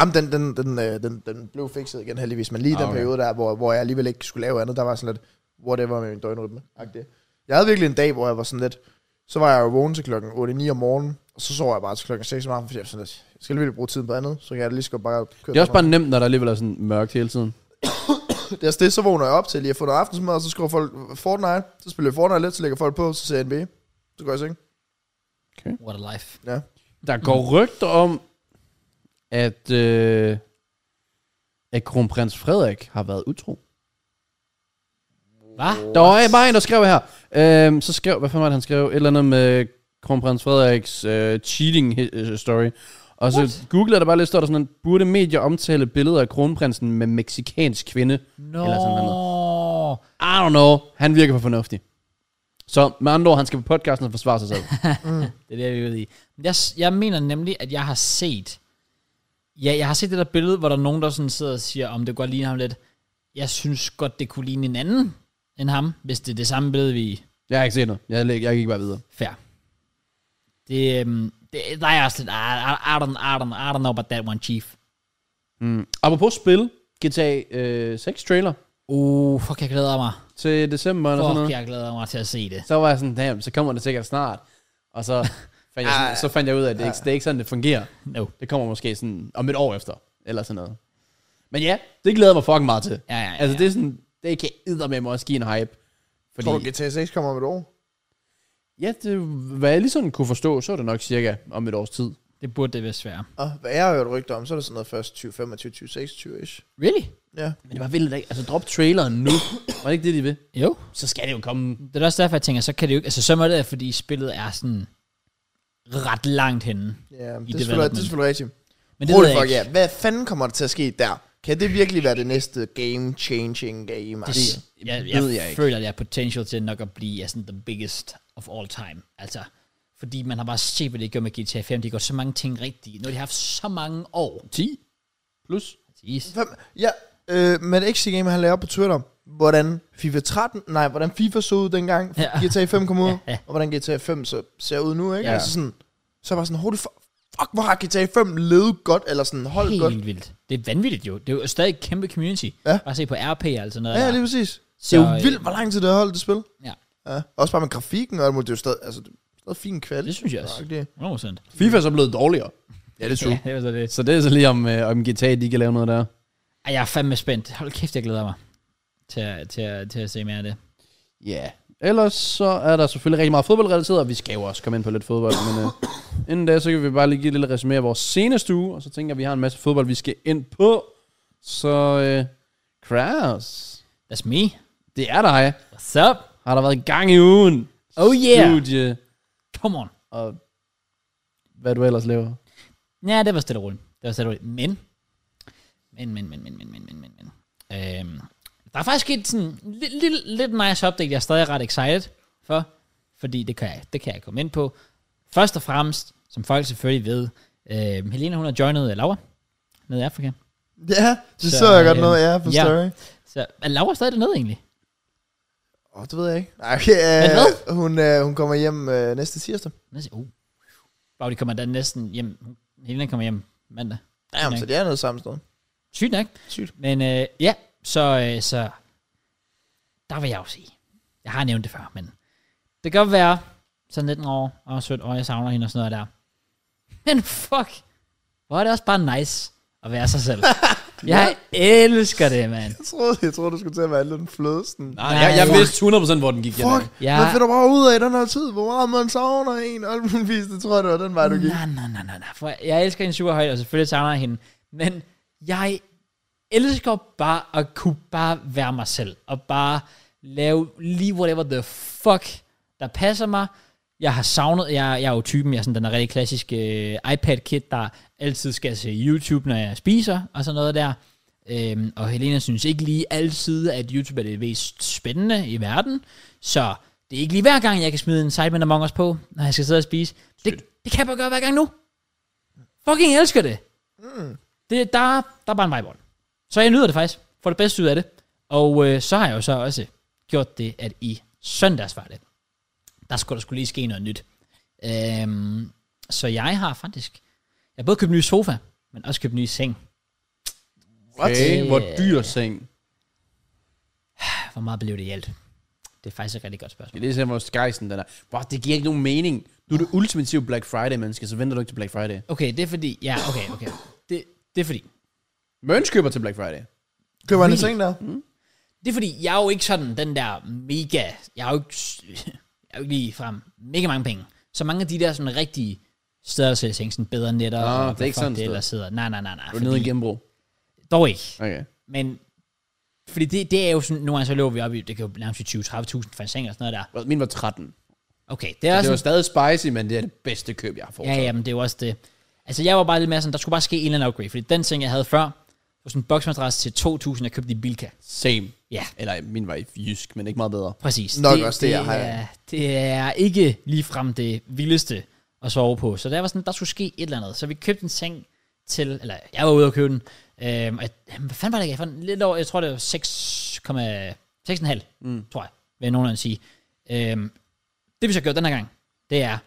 Speaker 2: Jamen, den, den, den, øh, den, den blev fikset igen heldigvis, men lige okay.
Speaker 3: Ah,
Speaker 2: den
Speaker 3: okay.
Speaker 2: periode der, hvor, hvor jeg alligevel ikke skulle lave andet, der var sådan lidt, whatever med min døgnrytme. -agtigt. Jeg havde virkelig en dag, hvor jeg var sådan lidt, så var jeg jo vågen til klokken 8-9 om morgenen, og så sov jeg bare til klokken 6 om aftenen, fordi jeg var sådan lidt, jeg skal alligevel bruge tiden på andet, så kan jeg lige skal bare køre
Speaker 3: Det er også bare nemt, når der alligevel er sådan mørkt hele tiden.
Speaker 2: det, er også det, så vågner jeg op til lige at få noget aftensmad, og så skriver folk Fortnite, så spiller jeg Fortnite lidt, så lægger folk på, så ser jeg NBA, så går jeg i seng.
Speaker 1: What a life.
Speaker 2: Ja.
Speaker 3: Der går rygter om, at, øh, at kronprins Frederik har været utro.
Speaker 1: Hvad?
Speaker 3: Der var bare en, der skrev her. Øhm, så skrev, hvad fanden var det, han skrev? Et eller andet med kronprins Frederiks øh, cheating hi- øh, story. Og så What? googlede der bare lidt, står der sådan, en, burde medier omtale billeder af kronprinsen med meksikansk kvinde?
Speaker 1: No.
Speaker 3: Eller sådan noget. I don't know. Han virker for fornuftig. Så med andre ord, han skal på podcasten og forsvare sig selv.
Speaker 1: Det er det, vi er ude i. Jeg, jeg mener nemlig, at jeg har set... Ja, jeg har set det der billede, hvor der er nogen, der sådan sidder og siger, om det godt ligner ham lidt. Jeg synes godt, det kunne ligne en anden end ham, hvis det er det samme billede, vi
Speaker 3: jeg har ikke set noget. Jeg, læg- jeg gik bare videre.
Speaker 1: Fair. Det, øhm, det, der er jeg også lidt, ah, I, I, don't, I, don't, I don't know about that one, chief.
Speaker 3: Apropos spil, GTA øh, 6 trailer
Speaker 1: Uh, fuck, jeg glæder mig.
Speaker 3: til december eller sådan
Speaker 1: Fuck,
Speaker 3: noget.
Speaker 1: jeg glæder mig til at se det.
Speaker 3: Så var jeg sådan, damn, så kommer det sikkert snart. Og [LAUGHS] så fandt jeg, sådan, så fandt jeg ud af, at det, ikke, det er ikke sådan, det fungerer.
Speaker 1: No.
Speaker 3: Det kommer måske sådan om et år efter, eller sådan noget. Men ja, det glæder jeg mig fucking meget til.
Speaker 1: Ja, ja, ja,
Speaker 3: altså
Speaker 1: ja.
Speaker 3: det er sådan, det kan eddermame også give en hype. Fordi,
Speaker 2: Tror du, GTA 6 kommer om et år?
Speaker 3: ja, det, hvad jeg lige sådan kunne forstå, så er det nok cirka om et års tid.
Speaker 1: Det burde det vist være.
Speaker 2: Og hvad jeg har hørt rygter om, så er det sådan noget først 20, 25, 20, 26 ish.
Speaker 1: Really?
Speaker 2: Ja.
Speaker 3: Men det var vildt, ikke? Altså drop traileren nu. [COUGHS] var det ikke det, de vil?
Speaker 1: Jo.
Speaker 3: Så skal det jo komme.
Speaker 1: Det er da også derfor, jeg tænker, så kan det jo ikke... Altså, så må det være, fordi spillet er sådan ret langt henne.
Speaker 2: Ja, det er, selvfølgelig,
Speaker 1: development.
Speaker 2: det er selvfølgelig rigtigt.
Speaker 1: Men det
Speaker 2: Rolig
Speaker 1: ved jeg
Speaker 2: fuck,
Speaker 1: ikke.
Speaker 2: ja. Hvad fanden kommer der til at ske der? Kan det virkelig være det næste game-changing game? Altså,
Speaker 1: Det,
Speaker 2: Det,
Speaker 1: jeg, jeg,
Speaker 3: ved jeg
Speaker 1: jeg
Speaker 3: ikke.
Speaker 1: føler, at jeg er potential til nok at blive ja, sådan the biggest of all time. Altså, fordi man har bare set, hvad det gør med GTA 5. De gør så mange ting rigtigt. Nu har de haft så mange år.
Speaker 3: 10 plus.
Speaker 1: Jeez.
Speaker 2: Hvem? Ja, øh, men XC Game har lavet op på Twitter, hvordan FIFA 13, nej, hvordan FIFA så ud dengang,
Speaker 1: Ja.
Speaker 2: ja. GTA 5 kom ud,
Speaker 1: Ja.
Speaker 2: ja. og hvordan GTA 5 så ser ud nu, ikke?
Speaker 3: Ja.
Speaker 2: Ja. Altså sådan, så var sådan, holy fuck, fuck, hvor har GTA 5 levet godt, eller sådan, holdt
Speaker 1: Helt
Speaker 2: godt.
Speaker 1: vildt. Det er vanvittigt jo. Det er jo stadig et kæmpe community.
Speaker 2: Ja.
Speaker 1: Bare se på RP altså noget.
Speaker 2: Ja,
Speaker 1: der.
Speaker 2: lige præcis.
Speaker 1: Så,
Speaker 2: Så, det er
Speaker 1: øh,
Speaker 2: jo vildt, hvor lang tid det har holdt det spil.
Speaker 1: ja.
Speaker 2: Ja. Også bare med grafikken og alt muligt, det er jo stadig, altså, det er stadig fin kvalitet.
Speaker 1: Det synes jeg også.
Speaker 2: Det.
Speaker 1: 100%.
Speaker 3: FIFA er så blevet dårligere. Ja, det er
Speaker 1: Ja, det var så det.
Speaker 3: Så det er så lige om, øh, om GTA, de kan lave noget der.
Speaker 1: Ej, jeg er fandme spændt. Hold kæft, jeg glæder mig til, at- til, at- til at se mere af det.
Speaker 3: Ja. Yeah. Ellers så er der selvfølgelig rigtig meget fodboldrelateret, og vi skal jo også komme ind på lidt fodbold, men øh, inden da, så kan vi bare lige give et lille resume af vores seneste uge, og så tænker jeg, at vi har en masse fodbold, vi skal ind på. Så, øh, Kraus,
Speaker 1: That's me.
Speaker 3: det er dig.
Speaker 1: What's up?
Speaker 3: Har der været gang i ugen?
Speaker 1: Oh yeah.
Speaker 3: Studie,
Speaker 1: Come on.
Speaker 3: og hvad du ellers laver.
Speaker 1: Ja, det var stille og roligt. Det var stille og roligt. Men, men, men, men, men, men, men, men, men, men. Øhm, der er faktisk sket sådan lidt, lidt, lidt nice update, jeg er stadig ret excited for, fordi det kan jeg, det kan jeg komme ind på. Først og fremmest, som folk selvfølgelig ved, øh, Helena hun har joinet øh, Laura nede i Afrika.
Speaker 2: Ja, det
Speaker 1: Så,
Speaker 2: så, så jeg godt
Speaker 1: øhm,
Speaker 2: noget, ja, på
Speaker 1: ja.
Speaker 2: ja. story.
Speaker 1: Så er Laura stadig dernede egentlig?
Speaker 2: Åh, oh, det ved jeg ikke. Nej, okay,
Speaker 1: Men hvad?
Speaker 2: øh, hun, øh, hun kommer hjem øh, næste tirsdag.
Speaker 1: Lad os se. Uh. Bare de kommer da næsten hjem. Helena kommer hjem mandag.
Speaker 2: Jamen, så det er noget samme sted.
Speaker 1: Sygt nok.
Speaker 2: Sygt.
Speaker 1: Men øh, ja, så, øh, så der vil jeg jo sige. Jeg har nævnt det før, men det kan godt være sådan 19 år og 17 år, jeg savner hende og sådan noget der. Men fuck, hvor er det også bare nice at være sig selv. jeg elsker det, mand.
Speaker 2: Jeg troede, jeg troede, du skulle til at være lidt en flødesten.
Speaker 3: Nej, jeg, jeg
Speaker 1: fuck.
Speaker 3: vidste 100% hvor den gik.
Speaker 2: Fuck,
Speaker 1: Ja.
Speaker 2: ja. man finder bare ud af i den her tid, hvor meget man savner en, og alt muligt vis. det tror jeg, det var den vej, du gik.
Speaker 1: Nej, nej, nej, nej, nej. For jeg elsker hende super højt, og selvfølgelig savner jeg hende. Men jeg elsker bare at kunne bare være mig selv. Og bare lave lige whatever the fuck, der passer mig. Jeg har savnet, jeg, jeg er jo typen, jeg er sådan den der rigtig klassiske øh, iPad-kid, der altid skal se YouTube, når jeg spiser, og sådan noget der. Øhm, og Helena synes ikke lige altid, at YouTube er det mest spændende i verden. Så det er ikke lige hver gang, jeg kan smide en Sidemen Among Us på, når jeg skal sidde og spise. Det, det kan jeg bare gøre hver gang nu. Fucking elsker det. Mm. det der, der er bare en vibe on. Så jeg nyder det faktisk. Får det bedste ud af det. Og øh, så har jeg jo så også gjort det, at i søndags var det. Der skulle der skulle lige ske noget nyt. Øhm, så jeg har faktisk... Jeg har både købt en ny sofa, men også købt en ny seng.
Speaker 3: Okay, hvor dyr seng.
Speaker 1: Hvor meget blev det i alt? Det er faktisk et rigtig godt spørgsmål.
Speaker 3: Det er simpelthen, hvor skejsen den er. Bro, det giver ikke nogen mening. Du er det ultimative Black Friday, menneske, så venter du ikke til Black Friday.
Speaker 1: Okay, det er fordi... Ja, okay, okay. Det, det er fordi...
Speaker 3: Møns køber til Black Friday.
Speaker 2: Køber han en
Speaker 1: Vildt.
Speaker 2: ting der?
Speaker 1: Det er fordi, jeg er jo ikke sådan den der mega... Jeg har jo ikke, [LAUGHS] jeg har jo ikke lige frem mega mange penge. Så mange af de der sådan rigtige steder, der sælger ting, sådan bedre netter,
Speaker 3: Ah,
Speaker 1: og
Speaker 3: det er ikke
Speaker 1: fuck
Speaker 3: sådan et
Speaker 1: det
Speaker 3: sted.
Speaker 1: ellers sidder. Nej, nej, nej, nej.
Speaker 3: Du er nede i en
Speaker 1: Fordi,
Speaker 3: genbrug.
Speaker 1: dog ikke.
Speaker 3: Okay.
Speaker 1: Men fordi det, det er jo sådan, nogle gange så løber vi op i, det kan jo nærmest være 20-30.000 for en seng og sådan noget der.
Speaker 3: Bro, Min var 13.
Speaker 1: Okay, det er også
Speaker 3: Det var stadig spicy, men det er det bedste køb, jeg har fået.
Speaker 1: Ja, ja, men det er jo også det. Altså, jeg var bare lidt mere sådan, der skulle bare ske en eller anden upgrade, fordi den ting, jeg havde før, var sådan en boksmadras til 2.000, jeg købte i Bilka.
Speaker 3: Same.
Speaker 1: Ja,
Speaker 3: Eller min var i jysk, men ikke meget bedre.
Speaker 1: præcis.
Speaker 2: Nok også det, jeg har.
Speaker 1: er, det er ikke ligefrem det vildeste at sove på. Så der var sådan, der skulle ske et eller andet. Så vi købte en seng til, eller jeg var ude og købe den. Øhm, og jeg, jamen, hvad fanden var det, jeg fandt lidt over, jeg tror det var 6,5, mm. tror jeg, vil jeg nogenlunde sige. Øhm, det vi så har gjort den her gang, det er,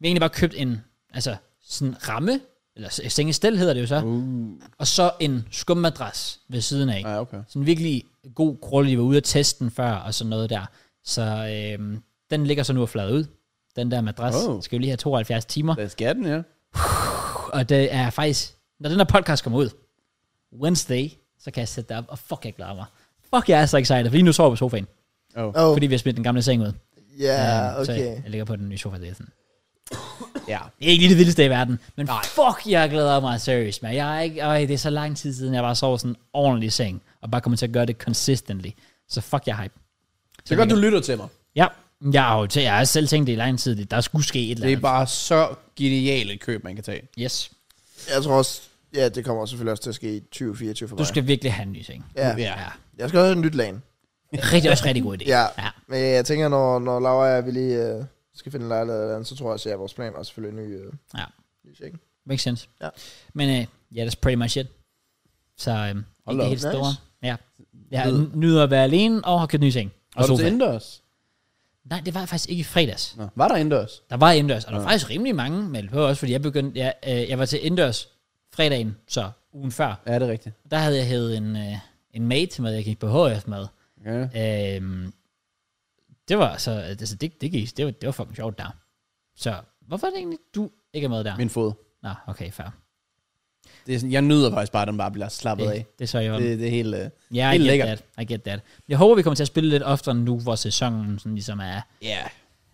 Speaker 1: vi har egentlig bare købt en altså sådan ramme, eller s- sengestel hedder det jo så,
Speaker 3: Uh.
Speaker 1: og så en skummadras ved siden af.
Speaker 3: Ja, okay.
Speaker 1: Sådan virkelig god grund, vi var ude at teste den før, og sådan noget der. Så øhm, den ligger så nu og flader ud, den der madras.
Speaker 3: Oh.
Speaker 1: Oh. Skal jo lige have 72 timer.
Speaker 3: Lad os get den, ja.
Speaker 1: Og det er faktisk, når den her podcast kommer ud, Wednesday, så kan jeg sætte det op, og fuck, jeg glæder mig. Fuck, jeg er så excited, fordi nu sover jeg på sofaen.
Speaker 3: Oh.
Speaker 2: Oh,
Speaker 1: Fordi vi har smidt den gamle seng ud.
Speaker 2: ja,
Speaker 1: Øhm, Så
Speaker 2: okay.
Speaker 1: jeg, jeg ligger på den nye sofa. Det er sådan.
Speaker 3: Ja.
Speaker 1: Det er ikke lige det vildeste i verden, men Nej. fuck, jeg glæder mig seriøst, man. Jeg er ikke, øj, det er så lang tid siden, jeg bare sov sådan ordentlig i seng, og bare kommer til at gøre det consistently. Så fuck, jeg er hype.
Speaker 3: Så godt, du lytter til mig.
Speaker 1: Ja, jeg har jo til, jeg har selv tænkt det i lang tid, det- der skulle ske et eller
Speaker 3: Det er
Speaker 1: andet.
Speaker 3: bare så genialt et køb, man kan tage.
Speaker 1: Yes.
Speaker 2: Jeg tror også, ja, det kommer også selvfølgelig også til at ske i 2024 for
Speaker 1: Du
Speaker 2: mig.
Speaker 1: skal virkelig have en ny seng.
Speaker 2: ja.
Speaker 3: Ja.
Speaker 2: Jeg skal også have en nyt lan.
Speaker 1: Rigtig, også rigtig god idé.
Speaker 2: [LAUGHS] Ja.
Speaker 1: ja.
Speaker 2: Men jeg tænker, når, når Laura og jeg vi lige øh, skal finde en lejlighed eller andet, så tror jeg også, at vores plan var selvfølgelig en ny, øh,
Speaker 1: ja.
Speaker 2: ny seng.
Speaker 1: Makes sense.
Speaker 2: Ja.
Speaker 1: Men øh, ja, that's pretty much it. Så øh, ikke
Speaker 3: op,
Speaker 1: det helt
Speaker 2: nice.
Speaker 1: store. Ja. Jeg n- nyder at være alene og har købt en ny seng.
Speaker 3: Var du
Speaker 1: sofa.
Speaker 3: til indendørs?
Speaker 1: Nej, det var faktisk ikke i fredags.
Speaker 3: Nå. Var der indendørs?
Speaker 1: Der var indendørs, og der var faktisk rimelig mange meldt på også, fordi jeg begyndte, jeg, øh, jeg var til indendørs fredagen, så ugen før.
Speaker 3: Ja, det er rigtigt.
Speaker 1: Der havde jeg hævet en, øh, en mate med, jeg gik på HF med.
Speaker 3: Okay.
Speaker 1: Øhm, det var så, altså det, det gik, det var, det var fucking sjovt der. Så hvorfor er det egentlig, du ikke er med der?
Speaker 3: Min fod.
Speaker 1: Nå, okay, fair.
Speaker 3: Det er sådan, jeg nyder faktisk bare, at den bare bliver slappet af.
Speaker 1: Det, det er så jo.
Speaker 3: Det, det er helt... øh,
Speaker 1: Ja, yeah, I
Speaker 3: helt
Speaker 1: get
Speaker 3: lækkert.
Speaker 1: that. I get that. Jeg håber, vi kommer til at spille lidt oftere nu, hvor sæsonen sådan ligesom er,
Speaker 3: Ja.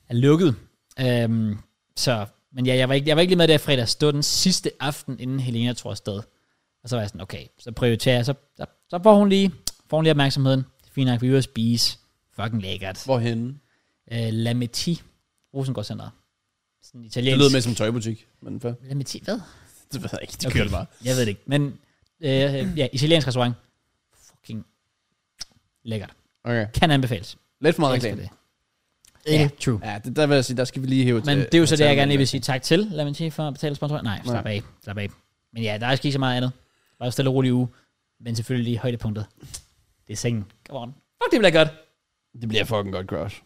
Speaker 1: er lukket. Øhm, så, men ja, jeg var, ikke, jeg var ikke lige med der fredag. Stod den sidste aften, inden Helena tror afsted. Og så var jeg sådan, okay, så prioriterer jeg. Så, så, så får hun lige, får hun lige opmærksomheden. Det er fint nok, vi er ude at spise. Fucking lækkert.
Speaker 3: Hvorhenne?
Speaker 1: Øh, Lametti, Rosengård Center. Sådan
Speaker 3: Det
Speaker 1: italiensk.
Speaker 3: lyder mere som en tøjbutik, men for,
Speaker 1: Lametti, hvad?
Speaker 3: det ved jeg ikke, det kører det bare.
Speaker 1: Jeg ved det ikke. Men øh, ja, italiensk restaurant. Fucking lækkert.
Speaker 3: Okay.
Speaker 1: Kan anbefales.
Speaker 3: Lidt for meget
Speaker 1: Jeg elsker
Speaker 3: reklame.
Speaker 1: det.
Speaker 2: Enig.
Speaker 1: Ja, true.
Speaker 3: Ja, det, der vil jeg sige, der skal vi lige hæve
Speaker 1: Men
Speaker 3: til.
Speaker 1: det er jo så
Speaker 3: til
Speaker 1: det, jeg gerne
Speaker 3: Almindelig.
Speaker 1: lige vil sige tak til. Lad mig sige for at betale sponsorer. Nej, slap af. Slap af. Men ja, der er ikke så meget andet. Bare stille og rolig uge. Men selvfølgelig lige højdepunktet. Det er sengen. Come on. Fuck, det bliver godt.
Speaker 3: Det bliver fucking godt, Crush.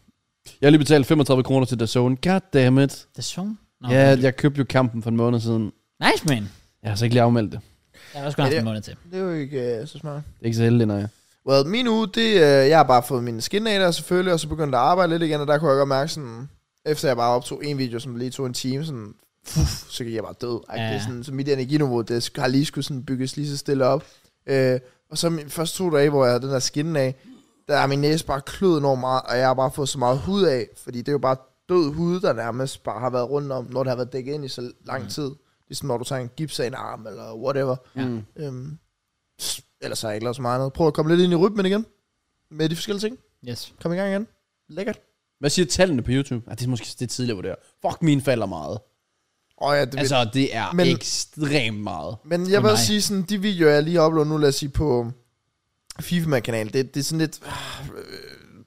Speaker 3: Jeg har lige betalt 35 kroner til DAZN. God damn it.
Speaker 1: Det er sjovt. Nå,
Speaker 3: Ja, jeg købte jo kampen for en måned siden.
Speaker 1: Nice, man.
Speaker 3: Jeg har så ikke lige afmeldt det.
Speaker 1: Jeg har også kun haft
Speaker 2: Ja,
Speaker 1: en
Speaker 2: det-
Speaker 1: måned til.
Speaker 2: Det er jo ikke øh, så smart.
Speaker 3: Det er ikke så heldigt, nej.
Speaker 2: Well, min uge, det, øh, jeg har bare fået mine skinnader selvfølgelig, og så begyndte jeg at arbejde lidt igen, og der kunne jeg godt mærke sådan, efter jeg bare optog en video, som lige tog en time, sådan, puf, så gik jeg bare død.
Speaker 1: Ja.
Speaker 2: Ja. Sådan, så mit energiniveau, det sk- har lige skulle sådan bygges lige så stille op. Øh, og så min første to dage, hvor jeg havde den der skinnen af, der er min næse bare kløet enormt meget, og jeg har bare fået så meget hud af, fordi det er jo bare død hud, der nærmest bare har været rundt om, når det har været dækket ind i så lang tid. Ligesom når du tager en gips af en arm, eller whatever.
Speaker 3: Ja. Mm.
Speaker 2: Øhm, s- ellers har jeg ikke lavet så meget andet. Prøv at komme lidt ind i rytmen igen. Med de forskellige ting.
Speaker 1: Yes.
Speaker 2: Kom i gang igen. Lækkert.
Speaker 3: Hvad siger tallene på YouTube? Ah, det er måske det er tidligere, hvor det er. Fuck, mine falder meget.
Speaker 2: Åh oh, ja, det altså,
Speaker 3: Altså, det er men,
Speaker 2: Men-
Speaker 3: ekstremt meget.
Speaker 2: Men jeg
Speaker 1: Åh,
Speaker 2: vil
Speaker 1: nej.
Speaker 2: også sige sådan, de videoer, jeg lige uploader nu, lad os sige på um, FIFA-kanalen, det, det er sådan lidt... ah, øh,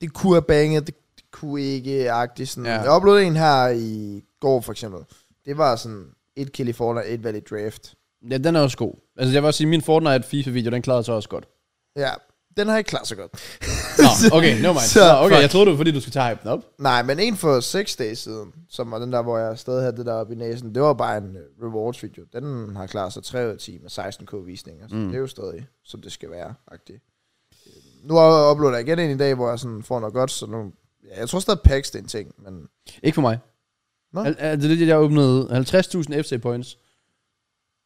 Speaker 2: Det kunne have banget, det, det kunne ikke, agtigt sådan.
Speaker 3: Ja.
Speaker 2: Ja. Jeg uploadede en her i går, for eksempel. Det var sådan et kill i Fortnite, et valid draft.
Speaker 3: Ja, den er også god. Altså, jeg vil også sige, min Fortnite FIFA-video, den klarede sig også godt.
Speaker 2: Ja, den har jeg ikke klaret så godt.
Speaker 1: [LAUGHS]
Speaker 3: Nå, okay, no mind.
Speaker 2: Så,
Speaker 3: Nå, okay,
Speaker 2: fuck.
Speaker 3: jeg troede, det var fordi, du skulle tage hypen op.
Speaker 2: Nej, men en for seks dage siden, som var den der, hvor jeg stadig havde det der oppe i næsen, det var bare en øh, rewards-video. Den har klaret sig 3 ud af 10 med 16k visninger, så mm. det er jo stadig, som det skal være, agtigt. Øh, Nu har jeg uploadet igen en i dag, hvor jeg sådan får noget godt, så nu... Ja, jeg tror stadig, packs det er en ting, men...
Speaker 3: Ikke for mig.
Speaker 2: Nå.
Speaker 3: Al- Altså, det er det, jeg åbnede 50.000 FC points.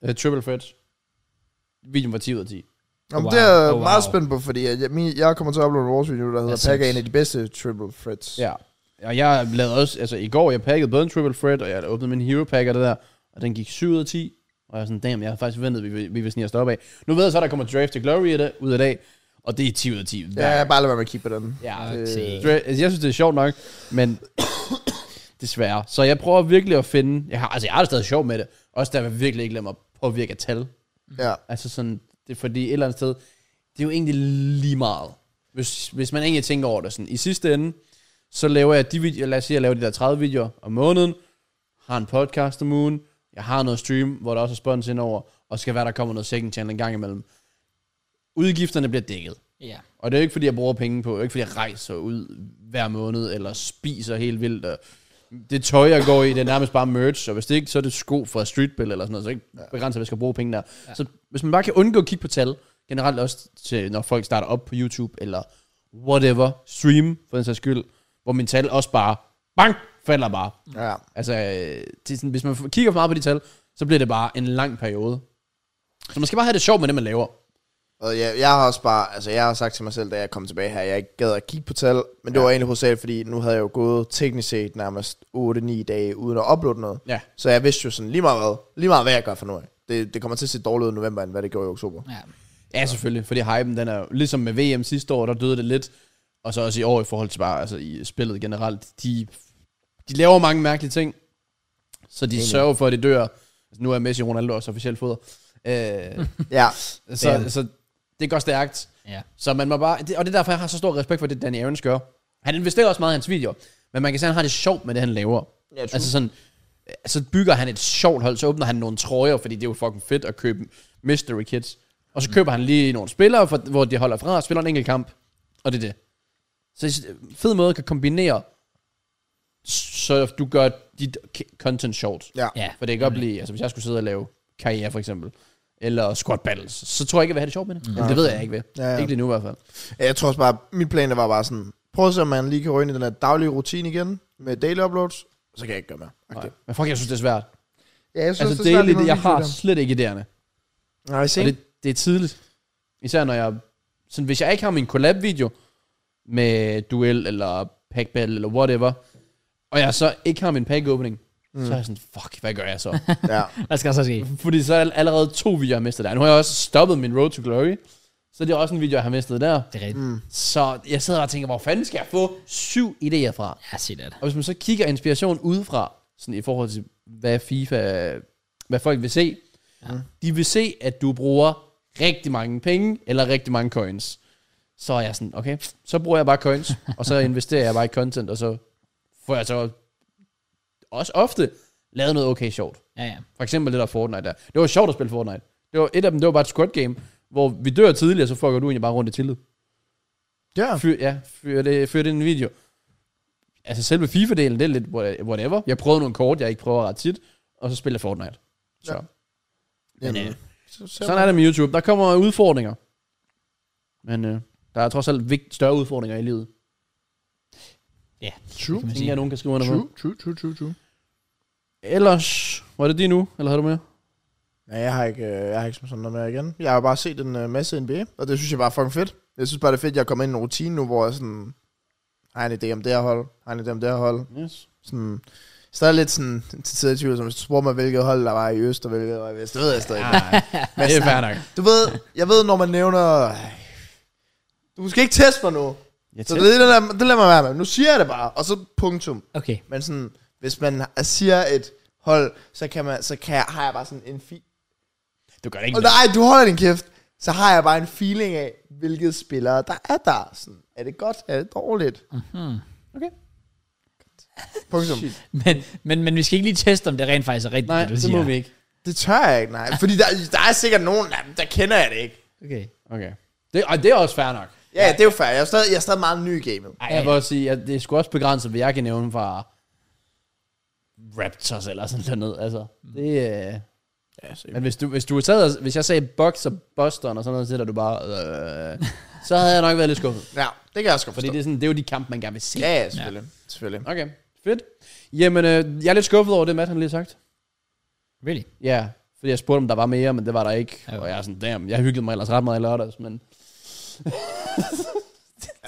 Speaker 3: Uh, triple threats. Videoen var 10 ud af 10.
Speaker 2: Om
Speaker 1: wow.
Speaker 2: det er jeg
Speaker 1: Oh, wow.
Speaker 2: meget spændt på, fordi at jeg, min, jeg kommer til at uploade en rewards-video, der hedder
Speaker 1: sindssygt.
Speaker 2: Pack er en af de bedste triple threats.
Speaker 3: Ja. Og jeg lavede også, altså i går, jeg pakkede både en triple threat, og jeg åbnede min hero pack og det der, og den gik 7 ud af 10. Og jeg var sådan, damn, jeg havde faktisk ventet, vi, vi, vi vil snige os op af. Nu ved jeg så, at der kommer Draft to Glory i dag, ud af dag, og det er 10 ud af 10.
Speaker 2: Ja,
Speaker 3: hver
Speaker 2: jeg
Speaker 3: gang.
Speaker 2: bare lade være med at kigge på den.
Speaker 3: ja
Speaker 1: Fuck
Speaker 2: Øh,
Speaker 1: sake.
Speaker 3: Dra- altså, jeg synes, det er sjovt nok, men [COUGHS] desværre. Så jeg prøver virkelig at finde, jeg har, altså jeg har det stadig sjovt med det, også der jeg virkelig ikke lader mig påvirke af tal.
Speaker 2: Ja.
Speaker 3: Altså sådan, det er fordi et eller andet sted, det er jo egentlig lige meget. Hvis, hvis man egentlig tænker over det sådan, i sidste ende, så laver jeg de videoer, lad os sige, jeg laver de der 30 videoer om måneden, har en podcast om ugen, jeg har noget stream, hvor der også er spons indover, og skal være, der kommer noget second channel en gang imellem. Udgifterne bliver dækket.
Speaker 1: Ja.
Speaker 3: Og det er jo ikke, fordi jeg bruger penge på, det er jo ikke, fordi jeg rejser ud hver måned, eller spiser helt vildt, og det tøj, jeg går i, det er nærmest bare merch, og hvis det ikke, så er det sko fra Streetbill eller sådan noget, så ikke begrænser, at jeg skal bruge penge der. Ja. Så hvis man bare kan undgå at kigge på tal, generelt også til, når folk starter op på YouTube, eller whatever, stream for den sags skyld, hvor min tal også bare, bang, falder bare.
Speaker 2: Ja.
Speaker 3: Altså, øh, det er sådan, hvis man kigger for meget på de tal, så bliver det bare en lang periode. Så man skal bare have det sjovt med det, man laver.
Speaker 2: Og jeg, jeg har også bare, altså jeg har sagt til mig selv, da jeg kom tilbage her, jeg ikke gad at kigge på tal, men det ja. var egentlig hovedsageligt, fordi nu havde jeg jo gået teknisk set nærmest 8-9 dage uden at uploade noget.
Speaker 3: Ja.
Speaker 2: Så jeg vidste jo sådan lige meget hvad, lige meget hvad jeg gør for nu af. Det, det kommer til at se dårligere ud i november, end hvad det gjorde i
Speaker 3: [LAUGHS]
Speaker 2: oktober.
Speaker 1: Ja.
Speaker 3: Ja, selvfølgelig, fordi hypen, den er jo- ligesom med VM sidste år, der døde det lidt, og så også i år i forhold til bare, altså i spillet generelt, de, de laver mange mærkelige ting, så de sørger for, at det dør. Altså, nu er Messi og Ronaldo også officielt foder. Øh,
Speaker 2: Ja,
Speaker 3: så,
Speaker 1: Damn.
Speaker 3: så det går stærkt.
Speaker 1: ja.
Speaker 3: Så man må bare, det, og det er derfor, jeg har så stor respekt for det, Danny Aarons gør. Han investerer også meget i hans videoer, men man kan se, at han har det sjovt med det, han laver.
Speaker 2: Ja, true.
Speaker 3: altså sådan, øh, så bygger han et sjovt hold, så åbner han nogle trøjer, fordi det er jo fucking fedt at købe mystery kids. Og så køber han lige nogle spillere, for, hvor de holder fra og spiller en enkelt kamp. Og det er det. Så det er en fed måde at kan kombinere, så du gør dit k- content sjovt.
Speaker 2: ja.
Speaker 1: ja.
Speaker 3: For det kan godt blive, altså hvis jeg skulle sidde og lave karriere for eksempel, eller squat battles, så tror jeg ikke, jeg vil have det sjovt med det. Mm. Eller det ved jeg ikke ved.
Speaker 2: Ja,
Speaker 3: Ja,
Speaker 2: ja.
Speaker 3: ja. Ikke lige nu i hvert fald.
Speaker 2: Jeg tror også bare, min plan der var bare sådan, prøv at se, om man lige kan ryge ind i den her daglige rutine igen, med daily uploads, så kan jeg ikke gøre mere. Okay.
Speaker 3: Nej. Men fuck, jeg synes, det er svært.
Speaker 2: Ja, jeg
Speaker 3: altså,
Speaker 2: svært
Speaker 3: daily,
Speaker 2: lige med
Speaker 3: det, jeg har
Speaker 2: videoer.
Speaker 3: slet ikke idéerne.
Speaker 2: Nej, se.
Speaker 3: Og det, det er tidligt. Især når jeg... Sådan, hvis jeg ikke har min collab-video med duel eller pack battle eller whatever, og jeg så ikke har min pack opening, mm. så er jeg sådan, fuck, hvad gør jeg så? [LAUGHS]
Speaker 2: Ja.
Speaker 1: Hvad skal der så ske?
Speaker 3: Fordi så er der allerede to videoer, jeg har mistet der. Nu har jeg også stoppet min Road to Glory, så det er også en video, jeg har mistet der.
Speaker 1: Det er rigtigt. Mm.
Speaker 3: Så jeg sidder og tænker, hvor fanden skal jeg få syv idéer fra?
Speaker 1: Ja, sig det.
Speaker 3: Og hvis man så kigger inspiration udefra, sådan i forhold til, hvad FIFA, hvad folk vil se, ja. de vil se, at du bruger rigtig mange penge, eller rigtig mange coins. Så er jeg sådan, okay, så bruger jeg bare coins, og så investerer jeg bare i content, og så får jeg så også ofte lavet noget okay sjovt.
Speaker 1: Ja, ja.
Speaker 3: For eksempel det der Fortnite der. Det var sjovt at spille Fortnite. Det var, et af dem, det var bare et squad game, hvor vi dør tidligere, så fucker du egentlig bare rundt i tillid.
Speaker 2: ja.
Speaker 3: Fyr, ja, fyr det, fyr det i en video. Altså selve FIFA-delen, det er lidt what- whatever. Jeg prøvede nogle kort, jeg ikke prøver ret tit, og så spiller jeg Fortnite. Så.
Speaker 2: Ja.
Speaker 3: Ja.
Speaker 2: Jamen,
Speaker 1: øh,
Speaker 2: så- så-
Speaker 3: Sådan er det med YouTube. Der kommer udfordringer. Men øh, der er trods alt vigt, større udfordringer i livet.
Speaker 1: Ja,
Speaker 3: True.
Speaker 1: man
Speaker 3: Det
Speaker 1: sige.
Speaker 3: jeg, nogen kan skrive under
Speaker 2: True,
Speaker 3: på.
Speaker 2: true, true, true, true.
Speaker 3: Ellers, var det din nu, eller havde du mere?
Speaker 2: Nej, jeg har ikke, øh, jeg har ikke som sådan noget mere igen. Jeg har bare set en øh, masse NBA, og det synes jeg bare er fucking fedt. Jeg synes bare, det er fedt, at jeg kommer ind i en rutine nu, hvor jeg sådan, har en idé om det her hold, har en idé om det her hold.
Speaker 3: Yes.
Speaker 2: Sådan, stadig lidt sådan til tider i tvivl, som hvis du spurgte mig, hvilket hold der var i øst og hvilket der var i vest. Det ved jeg stadig. ikke. Men
Speaker 3: Det er
Speaker 2: sådan,
Speaker 3: fair nok.
Speaker 2: du ved, jeg ved, når man nævner... Du skal ikke teste mig nu.
Speaker 3: Jeg
Speaker 2: Så det, det, lader, det lader mig være med. Nu siger jeg det bare, og så punktum.
Speaker 1: Okay.
Speaker 2: Men sådan, hvis man siger et hold, så, kan man, så kan jeg, har jeg bare sådan en fi...
Speaker 3: du gør det ikke.
Speaker 2: Og nej, du holder din kæft. Så har jeg bare en feeling af, hvilke spillere der er der. Sådan, er det godt? Er det dårligt?
Speaker 3: Mhm. Okay.
Speaker 2: Punktum.
Speaker 1: [LAUGHS] Men, men, men vi skal ikke lige teste, om det rent faktisk er rigtigt,
Speaker 3: Nej,
Speaker 1: det du
Speaker 3: det
Speaker 1: siger.
Speaker 3: må vi ikke.
Speaker 2: Det tør jeg ikke, nej. Fordi der, der er sikkert nogen, der, der kender jeg det ikke.
Speaker 1: Okay.
Speaker 3: Okay. Det, og det er også fair nok.
Speaker 2: Ja, det er jo fair. Jeg er stadig, jeg er stadig meget ny i gamet.
Speaker 3: Ej, jeg vil også sige, at det er sgu også begrænset, hvad jeg kan nævne fra Raptors eller sådan noget. Altså, det, øh,
Speaker 2: Mm. Ja, så
Speaker 3: men hvis du, hvis du sad, og- hvis jeg sagde Bucks og Boston og sådan noget, så sidder du bare, øh,
Speaker 2: [LAUGHS]
Speaker 3: så havde jeg nok været lidt skuffet.
Speaker 2: ja, det kan jeg også godt
Speaker 3: Fordi
Speaker 2: forstå.
Speaker 3: det er, sådan, det er jo de kampe, man gerne vil se.
Speaker 2: Ja, ja, selvfølgelig. selvfølgelig.
Speaker 3: Okay, fedt. Jamen, øh, jeg er lidt skuffet over det, Matt han lige har sagt.
Speaker 1: Really?
Speaker 3: Ja, yeah, fordi jeg spurgte, om der var mere, men det var der ikke.
Speaker 1: Ja.
Speaker 3: Og jeg er sådan, damn, jeg hyggede mig ellers ret meget i lørdags, men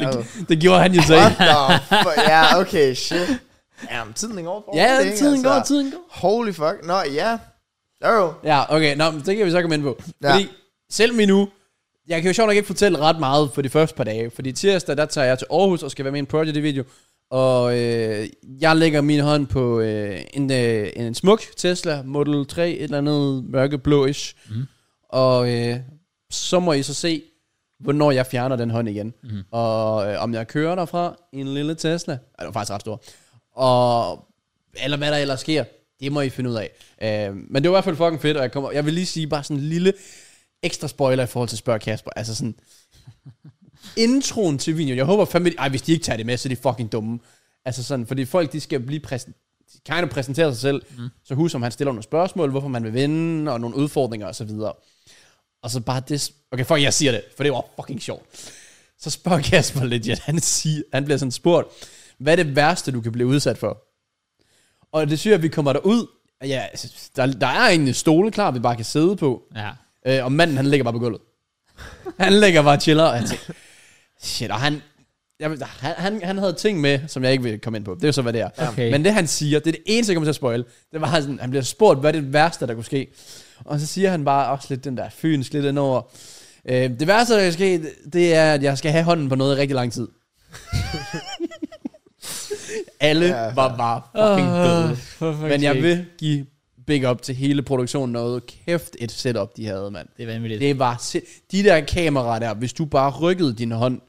Speaker 2: Ja,
Speaker 3: det gjorde han jo så
Speaker 2: What
Speaker 3: [LAUGHS] ikke.
Speaker 2: the fuck? Ja, okay, shit. Jamen, tiden går for.
Speaker 3: Ja, tiden går,
Speaker 2: altså.
Speaker 3: tiden går.
Speaker 2: Holy fuck. Nå, ja. Jo, jo.
Speaker 3: Ja, okay, nå, men det kan vi så komme ind på.
Speaker 2: Ja.
Speaker 3: Ja. Fordi selv min nu, jeg kan jo sjovt nok ikke fortælle ret meget for de første par dage, fordi tirsdag, der tager jeg til Aarhus og skal være med i en project video, og øh, jeg lægger min hånd på øh, en, øh, en smuk Tesla Model 3, et eller andet mørkeblåish, mm. og øh, så må I så se, hvornår jeg fjerner den hånd igen, mm. og øh, om jeg kører derfra i en lille Tesla, Ej, den var faktisk ret stor, og eller hvad der ellers sker, det må I finde ud af. Øh, men det var i hvert fald fucking fedt, og jeg, kommer, jeg vil lige sige bare sådan en lille ekstra spoiler i forhold til Spørg Kasper. Altså sådan, introen til videoen, jeg håber fandme, ej hvis de ikke tager det med, så er de fucking dumme. Altså sådan, fordi folk de skal blive præsen- kind of præsenterer sig selv. Mm. Så husk, om han stiller nogle spørgsmål, hvorfor man vil vinde, og nogle udfordringer og så videre. Og så bare det... Okay, fuck, jeg siger det, for det var fucking sjovt. Så spørger Kasper legit, han, siger, han bliver sådan spurgt, hvad er det værste, du kan blive udsat for? Og det synes jeg, vi kommer derud. Ja, altså, der, der er en stole klar, vi bare kan sidde på.
Speaker 1: Ja.
Speaker 3: Øh, og manden, han ligger bare på gulvet. Han ligger bare og chiller, og jeg tænker, shit, og han, jeg, ved- han, han, han havde ting med, som jeg ikke vil komme ind på. Det er jo så, hvad det er.
Speaker 1: Okay.
Speaker 3: Men det, han siger, det er det eneste, jeg kommer til at spoil. Det var, han sådan, han bliver spurgt, hvad er det værste, der kunne ske. Og så siger han bare også lidt den der fynsk lidt indover. Øh, det værste, der kan ske, det- det er, at jeg skal have hånden på noget i rigtig lang tid. [LAUGHS] Alle
Speaker 2: Ja.
Speaker 3: ja, var bare fucking døde.
Speaker 1: Uh,
Speaker 3: Men jeg vil give big up til hele produktionen noget. Kæft et setup, de havde, mand.
Speaker 1: Det er vanvittigt. Det,
Speaker 3: Det var sind- De der kameraer der, hvis du bare rykkede din hånd,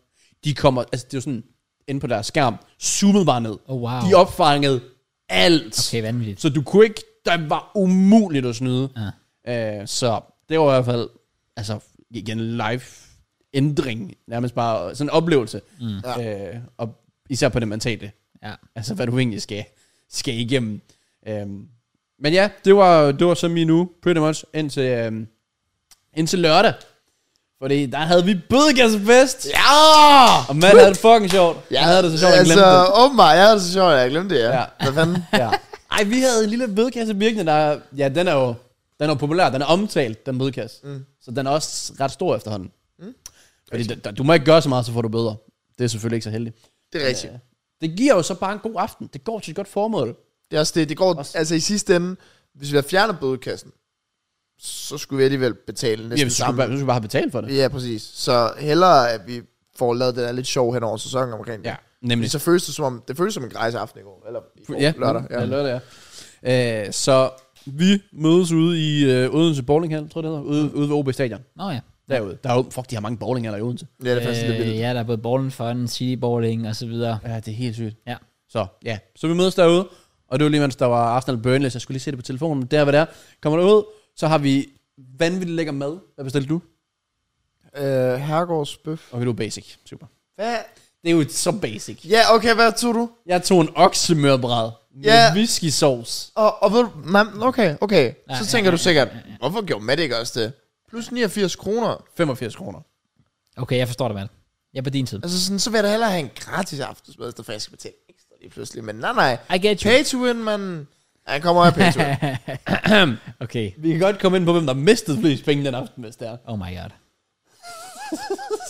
Speaker 3: de kommer, altså det er jo sådan, inde på deres skærm, zoomede bare ned.
Speaker 1: oh, wow.
Speaker 3: De opfangede alt.
Speaker 1: Okay, vanvittigt.
Speaker 3: Så du kunne ikke, der var umuligt at snyde.
Speaker 1: Ja.
Speaker 3: Øh, så det var i hvert fald, altså igen, live ændring, nærmest bare sådan en oplevelse. Mm. Øh, og især på det mentale.
Speaker 1: Ja.
Speaker 3: Altså, hvad du egentlig skal, skal igennem. Øhm, men ja, det var, det var så min uge, pretty much, indtil, øhm, indtil lørdag. Fordi der havde vi bødekassefest. Ja! Og mand havde det fucking sjovt. Ja, jeg havde det så sjovt, altså, jeg
Speaker 2: altså,
Speaker 3: glemte det.
Speaker 2: åbenbart, jeg havde det så sjovt, jeg glemte det, ja.
Speaker 3: Ja.
Speaker 2: ja. Hvad fanden?
Speaker 3: [LAUGHS] Ja. Ej, vi havde en lille bødekasse virkende, der... Ja, den er jo den er jo populær. Den er omtalt, den bødekasse. Mm. Så den er også ret stor efterhånden. Mm. Fordi der, der, du må ikke gøre så meget, så får du bøder. Det er selvfølgelig ikke så heldigt. Øh,
Speaker 2: Det er rigtigt.
Speaker 3: Det giver jo så bare en god aften. Det går til et godt formål.
Speaker 2: Det er også det, det går,
Speaker 3: Også-
Speaker 2: altså i sidste ende, hvis vi havde fjernet bødekassen, så skulle vi alligevel betale næsten
Speaker 3: Ja,
Speaker 2: ja,
Speaker 3: så skulle,
Speaker 2: sammen.
Speaker 3: bare, så skulle bare have betalt for det.
Speaker 2: Ja, præcis. Så hellere, at vi får lavet det der lidt sjov hen over sæsonen omkring det.
Speaker 3: Ja,
Speaker 2: Fordi
Speaker 3: nemlig.
Speaker 2: så føles det som om, det føles som en grejs aften i går, eller i går,
Speaker 3: ja,
Speaker 2: lørdag.
Speaker 3: Ja, lørdag, ja. Øh, så vi mødes ude i øh, Odense Bowlinghal, tror jeg det hedder. Ude, ude ved OB Stadion.
Speaker 1: Nå ja.
Speaker 3: Derude. Der er jo, fuck, de har mange bowlinghaller i Odense.
Speaker 2: ja det er faktisk øh, lidt
Speaker 1: Øh,
Speaker 2: vildt.
Speaker 1: ja, der er både Borland Fun, City Bowling og så videre.
Speaker 3: Ja, det er helt sygt.
Speaker 1: Ja.
Speaker 3: Så ja, så vi mødes derude, og det var lige mens der var Arsenal Burnley, så jeg skulle lige se det på telefonen, men der var der. Kommer du ud, så har vi vanvittigt lækker mad. Hvad bestilte du?
Speaker 2: Øh, Herregårds bøf.
Speaker 3: Okay, du er basic. Super.
Speaker 2: Hvad?
Speaker 3: Det er jo så basic.
Speaker 2: Ja, okay, hvad tog du?
Speaker 3: Jeg tog en oksemørbræd med
Speaker 2: Ja.
Speaker 3: yeah. whisky sauce.
Speaker 2: Og, og ved du, man, okay, okay.
Speaker 1: Ja,
Speaker 2: så
Speaker 1: ja,
Speaker 2: tænker
Speaker 1: ja,
Speaker 2: du sikkert, hvorfor gjorde Matt ikke også det? Plus 89 kroner.
Speaker 3: 85 kroner.
Speaker 1: Okay, jeg forstår det, mand. Jeg er på din tid.
Speaker 2: Altså sådan, så vil jeg da hellere have en gratis aftensmad, i stedet for at jeg skal betale ekstra lige pludselig. Men nej, nej.
Speaker 1: I get
Speaker 3: [CLEARS THROAT]
Speaker 1: you.
Speaker 2: Pay to win, man. Han kommer af pay to
Speaker 1: [LAUGHS]
Speaker 2: win.
Speaker 1: Okay.
Speaker 3: Vi kan godt komme ind på, hvem der mistede flest penge den aften, hvis det er.
Speaker 1: Oh my god.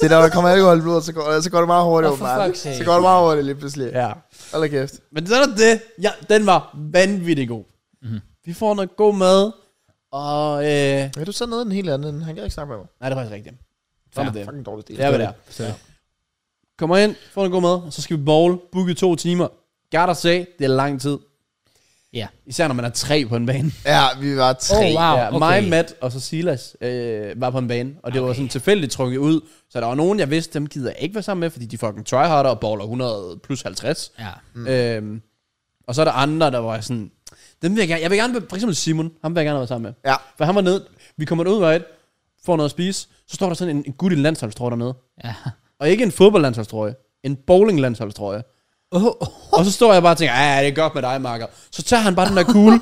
Speaker 2: det er, når der kommer alkohol i blodet, så går, så går det meget hurtigt,
Speaker 1: Åh, for
Speaker 2: åbenbart.
Speaker 1: fuck's sake.
Speaker 2: Så går det meget hurtigt lige pludselig.
Speaker 3: Ja.
Speaker 2: Hold da kæft.
Speaker 3: Men så er der det. Ja, den var vanvittig god. Mm-hmm. Vi får noget god mad, og... Øh,
Speaker 2: Ja, du sad nede i den helt anden. Han kan ikke snakke med mig.
Speaker 3: nej, det er faktisk rigtigt. Sådan er
Speaker 2: Det er
Speaker 3: det.
Speaker 2: fucking dårlig stil.
Speaker 3: Det er, hvad det er.
Speaker 1: Så,
Speaker 3: Kommer ind, får en god mad, og så skal vi bowl, booke to timer. Garter sagde, det er lang tid.
Speaker 1: ja.
Speaker 3: Især når man er tre på en bane.
Speaker 2: Ja, vi var tre.
Speaker 1: Oh, wow.
Speaker 3: ja,
Speaker 1: okay.
Speaker 3: Mig, Matt og så Silas øh, var på en bane, og det okay. var sådan tilfældigt trukket ud. Så der var nogen, jeg vidste, dem gider jeg ikke være sammen med, fordi de fucking tryharder og bowler 100 plus 50.
Speaker 1: Ja.
Speaker 3: Mm. Øhm, og så er der andre, der var sådan, dem vil jeg gerne, jeg vil gerne, for eksempel Simon, ham vil jeg gerne være sammen med.
Speaker 2: Ja.
Speaker 3: For han var nede, vi kommer ud right, får noget at spise, så står der sådan en, en gut i en landsholdstrøje dernede.
Speaker 1: Ja.
Speaker 3: Og ikke en fodboldlandsholdstrøje, en bowlinglandsholdstrøje.
Speaker 1: Oh,
Speaker 3: Og så står jeg bare og tænker, ja, det er godt med dig, Marker. Så tager han bare den der kugle,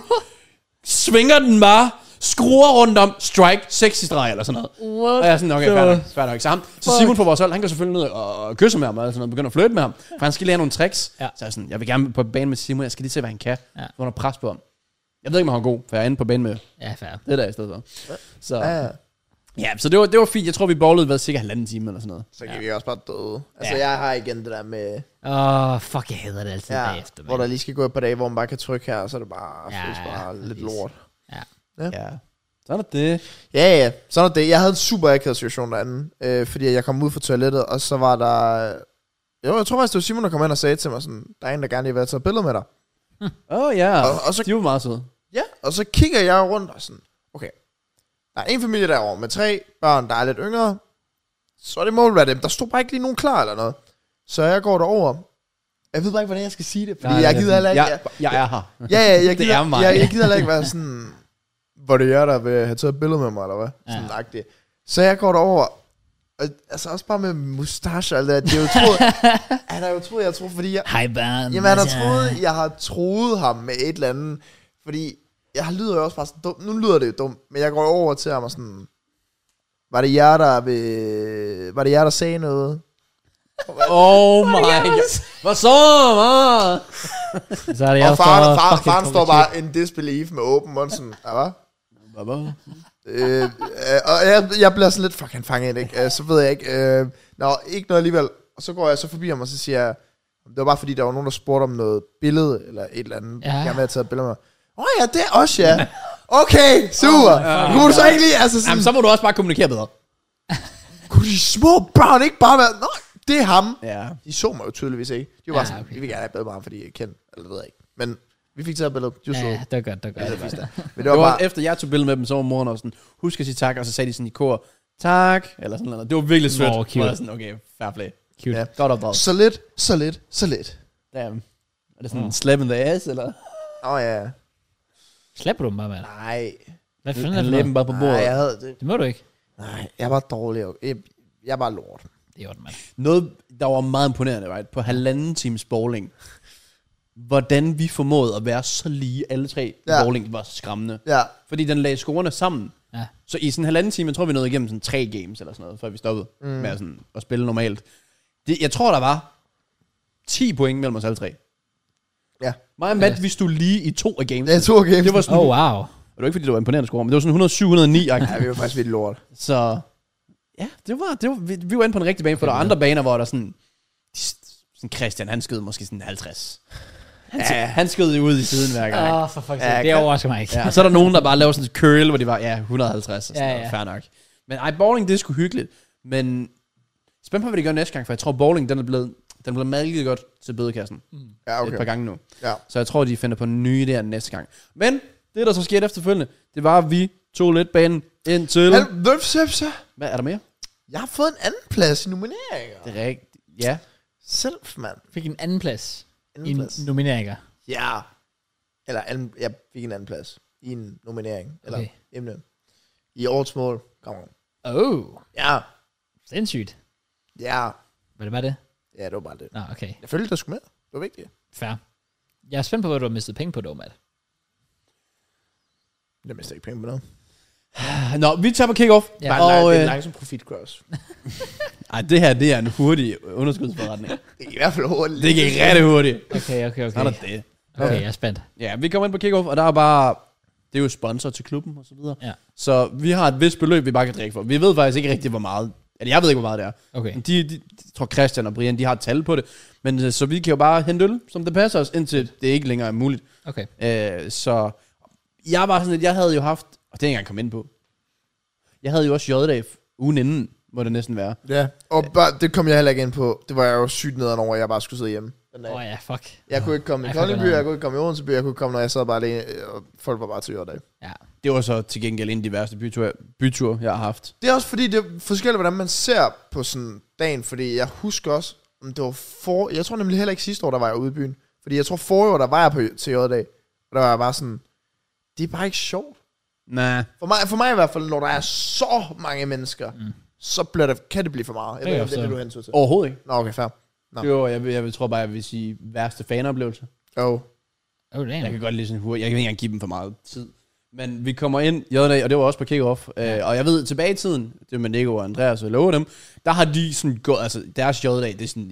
Speaker 3: svinger den bare, skruer rundt om, strike, 6 i streg eller sådan noget.
Speaker 1: What
Speaker 3: og jeg er sådan, okay, fair
Speaker 1: the
Speaker 3: nok, fair nok. Så, ham, så Simon på vores hold, han går selvfølgelig ned og, og kysser med ham, og sådan noget, begynder at flytte med ham, for han skal lige have nogle tricks.
Speaker 1: Ja.
Speaker 3: Ja. Så jeg er sådan, jeg vil gerne på banen med Simon, jeg skal lige se, hvad han kan.
Speaker 1: Ja.
Speaker 3: Ja. Under pres på ham. Jeg ved ikke, om han er god, for jeg er inde på banen med
Speaker 1: Ja, fair.
Speaker 3: det der i stedet for. Så,
Speaker 2: Ja,
Speaker 3: ja.
Speaker 2: ja.
Speaker 3: ja, så det var, det var fint. Jeg tror, vi bowlede hvad, cirka halvanden time eller sådan noget.
Speaker 2: Så kan vi også bare døde. Altså, jeg har igen det der med...
Speaker 1: Åh, oh, fuck, jeg hader det altid ja,
Speaker 2: Ja,
Speaker 1: bagefter,
Speaker 2: hvor
Speaker 1: mand.
Speaker 2: der lige skal gå et par dage, hvor man bare kan trykke her, og så er det bare,
Speaker 1: Ja,
Speaker 2: ja, føles bare
Speaker 1: ja,
Speaker 2: lidt
Speaker 1: præcis.
Speaker 2: lort.
Speaker 1: Ja.
Speaker 3: Ja. Sådan er det.
Speaker 2: Ja, ja, sådan er det. Jeg havde en super akavet situation derinde, øh, fordi jeg kom ud fra toilettet, og så var der... Jo, jeg tror faktisk, det var Simon, der kom ind og sagde til mig sådan, der er en, der gerne lige vil have taget billede med dig.
Speaker 3: Åh oh, ja,
Speaker 2: Og- og så-
Speaker 3: de var meget søde.
Speaker 2: Ja, og så kigger jeg rundt og sådan, okay, der er en familie derovre med tre børn, der er lidt yngre, så det må vel være dem. Der stod bare ikke lige nogen klar eller noget. Så jeg går derover. Jeg ved bare ikke, hvordan jeg skal sige det, fordi
Speaker 3: Nej,
Speaker 2: Nej, jeg
Speaker 3: det er
Speaker 2: gider heller
Speaker 3: sådan,
Speaker 2: ikke...
Speaker 3: Jeg, jeg er her.
Speaker 2: Ja, ja, jeg
Speaker 3: [LAUGHS] Det
Speaker 2: gider,
Speaker 3: er mig.
Speaker 2: Jeg, jeg gider heller ikke være sådan, hvor det er jer, der vil have taget et billede med mig, eller hvad? Sådan ja. Så jeg går derover, Og, altså også bare med mustache og alt det der. Det er jo troet,
Speaker 3: [LAUGHS]
Speaker 2: han har jo troet, jeg tror, fordi jeg...
Speaker 1: Hej, barn.
Speaker 2: Jamen, han har
Speaker 1: Altså,
Speaker 2: troet, jeg har troet ham med et eller andet. Fordi jeg lyder jo også bare sådan dum. Nu lyder det jo dumt, men jeg går over til ham og sådan... Var det jer, der, ved, var det jer, der sagde noget?
Speaker 3: Oh my god. Hvad så, man?
Speaker 1: Så er det
Speaker 2: Jeg
Speaker 1: jeg,
Speaker 2: og
Speaker 1: der
Speaker 2: faren,
Speaker 1: står
Speaker 2: faren,
Speaker 1: fucking
Speaker 2: faren står
Speaker 1: provokerende.
Speaker 2: bare in disbelief med åben mund, sådan, ja, hva?
Speaker 3: Baba.
Speaker 2: øh, øh, og jeg, jeg bliver sådan lidt, fuck, han fanger det, ikke? Øh, så ved jeg ikke, øh, nå, ikke noget alligevel. Og så går jeg så forbi ham, og så siger jeg, det var bare fordi, der var nogen, der spurgte om noget billede, eller et eller andet,
Speaker 1: Ja.
Speaker 2: ja. jeg havde taget billeder med. Åh oh, ja, det er også,
Speaker 1: [LAUGHS]
Speaker 2: ja. Okay, super. Oh, kunne du så ikke lige, altså sådan,
Speaker 3: Jamen, så må du også bare kommunikere bedre.
Speaker 2: kunne de små børn ikke bare være, nå, det er ham.
Speaker 3: Ja.
Speaker 2: De så mig jo tydeligvis ikke. De var
Speaker 1: Ja,
Speaker 2: bare sådan,
Speaker 1: okay.
Speaker 2: vi vil gerne have et billede med ham, fordi jeg kender, eller det ved jeg ikke. Men vi fik taget billedet, de var
Speaker 1: Ja,
Speaker 2: søde.
Speaker 1: det var godt, det var godt.
Speaker 2: Ja,
Speaker 1: det
Speaker 2: Men
Speaker 3: Det var, bare... efter jeg tog billede med dem, så var moren også sådan, husk at sige tak, og så sagde de sådan i kor, tak, eller sådan noget. Det var virkelig sødt.
Speaker 1: Nå,
Speaker 3: Nå,
Speaker 1: cute.
Speaker 3: cute. sådan, okay, fair play.
Speaker 1: Cute.
Speaker 2: Ja.
Speaker 3: Godt opdraget.
Speaker 2: Så lidt, så lidt, så lidt.
Speaker 3: Damn. Er det sådan en slap in the ass, eller?
Speaker 2: Åh oh, ja.
Speaker 1: Slapper du dem bare, mand?
Speaker 2: Nej.
Speaker 1: Hvad fanden er
Speaker 3: Han
Speaker 1: det for
Speaker 3: lagde dem
Speaker 1: noget?
Speaker 3: bare på bordet.
Speaker 2: Nej, jeg havde det.
Speaker 1: Det må du ikke.
Speaker 2: Nej, jeg var dårlig. Jeg, jeg var lort.
Speaker 1: Det er ordentligt, mand.
Speaker 3: Noget, der var meget imponerende, right? På halvanden times bowling. Hvordan vi formåede at være så lige alle tre i
Speaker 2: Ja.
Speaker 3: bowling, var skræmmende.
Speaker 2: Ja.
Speaker 3: Fordi den lagde scorerne sammen.
Speaker 1: Ja.
Speaker 3: Så i sådan en halvanden time, jeg tror vi nåede igennem sådan tre games eller sådan noget, før vi stoppede mm. med at sådan, at spille normalt. Det, jeg tror, der var 10 point mellem os alle tre.
Speaker 2: Ja.
Speaker 3: Mig og Matt, vi stod lige i to af games.
Speaker 2: Det er to games.
Speaker 3: Det var sådan,
Speaker 1: Oh,
Speaker 3: oh.
Speaker 1: wow.
Speaker 3: det var ikke fordi, det var imponerende score, men det var sådan 107
Speaker 2: Ja,
Speaker 3: 109
Speaker 2: vi var faktisk vildt lort.
Speaker 3: Så ja, det var, det var, vi, vi var inde på en rigtig bane, for der var andre baner, hvor der sådan, de- sådan Christian, han skød måske sådan 50. Han, ja. han skød jo ud i siden hver gang.
Speaker 1: Åh, for fuck's sake.
Speaker 2: Ja,
Speaker 1: Det
Speaker 2: kan-
Speaker 1: overrasker mig ikke.
Speaker 3: Ja, og så er der nogen, der bare laver sådan et curl, hvor de var, ja, 150 og sådan
Speaker 1: Ja,
Speaker 3: ja,
Speaker 1: ja.
Speaker 3: ja. fair nok. Men ej, bowling, det er sgu hyggeligt. Men spænd på, hvad de gør næste gang, for jeg tror, bowling, den er blevet, den er blevet malket godt til bødekassen
Speaker 2: Ja,
Speaker 3: okay.
Speaker 2: okay.
Speaker 3: et par gange nu.
Speaker 2: Ja.
Speaker 3: Så jeg tror, de finder på nye der næste gang. Men det, der så skete efterfølgende, det var, at vi tog lidt banen ind til...
Speaker 2: Men hvem ser så?
Speaker 3: Hvad er der mere?
Speaker 2: Jeg har fået en anden plads i nomineringer.
Speaker 3: Det er rigtigt. Ja.
Speaker 2: Selv, mand.
Speaker 1: Fik en anden plads i
Speaker 2: Anden plads.
Speaker 1: en nomineringer.
Speaker 2: Ja. Eller anden, jeg fik en anden plads i en nominering. Eller
Speaker 1: Okay.
Speaker 2: emne. I årets mål. Kom on.
Speaker 1: Oh,
Speaker 2: Ja.
Speaker 1: sindssygt.
Speaker 2: Ja.
Speaker 1: Var det bare det?
Speaker 2: Ja, det var bare det.
Speaker 1: Nå, okay.
Speaker 2: Jeg følte, der skulle med. Det var vigtigt.
Speaker 1: Fair. Jeg er spændt på, hvad du har mistet penge på, dog, Matt.
Speaker 2: Det mister ikke penge på noget.
Speaker 3: Nå, vi tager på kick-off.
Speaker 1: Ja.
Speaker 2: Ja, Bare og,
Speaker 3: og,
Speaker 2: lang,
Speaker 3: øh,
Speaker 2: øh, langsom profit cross.
Speaker 3: ej, det her, det er en hurtig underskudsforretning.
Speaker 2: Det er i hvert fald hurtigt.
Speaker 3: det gik rigtig hurtigt.
Speaker 1: Okay, okay, okay.
Speaker 3: Så er der det.
Speaker 1: Okay, jeg er spændt.
Speaker 3: Ja, vi kommer ind på kickoff, og der er bare... Det er jo sponsor til klubben og så videre.
Speaker 1: Ja.
Speaker 3: Så vi har et vist beløb, vi bare kan drikke for. Vi ved faktisk ikke rigtig, hvor meget... Eller jeg ved ikke, hvor meget det er.
Speaker 1: Okay.
Speaker 3: Men De, de, jeg tror, Christian og Brian, de har et tal på det. Men øh, så vi kan jo bare hente øl, som det passer os, indtil det ikke længere er muligt.
Speaker 1: Okay.
Speaker 3: Øh, så jeg var sådan lidt, jeg havde jo haft... Og det er jeg ikke engang kommet ind på. Jeg havde jo også J-dag ugen inden, må det næsten være.
Speaker 2: Ja, og bare, det kom jeg heller ikke ind på. Det var jeg jo sygt nederen over, at jeg bare skulle sidde hjemme. Den dag.
Speaker 1: Åh oh, ja, fuck.
Speaker 2: Jeg kunne ikke komme i
Speaker 1: Ej, fuck, hvor
Speaker 2: Koldingby,
Speaker 1: nederen.
Speaker 2: jeg kunne ikke komme i Odense by, jeg kunne ikke komme, når jeg sad bare alene, øh, og folk var bare til Jørdag.
Speaker 1: Ja.
Speaker 3: Det var så til gengæld en af de værste byture, byture jeg har haft.
Speaker 2: Det er også fordi, det er forskelligt, hvordan man ser på sådan dagen, fordi jeg husker også, om det var for... Jeg tror nemlig heller ikke sidste år, der var jeg ude i byen. Fordi jeg tror forrige år, der var jeg på, til Jørdag, og der var jeg bare sådan, det er bare ikke sjovt.
Speaker 3: Nej.
Speaker 2: For mig, for mig i hvert fald, når der er så mange mennesker, mm. så bliver det, kan det blive for meget. Jeg
Speaker 1: Det
Speaker 2: ved ikke,
Speaker 1: er
Speaker 2: om det er
Speaker 1: også-
Speaker 2: det, du hentede til.
Speaker 3: Overhovedet ikke.
Speaker 2: Nå, okay, fair. Nå.
Speaker 3: Jo, jeg, vil- jeg, vil- tror bare, jeg vil sige værste fanoplevelse.
Speaker 2: Oh.
Speaker 1: Oh, damn.
Speaker 3: Jeg kan godt lide sådan hurtigt. Jeg kan ikke engang give dem for meget tid. Men vi kommer ind i dag, og det var også på kick-off. Ja. Øh, og jeg ved, tilbage i tiden, det var med Nico og Andreas og Love dem, der har de sådan gået, altså deres J-dag, det er sådan,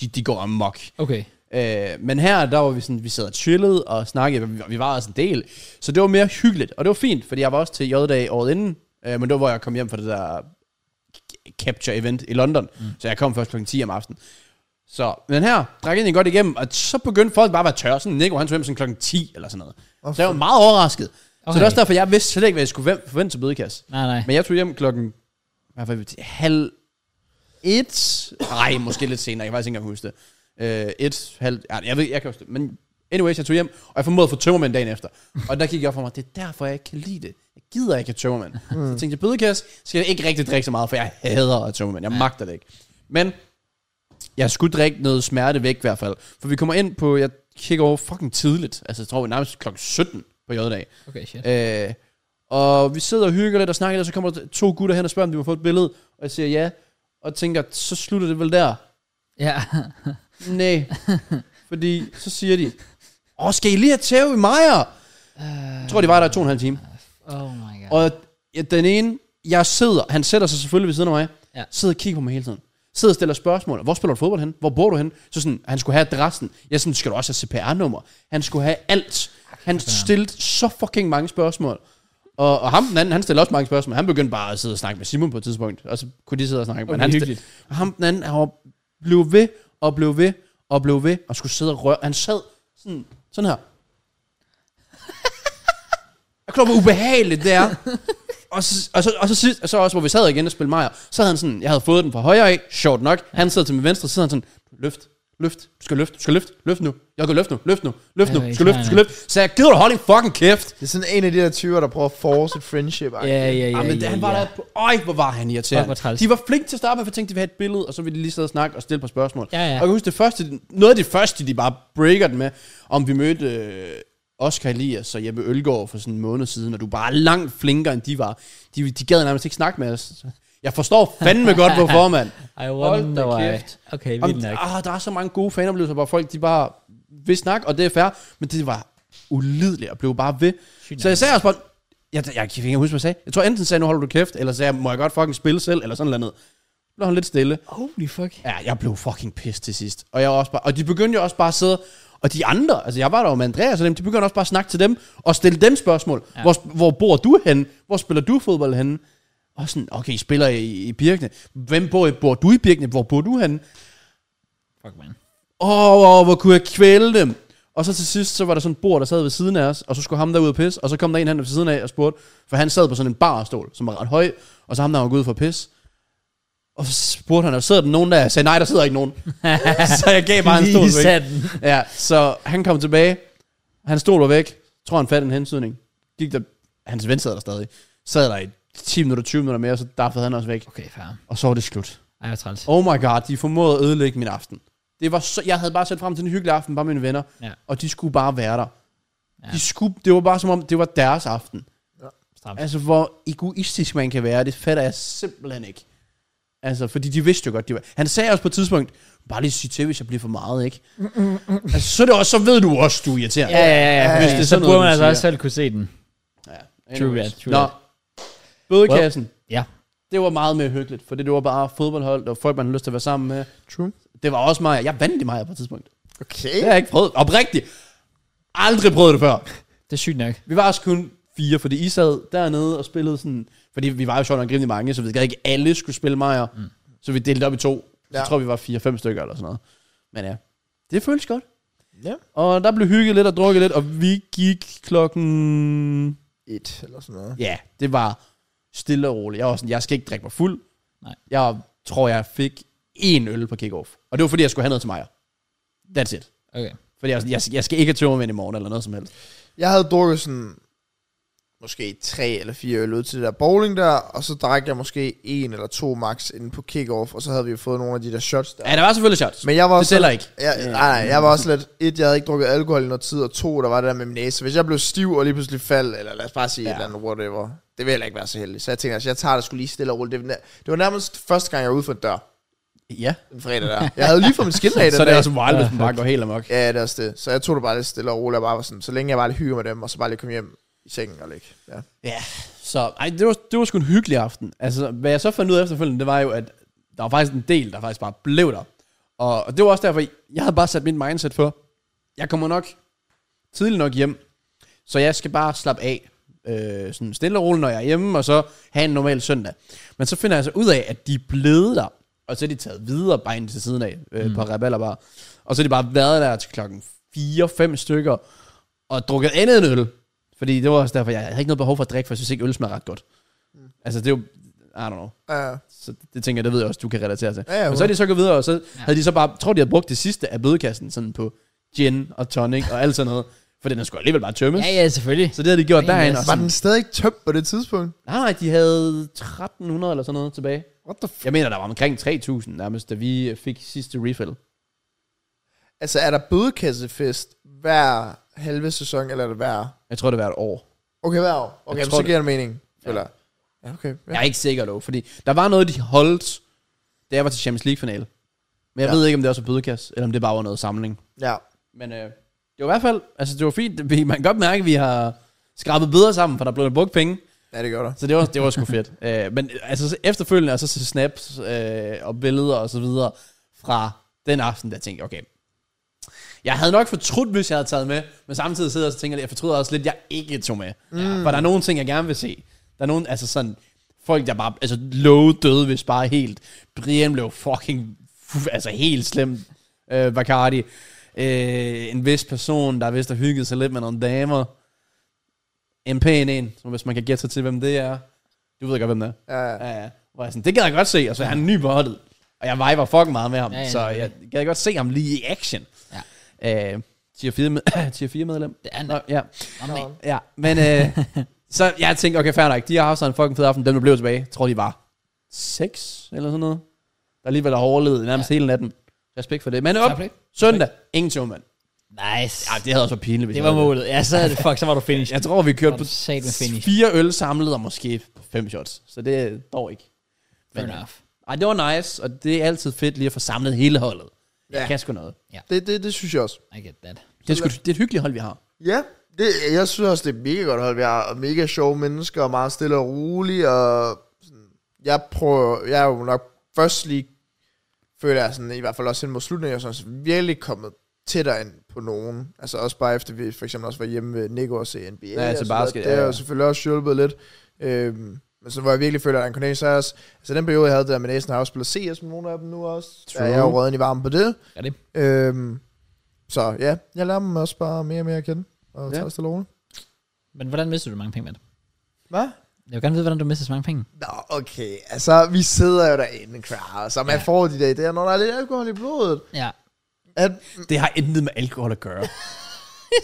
Speaker 3: de, de går amok.
Speaker 1: Okay.
Speaker 3: Øh, men her, der var vi sådan, vi sad og chillede og snakkede, vi, vi var også en del. Så det var mere hyggeligt, og det var fint, fordi jeg var også til J-dag året inden, øh, men det var, hvor jeg kom hjem fra det der Capture Event i London. Mm. Så jeg kom først kl. 10 om aftenen. Så, men her, drak egentlig godt igennem, og så begyndte folk bare at være tørre. Sådan, Nico, han tog hjem sådan klokken 10 eller sådan noget. Oh, så jeg var meget overrasket. Okay. Så det
Speaker 1: Okay.
Speaker 3: er også derfor, jeg vidste slet ikke, hvad jeg skulle hvem- forvente til bødekasse.
Speaker 1: Nej, nej.
Speaker 3: Men jeg tog hjem klokken, hvad var det, halv et? Nej, måske lidt senere, jeg kan faktisk ikke engang huske det. Øh, et, halv, ja, jeg ved, jeg kan huske det. Men anyways, jeg tog hjem, og jeg formåede at få tømmermænd dagen efter. Og der gik jeg op for mig, det er derfor, jeg ikke kan lide det. Jeg gider ikke at tømmermænd. Mm. Så jeg tænkte jeg, bødekasse, skal jeg ikke rigtig drikke så meget, for jeg hader at tømmermænd. Jeg magter det ikke. Men jeg skulle drikke noget smerte væk i hvert fald. For vi kommer ind på, jeg kigger over fucking tidligt. Altså, jeg tror, vi er nærmest klokken 17 på J-dag.
Speaker 1: Okay, shit.
Speaker 3: Øh, og vi sidder og hygger lidt og snakker lidt, og så kommer der to gutter hen og spørger, om de må få et billede. Og jeg siger ja. og tænker, så slutter det vel der.
Speaker 1: Ja. [LAUGHS]
Speaker 3: Nej. Fordi så siger de, åh, skal I lige have tæv i Maja? Jeg tror, de var der i to og en halv time.
Speaker 1: Oh my god.
Speaker 3: Og ja, den ene, jeg sidder, han sætter sig selvfølgelig ved siden af mig,
Speaker 1: Ja.
Speaker 3: ja. sidder og kigger på mig hele tiden. Sidder og stiller spørgsmål. Hvor spiller du fodbold hen? Hvor bor du hen? Så sådan, han skulle have adressen. Jeg sådan, skal du også have CPR-nummer? Han skulle have alt. Han stillede så fucking mange spørgsmål. Og, og ham, den anden, han stillede også mange spørgsmål. Han begyndte bare at sidde og snakke med Simon på et tidspunkt. Og så kunne de sidde og snakke.
Speaker 1: Okay,
Speaker 3: han
Speaker 1: hyggeligt.
Speaker 3: stillede- ham, den anden, han var- blev ved og blev ved og blev ved. Og skulle sidde og røre. Han sad sådan, sådan her. Jeg kunne hvor ubehageligt det er. Og så, og, så, og, så, sidst, og så også, hvor vi sad igen og spillede Majer, så havde han sådan, jeg havde fået den fra højre af, sjovt nok. Han sidder til min venstre, så sidder han sådan, løft, løft, du skal løfte, du skal løfte, løft nu. Jeg kan løfte nu, løft nu, løft nu,
Speaker 1: Ja,
Speaker 3: du skal løfte, du skal løfte. Så jeg gider du holde en fucking kæft.
Speaker 2: Det er sådan en af de der 20'er, der prøver at force et friendship.
Speaker 1: Ja, ja, ja.
Speaker 3: Ja, Ah, men
Speaker 1: ja,
Speaker 3: ja, han var
Speaker 1: ja.
Speaker 3: ja. der, på- øj, hvor var han
Speaker 1: Fuck, hvor
Speaker 3: irriterende.
Speaker 1: træls.
Speaker 3: De var flinke til at starte med, for jeg tænkte, de ville have et billede, og så ville de lige sidde og snakke og stille et par spørgsmål.
Speaker 1: Ja, ja.
Speaker 3: Og jeg kan huske, det første, noget af det første, de bare breaker den med, om vi mødte øh, Oscar Elias og Jeppe Ølgaard for sådan en måned siden, og du er bare langt flinkere, end de var. De, de gad nærmest ikke snakke med os. Jeg forstår fandme godt, hvorfor, mand.
Speaker 1: I
Speaker 3: Hold
Speaker 1: wonder
Speaker 3: da
Speaker 1: why.
Speaker 3: kæft.
Speaker 1: Okay,
Speaker 3: Om,
Speaker 1: vildt nok.
Speaker 3: ah, der er så mange gode fanoplevelser, hvor folk de bare vil snakke, og det er fair, men det var ulideligt at blive bare ved.
Speaker 1: Sygt
Speaker 3: Så jeg sagde også bare, jeg, jeg, jeg kan ikke huske, hvad jeg sagde. Jeg tror enten sagde, jeg, nu holder du kæft, eller sagde, jeg, må jeg godt fucking spille selv, eller sådan noget andet. Så blev han lidt stille.
Speaker 1: Holy fuck.
Speaker 3: Ja, jeg blev fucking pissed til sidst. Og, jeg var også bare, og de begyndte jo også bare at sidde, og de andre, altså jeg var der jo med Andreas og dem, de begyndte også bare at snakke til dem, og stille dem spørgsmål. Ja. Hvor, hvor bor du henne? Hvor spiller du fodbold henne? Og sådan, okay, I spiller i, i Birkene. Hvem bor, bor du i Birkene? Hvor bor du henne?
Speaker 1: Fuck, man.
Speaker 3: åh, oh, hvor kunne jeg kvæle dem. Og så til sidst, så var der sådan en bord, der sad ved siden af os, og så skulle ham derud og pisse, og så kom der en han ved siden af og spurgte, for han sad på sådan en barstol, som var ret høj, og så ham der var gået ud for pis. Og så spurgte han, "Og sidder der nogen der? Jeg sagde, nej, der sidder ikke
Speaker 1: [LAUGHS]
Speaker 3: nogen. så jeg gav bare en stol
Speaker 1: Lige
Speaker 3: væk.
Speaker 1: sat den.
Speaker 3: Ja, så han kom tilbage, han stol var væk, tror han fandt en hensydning. Gik der, hans ven sad der stadig, sad der i 10 minutter, 20 minutter mere, og så daffede han også væk.
Speaker 1: Okay, fair.
Speaker 3: Og så var det slut.
Speaker 1: Ej, hvor træls.
Speaker 3: Oh my god, de formåede at ødelægge min aften. Det var så, jeg havde bare set frem til en hyggelig aften, bare med mine venner,
Speaker 1: Ja.
Speaker 3: og de skulle bare være der.
Speaker 1: Ja.
Speaker 3: Ja. De skulle, det var bare som om, det var deres aften.
Speaker 1: Stramt.
Speaker 3: Altså, hvor egoistisk man kan være, det fatter jeg simpelthen ikke. Altså, fordi de vidste jo godt, de var... Han sagde også på et tidspunkt, bare lige sige til, hvis jeg bliver for meget, ikke? altså, så, er det også, så ved du også, du er irriterende.
Speaker 1: Ja, ja, ja. ja,
Speaker 3: Hvis
Speaker 1: ja.
Speaker 3: det er
Speaker 1: Så
Speaker 3: sådan
Speaker 1: burde
Speaker 3: noget,
Speaker 1: man
Speaker 3: man
Speaker 1: altså
Speaker 3: siger.
Speaker 1: også selv kunne se den.
Speaker 3: ja.
Speaker 1: True
Speaker 3: anyways.
Speaker 1: that, true
Speaker 3: Nå,
Speaker 1: that.
Speaker 3: bødekassen, well.
Speaker 1: Ja.
Speaker 3: det var meget mere hyggeligt, for det var bare fodboldhold, og folk, man havde lyst til at være sammen med.
Speaker 2: True.
Speaker 3: Det var også mig. Jeg vandt i mig på et tidspunkt.
Speaker 2: Okay.
Speaker 3: Det har jeg ikke prøvet. Oprigtigt. Aldrig prøvet det før.
Speaker 1: Det er sygt nok.
Speaker 3: Vi var også kun fire, fordi I sad dernede og spillede sådan... Fordi vi var jo sjovt nok rimelig mange, så vi gad ikke alle skulle spille Majer. Mm. Så vi delte op i to. Ja.
Speaker 2: Ja.
Speaker 3: Jeg tror, vi var fire-fem stykker eller sådan noget. Men ja, det føles godt.
Speaker 2: Ja.
Speaker 3: Og der blev hygget lidt og drukket lidt, og vi gik klokken...
Speaker 2: Et eller sådan noget.
Speaker 3: Ja, det var stille og roligt. Jeg var sådan, jeg skal ikke drikke mig fuld.
Speaker 1: Nej.
Speaker 3: Jeg tror, jeg fik én øl på kick-off. Og det var, fordi jeg skulle have noget til Majer. That's it.
Speaker 1: Okay.
Speaker 3: Fordi jeg, var sådan, jeg, jeg skal ikke have tømmermænd i morgen eller noget som helst.
Speaker 2: Jeg havde drukket sådan måske tre eller fire øl ud til det der bowling der, og så drak jeg måske en eller to max inden på kickoff, og så havde vi jo fået nogle af de der shots der.
Speaker 3: Ja, der var selvfølgelig shots. Men
Speaker 2: Men jeg var
Speaker 3: det
Speaker 2: også
Speaker 3: tæller ikke.
Speaker 2: jeg, nej, nej, jeg var også lidt, et, jeg havde ikke drukket alkohol i noget tid, og to, der var det der med min næse. Hvis jeg blev stiv og lige pludselig faldt, eller lad os bare sige ja.
Speaker 3: Ja.
Speaker 2: et eller andet, whatever, det vil heller ikke være så heldigt. Så jeg tænkte, altså, jeg tager det skulle lige stille og roligt. Det var, nær- det var nærmest første gang, jeg var ude for en dør,
Speaker 3: Ja.
Speaker 2: den fredag der. Jeg havde lige fået min skindag den
Speaker 3: [LAUGHS] Så er det
Speaker 2: dag.
Speaker 3: også wild, hvis man bare går helt amok.
Speaker 2: Ja, det er også det. Så jeg tog det bare lidt stille og roligt, og bare var sådan, så længe jeg bare lige hygger med dem, og så bare lige kom hjem i sengen og ligge. Ja.
Speaker 3: Ja. Så ej, det, var, det var sgu en hyggelig aften. Altså, hvad jeg så fandt ud af efterfølgende, det var jo, at der var faktisk en del, der faktisk bare blev der. Og, og det var også derfor, jeg havde bare sat mit mindset for, jeg kommer nok tidligt nok hjem, så jeg skal bare slappe af øh, sådan stille og roligt, når jeg er hjemme, og så have en normal søndag. Men så finder jeg så ud af, at de er blevet der, og så er de taget videre bare ind til siden af øh, mm. på Rebella bare. Og så er de bare været der til klokken 4-5 stykker, og drukket andet end øl. Fordi det var også derfor, jeg havde ikke noget behov for at drikke, for jeg synes ikke, øl smager ret godt. Mm. Altså det er jo, I don't know.
Speaker 2: Uh,
Speaker 3: Så det, det tænker jeg, det ved jeg også, du kan relatere til.
Speaker 2: Ja, ja,
Speaker 3: Men så er de så gået videre, og så havde de så bare, tror de havde brugt det sidste af bødekassen, sådan på gin og tonic og alt sådan noget. For den er sgu alligevel bare tømmes.
Speaker 1: Ja, ja, selvfølgelig.
Speaker 3: Så det havde de gjort
Speaker 1: Damn,
Speaker 3: derhen.
Speaker 1: yes.
Speaker 3: Og
Speaker 2: var
Speaker 3: sådan,
Speaker 2: den stadig ikke tømt på det tidspunkt?
Speaker 3: nej, nej, de havde 1300 eller sådan noget tilbage.
Speaker 2: What the f-
Speaker 3: Jeg mener, der var omkring 3000 nærmest, da vi fik sidste refill.
Speaker 2: Altså, er der bødekassefest hver halve sæson, eller er det hver?
Speaker 3: Jeg tror, det var et år.
Speaker 2: Okay, hver år. Okay,
Speaker 3: Jeg
Speaker 2: men
Speaker 3: tror
Speaker 2: så
Speaker 3: det.
Speaker 2: giver det mening. Eller? Ja, okay.
Speaker 3: Jeg
Speaker 2: Ja.
Speaker 3: er ikke sikker dog, fordi der var noget, de holdt. da jeg var til Champions League-finale. Men jeg
Speaker 2: Ja.
Speaker 3: ja. ved ikke, om det også var bødekasse, eller om det bare var noget samling.
Speaker 2: Ja.
Speaker 3: Men øh, det var i hvert fald, altså det var fint. Vi, man kan godt mærke, at vi har skrabet bedre sammen, for der blev brugt penge.
Speaker 2: Ja, det gør der.
Speaker 3: Så det var, det var sgu fedt. Øh, men altså så efterfølgende, og så, så snaps øh, og billeder og så videre fra den aften, der tænkte jeg, okay, jeg havde nok fortrudt, hvis jeg havde taget med, men samtidig sidder jeg og så tænker, jeg, jeg fortryder også lidt, jeg ikke tog med. Mm. For der er nogle ting, jeg gerne vil se. Der er nogle, altså sådan, folk der bare, altså low døde, hvis bare helt. Brian blev fucking, fu- altså helt slemt, øh, Bacardi. Øh, en vis person, der vist har hygget sig lidt med nogle damer. En pæn en, som hvis man kan gætte sig til, hvem det er. Du ved godt, hvem det er.
Speaker 2: Ja, ja.
Speaker 3: Ja, ja. Hvor jeg sådan, det gad jeg godt se, og så er han ny på holdet. Og jeg viber fucking meget med ham,
Speaker 1: Ja,
Speaker 3: ja,
Speaker 1: ja,
Speaker 3: ja, så
Speaker 1: det er
Speaker 3: jeg gad godt se ham lige i action. Ja. Øh, tier 4, med, [CLEARS THROAT] tier 4 medlem.
Speaker 1: Det er
Speaker 3: Nå, ja.
Speaker 1: normalt.
Speaker 3: ja, men [LAUGHS] øh, så jeg tænkte, okay, fair nok, de har haft sådan en fucking fed aften, dem der blev tilbage, jeg tror de var 6 eller sådan noget. Der alligevel har overlevet nærmest ja. hele natten. Respekt for det. Men op,
Speaker 1: Fair play.
Speaker 3: søndag, ingen showmand.
Speaker 1: Nice.
Speaker 3: Ja, det havde også været pinligt, hvis
Speaker 1: det
Speaker 3: jeg
Speaker 1: var
Speaker 3: havde
Speaker 1: målet. Ja, så er det, fuck, så var du finished.
Speaker 3: Jeg tror, vi kørte på
Speaker 1: Sat med finish.
Speaker 3: fire øl samlet og måske fem shots. Så det er dog ikke.
Speaker 1: Fair
Speaker 3: Men, øh,
Speaker 1: enough.
Speaker 3: Ej, det var nice, og det er altid fedt lige at få samlet hele holdet. Ja.
Speaker 2: Ja.
Speaker 3: Jeg kan sgu noget.
Speaker 2: Det, det, det synes jeg også.
Speaker 1: I get that.
Speaker 3: Det er, sgu, det er et hyggeligt hold, vi har.
Speaker 2: Ja, det, jeg synes også, det er et mega godt hold. Vi har mega sjove mennesker, og meget stille og roligt, og sådan, jeg prøver, jeg er jo nok først lige, føler jeg sådan, i hvert fald også hen mod slutningen, jeg er sådan, virkelig kommet tættere ind på nogen. Altså også bare efter vi for eksempel også var hjemme ved Nico og se NBA.
Speaker 3: Ja, til
Speaker 2: og sådan noget.
Speaker 3: basket,
Speaker 2: Det
Speaker 3: ja,
Speaker 2: har
Speaker 3: ja.
Speaker 2: jo selvfølgelig også hjulpet lidt. Øhm, men så hvor jeg virkelig føler, at der er en connection, så er jeg også, altså den periode, jeg havde der med næsen, har jeg også spillet CS med nogle af dem nu også. Ja,
Speaker 3: True.
Speaker 2: jeg er jo rødden i varmen på det.
Speaker 1: Er det?
Speaker 2: Øhm, så ja, jeg lærer dem også bare mere og mere at kende. Og
Speaker 3: Ja.
Speaker 2: tager det stille og roligt.
Speaker 1: Men hvordan mistede du mange penge med det?
Speaker 2: Hvad?
Speaker 1: Jeg vil gerne vide, hvordan du mistede så mange penge.
Speaker 2: Nå, okay. Altså, vi sidder jo derinde, crowd, så man
Speaker 1: Ja.
Speaker 2: ja. får de der idéer, når der er lidt alkohol i blodet.
Speaker 1: Ja.
Speaker 2: At,
Speaker 3: Det har intet med alkohol at gøre.
Speaker 1: Jeg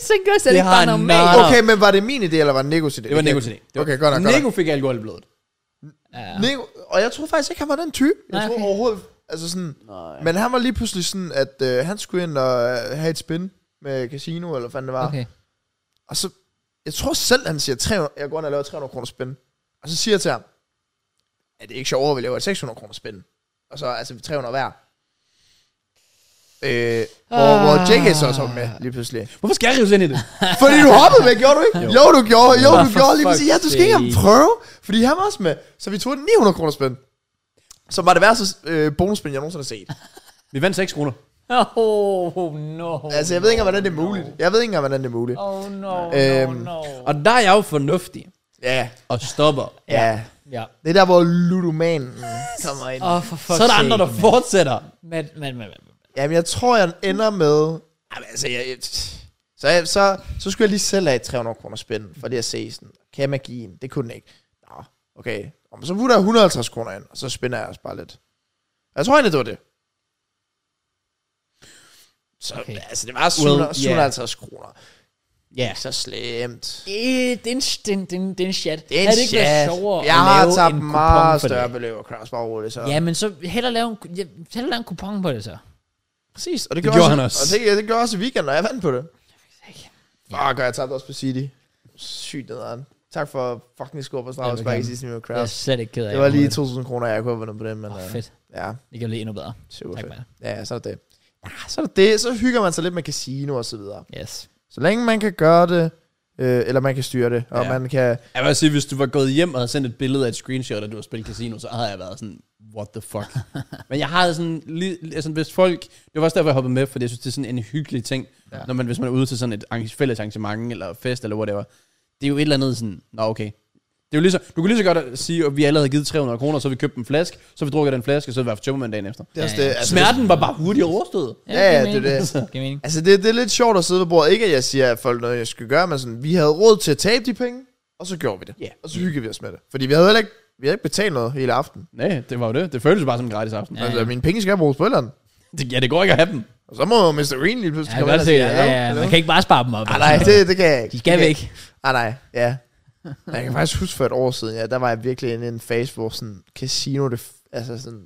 Speaker 1: tænker også,
Speaker 3: at det ikke bare er normalt. Ah, Nå.
Speaker 2: okay, men var det min idé, eller var det Nikos idé?
Speaker 3: Det var
Speaker 2: Okay.
Speaker 3: Nikos idé. Det var-
Speaker 2: Okay, godt nok, godt
Speaker 3: Nico fik alkohol i blodet.
Speaker 2: nok. Nico, og jeg troede faktisk ikke, han var den type. Jeg
Speaker 1: Nej,
Speaker 2: troede
Speaker 1: okay.
Speaker 2: overhovedet, altså sådan...
Speaker 3: Nej.
Speaker 2: Men han var lige pludselig sådan, at øh, han skulle ind og øh, have et spin med casino, eller hvad det var.
Speaker 1: Okay.
Speaker 2: Og så, jeg tror selv, han siger, 300, jeg går ind og laver 300 kroner spin. Og så siger jeg til ham, er det ikke sjovere, at vi laver et 600 kroner spin? Og så altså 300 hver. Øh, hvor, ah. hvor JK så også var med lige pludselig.
Speaker 3: Hvorfor skal jeg rives ind i det?
Speaker 2: Fordi du hoppede med, gjorde du ikke? Jo, jo du gjorde, jo du gjorde lige præcis. Ja, du skal ikke engang
Speaker 3: sake.
Speaker 2: prøve, fordi han var også med. Så vi tog et 900 kroner spin. Som var det værste øh, bonusspin, jeg nogensinde har set.
Speaker 3: Vi vandt 6 kroner.
Speaker 1: [LAUGHS] Oh, no.
Speaker 2: Altså, jeg ved ikke engang, hvordan det er muligt. Jeg ved ikke engang, hvordan det er muligt.
Speaker 1: Oh, no, no,
Speaker 2: Øhm,
Speaker 1: no.
Speaker 3: Og der er jeg jo fornuftig
Speaker 2: Ja,
Speaker 3: og stopper.
Speaker 2: ja.
Speaker 1: Ja.
Speaker 2: Det er der, hvor ludomanen kommer ind.
Speaker 1: Åh, oh, for fuck's
Speaker 3: Så er der
Speaker 1: sake,
Speaker 3: andre, der
Speaker 1: mand.
Speaker 3: fortsætter.
Speaker 1: Men, men, men, men.
Speaker 2: Jamen, jeg tror, jeg ender
Speaker 1: Mm.
Speaker 2: med... Jamen, altså, jeg, jeg- så, jeg, så, så skulle jeg lige selv have 300 kroner spænd, for det at se sådan, kan jeg magien? Det kunne den ikke. Nå, okay. Nå, men så putter jeg 150 kroner ind, og så spænder jeg også bare lidt. Jeg tror egentlig, det var det. Så,
Speaker 1: Okay.
Speaker 2: okay. altså, det var 700,
Speaker 3: yeah.
Speaker 2: 750 kroner.
Speaker 3: Ja.
Speaker 2: Så slemt.
Speaker 1: Øh, det er en, det er en, det er en, det er en chat.
Speaker 2: Det er en
Speaker 1: Havde det ikke været
Speaker 2: chat.
Speaker 1: sjovere
Speaker 2: Jeg
Speaker 1: at
Speaker 2: har
Speaker 1: lave
Speaker 2: tabt
Speaker 1: en kupon
Speaker 2: meget
Speaker 1: for det?
Speaker 2: større beløb, og Kraus bare roligt, så.
Speaker 1: Ja, men så hellere lave en, ja, hellere lave en kupon på det så.
Speaker 2: præcis. Og det,
Speaker 3: gjorde
Speaker 2: også,
Speaker 3: han også.
Speaker 2: Og det, det gjorde også i weekenden, og jeg vandt på det. Fuck, og jeg tabte også på City. Sygt nederen. Tak for fucking skub og
Speaker 1: Ja,
Speaker 2: straf, bare i
Speaker 1: velkommen.
Speaker 2: sidste minut
Speaker 1: Det er jeg
Speaker 2: crash.
Speaker 1: slet ikke ked af.
Speaker 2: Det var lige 2.000 kroner, jeg kunne have vundet på den, men
Speaker 1: Åh,
Speaker 2: oh,
Speaker 1: fedt.
Speaker 2: ja,
Speaker 1: Det kan blive endnu bedre.
Speaker 2: super
Speaker 1: Tak,
Speaker 2: fedt.
Speaker 1: man.
Speaker 2: Ja, ja, så er det det. Ja, så er det det. Så hygger man sig lidt med casino og så videre.
Speaker 1: Yes.
Speaker 2: Så længe man kan gøre det, øh, eller man kan styre det, og
Speaker 3: Ja.
Speaker 2: man kan...
Speaker 3: Jeg vil sige, hvis du var gået hjem og havde sendt et billede af et screenshot, at du har spillet casino, så havde jeg været sådan, what the
Speaker 2: [LAUGHS]
Speaker 3: fuck. Men jeg havde sådan, li- altså hvis folk, det var også derfor, jeg hoppede med, for jeg synes, det er sådan en hyggelig ting,
Speaker 2: Ja.
Speaker 3: ja. når man, hvis man er ude til sådan et arrange- fælles arrangement, eller fest, eller whatever. Det er jo et eller andet sådan, nå okay. Det er jo lige så, du kan lige så godt sige, at vi alle havde givet 300 kroner, så har vi købt en flaske, så har vi drukket den flaske, og så har vi haft tømmermand dagen efter.
Speaker 2: Det er også
Speaker 1: Ja, ja.
Speaker 2: det. Altså,
Speaker 3: Smerten var bare hurtigt overstået.
Speaker 2: Ja, ja,
Speaker 1: giver
Speaker 2: det er
Speaker 1: mening. [LAUGHS]
Speaker 2: det.
Speaker 1: Giver mening.
Speaker 2: Det, altså det, det er lidt sjovt at sidde ved bordet. Ikke at jeg siger, at folk noget, jeg skal gøre, men sådan, vi havde råd til at tabe de penge, og så gjorde vi det.
Speaker 3: Ja.
Speaker 2: Og så hyggede vi os med det. Fordi vi havde heller ikke, vi havde ikke betalt noget hele aften.
Speaker 3: Nej, det var jo det. Det føltes bare som en gratis aften.
Speaker 1: Ja,
Speaker 2: Ja,
Speaker 3: Ja,
Speaker 2: altså,
Speaker 1: ja.
Speaker 2: mine penge skal bruges på et eller andet.
Speaker 3: det, ja, det går ikke at have dem.
Speaker 2: Og så må Mr. Green lige
Speaker 1: Ja,
Speaker 2: pludselig
Speaker 1: det
Speaker 2: komme
Speaker 1: er
Speaker 2: ind og
Speaker 1: sikkert.
Speaker 2: sige,
Speaker 1: Ja,
Speaker 2: "Hallo,
Speaker 1: ja,
Speaker 2: hallo."
Speaker 1: man kan ikke bare spare dem op.
Speaker 2: Ah, nej, det, det kan jeg ikke.
Speaker 1: De skal
Speaker 2: Det
Speaker 1: væk.
Speaker 2: kan jeg ikke. Ah, nej,
Speaker 1: [LAUGHS]
Speaker 2: ja. Men jeg kan faktisk huske for et år siden, ja, der var jeg virkelig inde i en fase, hvor sådan casino, det, f- altså sådan,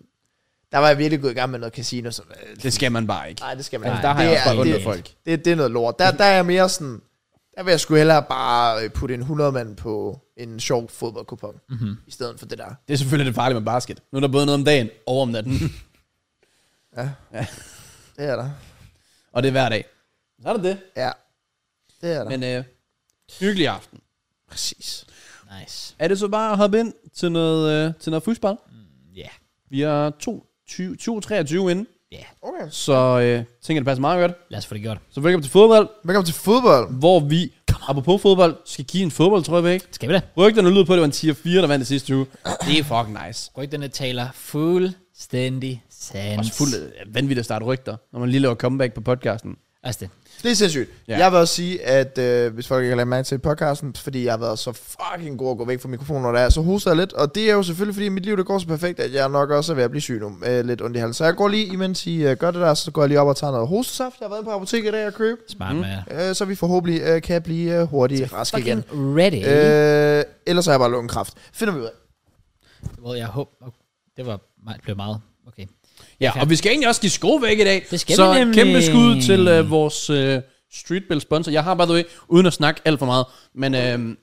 Speaker 2: der var jeg virkelig gået i gang med noget casino, så øh,
Speaker 3: Det skal man bare ikke.
Speaker 2: nej, det skal man
Speaker 1: Altså,
Speaker 2: ikke.
Speaker 3: Der har
Speaker 2: det
Speaker 3: jeg også
Speaker 2: er-
Speaker 3: bare
Speaker 2: det-
Speaker 3: undret folk.
Speaker 2: Det, det er noget lort. Der, der er jeg mere sådan, der vil jeg sgu hellere bare øh, putte en 100 mand på en sjov
Speaker 3: Mhm.
Speaker 2: fodboldkupon, mm-hmm. i stedet for det der.
Speaker 3: [LAUGHS] Det er selvfølgelig det farlige med basket. Nu er der både noget om dagen og om natten.
Speaker 2: Ja.
Speaker 3: Ja.
Speaker 2: Det er der.
Speaker 3: Og det er hver dag. Så er det det.
Speaker 2: Ja. Det er der.
Speaker 3: Men øh, hyggelig aften.
Speaker 2: præcis.
Speaker 1: Nice.
Speaker 3: Er det så bare at hoppe ind til noget, øh, til noget fodbold?
Speaker 1: Ja. Yeah.
Speaker 3: Vi er 22-23 inde,
Speaker 1: Ja. Yeah.
Speaker 2: Okay.
Speaker 3: så øh, tænker det passer meget godt.
Speaker 1: Lad os få det gjort.
Speaker 3: Så velkommen til fodbold,
Speaker 2: Velkommen til fodbold.
Speaker 3: hvor vi, apropos fodbold, skal give en fodboldtrøje væk.
Speaker 1: Skal vi det?
Speaker 3: Rygterne lyder på, at det var en tier 4, der vandt det sidste uge. Det er fucking nice.
Speaker 1: Rygterne taler fuldstændig sandt.
Speaker 3: Også fuldt øh, vanvittigt at starte rygter, når man lige laver comeback på podcasten.
Speaker 1: Altså det.
Speaker 2: Det er sindssygt.
Speaker 3: Ja.
Speaker 2: Ja. Jeg vil også sige, at øh, hvis folk ikke har lagt mærke til podcasten, fordi jeg har været så fucking god at gå væk fra mikrofonen, når der er, så hoster jeg lidt. Og det er jo selvfølgelig, fordi mit liv det går så perfekt, at jeg nok også er ved at blive syg nu. Øh, lidt ondt i halsen. Så jeg går lige, imens I øh, gør det der, så går jeg lige op og tager noget hostesaft. Jeg har været inde på apoteket i dag og købe.
Speaker 1: Smart mm. med dig.
Speaker 2: Øh, så vi forhåbentlig øh, kan blive øh, hurtigt rask igen.
Speaker 1: Fucking ready. Øh.
Speaker 2: Øh, ellers har jeg bare lungekræft. Finder vi ud af.
Speaker 1: Well, jeg håber, okay. det var meget, blev meget. Okay.
Speaker 3: Ja, og vi skal egentlig også give sko væk i dag.
Speaker 1: Det skal
Speaker 3: så
Speaker 1: vi nemlig.
Speaker 3: kæmpe skud til øh, vores øh, Streetbill sponsor. Jeg har bare ved, uden at snakke alt for meget, men øh,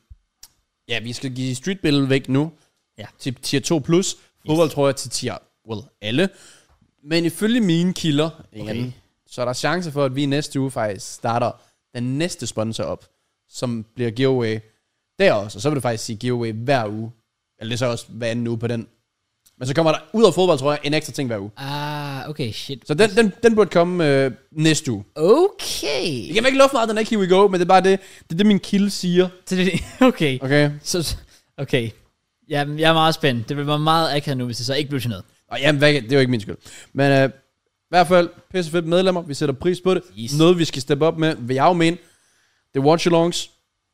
Speaker 3: ja, vi skal give Streetbill væk nu.
Speaker 1: Ja.
Speaker 3: Til tier 2 plus. Fodbold tror jeg til tier, well, alle. Men ifølge mine kilder, okay. anden, så er der chance for, at vi næste uge faktisk starter den næste sponsor op, som bliver giveaway der også. Og så vil det faktisk sige giveaway hver uge. Eller det er så også hver anden uge på den. Men så kommer der ud af fodbold, tror jeg, en ekstra ting hver uge.
Speaker 1: Ah, okay, shit.
Speaker 3: Så den, den, den burde komme øh, næste uge.
Speaker 1: Okay.
Speaker 3: Jeg kan ikke love meget, den er ikke here we go, men det er bare det, det, er det min kilde siger.
Speaker 1: Så det- [LAUGHS] Okay.
Speaker 3: Okay.
Speaker 1: Så, okay. Jamen, jeg er meget spændt. Det bliver meget akavet nu, hvis det så ikke bliver til noget.
Speaker 3: Og jamen, hvad, det er jo ikke min skyld. Men øh, i hvert fald, pisse fedt medlemmer, vi sætter pris på det.
Speaker 1: Yes.
Speaker 3: Noget, vi skal steppe op med, vil jeg jo mene. Det er watch-alongs.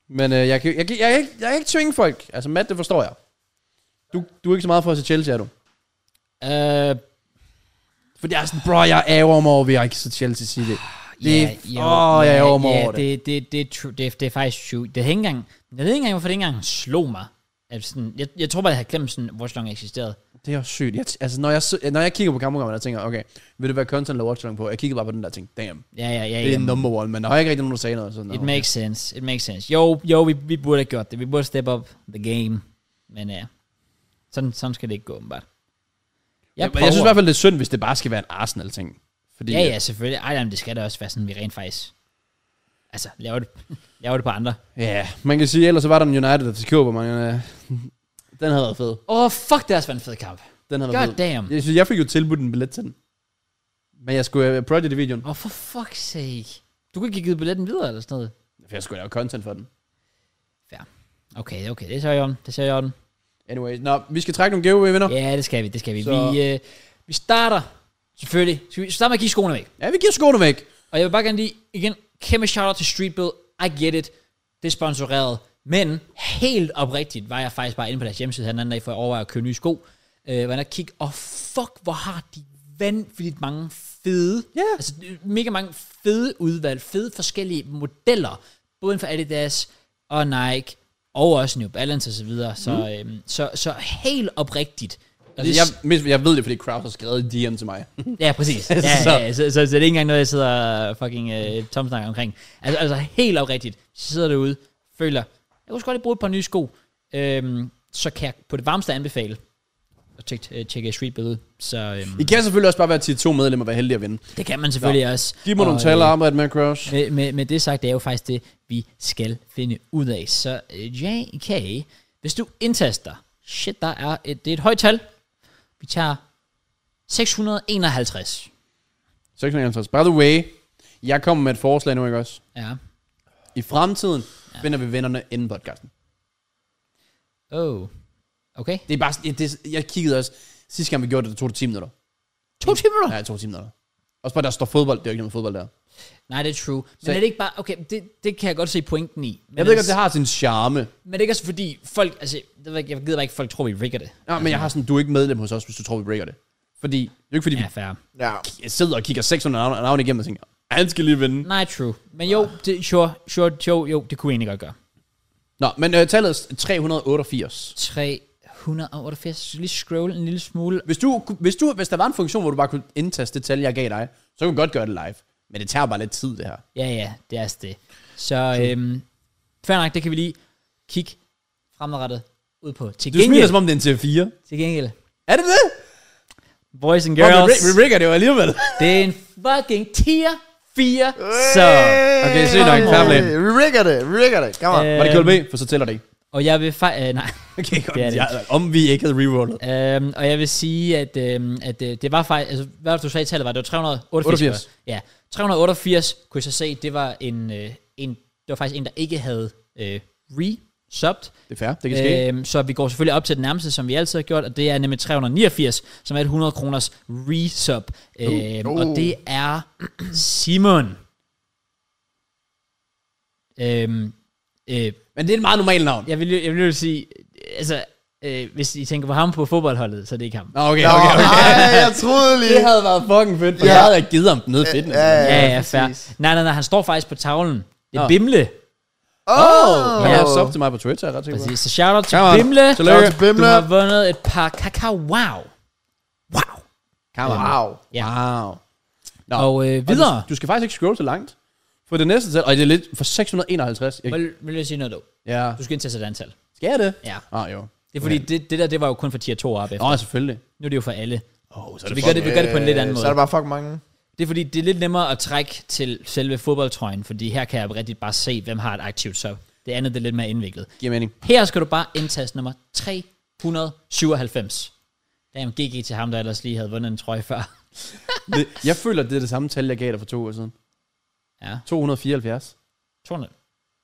Speaker 3: Men øh, jeg, kan, jeg, kan- jeg, kan ikke, jeg kan ikke tvinge folk. Altså, Matt, det forstår jeg. Du, du er ikke så meget for at se Chelsea, er du?
Speaker 1: Øh,
Speaker 3: For det er sådan, bro, jeg ærger mig over, at jeg ikke så Chelsea sige det. Det er-
Speaker 1: jo,
Speaker 3: Åh, jeg er over mig over
Speaker 1: det. Det, det, er true, det, er- det er faktisk true. Det er ikke engang, jeg ved ikke engang, hvorfor det ikke engang slog mig. At sådan, jeg, jeg tror bare, jeg havde glemt sådan, hvor så eksisterede.
Speaker 3: Det er jo sygt. Jeg, t- altså, når jeg, så- når jeg kigger på kampprogrammet, jeg tænker, okay, vil det være content eller watch-along på? Jeg kigger bare på den der ting, damn.
Speaker 1: Ja, ja, ja.
Speaker 3: Det er
Speaker 1: jamen,
Speaker 3: number one, men der har ikke rigtig nogen, der sagde noget. Sådan,
Speaker 1: It makes sense. It makes sense. Jo, jo vi, vi burde have gjort det. Vi burde step up the game. Men ja, sådan, sådan skal det ikke gå, åbenbart.
Speaker 3: jeg, jeg, jeg synes i hvert fald, det er synd, hvis det bare skal være en Arsenal-ting. Fordi,
Speaker 1: Ja, ja, selvfølgelig. Ej, jamen, det skal da også være sådan, vi rent faktisk... Altså, laver det, [LAUGHS] laver det på andre.
Speaker 3: Ja, man kan sige, ellers så var der en United FCK, hvor man... Øh, den havde været fed.
Speaker 1: Åh, oh, fuck, det har også været en fed kamp.
Speaker 3: Den havde
Speaker 1: God
Speaker 3: været fed.
Speaker 1: damn.
Speaker 3: Jeg, synes, jeg fik jo tilbudt en billet til den. Men jeg skulle uh, project i videoen.
Speaker 1: Åh, oh, for fuck's sake. Du kunne ikke give billetten videre eller sådan noget.
Speaker 3: For jeg skulle lave content for den.
Speaker 1: Fair. Okay, okay, det ser jeg om. Det ser jeg om.
Speaker 3: Anyway, nå, vi skal trække nogle giveaway, venner. Yeah.
Speaker 1: Ja, det skal vi, det skal vi.
Speaker 3: Så-
Speaker 1: Vi, øh, vi starter, selvfølgelig. Skal vi starte med at give skoene væk.
Speaker 3: Ja, vi giver skoene væk.
Speaker 1: Og jeg vil bare gerne lige, igen, kæmpe shout-out til Streetbill. I get it. Det er sponsoreret. Men helt oprigtigt var jeg faktisk bare inde på deres hjemmeside her den anden dag, for at overveje at købe nye sko. Øh, var jeg kigge, og fuck, hvor har de vanvittigt mange fede,
Speaker 3: Ja.
Speaker 1: altså mega mange fede udvalg, fede forskellige modeller, både inden for Adidas og Nike, og også New Balance osv. Så, videre. så, mm. øhm, så, så helt oprigtigt.
Speaker 3: Mhm. Altså, jeg, mest- jeg ved det, fordi Kraus har skrevet i DM til mig.
Speaker 1: Ja,
Speaker 3: [LAUGHS]
Speaker 1: præcis. Ja,
Speaker 3: Så-
Speaker 1: så. Ja, så, så, så det er ikke engang noget, jeg sidder og fucking øh, tomsnakker omkring. Altså, altså helt oprigtigt, så sidder derude, føler, jeg kunne sgu godt lige bruge et par nye sko, øhm, så kan jeg på det varmeste anbefale at tjekke, øh, tjekke Streetbill ud. Så øhm,
Speaker 3: I kan selvfølgelig også bare være til to medlemmer og være heldige at vinde.
Speaker 1: det kan man selvfølgelig ja. også.
Speaker 3: Giv mig
Speaker 1: Og,
Speaker 3: nogle tal og arbejde med, Kraus.
Speaker 1: øh, Med, med, med det sagt, det er jo faktisk det, vi skal finde ud af. Så øh, JK, hvis du indtaster, shit, der er et, det er et højt tal. Vi tager 651.
Speaker 3: 650. By the way, jeg kommer med et forslag nu, ikke også?
Speaker 1: Ja.
Speaker 3: I fremtiden ja. finder vi vennerne inden podcasten.
Speaker 1: Oh. Okay.
Speaker 3: Det er bare, det, det, jeg kiggede også, sidste gang vi gjorde det, der tog det 10 minutter.
Speaker 1: To timer?
Speaker 3: Mm. Ja, to timer der. Også bare, der står fodbold. Det er jo ikke noget med fodbold der.
Speaker 1: Nej, det er true. Men
Speaker 3: Så-
Speaker 1: er det ikke bare... Okay, det, det kan jeg godt se pointen i. Men
Speaker 3: Jeg ved ikke, om
Speaker 1: altså-
Speaker 3: det har sin charme.
Speaker 1: Men det er ikke også fordi folk... Altså, det ved jeg, ikke, jeg gider bare ikke, folk tror, vi rigger det.
Speaker 3: Ja, men jeg har sådan, du er ikke medlem hos os, hvis du tror, vi breaker det. Fordi, det er jo ikke fordi,
Speaker 1: Ja,
Speaker 3: ja.
Speaker 1: fair.
Speaker 2: Ja.
Speaker 3: vi sidder og kigger 600 navne, navne igennem og tænker, han skal lige vinde.
Speaker 1: Nej, true. Men jo, det, sure, sure, jo, jo, det kunne jeg egentlig godt gøre.
Speaker 3: Nå, men øh, tallet er 388.
Speaker 1: 388. Så lige scroll en lille smule.
Speaker 3: Hvis, du, ku- hvis, du, hvis der var en funktion, hvor du bare kunne indtaste det tal, jeg gav dig, så kunne vi godt gøre det live. Men det tager bare lidt tid, det her.
Speaker 1: Ja, ja, det er altså det. Så øhm, fair nok, det kan vi lige kigge fremadrettet ud på. Til
Speaker 3: Du smiler,
Speaker 1: gengæld,
Speaker 3: som om det er en til 4
Speaker 1: til gengæld
Speaker 3: Er det det?
Speaker 1: Boys and
Speaker 3: Girls. Og
Speaker 1: girls.
Speaker 3: vi, vi rigger det jo alligevel.
Speaker 1: Det er en fucking tier 4. Så.
Speaker 3: Okay, sygt nok. Fair play.
Speaker 2: Vi rigger det, vi rigger det. Kom on.
Speaker 1: Øh,
Speaker 3: Var det KLB? For så tæller det ikke.
Speaker 1: Og jeg vil fa- øh, nej.
Speaker 3: [LAUGHS] Okay, godt.
Speaker 1: Det er det.
Speaker 3: Jeg, om vi ikke havde rerollet.
Speaker 1: Øhm, og jeg vil sige, at, øhm, at øh, det var faktisk, altså, hvad var det, du sagde i tallet var, det var 388.
Speaker 3: 88.
Speaker 1: Ja, 388 kunne jeg så se, det var en, øh, en det var faktisk en, der ikke havde øh, resubbed.
Speaker 3: Det er fair. Det kan ske.
Speaker 1: Øhm, så vi går selvfølgelig op til den nærmeste, som vi altid har gjort, og det er nemlig 389, som er et 100 kroners resub. Øhm,
Speaker 2: Uh.
Speaker 1: Og det er Simon. Øhm, øh,
Speaker 3: Men det er et meget normalt navn.
Speaker 1: jeg vil, jeg vil jo sige, altså, øh, hvis I tænker på ham på fodboldholdet, så er det ikke ham.
Speaker 3: Nå, okay,
Speaker 2: Nå,
Speaker 3: okay, okay.
Speaker 2: nej, jeg troede lige.
Speaker 3: Det havde været fucking fedt, for
Speaker 2: Ja.
Speaker 3: jeg havde ikke givet ham ned i fitness.
Speaker 2: Ja,
Speaker 1: Ja, ja,
Speaker 2: præcis.
Speaker 1: fair. Nej, nej, nej, han står faktisk på tavlen. Det er
Speaker 3: Nå.
Speaker 1: Bimle.
Speaker 2: Åh!
Speaker 3: Han har sub til mig på Twitter, er jeg ret sikker på.
Speaker 1: Præcis, så shout out til
Speaker 3: Come on.
Speaker 1: Bimle.
Speaker 3: Tillykke.
Speaker 2: Shout out til Bimle.
Speaker 1: Du har vundet et par kakao. Wow. Wow.
Speaker 3: Come on.
Speaker 2: Wow.
Speaker 1: Ja.
Speaker 2: Ah.
Speaker 3: Wow. Nå.
Speaker 1: Og øh, videre.
Speaker 3: Du, du skal faktisk ikke scrolle så langt. For det næste tal, og det er lidt for 651. Jeg,
Speaker 1: Vil, vil jeg sige noget dog?
Speaker 3: ja.
Speaker 1: Du skal indsætte et antal.
Speaker 3: Skal jeg det?
Speaker 1: Ja.
Speaker 3: Ah, jo.
Speaker 1: Det er fordi, det, det der, det var jo kun for tier 2 og op efter.
Speaker 3: Nå, ja, selvfølgelig.
Speaker 1: Nu er det jo for alle.
Speaker 3: Oh,
Speaker 1: Så vi gør det, vi gør det på en lidt anden
Speaker 2: Øh,
Speaker 1: måde.
Speaker 2: Så er der bare fucking mange.
Speaker 1: Det er fordi, det er lidt nemmere at trække til selve fodboldtrøjen, fordi her kan jeg rigtig bare se, hvem har et aktivt sub. Det andet det er lidt mere indviklet.
Speaker 3: Giver mening.
Speaker 1: Her skal du bare indtaste nummer 397. Damn, GG til ham, der ellers lige havde vundet en trøje før.
Speaker 3: Det, jeg føler, det er det samme tal, jeg gav dig for to år siden.
Speaker 1: Ja,
Speaker 3: 274.
Speaker 1: 200.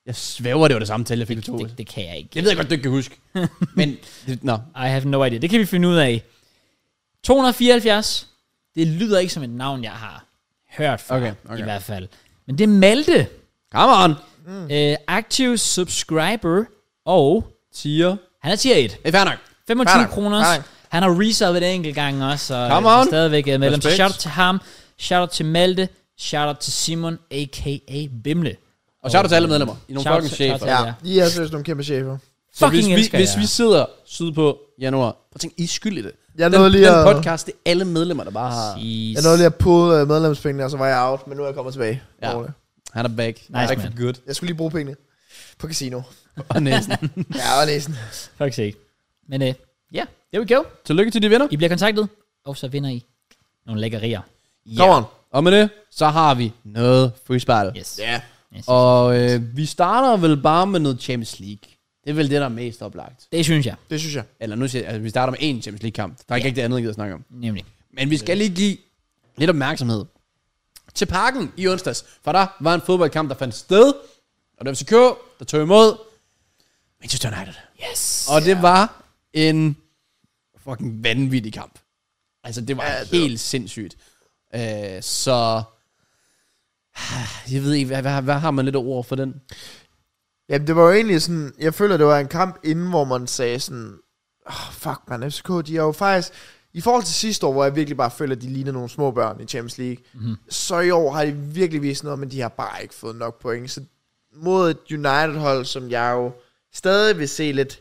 Speaker 3: Jeg svæver, det var det samme tal, jeg fik for to år
Speaker 1: Det,
Speaker 3: siden.
Speaker 1: det kan jeg ikke.
Speaker 3: Det ved jeg godt, du ikke kan huske. [LAUGHS] Men, det, nå.
Speaker 1: I have no idea. Det kan vi finde ud af. 274. Det lyder ikke som et navn, jeg har hørt fra,
Speaker 3: Okay, okay.
Speaker 1: i hvert fald. Men det er Malte.
Speaker 3: Come on.
Speaker 1: Mm. Øh, aktiv subscriber. Og
Speaker 3: Tier.
Speaker 1: han er tier 1.
Speaker 3: Det er fair nok.
Speaker 1: 25
Speaker 2: Fair nok,
Speaker 1: kroner.
Speaker 2: fair nok.
Speaker 1: Han har resubbet en enkelt gang også, og
Speaker 3: Come
Speaker 1: øh,
Speaker 3: on.
Speaker 1: stadigvæk er medlem. Så
Speaker 3: Respekt.
Speaker 1: shout out til ham, shout out til Malte, shout out til Simon, a.k.a. Bimle.
Speaker 3: Og shout out til alle medlemmer. I er nogle
Speaker 1: Shout
Speaker 3: fucking
Speaker 1: out- shout out
Speaker 3: chefer.
Speaker 1: til-
Speaker 2: Ja,
Speaker 1: Ja.
Speaker 2: I er seriøst nogle kæmpe chefer.
Speaker 3: Så
Speaker 1: Fucking
Speaker 3: hvis,
Speaker 1: elsker
Speaker 3: vi, hvis
Speaker 1: jer.
Speaker 3: vi sidder sydpå januar, prøv at tænke, I er skyld i det.
Speaker 2: Jeg nåede
Speaker 3: den,
Speaker 2: lige
Speaker 3: den
Speaker 2: at-
Speaker 3: podcast, det er alle medlemmer, der bare har...
Speaker 1: Jeez.
Speaker 2: Jeg nåede lige at pulle øh, medlemspengene, og så var jeg out, men nu er jeg kommet tilbage.
Speaker 3: Ja.
Speaker 2: Rolig.
Speaker 3: Han er back.
Speaker 1: Nice,
Speaker 3: back
Speaker 1: man. [LAUGHS]
Speaker 3: for good.
Speaker 2: Jeg skulle lige bruge pengene på casino.
Speaker 3: Og næsten.
Speaker 2: Ja, og næsen.
Speaker 1: Fuck sake. Men øh, ja, uh, yeah, there we go.
Speaker 3: Tillykke til de vinder.
Speaker 1: I bliver kontaktet, og så vinder I nogle lækkerier.
Speaker 2: Come on.
Speaker 3: Og med det, så har vi noget freestyle.
Speaker 1: Yes.
Speaker 2: Ja.
Speaker 1: yes. Og
Speaker 3: Og øh, vi starter vel bare med noget Champions League. Det er vel det, der er mest oplagt.
Speaker 1: det synes jeg,
Speaker 2: Det synes jeg.
Speaker 3: Eller nu siger jeg, altså, vi starter med én Champions League-kamp. Der er ikke rigtig andet, jeg gider snakke om.
Speaker 1: nemlig.
Speaker 3: Men vi skal lige give lidt opmærksomhed til parken i onsdags. For der var en fodboldkamp, der fandt sted. Og det var FCK, der tog imod Manchester United.
Speaker 1: Yes.
Speaker 3: Og det var en fucking vanvittig kamp. Altså, det var
Speaker 2: Ja,
Speaker 3: ja,
Speaker 2: det
Speaker 3: det
Speaker 2: var-
Speaker 3: helt sindssygt. Øh, så... [SIGHS] Jeg ved ikke, hvad, hvad, hvad har man lidt ord for den?
Speaker 2: Jamen, det var jo egentlig sådan, jeg føler, det var en kamp inden, hvor man sagde sådan, oh, fuck man, FCK, de er jo faktisk, i forhold til sidste år, hvor jeg virkelig bare føler, at de ligner nogle små børn i Champions League,
Speaker 1: Mhm.
Speaker 2: mm-hmm. så i år har de virkelig vist noget, men de har bare ikke fået nok point. Så mod et United-hold, som jeg jo stadig vil se lidt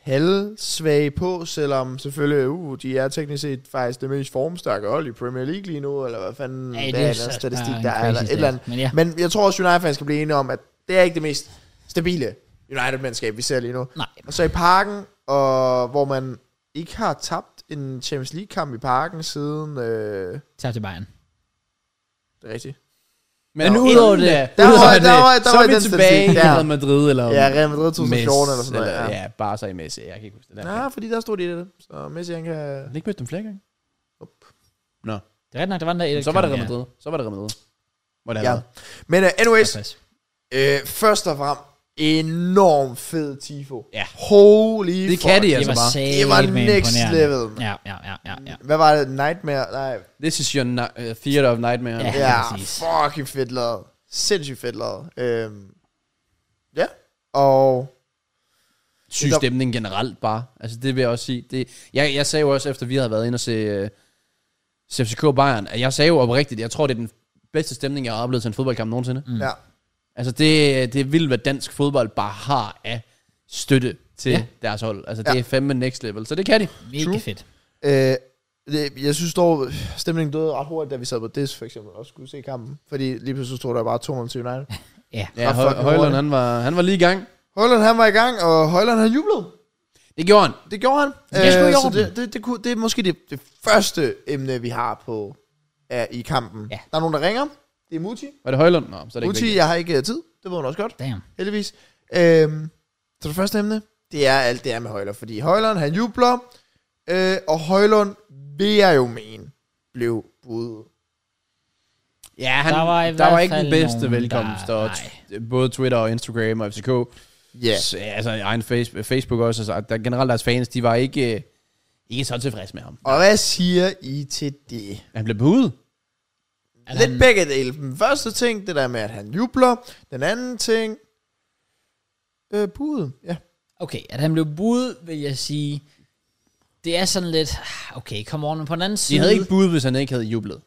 Speaker 2: halvsvage på, selvom selvfølgelig, uh, de er teknisk set faktisk det mest formstærke hold i Premier League lige nu, eller hvad fanden
Speaker 1: Ej, det
Speaker 2: det,
Speaker 1: er
Speaker 2: er,
Speaker 1: så
Speaker 2: der statistik,
Speaker 1: bare
Speaker 2: der
Speaker 1: en
Speaker 2: er, eller
Speaker 1: crazy
Speaker 2: et eller andet.
Speaker 1: stat, men ja.
Speaker 2: men jeg tror også, United-fans kan blive enige om, at det er ikke det mest stabile United-mandskab, vi ser lige nu.
Speaker 1: Nej.
Speaker 2: Og så i parken, og hvor man ikke har tabt en Champions League-kamp i parken siden... Øh,
Speaker 1: Tak til Bayern.
Speaker 2: det er rigtigt.
Speaker 3: Men
Speaker 2: Nå,
Speaker 3: udover det, der,
Speaker 2: der var-
Speaker 3: udover
Speaker 2: der
Speaker 3: det,
Speaker 2: var- der
Speaker 3: så
Speaker 2: var
Speaker 3: er vi
Speaker 2: den
Speaker 3: tilbage i
Speaker 2: statistik, ja.
Speaker 3: Real Madrid, eller
Speaker 2: Ja, Real Madrid 2014 eller sådan noget.
Speaker 3: Eller,
Speaker 2: Ja.
Speaker 3: ja. bare så i Messi. Jeg kan ikke huske det der.
Speaker 2: Nej, fordi der stod de i det. Så Messi, han kan...
Speaker 3: Han ikke mødt dem flere gange. Nå.
Speaker 1: Det er ret nok, der var den der
Speaker 3: Så var det Real Madrid. Så var det Real Madrid. Hvor det
Speaker 2: Ja.
Speaker 3: ja.
Speaker 2: Men uh, anyways,
Speaker 1: Yes.
Speaker 2: øh, først og fremmest, enorm fed tifo.
Speaker 3: Ja.
Speaker 2: Holy
Speaker 3: Det
Speaker 2: fuck.
Speaker 3: kan de
Speaker 1: Det
Speaker 3: altså
Speaker 1: var
Speaker 3: bare.
Speaker 1: sat
Speaker 2: Det var
Speaker 1: med
Speaker 2: next
Speaker 1: imponerende.
Speaker 2: level.
Speaker 1: Ja, ja, ja, ja, ja.
Speaker 2: Hvad var det? Nightmare? Nej.
Speaker 3: This is your na- uh, theater of nightmare.
Speaker 1: Ja.
Speaker 2: Ja,
Speaker 1: præcis.
Speaker 2: fucking fedt lavet. Sindssygt fedt lavet. Øhm, ja. Og
Speaker 3: syg
Speaker 2: Det er der-
Speaker 3: stemning generelt bare. Altså det vil jeg også sige. Det, jeg, jeg sagde jo også, efter vi havde været inde og se øh, se FCK Bayern, at jeg sagde jo oprigtigt, jeg tror, det er den bedste stemning, jeg har oplevet til en fodboldkamp nogensinde. Mm.
Speaker 2: mm. ja,
Speaker 3: Altså det, det er vildt, hvad dansk fodbold bare har af støtte til
Speaker 1: Ja.
Speaker 3: ja. deres hold. Altså
Speaker 2: Ja.
Speaker 3: det er fandme next level, så det kan de.
Speaker 1: Mega
Speaker 2: True.
Speaker 1: fedt.
Speaker 2: øh, det, jeg synes dog, stemningen døde ret hurtigt, da vi sad på DIS for eksempel og skulle se kampen. Fordi lige pludselig stod der bare 200 til United. [LAUGHS]
Speaker 1: Ja.
Speaker 3: Ja,
Speaker 2: fucking
Speaker 3: Højlund,
Speaker 2: hurtigt.
Speaker 3: han var, han var lige i gang.
Speaker 2: Højlund han var i gang, og Højlund han jublede.
Speaker 3: Det gjorde han.
Speaker 2: Det gjorde han.
Speaker 1: det er sgu i
Speaker 2: Øh, så
Speaker 1: orden.
Speaker 2: det, det, det, kunne, det er måske det, det første emne, vi har på er, i kampen.
Speaker 1: Ja.
Speaker 2: Der er nogen, der ringer. Det er Muti.
Speaker 3: Var det Højlund? Nå, så er det ikke
Speaker 2: Muti,
Speaker 3: vigtigt.
Speaker 2: jeg har ikke øh, tid. Det ved hun også godt,
Speaker 1: Damn.
Speaker 2: heldigvis. Øhm, så det første emne, det er alt det er med Højlund. Fordi Højlund, han jubler. Øh, og Højlund, vil jeg jo mene, blev budet.
Speaker 3: Ja, han,
Speaker 1: Der
Speaker 3: der
Speaker 1: var
Speaker 3: var,
Speaker 1: i
Speaker 3: der var
Speaker 1: hvert
Speaker 3: ikke den
Speaker 1: fald
Speaker 3: bedste
Speaker 1: nogen,
Speaker 3: velkomst.
Speaker 1: der-
Speaker 3: og t- både Twitter og Instagram og FCK.
Speaker 2: Ja.
Speaker 3: Så, altså egen face, Facebook også. Altså, der, generelt deres fans, de var ikke, øh, ikke så tilfredse med ham.
Speaker 2: Og hvad siger I til det?
Speaker 3: Han blev budet.
Speaker 1: At
Speaker 2: Lidt
Speaker 1: han-
Speaker 2: begge dele. Den første ting, det der med, at han jubler. Den anden ting, øh, budet. Ja.
Speaker 1: Okay, at han blev budet, vil jeg sige, det er sådan lidt, ah, okay, kom on, men på den anden
Speaker 3: De
Speaker 1: side,
Speaker 3: havde ikke budet, hvis han ikke havde jublet.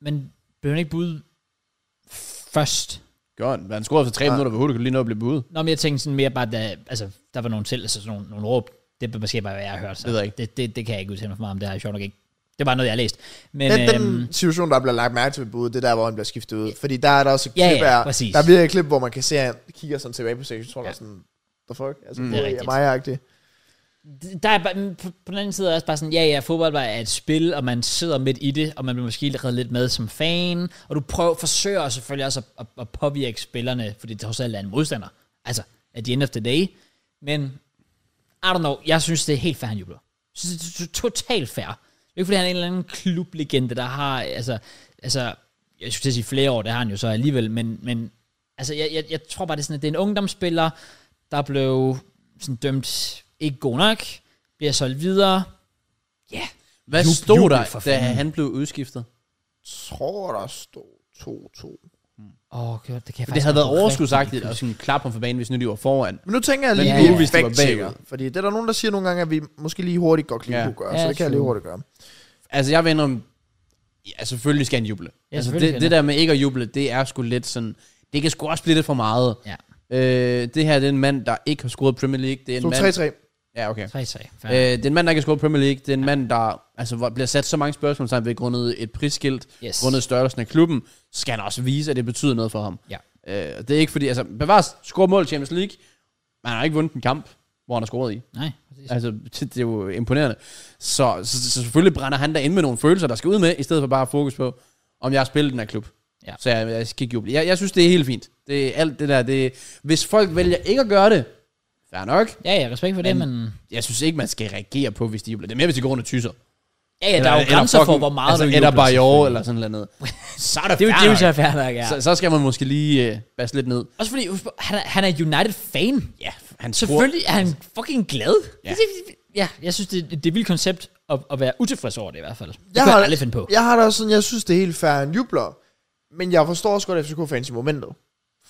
Speaker 1: men blev han ikke budet først?
Speaker 3: Godt. Han scorede for tre
Speaker 2: Ja.
Speaker 3: ja. minutter, hvor hurtigt kunne lige nå at blive budet.
Speaker 1: Nå, men jeg tænkte sådan mere bare, da, altså, der var nogle til, altså sådan nogle, nogle råb, det er måske bare, hvad jeg har hørt. Så.
Speaker 3: Det ved jeg ikke.
Speaker 1: Det, det, det kan jeg ikke udtale mig for meget om, det har jeg sjovt nok ikke. Det er bare noget, jeg har læst. Men,
Speaker 2: Den,
Speaker 1: øhm,
Speaker 2: den situation, der bliver lagt mærke til ved budet, det er der, hvor han bliver skiftet ud. Fordi der er der også et
Speaker 1: Ja,
Speaker 2: klip
Speaker 1: ja,
Speaker 2: af-
Speaker 1: præcis.
Speaker 2: der er virkelig et klip, hvor man kan se, at han kigger sådan tilbage på sektionen ja.
Speaker 1: Ja.
Speaker 2: og sådan, the fuck? Altså,
Speaker 3: Mm.
Speaker 2: mm,
Speaker 1: Det er
Speaker 2: det er
Speaker 1: rigtigt.
Speaker 2: mig-agtigt.
Speaker 1: der er, bare- men på, på den anden side er også bare sådan, ja, ja, fodbold var et spil, og man sidder midt i det, og man bliver måske reddet lidt med som fan, og du prøver, forsøger selvfølgelig også at, at, at påvirke spillerne, fordi det trods alt er en modstander, altså, at the end of the day, men, I don't know, jeg synes, det er helt fair, han jubler. Jeg synes, det er to- totalt fair. Det er ikke, fordi han er en eller anden klublegende, der har, altså, altså, jeg skulle til at sige flere år, det har han jo så alligevel, men, men altså, jeg, jeg, jeg tror bare, det er sådan, at det er en ungdomsspiller, der blev sådan dømt ikke god nok, bliver solgt videre. Ja, yeah.
Speaker 3: Hvad
Speaker 1: Jub-
Speaker 3: stod
Speaker 1: jubel
Speaker 3: der,
Speaker 1: for
Speaker 3: da
Speaker 1: fanden.
Speaker 3: han blev udskiftet?
Speaker 2: tror, der stod 2-2.
Speaker 1: åh, okay, det kan jeg
Speaker 3: For
Speaker 1: faktisk
Speaker 3: det havde været
Speaker 1: godt rigtig
Speaker 3: overskudsagtigt
Speaker 1: lige
Speaker 3: at sådan klappe ham for banen, hvis nu de var foran.
Speaker 2: Men nu tænker jeg lige,
Speaker 1: Men
Speaker 2: at
Speaker 1: nu,
Speaker 2: vi
Speaker 3: hvis det var
Speaker 2: fact-checker.
Speaker 3: bagud.
Speaker 2: Fordi det er der nogen, der siger nogle gange, at vi måske lige hurtigt godt kan
Speaker 3: Ja.
Speaker 2: ja. gøre.
Speaker 1: Ja,
Speaker 2: så det kan jeg lige
Speaker 1: true.
Speaker 2: hurtigt gøre.
Speaker 3: Altså, jeg vender om... Ja, selvfølgelig skal han juble.
Speaker 1: Ja,
Speaker 3: altså,
Speaker 1: selvfølgelig
Speaker 3: det,
Speaker 1: skal
Speaker 3: det
Speaker 1: han.
Speaker 3: der med ikke at juble, det er sgu lidt sådan... Det kan sgu også blive lidt for meget.
Speaker 1: Ja,
Speaker 3: Øh, det her, det er en mand, der ikke har scoret i Premier League. Det er en
Speaker 2: Stod
Speaker 3: mand...
Speaker 2: 3-3.
Speaker 3: Ja, okay.
Speaker 1: 3-3.
Speaker 3: Øh,
Speaker 1: fair.
Speaker 3: det er en mand, der ikke har scoret i Premier League. Det er en mand, der altså, hvor- bliver sat så mange spørgsmålstegn ved grundet et prisskilt,
Speaker 1: Yes.
Speaker 3: grundet størrelsen af klubben, så skal han også vise, at det betyder noget for ham.
Speaker 1: Ja.
Speaker 3: Øh, og det er ikke fordi, altså, bevares, score mål i Champions League, men han har ikke vundet en kamp, hvor han har scoret i.
Speaker 1: Nej, præcis.
Speaker 3: Altså, det, det er jo imponerende. Så, så, så selvfølgelig brænder han der ind med nogle følelser, der skal ud med, i stedet for bare at fokus på, om jeg har spillet den her klub.
Speaker 1: Ja.
Speaker 3: Så jeg, jeg skal ikke juble. Jeg, jeg synes, det er helt fint. Det er alt det der. Det, hvis folk vælger ikke at gøre det, fair nok.
Speaker 1: Ja, ja, respekt for det, men...
Speaker 3: Men- Jeg synes ikke, man skal reagere på, hvis de jubler. Det er mere, hvis de går under tyser.
Speaker 1: Ja, ja, der er jo grænser for, hvor meget
Speaker 3: altså,
Speaker 1: du
Speaker 3: Eller bare i
Speaker 1: selvfølgelig.
Speaker 3: år, eller
Speaker 1: [LAUGHS]
Speaker 3: sådan noget. så er det,
Speaker 1: Det er jo det, er jo
Speaker 3: fair
Speaker 1: så
Speaker 3: nok.
Speaker 1: fair nok, ja.
Speaker 3: så, så skal man måske lige øh, basse lidt ned.
Speaker 1: Også fordi, husk på, han er, han er United-fan.
Speaker 3: Ja, han
Speaker 1: Selvfølgelig er han fucking glad.
Speaker 3: Ja.
Speaker 1: Ja, ja jeg synes, det, det er et vildt koncept at, at være utilfreds over det i hvert fald. Det
Speaker 2: Jeg
Speaker 1: jeg kunne
Speaker 2: har-
Speaker 1: jeg aldrig finde på.
Speaker 2: Jeg har da også sådan, jeg synes, det er helt fair, han jubler. Men jeg forstår også godt at FCK-fans i momentet.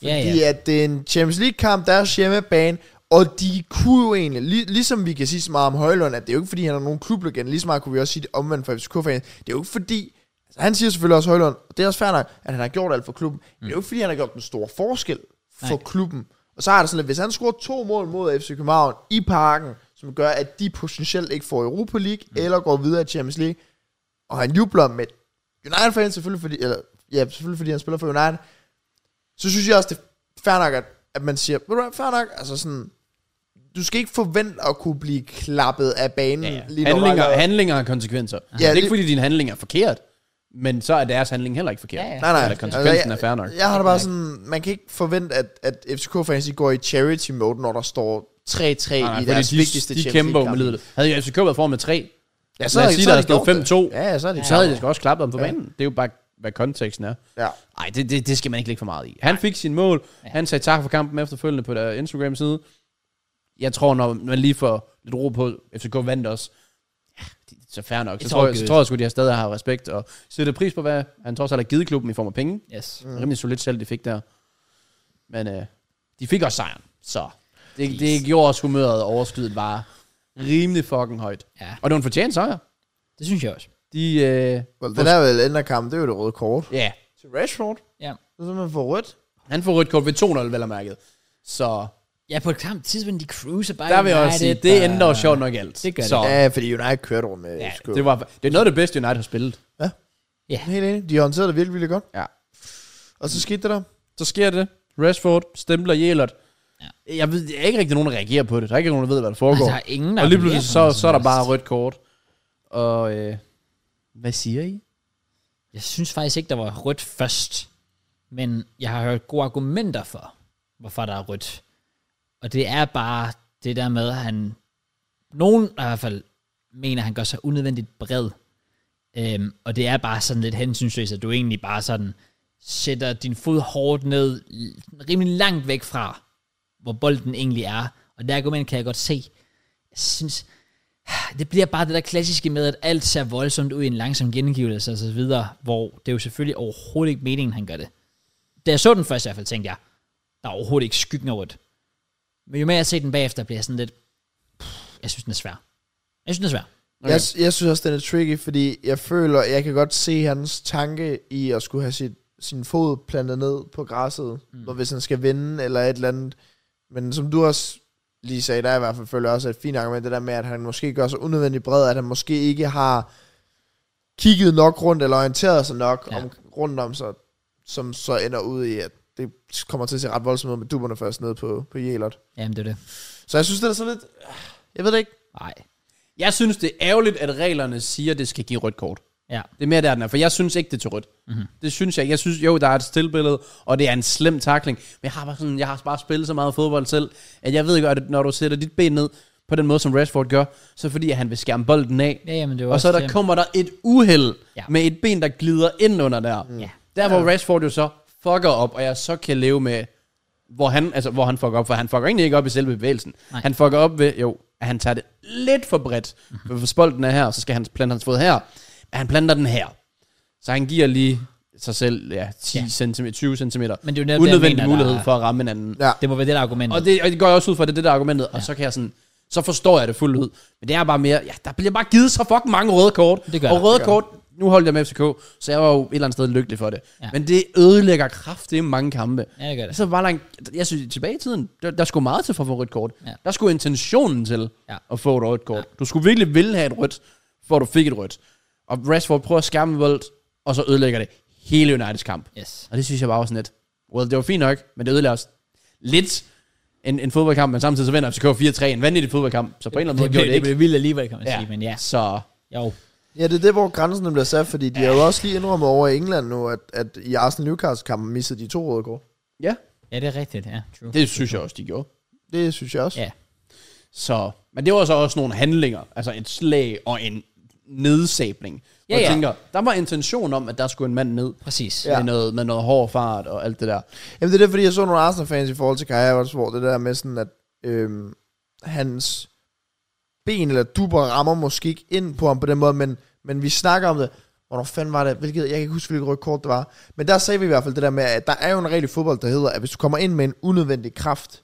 Speaker 1: ja,
Speaker 2: Fordi
Speaker 1: ja.
Speaker 2: ja. at det er en Champions League-kamp, deres hjemmebane, og de kunne jo egentlig, lig, ligesom vi kan sige så meget om Højlund, at det er jo ikke fordi, han er nogen klublegende, lige så meget kunne vi også sige det omvendt for FCK-fans. Det er jo ikke fordi, altså, han siger selvfølgelig også Højlund, og det er også fair nok, at han har gjort alt for klubben. Mm. Det er jo ikke fordi, han har gjort den store forskel for
Speaker 1: Nej.
Speaker 2: Nej. klubben. Og så er det sådan, at hvis han scorer to mål mod FC København i parken, som gør, at de potentielt ikke får Europa League, mm. eller går videre i Champions League, og han jubler med United-fans selvfølgelig, fordi, eller, ja, selvfølgelig fordi han spiller for United, så synes jeg også, det er fair nok, at, at man siger, ved du hvad, fair nok, altså sådan, du skal ikke forvente at kunne blive klappet af banen.
Speaker 3: Ja, ja.
Speaker 2: lige når du har
Speaker 3: Handlinger,
Speaker 2: lavet-
Speaker 3: handlinger har konsekvenser. Ja, det er
Speaker 2: det-
Speaker 3: ikke, fordi din handling er forkert, men så er deres handling heller ikke forkert.
Speaker 1: Ja, ja.
Speaker 2: Nej, nej.
Speaker 3: Eller konsekvensen
Speaker 2: jeg-
Speaker 3: Altså, er fair nok.
Speaker 2: Jeg har da bare sådan, man kan ikke forvente, at, at FCK-fans de går i charity mode, når der står 3-3
Speaker 3: Nej, nej,
Speaker 2: i
Speaker 3: fordi
Speaker 2: deres
Speaker 3: de,
Speaker 2: vigtigste
Speaker 3: de
Speaker 2: Champions
Speaker 3: kæmper jo med
Speaker 2: League-kamp.
Speaker 3: livet. Havde jo FCK været foran med 3,
Speaker 2: Ja,
Speaker 3: Lad
Speaker 2: er
Speaker 3: os
Speaker 2: de-
Speaker 3: sige,
Speaker 2: er
Speaker 3: der
Speaker 2: de
Speaker 3: stod
Speaker 2: gjort det.
Speaker 3: 5-2.
Speaker 2: Ja, ja, så er det
Speaker 3: så havde de sgu også klappet ham på banen. Det er jo bare, hvad konteksten er.
Speaker 2: Ja.
Speaker 3: Nej, det, det, det skal man ikke lægge for meget i. Han fik sin mål. Han sagde tak for kampen efterfølgende på der Instagram-side. Jeg tror, når man lige får lidt ro på, FCK vandt også. Ja, de- så fair nok. Så
Speaker 1: It's
Speaker 3: tror,
Speaker 1: all
Speaker 3: jeg, så
Speaker 1: good.
Speaker 3: tror jeg sgu, de har stadig har respekt og sætter pris på, hvad han trods alt har givet klubben i form af penge.
Speaker 1: Yes.
Speaker 3: Mm. Rimelig solidt selv, de fik der. Men øh, de fik også sejren, så det, det gjorde også humøret og overskydet var rimelig fucking højt.
Speaker 1: Ja,
Speaker 3: Og det var en fortjent sejr.
Speaker 1: det synes jeg også.
Speaker 3: De, øh,
Speaker 2: Well, den er vel ændrekamp, det er jo det røde kort.
Speaker 3: ja,
Speaker 2: Til Rashford,
Speaker 1: Ja.
Speaker 2: så er man for rødt.
Speaker 3: han får rødt kort ved 2-0, vel og mærket. Så
Speaker 1: Ja, på et klamt tidspunkt, de cruiser bare
Speaker 3: der vil jeg også sige,
Speaker 1: United,
Speaker 3: det
Speaker 1: og-
Speaker 3: ændrer jo sjovt nok alt.
Speaker 1: Det gør
Speaker 3: så,
Speaker 2: Ja, fordi United kørte over med
Speaker 3: Ja,
Speaker 2: FCK.
Speaker 3: det, var, det er noget af det bedste, United har spillet.
Speaker 2: Helt enig. De håndterede det virkelig, virkelig godt.
Speaker 3: Ja.
Speaker 2: Og så skete det der.
Speaker 3: Så sker det. Rashford stempler Jelert. Jeg ved, jeg er ikke rigtig nogen, der reagerer på det. Der er ikke nogen, der ved, hvad der foregår.
Speaker 1: Altså, der er ingen, der
Speaker 3: og lige
Speaker 1: appellerer
Speaker 3: pludselig,
Speaker 1: for
Speaker 3: så,
Speaker 1: noget som
Speaker 3: så er der
Speaker 1: helst.
Speaker 3: bare rødt kort. Og øh, hvad siger I?
Speaker 1: Jeg synes faktisk ikke, der var rødt først. Men jeg har hørt gode argumenter for, hvorfor der er rødt. Og det er bare det der med, at han... Nogen i hvert fald mener, at han gør sig unødvendigt bred. Øhm, og det er bare sådan lidt hensynsløst, at du egentlig bare sådan sætter din fod hårdt ned, l- rimelig langt væk fra, hvor bolden egentlig er. Og det argument kan jeg godt se. Jeg synes, det bliver bare det der klassiske med, at alt ser voldsomt ud i en langsom gengivelse og så videre, hvor det er jo selvfølgelig overhovedet ikke meningen, han gør det. Da jeg så den først i hvert fald, tænkte jeg, der er overhovedet ikke skyggen over det. Men jo mere jeg ser den bagefter, bliver jeg sådan lidt, pff, jeg synes, den er svær. Jeg synes, den er svær.
Speaker 2: Okay.
Speaker 3: Okay.
Speaker 2: Jeg, jeg synes også, den er tricky, fordi jeg føler, jeg kan godt se hans tanke i at skulle have sit, sin fod plantet ned på græsset, mm. når hvis han skal vinde eller et eller andet. Men som du også lige sagde, der er i hvert fald føler jeg også et fint argument, det der med, at han måske gør sig unødvendigt bred, at han måske ikke har kigget nok rundt eller orienteret sig nok
Speaker 1: Ja.
Speaker 2: ja. om, rundt om sig, som så ender ud i, at det kommer til at se ret voldsomt ud med duberne først ned på, på Jelert.
Speaker 1: Jamen, det er det.
Speaker 2: Så jeg synes, det er sådan lidt... Jeg ved det ikke.
Speaker 1: Nej.
Speaker 3: Jeg synes, det er ærgerligt, at reglerne siger, at det skal give rødt kort.
Speaker 1: Ja.
Speaker 3: Det er mere der, den er, for jeg synes ikke, det er til rødt.
Speaker 1: Mhm.
Speaker 3: Mm-hmm. Det synes jeg ikke. Jeg synes, jo, der er et stillbillede, og det er en slem takling. Men jeg har bare, sådan, jeg har bare spillet så meget fodbold selv, at jeg ved godt, at når du sætter dit ben ned på den måde, som Rashford gør, så er det fordi, at han vil skærme bolden af.
Speaker 1: Ja, jamen, det var
Speaker 3: og så der kommer der et uheld
Speaker 1: Ja.
Speaker 3: ja. med et ben, der glider ind under der.
Speaker 1: Ja.
Speaker 3: Der, hvor Rashford jo så fucker op, og jeg så kan leve med, hvor han, altså, hvor han fucker op, for han fucker egentlig ikke op i selve bevægelsen.
Speaker 1: Nej. Mhm.
Speaker 3: Nej. Han fucker op ved, jo, at han tager det lidt for bredt, for hvis bolden er her, så skal han plante hans fod her, men han planter den her. Så han giver lige sig selv ja, 10
Speaker 1: Ja.
Speaker 3: ja. Centimeter, 20 cm,
Speaker 1: Men det er jo netop det, jeg
Speaker 3: unødvendig
Speaker 1: mener, der
Speaker 3: mulighed
Speaker 1: er-
Speaker 3: for at ramme hinanden.
Speaker 2: Ja.
Speaker 1: Det må være det der argument.
Speaker 3: Og det, og det går jeg også ud fra, det er det der er argumentet, ja. og så kan jeg sådan, så forstår jeg det fuldt ud. Men det er bare mere, ja, der bliver bare givet så fucking mange røde kort.
Speaker 1: Det gør
Speaker 3: og
Speaker 1: der,
Speaker 3: røde
Speaker 1: det gør
Speaker 3: kort, nu holdt jeg med FCK, så jeg var jo et eller andet sted lykkelig for det.
Speaker 1: Ja.
Speaker 3: Ja. Men det ødelægger kraftigt mange kampe.
Speaker 1: Ja, det gør det.
Speaker 3: Så var der en, jeg synes, tilbage i tiden, der, der skulle meget til for at få rødt kort.
Speaker 1: Ja.
Speaker 3: Der skulle intentionen til
Speaker 1: Ja.
Speaker 3: at få et rødt kort. Du skulle virkelig ville have et rødt, for at du fik et rødt. Og Rashford prøver at skærme Volt, og så ødelægger det hele Uniteds kamp.
Speaker 1: Yes.
Speaker 3: Og det synes jeg bare var sådan lidt, well, det var fint nok, men det ødelagde også lidt en, en fodboldkamp, men samtidig så vinder FCK 4-3 en vanvittig fodboldkamp, så på en eller anden måde gjorde det
Speaker 1: det
Speaker 3: ikke.
Speaker 1: blev vildt alligevel, kan man ja. sige, men ja.
Speaker 3: Så
Speaker 1: Jo.
Speaker 2: Ja, det er det, hvor grænsen bliver sat, fordi de har jo også lige indrømmet over i England nu, at, at i Arsenal-Newcastle-kampen missede de to røde kort.
Speaker 3: ja,
Speaker 1: Ja, det er rigtigt, ja. True.
Speaker 3: det synes jeg også, de gjorde.
Speaker 2: Det synes jeg også.
Speaker 1: Ja.
Speaker 3: Så, men det var så også nogle handlinger, altså et slag og en nedsabning.
Speaker 1: Ja,
Speaker 3: Ja, jeg
Speaker 1: ja.
Speaker 3: tænker, der var intention om, at der skulle en mand ned
Speaker 1: Præcis. Ja.
Speaker 2: Ja.
Speaker 3: med, noget, med noget hård fart og alt det der.
Speaker 2: Jamen, det er det, fordi jeg så nogle Arsenal-fans i forhold til Kai Havertz, hvor det der med sådan, at øhm, hans ben eller duber rammer måske ikke ind på ham på den måde, men, men vi snakker om det. Hvornår fanden var det? Hvilket, jeg kan ikke huske, hvilket rødt kort det var. Men der sagde vi i hvert fald det der med, at der er jo en regel i fodbold, der hedder, at hvis du kommer ind med en unødvendig kraft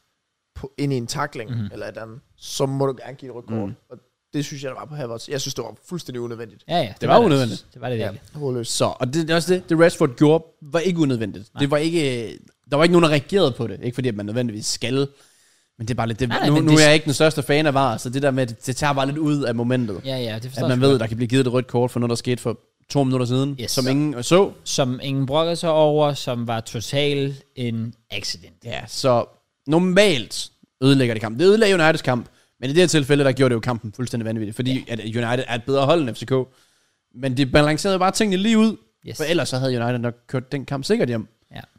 Speaker 2: på, ind i en takling
Speaker 1: Mhm.
Speaker 2: mm-hmm. eller et andet, så må du gerne give et rødt kort. Mm. Og det synes jeg, der var på Havertz. Jeg synes, det var fuldstændig unødvendigt.
Speaker 1: Ja, ja.
Speaker 3: Det var unødvendigt.
Speaker 1: Det var det virkelig.
Speaker 2: Hovedløst.
Speaker 3: Så, og det, det er også det, det Rashford gjorde, var ikke unødvendigt. Nej. Det var ikke, øh, der var ikke nogen, der reagerede på det. Ikke fordi, at man nødvendigvis skal. Men det er bare lidt det.
Speaker 1: Nej, nej,
Speaker 3: Nej, nu,
Speaker 1: men
Speaker 3: nu
Speaker 1: det-
Speaker 3: er jeg ikke den største fan af VAR, så det der med, at det tager bare lidt ud af momentet. Ja,
Speaker 1: Ja, ja, det forstår
Speaker 3: at man
Speaker 1: jeg
Speaker 3: ved,
Speaker 1: godt.
Speaker 3: at der kan blive givet et rødt kort for noget, der skete for to minutter siden,
Speaker 1: Yes.
Speaker 3: yes. som ingen så.
Speaker 1: som ingen brokkede sig over, som var total en accident.
Speaker 3: Ja, så normalt ødelægger det kampen. Det ødelagde Uniteds kamp, men i det her tilfælde, der gjorde det jo kampen fuldstændig vanvittigt, fordi ja. at United er et bedre hold end FCK. Men det balancerede bare tingene lige ud,
Speaker 1: Yes.
Speaker 3: For ellers så havde United nok kørt den kamp sikkert hjem.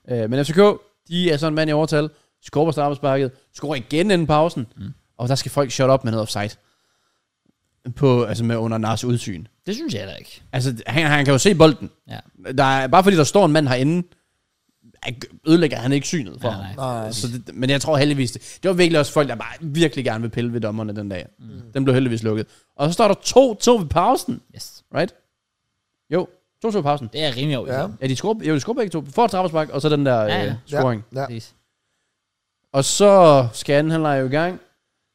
Speaker 1: Ja.
Speaker 3: Øh, men FCK, de er sådan en mand i overtal. Skår på straffesparket. Skår igen inden pausen. Mm. Og der skal folk shut op med noget offside. På, altså med under Nars udsyn.
Speaker 1: Det synes jeg da ikke.
Speaker 3: Altså, han, han kan jo se bolden.
Speaker 1: Ja.
Speaker 3: Der er, bare fordi der står en mand herinde, ødelægger han ikke synet for
Speaker 1: Nej,
Speaker 3: ham.
Speaker 1: nej.
Speaker 2: Nej.
Speaker 3: Så det, men jeg tror heldigvis, det, det var virkelig også folk, der bare virkelig gerne vil pille ved dommerne den dag. Mm. Den blev heldigvis lukket. Og så står der 2-2 ved pausen,
Speaker 1: Yes.
Speaker 3: right? Jo, 2-2 ved pausen.
Speaker 1: Det er rimelig over.
Speaker 2: Ja.
Speaker 1: Ja.
Speaker 3: Ja, de scorer, ja, de scorer begge to. Får et straffespark, og så den der
Speaker 1: Ja,
Speaker 3: ja,
Speaker 1: ja.
Speaker 3: ja. Øh, scoring. Ja.
Speaker 2: Ja.
Speaker 1: Præcis.
Speaker 3: Og så skal anden halvleg jo i gang.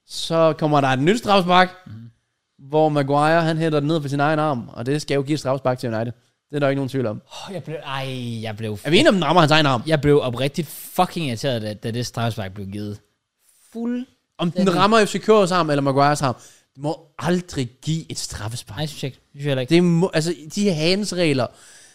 Speaker 3: Så kommer der et nyt straffespark,
Speaker 2: Mhm.
Speaker 3: mm. hvor Maguire, han hætter den ned på sin egen arm. Og det skal jo give et straffespark til United. Det er der ikke nogen tvivl om.
Speaker 1: Oh, jeg blev, ej, jeg blev,
Speaker 3: Er vi enige om, den rammer hans egen arm?
Speaker 1: jeg blev oprigtigt fucking irriteret, da, da det straffespark blev givet. Fuld.
Speaker 3: Om den rammer FCK's arm eller Maguires arm. Det må aldrig give et straffespark.
Speaker 1: Nej, synes jeg ikke. Synes jeg heller ikke.
Speaker 3: Det må, altså, de her handsregler,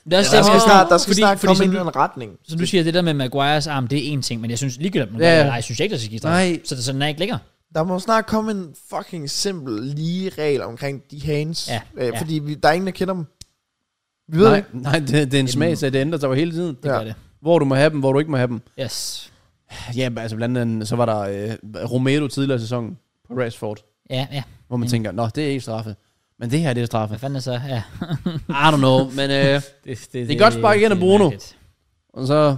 Speaker 1: Det er også
Speaker 2: Der
Speaker 1: det,
Speaker 2: skal
Speaker 1: hvor-
Speaker 2: snart, der skal
Speaker 1: fordi-
Speaker 2: snart
Speaker 1: fordi
Speaker 2: komme
Speaker 1: som
Speaker 2: ind i
Speaker 1: du-
Speaker 2: en retning.
Speaker 1: Så du siger, det der med Maguires arm, det er én ting, men jeg synes ligegyldigt, om
Speaker 3: Ja, ja.
Speaker 1: yeah. nej, synes jeg ikke, der skal give straf.
Speaker 3: Nej.
Speaker 1: Så det sådan er ikke længere.
Speaker 2: Der må snart komme en fucking simpel lige regel omkring de hands.
Speaker 1: Ja,
Speaker 2: øh,
Speaker 1: ja.
Speaker 2: Fordi vi, der er ingen, der kender dem. Vi ved det
Speaker 3: Nej,
Speaker 2: ikke.
Speaker 3: nej det, det, er en smag, så det ændrer sig jo hele tiden.
Speaker 1: Det
Speaker 2: Ja.
Speaker 1: ja. gør det.
Speaker 3: Hvor du må have dem, hvor du ikke må have dem.
Speaker 1: Yes.
Speaker 3: Ja, men altså blandt andet, så var der øh, Romero tidligere i sæsonen på Rashford,
Speaker 1: Ja, ja.
Speaker 3: hvor man
Speaker 1: Mm.
Speaker 3: tænker, nå, det er ikke straffe. Men det her, det er straffe.
Speaker 1: Hvad fanden er så? Ja.
Speaker 3: I don't know, men øh,
Speaker 1: det,
Speaker 3: Det er godt spark igen af
Speaker 1: det er
Speaker 3: Bruno.
Speaker 1: mærkeligt.
Speaker 3: og så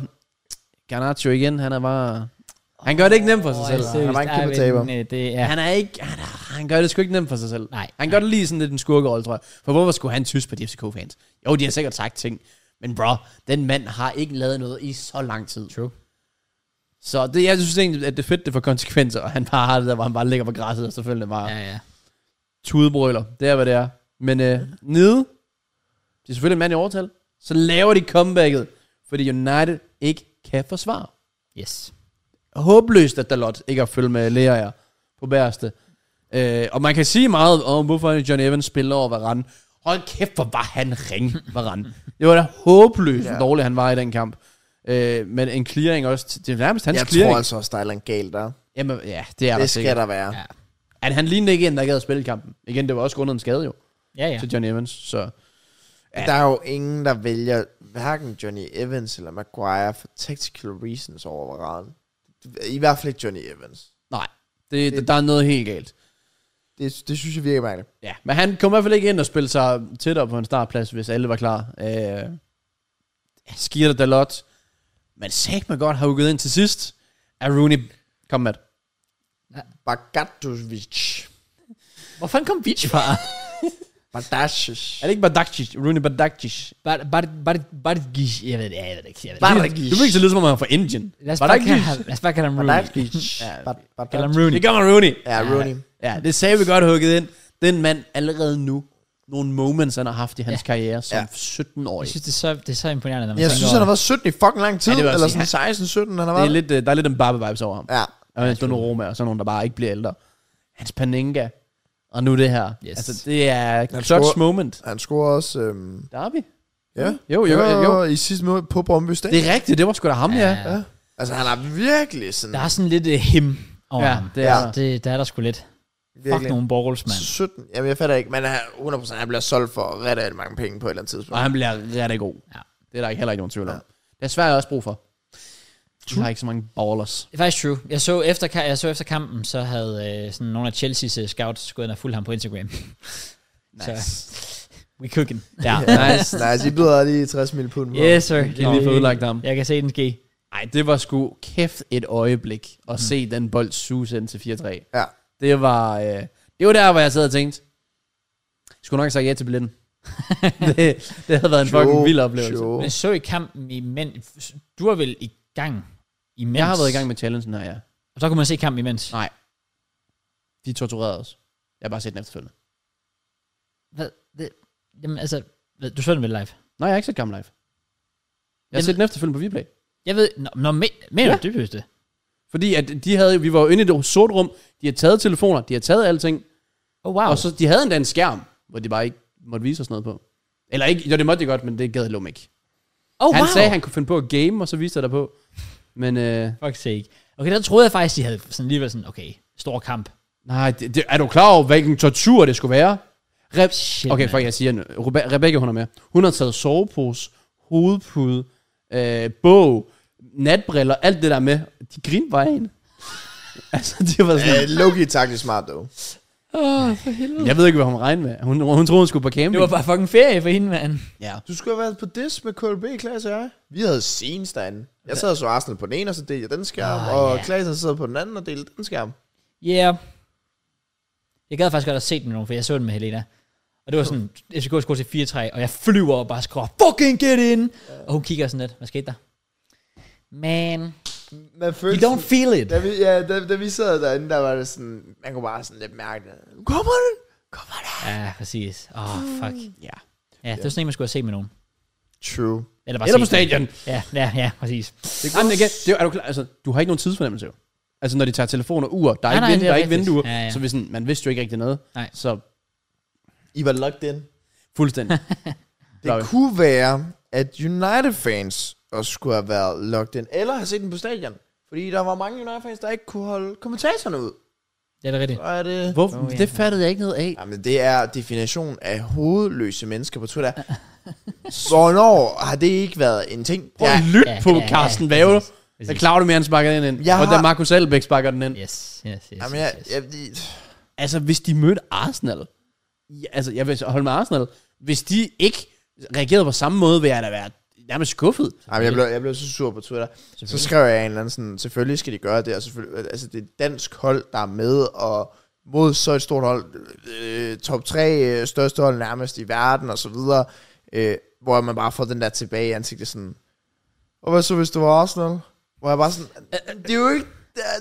Speaker 3: Garnaccio igen, han er bare... Han gør det ikke nemt for sig
Speaker 1: Åh,
Speaker 3: selv.
Speaker 1: jeg
Speaker 2: Han var en kæmpe
Speaker 1: seriøst,
Speaker 2: taber.
Speaker 1: ej, men, øh, Det er...
Speaker 3: Han er ikke... Han, er, han gør det sgu ikke nemt for sig selv.
Speaker 1: Nej.
Speaker 3: Han gør det lige sådan lidt en skurkerolle, tror jeg. For hvorfor skulle han tyske på de FCK-fans? Jo, de har sikkert sagt ting. Men bro, den mand har ikke lavet noget i så lang tid.
Speaker 1: True.
Speaker 3: Så det, jeg synes egentlig, at det er fedt, det får konsekvenser. Og han bare har det der, hvor han bare ligger på græsset, og selvfølgelig bare ja.
Speaker 1: Ja, ja.
Speaker 3: tudebrøler. Det er, hvad det er. Men øh, nede, det er selvfølgelig en mand i overtal. Så laver de comebacket, fordi United ikke kan forsvare.
Speaker 1: Yes.
Speaker 3: håbløst, at Dalot ikke har følge med Leraer på bæreste. Øh, og man kan sige meget om, hvorfor John Evans spiller over Varane. Hold kæft, hvor var han ring, Varane. Det var da håbløst, hvor
Speaker 2: Ja.
Speaker 3: dårlig han var i den kamp. Øh, men en clearing også, til- det er nærmest hans
Speaker 2: Jeg
Speaker 3: clearing.
Speaker 2: tror altså også, der er et eller andet galt der.
Speaker 3: Jamen, ja, det er der
Speaker 2: Det skal
Speaker 3: sikkert.
Speaker 2: der være.
Speaker 1: Ja.
Speaker 3: At han lignede ikke en, der ikke havde spillet kampen. Igen, det var også grundet en skade jo,
Speaker 1: Ja, ja.
Speaker 3: ja. til John Evans. Så Ja.
Speaker 2: Der er jo ingen, der vælger hverken Johnny Evans eller Maguire for tactical reasons over Varane. I hvert fald ikke Johnny Evans.
Speaker 3: nej, det, det, der er noget helt galt.
Speaker 2: Det, det synes jeg virkelig mærkeligt.
Speaker 3: Ja, men han kom i hvert fald ikke ind og spille sig tættere på en startplads, hvis alle var klar. Øh, Skirte Dalot. Men sagt mig godt har hugget ind til sidst. Er Rooney... Kom med.
Speaker 2: Bagadovic.
Speaker 1: Hvor fanden kom Beach fra?
Speaker 2: Badashish.
Speaker 3: Er det ikke Badacic? Rooney Badacic?
Speaker 1: Bare, bare, bare, bare, jeg ved det, jeg ved det ikke. Jeg ved det.
Speaker 2: Bare-
Speaker 1: ikke.
Speaker 2: Badacic.
Speaker 3: Du vil ikke så lyde, som om han er fra Indien.
Speaker 1: Lad os bare
Speaker 3: Badacic.
Speaker 1: kalde ham, lad os bare kalde ham Rooney.
Speaker 2: Badashish.
Speaker 3: [LAUGHS] Ja.
Speaker 1: Kalde ham
Speaker 2: Badashish.
Speaker 1: Rooney.
Speaker 3: Det kommer Rooney.
Speaker 2: Ja, Rooney.
Speaker 3: Ja, det sagde vi godt hugget ind. Den mand allerede nu. Nogle moments, han har haft i hans
Speaker 1: Ja.
Speaker 3: karriere som
Speaker 2: Ja.
Speaker 1: Jeg
Speaker 3: 17-årig.
Speaker 1: synes, det er så, det er så imponerende, når man
Speaker 2: Jeg
Speaker 1: tænker
Speaker 2: synes,
Speaker 1: over
Speaker 2: han har været 17 i fucking lang tid.
Speaker 3: Ja, det vil jeg
Speaker 2: eller sådan
Speaker 3: sige.
Speaker 2: 16, 17, han har
Speaker 3: Det er
Speaker 2: været.
Speaker 3: lidt, øh, der er lidt en Barbe-vibes over ham.
Speaker 2: Ja.
Speaker 3: Og ja, Donnarumma og sådan nogle, der bare ikke bliver ældre. Hans Panenka. Og nu det her.
Speaker 1: Yes.
Speaker 3: Altså, det er clutch
Speaker 2: scorer-
Speaker 3: moment.
Speaker 2: Han scorer også... Øhm,
Speaker 3: Derby.
Speaker 2: ja.
Speaker 3: Jo, jo, jo, jo.
Speaker 2: I sidste måde på Brøndby Stadion.
Speaker 3: Det er rigtigt, det var sgu da ham, ja.
Speaker 1: Ja.
Speaker 3: Ja,
Speaker 2: Ja. Altså, han har virkelig sådan...
Speaker 1: Der er sådan lidt uh, him over
Speaker 3: ja
Speaker 1: ham.
Speaker 3: det er
Speaker 2: Ja.
Speaker 3: der.
Speaker 1: Det, der er der sgu lidt. Fuck
Speaker 2: virkelig.
Speaker 1: nogle balls, mand.
Speaker 2: 17. Jamen, jeg fatter ikke, men han- 100% han bliver solgt for ret mange penge på et eller andet tidspunkt.
Speaker 3: Og han bliver rigtig god.
Speaker 1: Ja.
Speaker 3: Det er der ikke heller ikke nogen tvivl om. Det er svært også brug for. Du har ikke så mange ballers.
Speaker 1: Det er faktisk true. Jeg så efter, ka- jeg så efter kampen, så havde øh, sådan nogle af Chelsea's uh, scouts gået ind og fulgt ham på Instagram. nice. Så, we cooking.
Speaker 3: Ja, nice.
Speaker 2: [LAUGHS] nice, I byder lige 60 mil pund på.
Speaker 1: [LAUGHS] Yes, sir. øh,
Speaker 3: Kan lige få udlagt ham.
Speaker 1: Jeg kan se den ske.
Speaker 3: Ej, det var sgu kæft et øjeblik at se den bold suse ind til 4-3.
Speaker 2: Ja.
Speaker 3: Det var, øh, det var der, hvor jeg sad og tænkte, jeg skulle nok have sagt ja til billetten. det, det havde været en fucking
Speaker 2: Sure,
Speaker 3: vild oplevelse.
Speaker 2: sure.
Speaker 1: Men så i kampen imens. Du var vel i gang imens?
Speaker 3: Jeg har været i gang med challengen her, ja.
Speaker 1: Og så kunne man se kampen imens.
Speaker 3: Nej. De torturerede os. Jeg har bare set den efterfølgende.
Speaker 1: Hvad? Det, jamen altså, hvad, du så den vel live?
Speaker 3: Nej, jeg har ikke set Gamle Life. Jeg har
Speaker 1: Jamen-
Speaker 3: set den efterfølgende på Viaplay.
Speaker 1: Jeg ved, nå, nå me, mener
Speaker 3: Ja.
Speaker 1: du dybest det?
Speaker 3: Fordi at de havde, vi var jo inde i det sort rum, de har taget telefoner, de har taget alting,
Speaker 1: Oh, wow.
Speaker 3: og så de havde endda en skærm, hvor de bare ikke måtte vise os noget på. Eller ikke, jo det måtte de godt, men det gad Lum ikke.
Speaker 1: oh,
Speaker 3: han
Speaker 1: wow.
Speaker 3: sagde, han kunne finde på at game, og så viste jeg der på. Men øh,
Speaker 1: Fuck sake. Okay, der troede jeg faktisk, de havde sådan alligevel sådan, okay, stor kamp.
Speaker 3: nej, det, det, er du klar over, hvilken tortur det skulle være? Re-
Speaker 1: Shit,
Speaker 3: okay,
Speaker 1: mand.
Speaker 3: fuck, jeg siger nu. Rebe- Rebecca, hun er med. Hun har taget sovepose, hovedpude, øh, bog, natbriller, alt det der med. De grinede bare af hende. [LAUGHS] altså, det var sådan...
Speaker 2: Uh, Loki er taktisk smart, dog.
Speaker 3: Jeg ved ikke, hvad hun regnede med. Hun, hun troede, hun skulle på camping.
Speaker 1: Det var bare fucking ferie for hende, mand.
Speaker 3: Ja.
Speaker 2: Du skulle have været på dis med KLB, Klaas og jeg. Vi havde scenes derinde. Jeg sad og så Arsenal på den ene, og så delte jeg den skærm,
Speaker 1: Ah,
Speaker 2: oh, og
Speaker 1: ja.
Speaker 2: yeah. Klaas han sad på den anden og delte den skærm.
Speaker 1: Yeah. Jeg gad faktisk godt at se den med nogen, for jeg så den med Helena. Og det var sådan, FCK skulle til 4-3, og jeg flyver og bare skråer, fucking get in! Og hun kigger sådan lidt, hvad skete der? Man,
Speaker 2: Man
Speaker 1: you
Speaker 2: følte
Speaker 1: don't feel it.
Speaker 2: da vi, ja, da, da vi sad derinde, der var det sådan, man kunne bare sådan lidt mærke det. Kommer den? Kommer den?
Speaker 1: Ja, præcis. Åh, oh, fuck.
Speaker 3: ja.
Speaker 1: Ja, det var sådan en, man skulle have set med nogen.
Speaker 2: True.
Speaker 1: Eller, bare
Speaker 3: Eller
Speaker 1: set
Speaker 3: på stadion.
Speaker 1: den. Ja, ja, ja, præcis.
Speaker 3: Det Jamen, igen, det er, jo- er du, klar, altså, du har ikke nogen tidsfornemmelse jo. Altså, når de tager telefoner, uger, der er
Speaker 1: Nej,
Speaker 3: ikke,
Speaker 1: nej,
Speaker 3: vind,
Speaker 1: det er
Speaker 3: der er ikke
Speaker 1: rigtigt.
Speaker 3: vinduer,
Speaker 1: Ja, ja.
Speaker 3: så vi sådan, man vidste jo ikke rigtig noget.
Speaker 1: Nej.
Speaker 3: Så
Speaker 2: I var locked in.
Speaker 3: fuldstændig.
Speaker 1: [LAUGHS]
Speaker 2: Det
Speaker 3: Locked.
Speaker 2: kunne være, at United-fans også skulle have været locked in, eller have set den på stadion. Fordi der var mange United-fans, der ikke kunne holde kommentatorerne ud.
Speaker 1: Ja, det er rigtigt.
Speaker 2: Så er det...
Speaker 3: Hvorfor?
Speaker 1: Nå, ja.
Speaker 3: Det fattede jeg ikke noget af.
Speaker 2: Jamen, det er definition af hovedløse mennesker på Twitter. [LAUGHS] Så Hvornår har det ikke været en ting?
Speaker 3: Prøv at
Speaker 2: Jeg,
Speaker 3: lytte
Speaker 1: Ja,
Speaker 3: på
Speaker 1: ja, ja,
Speaker 3: Carsten
Speaker 1: præcis,
Speaker 3: Vavle.
Speaker 1: præcis.
Speaker 3: Da Claudio mere sparker den ind.
Speaker 2: Jeg
Speaker 3: og da
Speaker 2: har-
Speaker 3: Markus Albeck sparker den ind.
Speaker 1: Yes, yes, yes.
Speaker 2: jamen,
Speaker 1: yes,
Speaker 2: jeg,
Speaker 1: yes.
Speaker 2: jeg, jeg,
Speaker 3: Altså, hvis de mødte Arsenal. Ja, altså, jeg vil så holde med Arsenal. Hvis de ikke reagerede på samme måde, vil jeg da være nærmest skuffet.
Speaker 2: jamen, jeg, blev, jeg blev så sur på Twitter. Så skrev jeg en eller anden sådan, selvfølgelig skal de gøre det, og selvfølgelig, altså det er et dansk hold, der er med, og mod så et stort hold, øh, top 3 øh, største hold nærmest i verden, og så videre, øh, hvor man bare får den der tilbage i ansigtet, sådan, og hvad så hvis det var Arsenal? Hvor jeg bare sådan, det er jo ikke,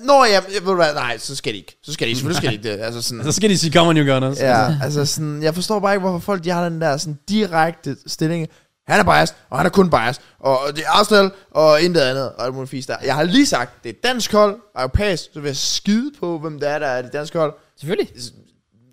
Speaker 2: Nå, ja, jeg ved du hvad, nej, så skal de ikke. Så skal de, selvfølgelig skal de ikke det. Altså sådan,
Speaker 3: Så skal de sige, come on, you gunners.
Speaker 2: Ja, altså sådan, jeg forstår bare ikke, hvorfor folk de har den der sådan direkte stilling. Han er biased, og han er kun biased, og det er Arsenal, og intet andet, og alt muligt fisk der. Jeg har lige sagt, det er dansk hold, og europæisk, så vil jeg skide på, hvem det er, der er det danske hold.
Speaker 1: Selvfølgelig.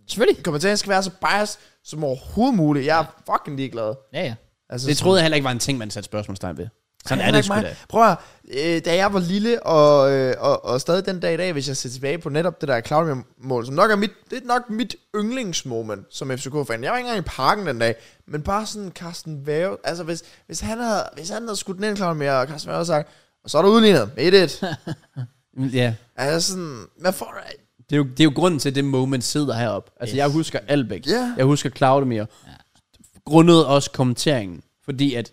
Speaker 1: Selvfølgelig.
Speaker 2: Kommentaren skal være så biased som overhovedet muligt. Jeg er fucking ligeglad.
Speaker 1: Ja, ja.
Speaker 2: Altså,
Speaker 3: Det troede jeg heller ikke var en ting, man satte spørgsmålstegn ved. Sådan er det sgu da.
Speaker 2: Prøv at, høre, øh, da jeg var lille, og, øh, og, og stadig den dag i dag, hvis jeg ser tilbage på netop det der Claudio-mål, som nok er mit, det er nok mit yndlingsmoment som FCK-fan. Jeg var ikke engang i parken den dag, men bare sådan Carsten Væve, altså hvis, hvis, han havde, hvis han havde skudt den ind, Claudio, og Carsten Væve havde sagt, og så er der udlignet,
Speaker 3: [LAUGHS]
Speaker 2: 1-1.
Speaker 3: Ja.
Speaker 2: altså sådan, hvad får du? af-
Speaker 3: Det er, jo, det er jo grunden til, at det moment sidder heroppe. Altså, yes. jeg husker Albeck.
Speaker 2: Ja.
Speaker 3: Jeg husker Claudemir. Ja. Grundet også kommenteringen. Fordi at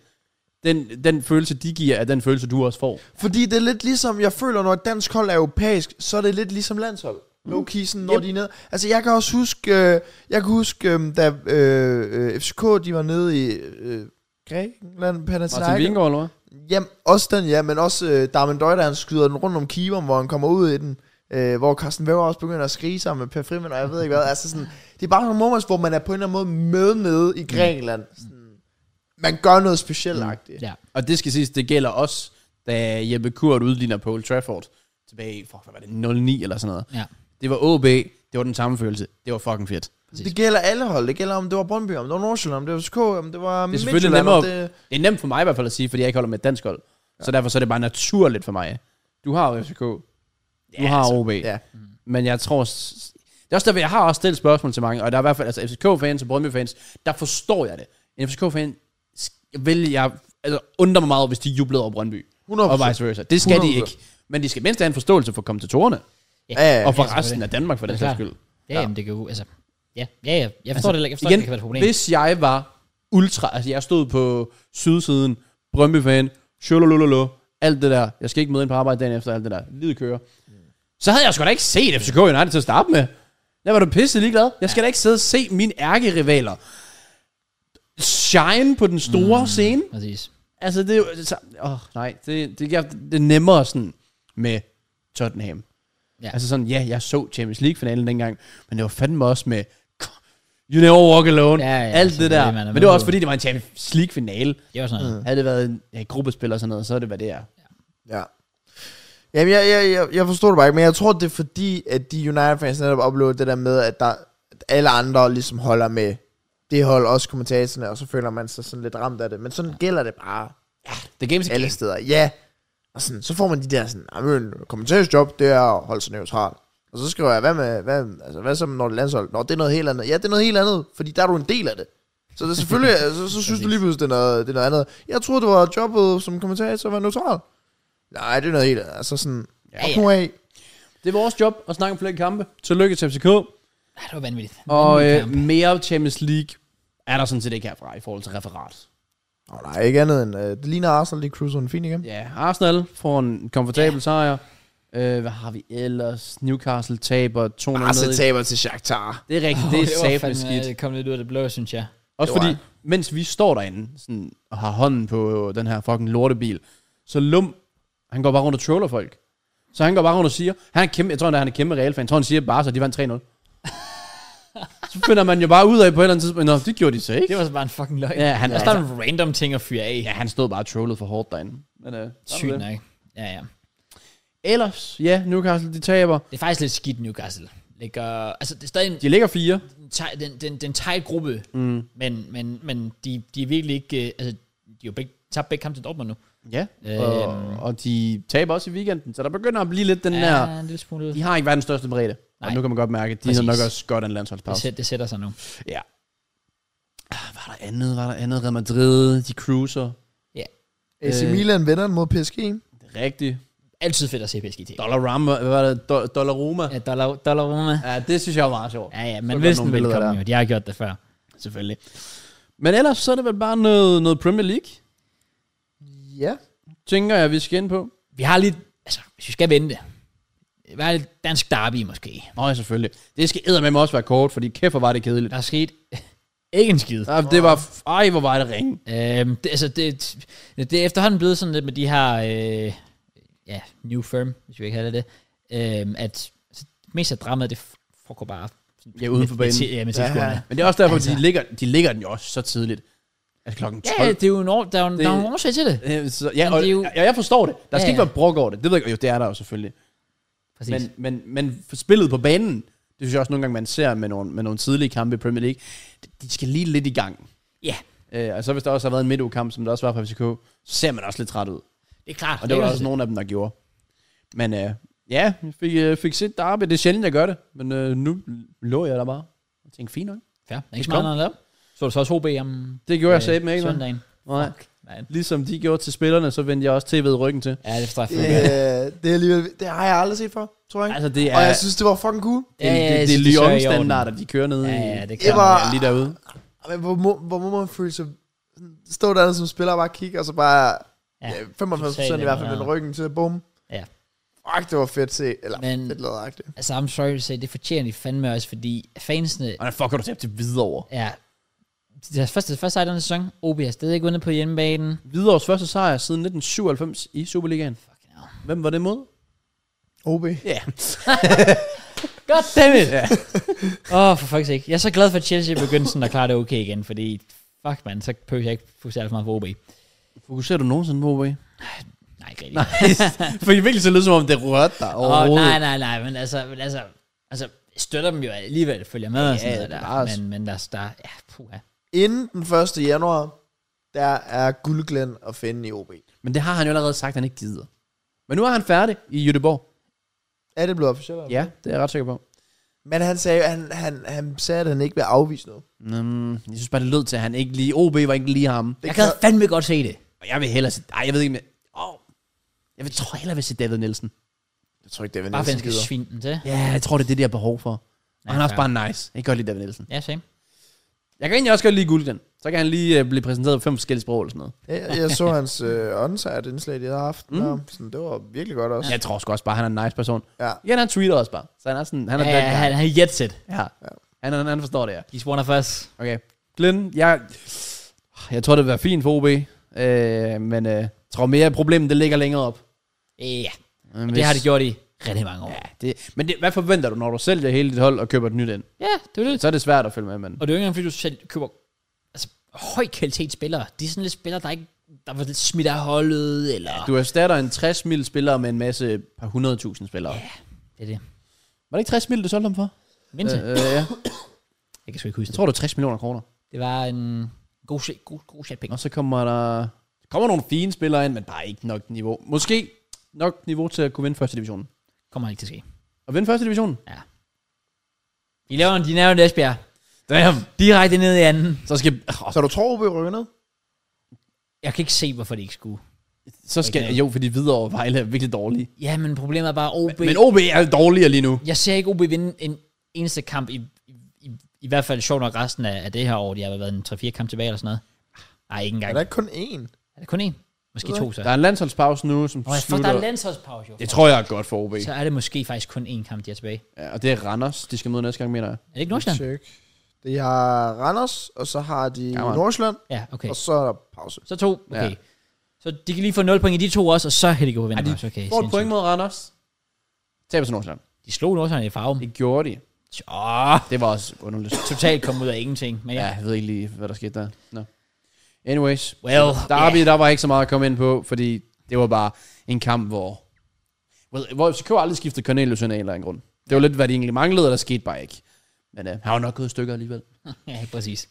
Speaker 3: den, den følelse, de giver, er den følelse, du også får.
Speaker 2: Fordi det er lidt ligesom, jeg føler, når et dansk hold er europæisk, så er det lidt ligesom landshold. Low key, sådan, når yep. de er nede. Altså, jeg kan også huske, øh, jeg kan huske, øh, da øh, øh, FCK, de var nede i øh, Grækenland,
Speaker 3: Martin
Speaker 2: Panathinaikos.
Speaker 3: Vingård, eller hvad?
Speaker 2: Jamen, også den, ja, men også øh, Darmen Døj, der han skyder den rundt om keeperen, hvor han kommer ud i den. Øh, hvor Carsten Væver også begynder at skrige sammen med Per Frimann, og jeg ved ikke hvad. Altså sådan, det er bare nogle moments, hvor man er på en eller anden måde med nede i Grækenland. Sådan, man gør noget specielt mm.
Speaker 1: Ja.
Speaker 3: Og det skal siges, det gælder også, da Jeppe Kurt udligner på Old Trafford tilbage i, fuck, hvad var det, 09 eller sådan noget.
Speaker 1: Ja.
Speaker 3: Det var OB, det var den samme følelse. Det var fucking fedt.
Speaker 1: Præcis.
Speaker 2: Det gælder alle hold. Det gælder om det var Brøndby, om det var Nordsjælland, om det var SK, om det var
Speaker 3: Det er selvfølgelig
Speaker 2: Midtjylland, om
Speaker 3: nemmere-
Speaker 2: Det...
Speaker 3: Det er nemt for mig i hvert fald at sige, fordi jeg ikke holder med et dansk hold. Ja. Så derfor så er det bare naturligt for mig. Du har jo FCK. Du ja, har OB.
Speaker 2: Ja.
Speaker 3: Men jeg tror... s- Det er også derfor, jeg har også stillet spørgsmål til mange, og der er i hvert fald altså FCK-fans og Brøndby-fans, der forstår jeg det. En FCK-fan sk- vil jeg altså, undre mig meget, hvis de jublede over Brøndby.
Speaker 2: 100%.
Speaker 3: Og vice versa. Det skal de
Speaker 2: 100%.
Speaker 3: ikke. Men de skal mindst have en forståelse for kommentatorerne,
Speaker 2: Ja, ja, ja.
Speaker 3: og for
Speaker 1: selvfølgelig.
Speaker 3: resten af Danmark for
Speaker 1: Det
Speaker 3: den
Speaker 1: er
Speaker 3: sags
Speaker 1: klart.
Speaker 3: skyld.
Speaker 1: Ja, jamen, det kan jo, altså... Ja, ja, ja. Jeg forstår
Speaker 3: Altså,
Speaker 1: det heller ikke. Jeg forstår, igen,
Speaker 3: igen,
Speaker 1: det kan være et problem.
Speaker 3: Hvis jeg var ultra, altså jeg stod på sydsiden, Brøndby-fan, shololololo, alt det der, jeg skal ikke møde ind på arbejde dagen efter, alt det der, livet kører. Så havde jeg sgu da ikke set FCK United til at starte med. Der var du pisse ligeglad. Jeg skal da ikke sidde og se mine ærkerivaler shine på den store mm. scene.
Speaker 1: Præcis.
Speaker 3: Altså, det er jo... Så, åh, nej, det, det, jeg, det er nemmere sådan med Tottenham.
Speaker 1: Ja.
Speaker 3: Ja. Altså sådan, ja, jeg så Champions League-finalen dengang, men det var fandme også med... You never walk alone,
Speaker 1: Ja, ja,
Speaker 3: alt
Speaker 1: sådan
Speaker 3: det
Speaker 1: er
Speaker 3: der.
Speaker 1: det, man er
Speaker 3: Det, men
Speaker 1: med
Speaker 3: det var
Speaker 1: på.
Speaker 3: også fordi, det var en Champions League-finale.
Speaker 1: Det var sådan noget.
Speaker 3: Havde det været en ja, gruppespil og sådan noget, så er det, hvad det er.
Speaker 2: ja. Jamen, jeg, jeg, jeg, jeg forstår det bare ikke, men jeg tror, det er fordi, at de United-fans netop oplever det der med, at, der, at alle andre ligesom holder med det hold, også kommentatorerne, og så føler man sig sådan lidt ramt af det. Men sådan ja. gælder det bare
Speaker 3: The game's a
Speaker 2: alle
Speaker 3: game.
Speaker 2: steder. Ja, og sådan, så får man de der sådan, jamen, kommentatorsjob, det er at holde sig neutral. Og så skriver jeg, hvad, med, hvad, altså, hvad så med når det er landshold? Nå, det er noget helt andet. Ja, det er noget helt andet, fordi der er du en del af det. Så det er [LAUGHS] selvfølgelig, så, så synes du lige pludselig, det er, noget, det er noget andet. Jeg troede, det var jobbet som kommentator at være neutral. Nej, det er noget helt andet. Altså sådan, ja, ja. af.
Speaker 3: Det er vores job at snakke om flere kampe. Tillykke til FCK.
Speaker 1: Ej, det var vanvittigt.
Speaker 3: Og
Speaker 1: Vanvittig
Speaker 3: øh,
Speaker 1: kamp.
Speaker 3: mere Champions League er der sådan set ikke herfra i forhold til referat.
Speaker 2: Nå, nej, ikke andet end, øh, det ligner Arsenal, de cruiser en fin igen.
Speaker 3: Ja, Arsenal får en komfortabel ja. sejr. Øh, hvad har vi ellers? Newcastle taber 2-0.
Speaker 2: Arsenal
Speaker 3: ned i-
Speaker 2: Ah, taber til Shakhtar.
Speaker 3: Det er rigtigt, oh, det
Speaker 1: var
Speaker 3: er sabende
Speaker 1: fandme- øh,
Speaker 3: skidt.
Speaker 1: Det kom lidt ud af det blå, synes jeg.
Speaker 3: Også
Speaker 2: Det var
Speaker 3: fordi, mens vi står derinde sådan, og har hånden på den her fucking lortebil, så Lum, han går bare rundt og troller folk. Så han går bare rundt og siger, han er kæmpe, jeg tror, han er en kæmpe realfan. Jeg tror, han siger bare, så de
Speaker 1: [LAUGHS]
Speaker 3: vandt 3-0. så finder man jo bare ud af på et eller andet tidspunkt, nå, det gjorde de så
Speaker 1: Det
Speaker 3: ikke.
Speaker 1: var så bare en fucking løgn.
Speaker 3: Ja, han-
Speaker 1: der er sådan en random ting at fyre af.
Speaker 3: Ja, han stod bare og trollede for hårdt derinde. Men, øh,
Speaker 1: Sygt
Speaker 3: sådan er det.
Speaker 1: nok. Ja, ja.
Speaker 3: Ellers, ja, Newcastle, de taber.
Speaker 1: Det er faktisk lidt skidt Newcastle. Ligger, altså, det er stadig en,
Speaker 3: De ligger fire.
Speaker 1: den, tight- den, den, den tight gruppe, mm. men, men, men de, de er virkelig ikke, øh, altså, de jo begge, tabt begge kampe til Dortmund nu.
Speaker 3: Ja,
Speaker 1: Øhm.
Speaker 3: og, og de taber også i weekenden, så der begynder at blive lidt den
Speaker 1: ja,
Speaker 3: der...
Speaker 1: en lille smule.
Speaker 3: De har ikke verdens største bredde. Og
Speaker 1: Nej.
Speaker 3: nu kan man godt mærke, at de har
Speaker 1: Præcis.
Speaker 3: nok også godt af en
Speaker 1: Det,
Speaker 3: landsholdspause.
Speaker 1: sæt, det sætter sig nu.
Speaker 3: Ja. Ah, Var der andet? Var der andet? Real Madrid, de cruiser.
Speaker 2: AC
Speaker 3: Øh.
Speaker 2: Milan vinder den mod PSG.
Speaker 3: Det er rigtigt.
Speaker 1: Altid fedt at se PSG til.
Speaker 3: Dollarama, hvad var det? Do- Dollaroma.
Speaker 1: Ja, dollar, dollar Roma.
Speaker 3: Ja, det synes jeg var meget sjovt.
Speaker 1: Ja, ja,
Speaker 3: Så
Speaker 1: men
Speaker 3: godt
Speaker 1: hvis den
Speaker 3: nogle billeder
Speaker 1: velkommen
Speaker 3: der.
Speaker 1: jo. De har gjort det før.
Speaker 3: Selvfølgelig. Men ellers så er det vel bare noget, noget Premier League,
Speaker 2: Ja.
Speaker 3: tænker jeg, vi skal ind på.
Speaker 1: Vi har lidt, altså, hvis vi skal vente, hvad er lidt dansk derby måske?
Speaker 3: Nå ja, selvfølgelig. Det skal med også være kort, fordi kæft, hvor var det kedeligt.
Speaker 1: Der er sket [LAUGHS] ikke en skid.
Speaker 3: Ja, det var, f- ej, hvor var det ringe.
Speaker 1: Øhm, det, altså, det, det er efterhånden blevet sådan lidt med de her, øh, ja, new firm, hvis vi kan kalde det det, øhm, at altså, det meste af dramaet, det foregår bare sådan
Speaker 3: Ja, uden for
Speaker 1: med-
Speaker 3: banen.
Speaker 1: Med, til- ja, med
Speaker 2: Ja.
Speaker 1: tilskuerne.
Speaker 3: Men det er også derfor, altså.
Speaker 1: Altså.
Speaker 3: de, ligger, de ligger den jo også så tidligt. Altså klokken 12.
Speaker 1: Ja, ja, det er jo en, år, der er jo en,
Speaker 3: Det-
Speaker 1: der er jo en årsag til det.
Speaker 3: Øh, Så, ja,
Speaker 1: Men
Speaker 3: og,
Speaker 1: det er jo-
Speaker 3: ja, jeg forstår det. Der
Speaker 1: Ja,
Speaker 3: skal ikke
Speaker 1: ja.
Speaker 3: være brok over det. Det ved jeg, jo, det er der jo selvfølgelig.
Speaker 1: Præcis.
Speaker 3: Men, men, men for spillet på banen, det synes jeg også nogle gange, man ser med nogle, med nogle tidlige kampe i Premier League. De- De skal lige lidt i gang.
Speaker 1: ja,
Speaker 3: Øh, og så hvis der også har været en midtugekamp, som der også var fra FCK, så ser man også lidt træt ud.
Speaker 1: det er klart.
Speaker 3: Og det var
Speaker 1: er
Speaker 3: der også
Speaker 1: klart.
Speaker 3: nogle af dem, der gjorde. Men øh, ja, jeg fik, øh, fik set Derby. Det er sjældent, jeg gør det. Men øh, nu lå jeg der bare. Jeg tænkte, fint nok.
Speaker 1: Fair. Der er ikke så meget
Speaker 3: Kom.
Speaker 1: andet at lave. Så du så også OB om
Speaker 3: Det gjorde øh, jeg
Speaker 1: øh,
Speaker 3: sæt med, ikke? mand?
Speaker 1: søndagen.
Speaker 3: Nej.
Speaker 1: Nej.
Speaker 3: Ligesom de gjorde til spillerne, så vendte jeg også tv'et ryggen til.
Speaker 1: Ja, det forstår jeg.
Speaker 2: Det,
Speaker 1: Yeah.
Speaker 2: øh, det, er alligevel, det har jeg aldrig set før, tror jeg.
Speaker 3: Altså, det er,
Speaker 2: Og jeg synes, det var fucking cool.
Speaker 3: det, det, det, det er Lyon-standarder, de kører ned
Speaker 1: Ja,
Speaker 3: i.
Speaker 1: ja, det
Speaker 2: Det
Speaker 1: kan
Speaker 2: var-
Speaker 3: Ja, lige derude.
Speaker 2: Men hvor må, hvor må man føle sig... Stå der som spiller og bare kigge, og så bare...
Speaker 1: Ja.
Speaker 2: Ja, 95 procent i hvert fald med ryggen til. Bum.
Speaker 1: Ja.
Speaker 2: Fuck, det var fedt set. Eller
Speaker 1: Men-
Speaker 2: Men, fedt lavet
Speaker 1: Altså, I'm sorry to say, det fortjener de fandme også, fordi fansene
Speaker 3: Og den fucker du tabt til Hvidovre.
Speaker 1: er... Deres første, første sejr i den sæson, OB har stadig ikke vundet på hjemmebanen.
Speaker 3: Hvidovres første sejr siden 1997 i Superligaen.
Speaker 1: Fucking hell.
Speaker 3: Hvem var det mod?
Speaker 2: OB.
Speaker 3: Ja. Yeah.
Speaker 1: God damn it! Åh, [LAUGHS] yeah. oh, for fuck's sake. Jeg er så glad for, at Chelsea begyndte sådan at klare det okay igen, fordi fuck man, så behøver jeg ikke fokusere alt for meget på OB.
Speaker 3: Fokuserer du nogensinde på OB?
Speaker 1: Nej, ikke rigtigt.
Speaker 3: [LAUGHS] Nej. For det virkelig så lyder som om, det rørte dig
Speaker 1: Åh,
Speaker 3: overhovedet.
Speaker 1: oh, nej, nej, nej, men altså, men altså, altså støtter dem jo alligevel, følger med ja, og sådan noget
Speaker 3: det er
Speaker 1: der.
Speaker 3: bare-
Speaker 1: Men, men der, der, ja, puha.
Speaker 2: Inden den 1. januar, der er guldglæn at finde i OB.
Speaker 3: Men det har han jo allerede sagt, at han ikke gider. Men nu er han færdig i Göteborg.
Speaker 2: Er det blevet officielt? eller?
Speaker 3: Ja, det er jeg ret sikker på.
Speaker 2: Men han sagde, han, han, han sagde, at han ikke vil afvise noget.
Speaker 3: Mm, jeg synes bare, det lød til, at han ikke lige... OB var ikke lige ham.
Speaker 1: Jeg
Speaker 2: Det
Speaker 1: kan
Speaker 2: kan,
Speaker 1: fandme godt se det.
Speaker 3: Og jeg vil hellere se... Ej, jeg ved ikke, men... Oh. Jeg vil, tror hellere, jeg vil se David Nielsen.
Speaker 2: jeg tror ikke, det er
Speaker 1: Bare for, at
Speaker 2: Nielsen
Speaker 1: han skal
Speaker 2: gider.
Speaker 1: svine den til.
Speaker 3: Ja, jeg tror, det er det, der er behov for. Og han er også
Speaker 1: fair.
Speaker 3: bare nice. Jeg kan godt lide David Nielsen.
Speaker 1: Ja, same.
Speaker 3: Jeg kan egentlig også godt lide Guldgren. Så kan han lige øh, blive præsenteret for fem forskellige sprog eller sådan noget.
Speaker 2: Jeg, jeg så hans øh, onsite-indslag, de havde haft.
Speaker 3: Mm.
Speaker 2: Mm. Sådan, det var virkelig godt også.
Speaker 3: Jeg tror sgu også bare, han er en nice person.
Speaker 2: Ja.
Speaker 3: Igen, han tweeter også bare. Så han er sådan... Han er
Speaker 1: Ja,
Speaker 3: den guy.
Speaker 1: han, han er jet set.
Speaker 3: Ja. Han, han, han forstår det, ja.
Speaker 1: He's one of us.
Speaker 3: Okay. Glenn, jeg, jeg tror, det vil være fint for OB. Øh, men øh, jeg tror mere, at problemet det ligger længere op.
Speaker 1: Ja,
Speaker 3: Øh,
Speaker 1: og det har de gjort i rigtig mange år.
Speaker 3: Ja, det, men det, hvad forventer du, når du sælger hele dit hold og køber et nyt ind?
Speaker 1: Ja, det er det.
Speaker 3: Så er det svært at følge med, men...
Speaker 1: Og det er jo ikke engang, fordi du selv køber altså, høj kvalitet spillere. De er sådan lidt spillere, der ikke der var lidt smidt af holdet, eller... Ja,
Speaker 3: Du erstatter en 60 mil spiller med en masse par 100.000 spillere.
Speaker 1: Ja. det er det.
Speaker 3: Var det ikke 60 mil, du solgte dem for?
Speaker 1: Mindst, øh,
Speaker 3: Øh, øh, ja.
Speaker 1: jeg kan sgu ikke huske
Speaker 3: Jeg
Speaker 1: det.
Speaker 3: tror, det var 60 millioner kroner.
Speaker 1: Det var en god, se- god, god chat penge.
Speaker 3: Og så kommer der... der kommer nogle fine spillere ind, men bare ikke nok niveau. Måske nok niveau til at kunne vinde første divisionen.
Speaker 1: Kommer ikke til at ske.
Speaker 3: Og vinde første divisionen?
Speaker 1: De laver en, de laver en Esbjerg.
Speaker 3: Damn.
Speaker 1: Direkte ned i anden.
Speaker 3: Så skal... Oh,
Speaker 2: Så du tror, OB rykker ned?
Speaker 1: Jeg kan ikke se, hvorfor de ikke skulle.
Speaker 3: Så skal
Speaker 1: Ikke?
Speaker 3: jo, fordi Hvidovre og Vejle er virkelig dårlige.
Speaker 1: Ja, men problemet er bare OB.
Speaker 3: Men OB er dårligere lige nu.
Speaker 1: jeg ser ikke OB vinde en eneste kamp i, i, i, i hvert fald sjovt nok resten af, af det her år. De har vel været en 3-4 kamp tilbage eller sådan noget. Nej, ikke
Speaker 2: Er
Speaker 1: engang.
Speaker 2: der ikke kun én?
Speaker 1: Er det kun én? Måske
Speaker 2: Ved
Speaker 1: to så.
Speaker 3: Der er en landsholdspause nu, som
Speaker 1: Nå, jeg fuck,
Speaker 3: slutter.
Speaker 1: der er landsholdspause jo.
Speaker 3: det tror jeg er godt for OB.
Speaker 1: Så er det måske faktisk kun én kamp, de er tilbage.
Speaker 3: Ja, og det er Randers, de skal møde næste gang, mener jeg.
Speaker 1: Er det ikke Nordsjælland?
Speaker 2: Check. De har Randers, og så har de
Speaker 3: Jamen.
Speaker 2: Nordsjælland,
Speaker 1: Ja, okay.
Speaker 2: og så er der pause.
Speaker 1: Så to, okay.
Speaker 3: Ja.
Speaker 1: Ja. Så de kan lige få 0 point i de to også, og så kan de gå på
Speaker 3: Ja,
Speaker 1: vinder.
Speaker 3: de
Speaker 1: også. Okay,
Speaker 3: Får et
Speaker 1: sindssygt.
Speaker 3: point mod Randers. Taber til Nordsjælland.
Speaker 1: De slog Nordsjælland i farven.
Speaker 3: Det gjorde de.
Speaker 1: Åh,
Speaker 3: Det var også underligt.
Speaker 1: totalt kom ud af ingenting. Men
Speaker 3: Ja,
Speaker 1: ja,
Speaker 3: jeg ved ikke lige, hvad der skete der. No. Anyways.
Speaker 1: Well,
Speaker 3: Derby, yeah. der var ikke så meget at komme ind på, fordi det var bare en kamp, hvor... Well, hvor FCK aldrig skiftede Cornelius ind af en eller anden grund. Det var lidt, hvad de egentlig manglede, og der skete
Speaker 1: [LAUGHS]
Speaker 3: bare ikke. Men øh, han var nok gået i stykker alligevel.
Speaker 1: ja præcis.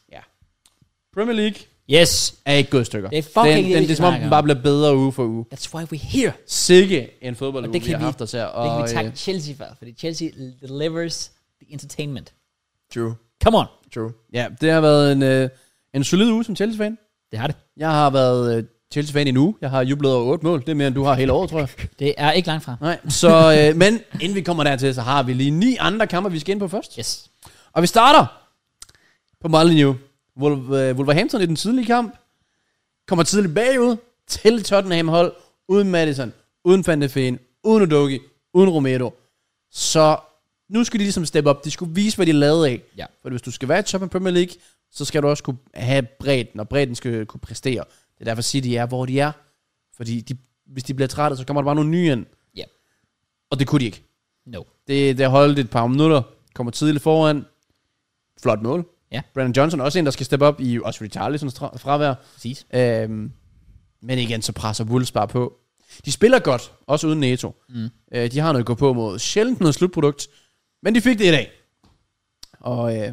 Speaker 3: Premier League.
Speaker 1: Yes.
Speaker 3: er ikke gået i stykker.
Speaker 1: Det er fucking
Speaker 3: den,
Speaker 1: det,
Speaker 3: den,
Speaker 1: vi
Speaker 3: det er som om,
Speaker 1: snakker
Speaker 3: den
Speaker 1: om.
Speaker 3: bare bliver bedre uge for uge.
Speaker 1: That's why we're here.
Speaker 3: Sikke en fodbolduge,
Speaker 1: det
Speaker 3: vi
Speaker 1: kan
Speaker 3: har
Speaker 1: vi-
Speaker 3: haft os her.
Speaker 1: Det kan
Speaker 3: Og,
Speaker 1: vi
Speaker 3: øh,
Speaker 1: takke Chelsea for, fordi Chelsea delivers the entertainment.
Speaker 2: True,
Speaker 1: Come on.
Speaker 2: true.
Speaker 3: ja, det har været en, øh, en solid uge som Chelsea-fan.
Speaker 1: Det har det.
Speaker 3: Jeg har været øh, Chelsea-fan i en uge. Jeg har jublet over otte mål. Det er mere, end du har hele året, tror jeg.
Speaker 1: Det er ikke langt fra.
Speaker 3: Nej. Så, øh, men inden vi kommer dertil, så har vi lige ni andre kampe, vi skal ind på først.
Speaker 1: Yes.
Speaker 3: Og vi starter på Molineux. Wolver- øh, Wolverhampton i den tidlige kamp. Kommer tidligt bagud til Tottenham hold. Uden Madison, uden Van de Ven, uden Udogi, uden Romero. Så nu skal de ligesom steppe op. De skulle vise, hvad de lavede af.
Speaker 1: Ja.
Speaker 3: For hvis du skal være i toppen af Premier League, så skal du også kunne have bredden, og bredden skal kunne præstere. Det er derfor City er, hvor de er. Fordi de, hvis de bliver trætte, så kommer der bare nogle nye ind.
Speaker 1: Ja.
Speaker 3: Og det kunne de ikke.
Speaker 1: No.
Speaker 3: Det, det holdt et par minutter. Kommer tidligt foran. Flot mål.
Speaker 1: Ja.
Speaker 3: Brandon Johnson er også en, der skal steppe op i også Richarlisons tra- fravær.
Speaker 1: Præcis.
Speaker 3: Øhm, men igen, så presser Wolves bare på. De spiller godt, også uden NATO. Mm. Øh, de har noget at gå på mod. Sjældent noget slutprodukt. Men de fik det i dag. Og øh,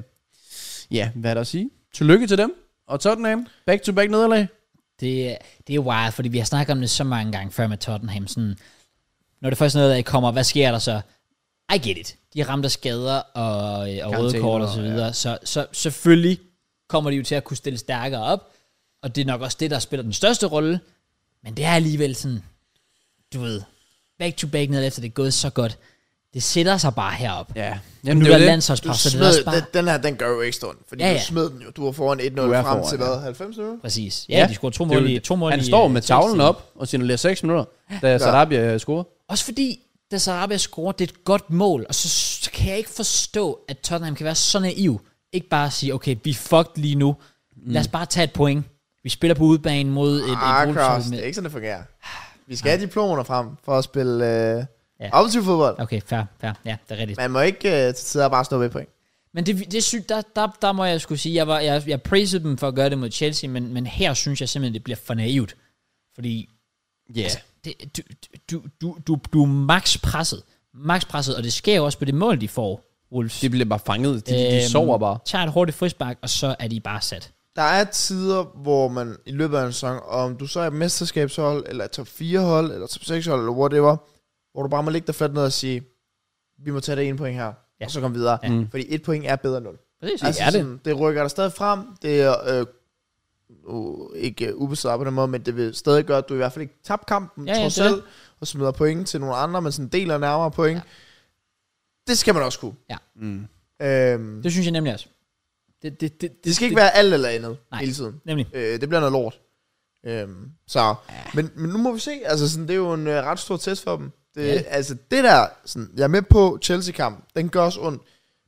Speaker 3: ja, hvad er der at sige? Tillykke til dem. Og Tottenham, back-to-back nederlag.
Speaker 1: Det, det er wild, fordi vi har snakket om det så mange gange før med Tottenham. Sådan, når det først noget af kommer, hvad sker der så? I get it. De er ramt af skader og, øh, og røde
Speaker 3: Karantæner,
Speaker 1: kort og så videre. Ja. Så, så selvfølgelig kommer de jo til at kunne stille stærkere op. Og det er nok også det, der spiller den største rolle. Men det er alligevel sådan, du ved, back to back ned efter det er gået så godt. Det sætter sig bare herop. Ja.
Speaker 3: Jamen,
Speaker 1: Nu
Speaker 3: det
Speaker 1: er
Speaker 3: var
Speaker 1: der
Speaker 3: det.
Speaker 2: Du
Speaker 1: landsholdspres, så det er også
Speaker 2: smed, den,
Speaker 1: bare...
Speaker 2: den her, den gør jo ikke ondt, fordi
Speaker 1: Ja,
Speaker 2: ja, ja.
Speaker 1: ja.
Speaker 2: du smed den jo. Du var foran 1-0
Speaker 3: er
Speaker 2: frem
Speaker 3: foran,
Speaker 2: til
Speaker 3: ja.
Speaker 2: hvad, 90 nu?
Speaker 1: Præcis. Ja,
Speaker 3: Ja.
Speaker 1: ja, de scorer to
Speaker 3: Det er jo
Speaker 1: mål i...
Speaker 3: det.
Speaker 1: To mål
Speaker 3: Han
Speaker 1: i,
Speaker 3: står
Speaker 1: øh,
Speaker 3: med
Speaker 1: seks
Speaker 3: tavlen
Speaker 1: timer.
Speaker 3: op og signalerer 6 minutter, da ja. Sarabia øh, scorer.
Speaker 1: Også fordi, da Sarabia scorer, det er et godt mål, og så, så kan jeg ikke forstå, at Tottenham kan være så naiv. Ikke bare sige, okay, vi er fucked lige nu. Lad os bare tage et point. Vi spiller på udbanen mod et,
Speaker 2: Ah,
Speaker 1: et
Speaker 2: Kraus,
Speaker 1: Wolves-
Speaker 2: det er ikke sådan, det fungerer. Vi skal have diplomerne frem for at spille øh,
Speaker 1: Ja.
Speaker 2: ja. offensiv fodbold.
Speaker 1: Okay, fair, fair. Ja, det er rigtigt.
Speaker 2: Man må ikke øh, sidde og bare stå ved point.
Speaker 1: Men det, det er sygt, der, der, der må jeg skulle sige, jeg, var, jeg, jeg praisede dem for at gøre det mod Chelsea, men, men her synes jeg simpelthen, det bliver for naivt. Fordi
Speaker 3: Ja.
Speaker 1: Altså, det, du, du, du, du, du er max presset. Max presset, og det sker jo også på det mål, de får, Wolves.
Speaker 3: De bliver bare fanget. De, de, de sover bare.
Speaker 1: Øhm, Tager et hurtigt frispark, og så er de bare sat.
Speaker 2: Der er tider, hvor man i løbet af en sæson, om du så er et mesterskabshold, eller et top 4 hold, eller top 6 hold, eller whatever, hvor du bare må ligge dig fladt ned og sige, vi må tage det ene point her,
Speaker 1: Ja.
Speaker 2: ja. og så komme videre.
Speaker 1: Ja.
Speaker 2: Ja. Fordi et point er bedre end nul.
Speaker 1: Præcis.
Speaker 2: Altså,
Speaker 1: er det.
Speaker 2: Sådan, det rykker dig stadig frem. Det er øh, uh, ikke uh, ubesat på den måde, men det vil stadig gøre, at du i hvert fald ikke tabte kampen,
Speaker 1: Ja,
Speaker 2: ja,
Speaker 1: ja,
Speaker 2: trods
Speaker 1: det er
Speaker 2: selv, og smider point til nogle andre, men sådan deler nærmere point. Ja. Det skal man også kunne.
Speaker 1: Ja.
Speaker 3: Mm.
Speaker 2: Øhm, det,
Speaker 1: Det synes jeg nemlig også. Det, det, det,
Speaker 2: det skal ikke være alt eller andet
Speaker 1: Nej.
Speaker 2: hele tiden.
Speaker 1: Nemlig.
Speaker 2: Øh, det bliver noget lort. Øhm, så, ja. men, men nu må vi se. Altså, sådan, det er jo en øh, ret stor test for dem. Det,
Speaker 1: Ja.
Speaker 2: ja. Altså, det der, sådan, jeg er med på Chelsea-kampen, den gør os ondt.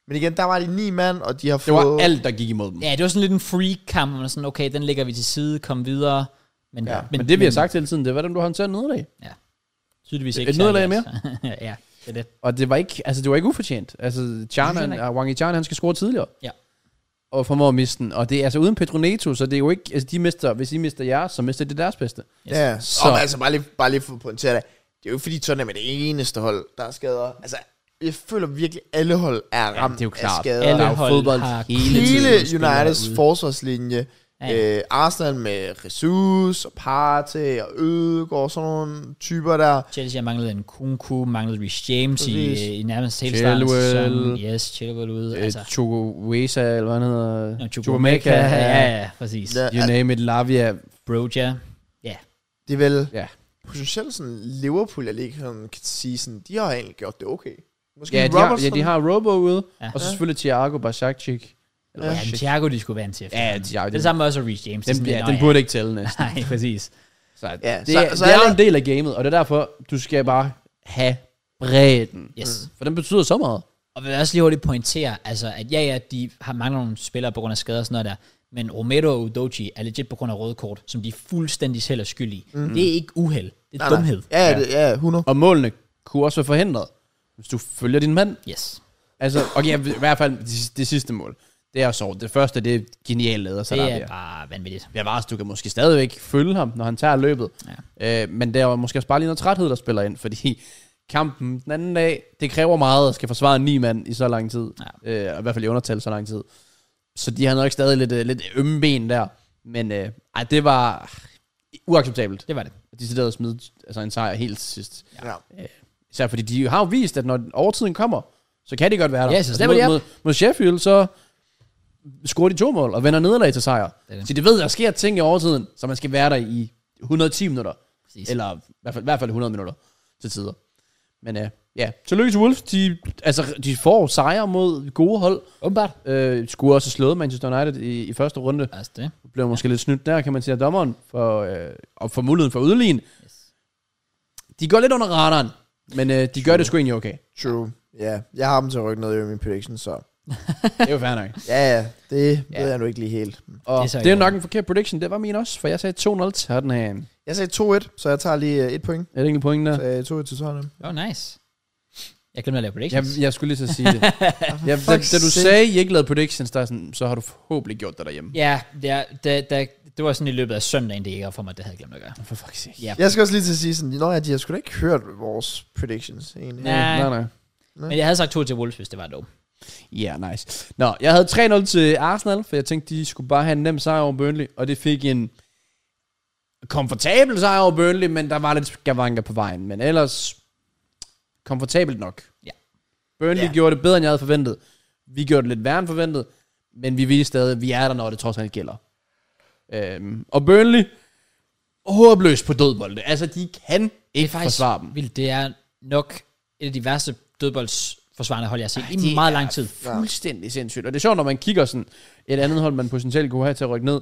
Speaker 2: Men igen, der var de ni mand, og de har
Speaker 3: Det
Speaker 2: fået...
Speaker 3: var alt, der gik imod dem.
Speaker 1: Ja, det var sådan lidt en free kamp, hvor man er sådan, okay, den lægger vi til side, kom videre. Men,
Speaker 2: Ja,
Speaker 3: Men, men det vi har sagt hele tiden, det var dem, du håndterede nederlag.
Speaker 1: tydeligvis
Speaker 3: Et
Speaker 1: ikke.
Speaker 3: nederlag
Speaker 1: særlig, altså. [LAUGHS] ja, det er det.
Speaker 3: Og det var ikke, altså, det var ikke ufortjent. Altså, Chan,
Speaker 1: Det synes jeg
Speaker 3: han, Wang Chan, han skal score tidligere.
Speaker 1: Ja.
Speaker 3: Og formår at miste den. Og det er altså uden Petroneto, så det er jo ikke, altså de mister, hvis de mister jeres, så mister de deres bedste.
Speaker 1: Yes.
Speaker 2: Ja,
Speaker 3: Så-
Speaker 2: så. Og altså bare lige, bare lige for at pointere det. Det er jo ikke fordi Tottenham er det eneste hold, der er skader. Altså, jeg føler virkelig, alle hold er ramt
Speaker 3: Jamen, det er jo klart.
Speaker 2: af skader.
Speaker 1: Alle
Speaker 3: der er jo
Speaker 1: hold
Speaker 3: fodbold
Speaker 1: har
Speaker 3: hele tiden.
Speaker 2: Hele
Speaker 1: spillere
Speaker 2: Uniteds
Speaker 1: ude.
Speaker 2: forsvarslinje,
Speaker 1: Ja.
Speaker 2: ja. øh, Arsenal med Jesus og Partey og Ødegaard og sådan nogle typer der.
Speaker 1: Chelsea har manglet en Kunku, manglet Rich James i,
Speaker 2: Præcis.
Speaker 1: øh, i nærmest hele starten. af
Speaker 3: Chilwell.
Speaker 1: sæsonen. Yes, Chilwell ude.
Speaker 3: Øh,
Speaker 1: altså,
Speaker 3: Choco Wesa, eller hvad han hedder.
Speaker 1: Nå,
Speaker 3: Chukwuemeka,
Speaker 1: Chukwuemeka. Ja, ja, præcis.
Speaker 2: Ja,
Speaker 3: You name it, Lavia.
Speaker 1: Broja.
Speaker 2: Det er vel
Speaker 3: Ja.
Speaker 2: potentielt sådan Liverpool, jeg lige kan kan sige sådan, de har egentlig gjort det okay. Måske
Speaker 3: Ja, de har, ja, de har Robo ude.
Speaker 1: Ja.
Speaker 3: Ja. Og så selvfølgelig Thiago Basak-Chick. Eller
Speaker 1: Ja,
Speaker 3: hvad?
Speaker 1: men Thiago, de skulle være en til
Speaker 3: Ja, Thiago,
Speaker 1: Det
Speaker 3: den-
Speaker 1: er samme også Rich James. Det er
Speaker 3: Den,
Speaker 1: sådan
Speaker 3: ja,
Speaker 1: lidt,
Speaker 3: den
Speaker 1: nå,
Speaker 3: burde ikke tælle
Speaker 1: [LAUGHS]
Speaker 3: næsten.
Speaker 1: Nej, præcis.
Speaker 3: Så,
Speaker 2: Ja,
Speaker 3: det,
Speaker 2: så-
Speaker 3: er-
Speaker 2: så
Speaker 3: det er
Speaker 2: alle-
Speaker 3: jo en del af gamet, og det er derfor, du skal bare have bredden.
Speaker 1: Yes.
Speaker 3: For den betyder så meget.
Speaker 1: Og vil også lige hurtigt pointere, altså, at ja, ja, de har mangler nogle spillere på grund af skader og sådan noget der, men Romero og Udoji er legit på grund af røde kort, som de fuldstændig selv er skyld i.
Speaker 3: Mm-hmm.
Speaker 1: Mm. Det er ikke uheld, det er nej, dumhed.
Speaker 2: Ja, ja, det, ja, 100.
Speaker 3: Og målene kunne også være forhindret, hvis du følger din mand.
Speaker 1: Yes.
Speaker 3: Altså, okay, i hvert fald det, det sidste mål. Det er så. Det første, det er genialt lavet, så
Speaker 1: Det
Speaker 3: der
Speaker 1: er
Speaker 3: er
Speaker 1: bare vanvittigt.
Speaker 3: Jeg var du kan måske stadigvæk følge ham, når han tager løbet. Ja. Øh, men der er jo måske også bare lige noget træthed, der spiller ind, fordi kampen den anden dag, det kræver meget at skal forsvare ni mand i så lang tid. Ja. Øh, og I hvert fald i undertal så lang tid. Så de har nok stadig lidt, øh, lidt ømme ben der. Men øh, ej, det var uacceptabelt.
Speaker 1: Det var det.
Speaker 3: De sidder og smide altså en sejr helt til sidst.
Speaker 2: Ja.
Speaker 3: Især fordi de har jo vist, at når overtiden kommer, så kan det godt være der. Altså,
Speaker 1: Ja, så stemmer de
Speaker 3: mod,
Speaker 1: op.
Speaker 3: mod, mod Sheffield, så scorer de to mål og vender nederlag til sejr.
Speaker 1: er det.
Speaker 3: Så de ved, at der sker ting i overtiden, så man skal være der i 110 minutter.
Speaker 1: Præcis.
Speaker 3: Eller i hvert fald, i hvert fald 100 minutter til tider. Men øh, ja, tillykke til Wolves. De, altså, de får sejre mod gode hold.
Speaker 1: Åbenbart.
Speaker 3: Øh, skulle også have slået Manchester United i, i første runde.
Speaker 1: Altså det.
Speaker 3: Blev måske lidt snydt der, kan man sige, af dommeren. For, øh, og for muligheden for at udligne.
Speaker 1: Yes.
Speaker 3: De går lidt under radaren, men øh, de gør det sgu egentlig okay.
Speaker 2: True. Ja, yeah. jeg har dem til at rykke ned i min prediction, så...
Speaker 3: Det er jo fair nok.
Speaker 2: Ja, ja, det
Speaker 3: Ja.
Speaker 2: ved jeg nu ikke lige helt.
Speaker 3: Og
Speaker 1: Det er
Speaker 3: det
Speaker 1: så
Speaker 3: er,
Speaker 1: i
Speaker 3: det er
Speaker 1: orden.
Speaker 3: nok en forkert prediction. Det var min også, for jeg sagde 2-0 til Tottenham.
Speaker 2: Jeg sagde 2-1, så jeg tager lige øh, et point.
Speaker 3: Er det egentlig pointen der?
Speaker 2: Så jeg 2-1 til Tottenham.
Speaker 1: Oh, nice. Jeg glemte at lave
Speaker 3: Jeg,
Speaker 1: predictions.
Speaker 3: jeg skulle lige så sige det. jeg, da, da, du
Speaker 2: sake.
Speaker 3: sagde, at I ikke lavede predictions, der er sådan, så har du forhåbentlig gjort det derhjemme.
Speaker 1: Ja, ja det, det, det, var sådan i løbet af søndagen, det gik op for mig, det havde jeg glemt at gøre.
Speaker 3: For fuck's sake.
Speaker 1: Ja.
Speaker 2: Jeg skal også lige til at sige sådan, Nå ja, de har sgu da ikke hørt vores predictions egentlig.
Speaker 1: Nej.
Speaker 3: Nej, nej.
Speaker 1: Men jeg havde sagt to til Wolves, hvis det var dog.
Speaker 3: Ja, yeah, nice. Nå, jeg havde 3-0 til Arsenal, for jeg tænkte, de skulle bare have en nem sejr over Burnley, og det fik en komfortabel sejr over Burnley, men der var lidt skavanker på vejen. Men ellers, komfortabelt nok.
Speaker 1: Ja.
Speaker 3: Burnley
Speaker 2: Ja.
Speaker 3: yeah. gjorde det bedre, end jeg havde forventet. Vi gjorde det lidt værre end forventet, men vi viste stadig, at vi er der, når det trods alt gælder. Øhm, og Burnley, håbløst på dødbolde. Altså, de kan
Speaker 1: Det er
Speaker 3: ikke forsvare dem.
Speaker 1: vildt. Det er nok et af de værste dødboldsforsvarende hold, jeg har set Ej, i
Speaker 3: det
Speaker 1: meget
Speaker 3: er
Speaker 1: lang tid.
Speaker 3: fuldstændig sindssygt. Og det er sjovt, når man kigger sådan et andet hold, man potentielt kunne have til at rykke ned.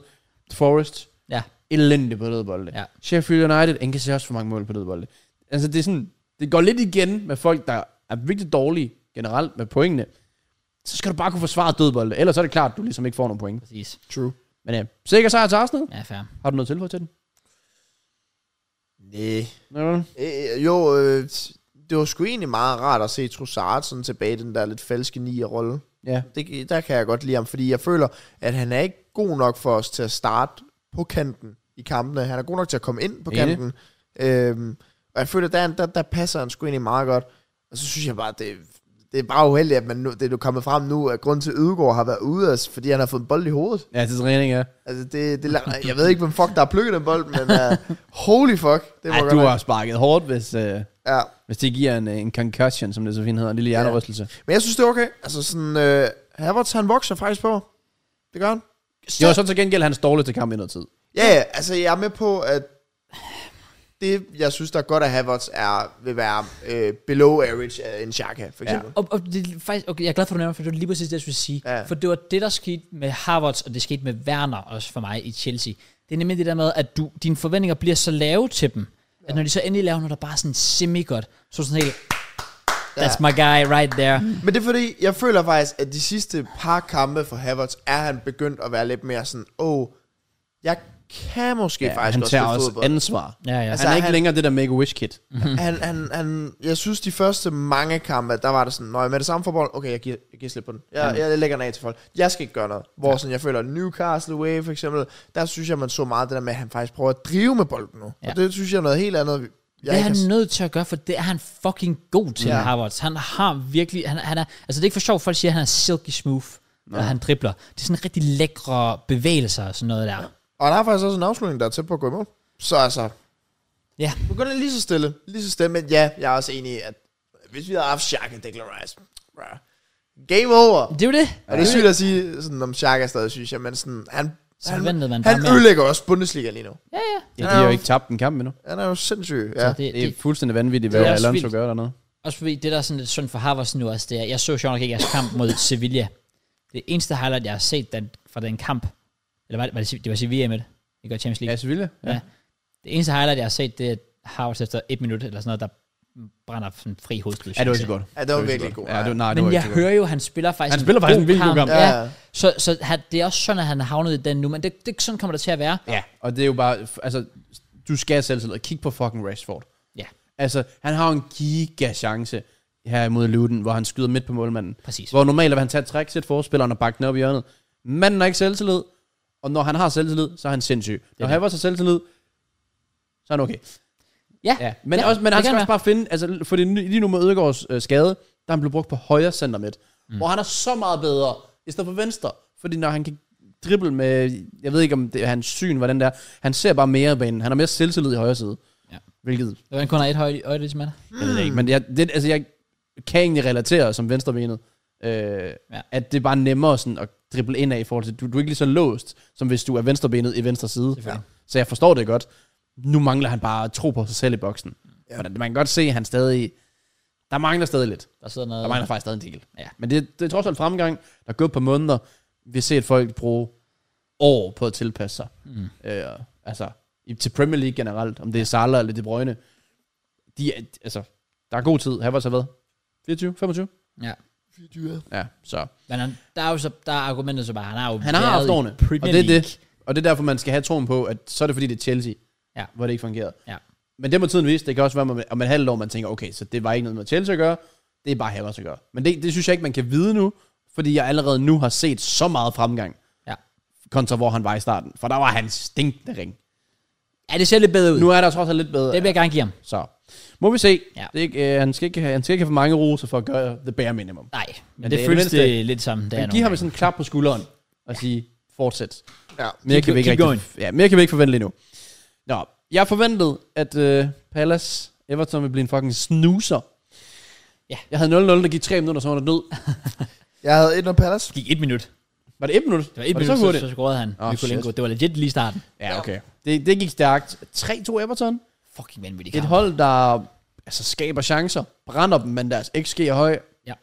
Speaker 3: Forest,
Speaker 1: Ja,
Speaker 3: elendig på dødbolde.
Speaker 1: Ja.
Speaker 3: Sheffield United indkasserer også for mange mål på dødbolde. Altså det er sådan, det går lidt igen med folk, der er virkelig dårlige generelt med pointene. Så skal du bare kunne forsvare dødbolde, ellers er det klart, at du ligesom ikke får nogen point.
Speaker 1: præcis.
Speaker 2: True.
Speaker 3: Men ja, sikker sejr til Arsenal.
Speaker 1: Ja, fair.
Speaker 3: Har du noget tilføjet til den?
Speaker 2: Nej.
Speaker 3: Ja.
Speaker 2: Øh, jo, øh, t- det var sgu egentlig meget rart at se Trossard sådan tilbage i den der lidt falske 9'er-rolle.
Speaker 3: ja.
Speaker 2: Det, der kan jeg godt lide ham, fordi jeg føler, at han er ikke god nok for os til at starte på kanten i kampene. Han er god nok til at komme ind på
Speaker 3: Enig.
Speaker 2: kanten. Øhm, og jeg føler, der, der, der passer han sgu egentlig meget godt. Og så synes jeg bare, det, det er bare uheldigt, at man nu, det er nu kommet frem nu, at grunden til, at Ødegaard har været ude, altså, fordi han har fået en bold i hovedet.
Speaker 3: Ja, til træning, ja.
Speaker 2: Altså, det, det, la-
Speaker 3: [LAUGHS]
Speaker 2: jeg ved ikke, hvem fuck, der har plukket den bold, men uh, holy fuck. Det var
Speaker 3: Ej,
Speaker 2: godt
Speaker 3: du
Speaker 2: nok-
Speaker 3: har sparket hårdt, hvis, øh,
Speaker 2: Ja.
Speaker 3: hvis det giver en, øh, en concussion, som det så fint hedder, en lille
Speaker 2: Ja.
Speaker 3: hjernerystelse.
Speaker 2: Men jeg synes, det er okay. Altså sådan, øh, Havertz, han vokser faktisk på. Det gør han.
Speaker 3: Det var så til gengæld hans dårligste kamp i noget tid.
Speaker 2: Ja, ja, altså jeg er med på, at det, jeg synes, der er godt at Havertz er, vil være øh, below average af en Xhaka, for eksempel.
Speaker 1: Og, og det er faktisk, okay, jeg er glad for, at du nævner, for det var lige præcis det, jeg skulle sige.
Speaker 2: Ja.
Speaker 1: Ja. For det var det, der skete med Harvards, og det skete med Werner også for mig i Chelsea. Det er nemlig det der med, at du, dine forventninger bliver så lave til dem, at når de så endelig laver noget, der bare er sådan semi-godt, så er du sådan helt, that's my guy right there.
Speaker 2: Men det er fordi, jeg føler faktisk, at de sidste par kampe for Havertz, er han begyndt at være lidt mere sådan, åh, oh, jeg kan måske ja, faktisk
Speaker 3: han
Speaker 2: også
Speaker 3: tager
Speaker 2: spille
Speaker 3: også
Speaker 2: fodbold.
Speaker 3: ansvar.
Speaker 1: Ja, ja.
Speaker 2: Altså,
Speaker 3: Altså, han er
Speaker 2: han-
Speaker 3: ikke han... længere det der make-a-wish-kid.
Speaker 2: han, han, han, jeg synes, de første mange kampe, der var det sådan, nej, med det samme forbold, okay, jeg giver, jeg giver slip på den. Jeg,
Speaker 1: Mm.
Speaker 2: jeg lægger den af til folk. Jeg skal ikke gøre noget. Hvor sådan, jeg føler Newcastle away, for eksempel, der synes jeg, man så meget det der med, at han faktisk prøver at drive med bolden nu. Ja.
Speaker 1: Ja.
Speaker 2: Og det synes jeg er noget helt andet. Jeg
Speaker 1: Det er
Speaker 2: ikke har
Speaker 1: han
Speaker 2: s-
Speaker 1: nødt til at gøre, for det er han fucking god til,
Speaker 2: Ja.
Speaker 1: ja. Harvards. Han har virkelig, han, han er, altså det er ikke for sjovt, folk siger, at han er silky smooth, når han dribler. Det er sådan rigtig lækre bevægelser og sådan noget der.
Speaker 2: og han har faktisk også en afslutning, der er tæt på at gå imod. Så altså,
Speaker 1: Ja.
Speaker 2: nu går det lige så stille. Lige så stille, men ja, jeg er også enig i, at hvis vi havde haft Shaq og Declan Rice, bruh, game over.
Speaker 1: Det er jo det. Altså,
Speaker 2: Og det er sygt at sige sådan, om Shaq er stadig, synes jeg, men sådan, han,
Speaker 1: Så
Speaker 2: han,
Speaker 1: forventede man bare
Speaker 2: han
Speaker 1: mere.
Speaker 2: ødelægger også Bundesliga lige nu.
Speaker 1: Ja, ja.
Speaker 2: Han
Speaker 3: Ja, de
Speaker 2: er
Speaker 3: har jo
Speaker 2: jo-
Speaker 3: ikke tabt en kamp endnu.
Speaker 2: Han er jo sindssyg.
Speaker 1: Så
Speaker 2: Ja.
Speaker 1: det,
Speaker 3: Det er
Speaker 1: det,
Speaker 3: fuldstændig vanvittigt, hvad
Speaker 1: Det er også
Speaker 3: Alonso
Speaker 1: vildt.
Speaker 3: gør dernede.
Speaker 1: Også fordi det, der er sådan lidt synd for Havertz nu også, det er, jeg så sjovt nok ikke jeres kamp
Speaker 2: [LAUGHS]
Speaker 1: mod Sevilla. Det eneste highlight, jeg har set den, fra den kamp, eller var det, var det, det var Sevilla med det, ikke var Champions League.
Speaker 3: Ja, Sevilla. Ja.
Speaker 1: Ja. Det eneste highlight, jeg har set, det er Havertz efter et minut eller sådan noget, der brænder sådan en fri hovedstød.
Speaker 3: ja, det var ikke så godt.
Speaker 2: Ja, det var virkelig god.
Speaker 3: Ja, det var, nej, det var
Speaker 1: Men jeg
Speaker 3: ikke så godt.
Speaker 1: hører jo, han spiller faktisk
Speaker 3: Han spiller faktisk en vildt god kamp.
Speaker 1: Ja.
Speaker 2: Ja.
Speaker 1: ja. Så, så han, det er også sådan, at han er havnet i den nu, men det, det, sådan kommer det til at være.
Speaker 3: Ja, og det er jo bare, f- altså, du skal selv sidde og kigge på fucking Rashford.
Speaker 1: Ja.
Speaker 3: Altså, han har jo en giga chance her imod Luton, hvor han skyder midt på målmanden.
Speaker 1: Præcis.
Speaker 3: Hvor normalt vil han tage et træk, sætte forspilleren og bakke den op i hjørnet. Manden har ikke selvtillid, og når han har selvtillid, så er han sindssyg. Når
Speaker 1: det.
Speaker 3: han har så selvtillid, så er han okay.
Speaker 1: Ja,
Speaker 3: Ja, men,
Speaker 1: ja,
Speaker 3: ja, også, men
Speaker 1: det
Speaker 3: han
Speaker 1: kan
Speaker 3: skal også
Speaker 1: være.
Speaker 3: bare finde, altså for det er ny- lige nu med Ødegaards øh, skade, der er han blev brugt på højre center midt, mm. hvor han er så meget bedre, i stedet for venstre, fordi når han kan dribbel med, jeg ved ikke om det, hans syn, hvordan det er. Han ser bare mere i banen. Han har mere selvtillid i højre side.
Speaker 1: Ja.
Speaker 3: Hvilket,
Speaker 1: Det var en kun har et højt øje, det er
Speaker 3: jeg ved det ikke. Men jeg, det, altså, jeg kan egentlig relatere som venstrebenet, øh, ja. at det er bare nemmere sådan at drible ind af i forhold til, du, du er ikke lige så låst, som hvis du er venstrebenet i venstre side.
Speaker 1: Selvfølgelig.
Speaker 3: Så jeg forstår det godt. Nu mangler han bare tro på sig selv i boksen.
Speaker 2: Ja.
Speaker 3: Ja. Men man kan godt se, at han stadig, der mangler stadig lidt.
Speaker 1: Der sidder noget...
Speaker 3: Der mangler faktisk stadig en del.
Speaker 1: Ja.
Speaker 3: Men det, det er trods alt fremgang. Der er gået et par måneder. Vi har set folk bruge år på at tilpasse sig.
Speaker 1: Mm.
Speaker 3: Øh, altså, i, til Premier League generelt. Om det er Salah eller De Bruyne. De, er- altså, der er god tid. Her var så hvad? 24? 25?
Speaker 1: Ja.
Speaker 3: Ja, så.
Speaker 1: Men han, der er jo så, der er argumentet så bare, han har jo
Speaker 3: Han har
Speaker 1: været
Speaker 3: haft
Speaker 1: i
Speaker 3: årene,
Speaker 1: Premier
Speaker 3: og det er
Speaker 1: League.
Speaker 3: det. Og det er derfor, man skal have troen på, at så er det fordi, det er Chelsea,
Speaker 1: Ja.
Speaker 3: hvor det ikke fungerede.
Speaker 1: Ja.
Speaker 3: Men det må tiden vise. Det kan også være, at man- om et halvt år, man tænker, okay, så det var ikke noget med Chelsea at gøre. Det er bare Hammers at gøre. Men det, det synes jeg ikke, man kan vide nu, fordi jeg allerede nu har set så meget fremgang,
Speaker 1: Ja.
Speaker 3: kontra hvor han var i starten. For der var han stinkende ring.
Speaker 1: ja, det ser lidt bedre ud. Nu,
Speaker 3: Nu er der trods alt lidt bedre.
Speaker 1: det vil jeg gerne give ham.
Speaker 3: Så må vi se.
Speaker 1: Ja.
Speaker 3: Det er ikke, øh, han, skal ikke have, han skal ikke have for mange roser for at gøre the bare minimum.
Speaker 1: Nej, men,
Speaker 3: Men
Speaker 1: det,
Speaker 3: det
Speaker 1: det
Speaker 3: er
Speaker 1: føles
Speaker 3: det
Speaker 1: det,
Speaker 3: mindste.
Speaker 1: lidt som, det er
Speaker 3: Men
Speaker 1: nogle
Speaker 3: giv ham
Speaker 1: gange.
Speaker 3: sådan en klap på skulderen og sige, fortsæt.
Speaker 2: Ja.
Speaker 3: Mere kan, vi ikke
Speaker 1: keep
Speaker 3: rigtig, ja, mere kan vi ikke forvente lige nu. Nå, jeg forventede, at øh, Palace Everton ville blive en fucking snuser.
Speaker 1: Ja.
Speaker 3: Jeg havde 0-0, der gik 3 minutter, så var der død.
Speaker 2: Jeg havde et Palace.
Speaker 1: gik et minut.
Speaker 3: Var det 1 minut?
Speaker 1: Det var et
Speaker 3: var
Speaker 1: minut,
Speaker 3: det så hurtigt?
Speaker 1: så, så scorede han.
Speaker 3: Åh,
Speaker 1: Oh,
Speaker 3: shit.
Speaker 1: Nicolenko. Det var legit lige i starten.
Speaker 3: Ja, okay. Det, det gik stærkt. 3-2 Everton.
Speaker 1: Fucking vanvittig
Speaker 3: Et
Speaker 1: kamp.
Speaker 3: hold, der altså, skaber chancer, brænder dem, men deres XG er høj.
Speaker 1: Ja.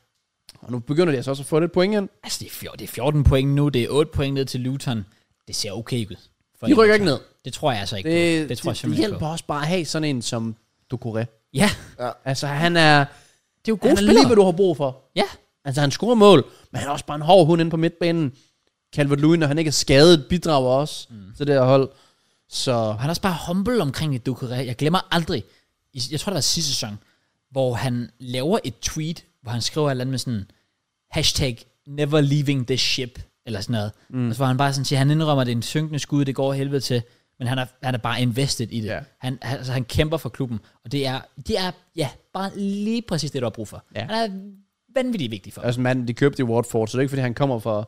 Speaker 3: Og nu begynder de altså også at få lidt point ind.
Speaker 1: Altså, det er, fjor- det er 14 point nu. Det er 8 point ned til Luton. Det ser okay ud. For
Speaker 3: De rykker
Speaker 1: Everton.
Speaker 3: ikke ned.
Speaker 1: Det tror jeg altså ikke.
Speaker 3: Det,
Speaker 1: Det, det tror jeg
Speaker 3: det, det
Speaker 1: simpelthen ikke
Speaker 3: hjælper også bare at have sådan en som Ducouré.
Speaker 1: på. Ja,
Speaker 3: Altså, han er,
Speaker 1: det er jo
Speaker 3: han
Speaker 1: gode
Speaker 3: er lige,
Speaker 1: spillere.
Speaker 3: hvad du har brug for.
Speaker 1: Ja,
Speaker 3: Altså, han scorer mål, men han er også bare en hård hund inde på midtbanen. Calvert-Lewin, når han ikke er skadet, bidrager også mm. til det her hold. Så
Speaker 1: Og han er også bare humble omkring det, Ducouré. Jeg glemmer aldrig, i- jeg tror det var sidste sæson, hvor han laver et tweet, hvor han skriver et eller andet med sådan, hashtag never leaving this ship, eller sådan noget. Mm. Og så var han bare sådan siger, han indrømmer, at det er en synkende skud, det går af helvede til, men han er, han er bare invested i det.
Speaker 3: Ja.
Speaker 1: Han, han- altså, han kæmper for klubben, og det er, det er ja, bare lige præcis det, du har brug for.
Speaker 3: Ja.
Speaker 1: Han er vanvittigt vigtig for.
Speaker 3: altså, manden, de købte i Watford, så det er ikke, fordi han kommer fra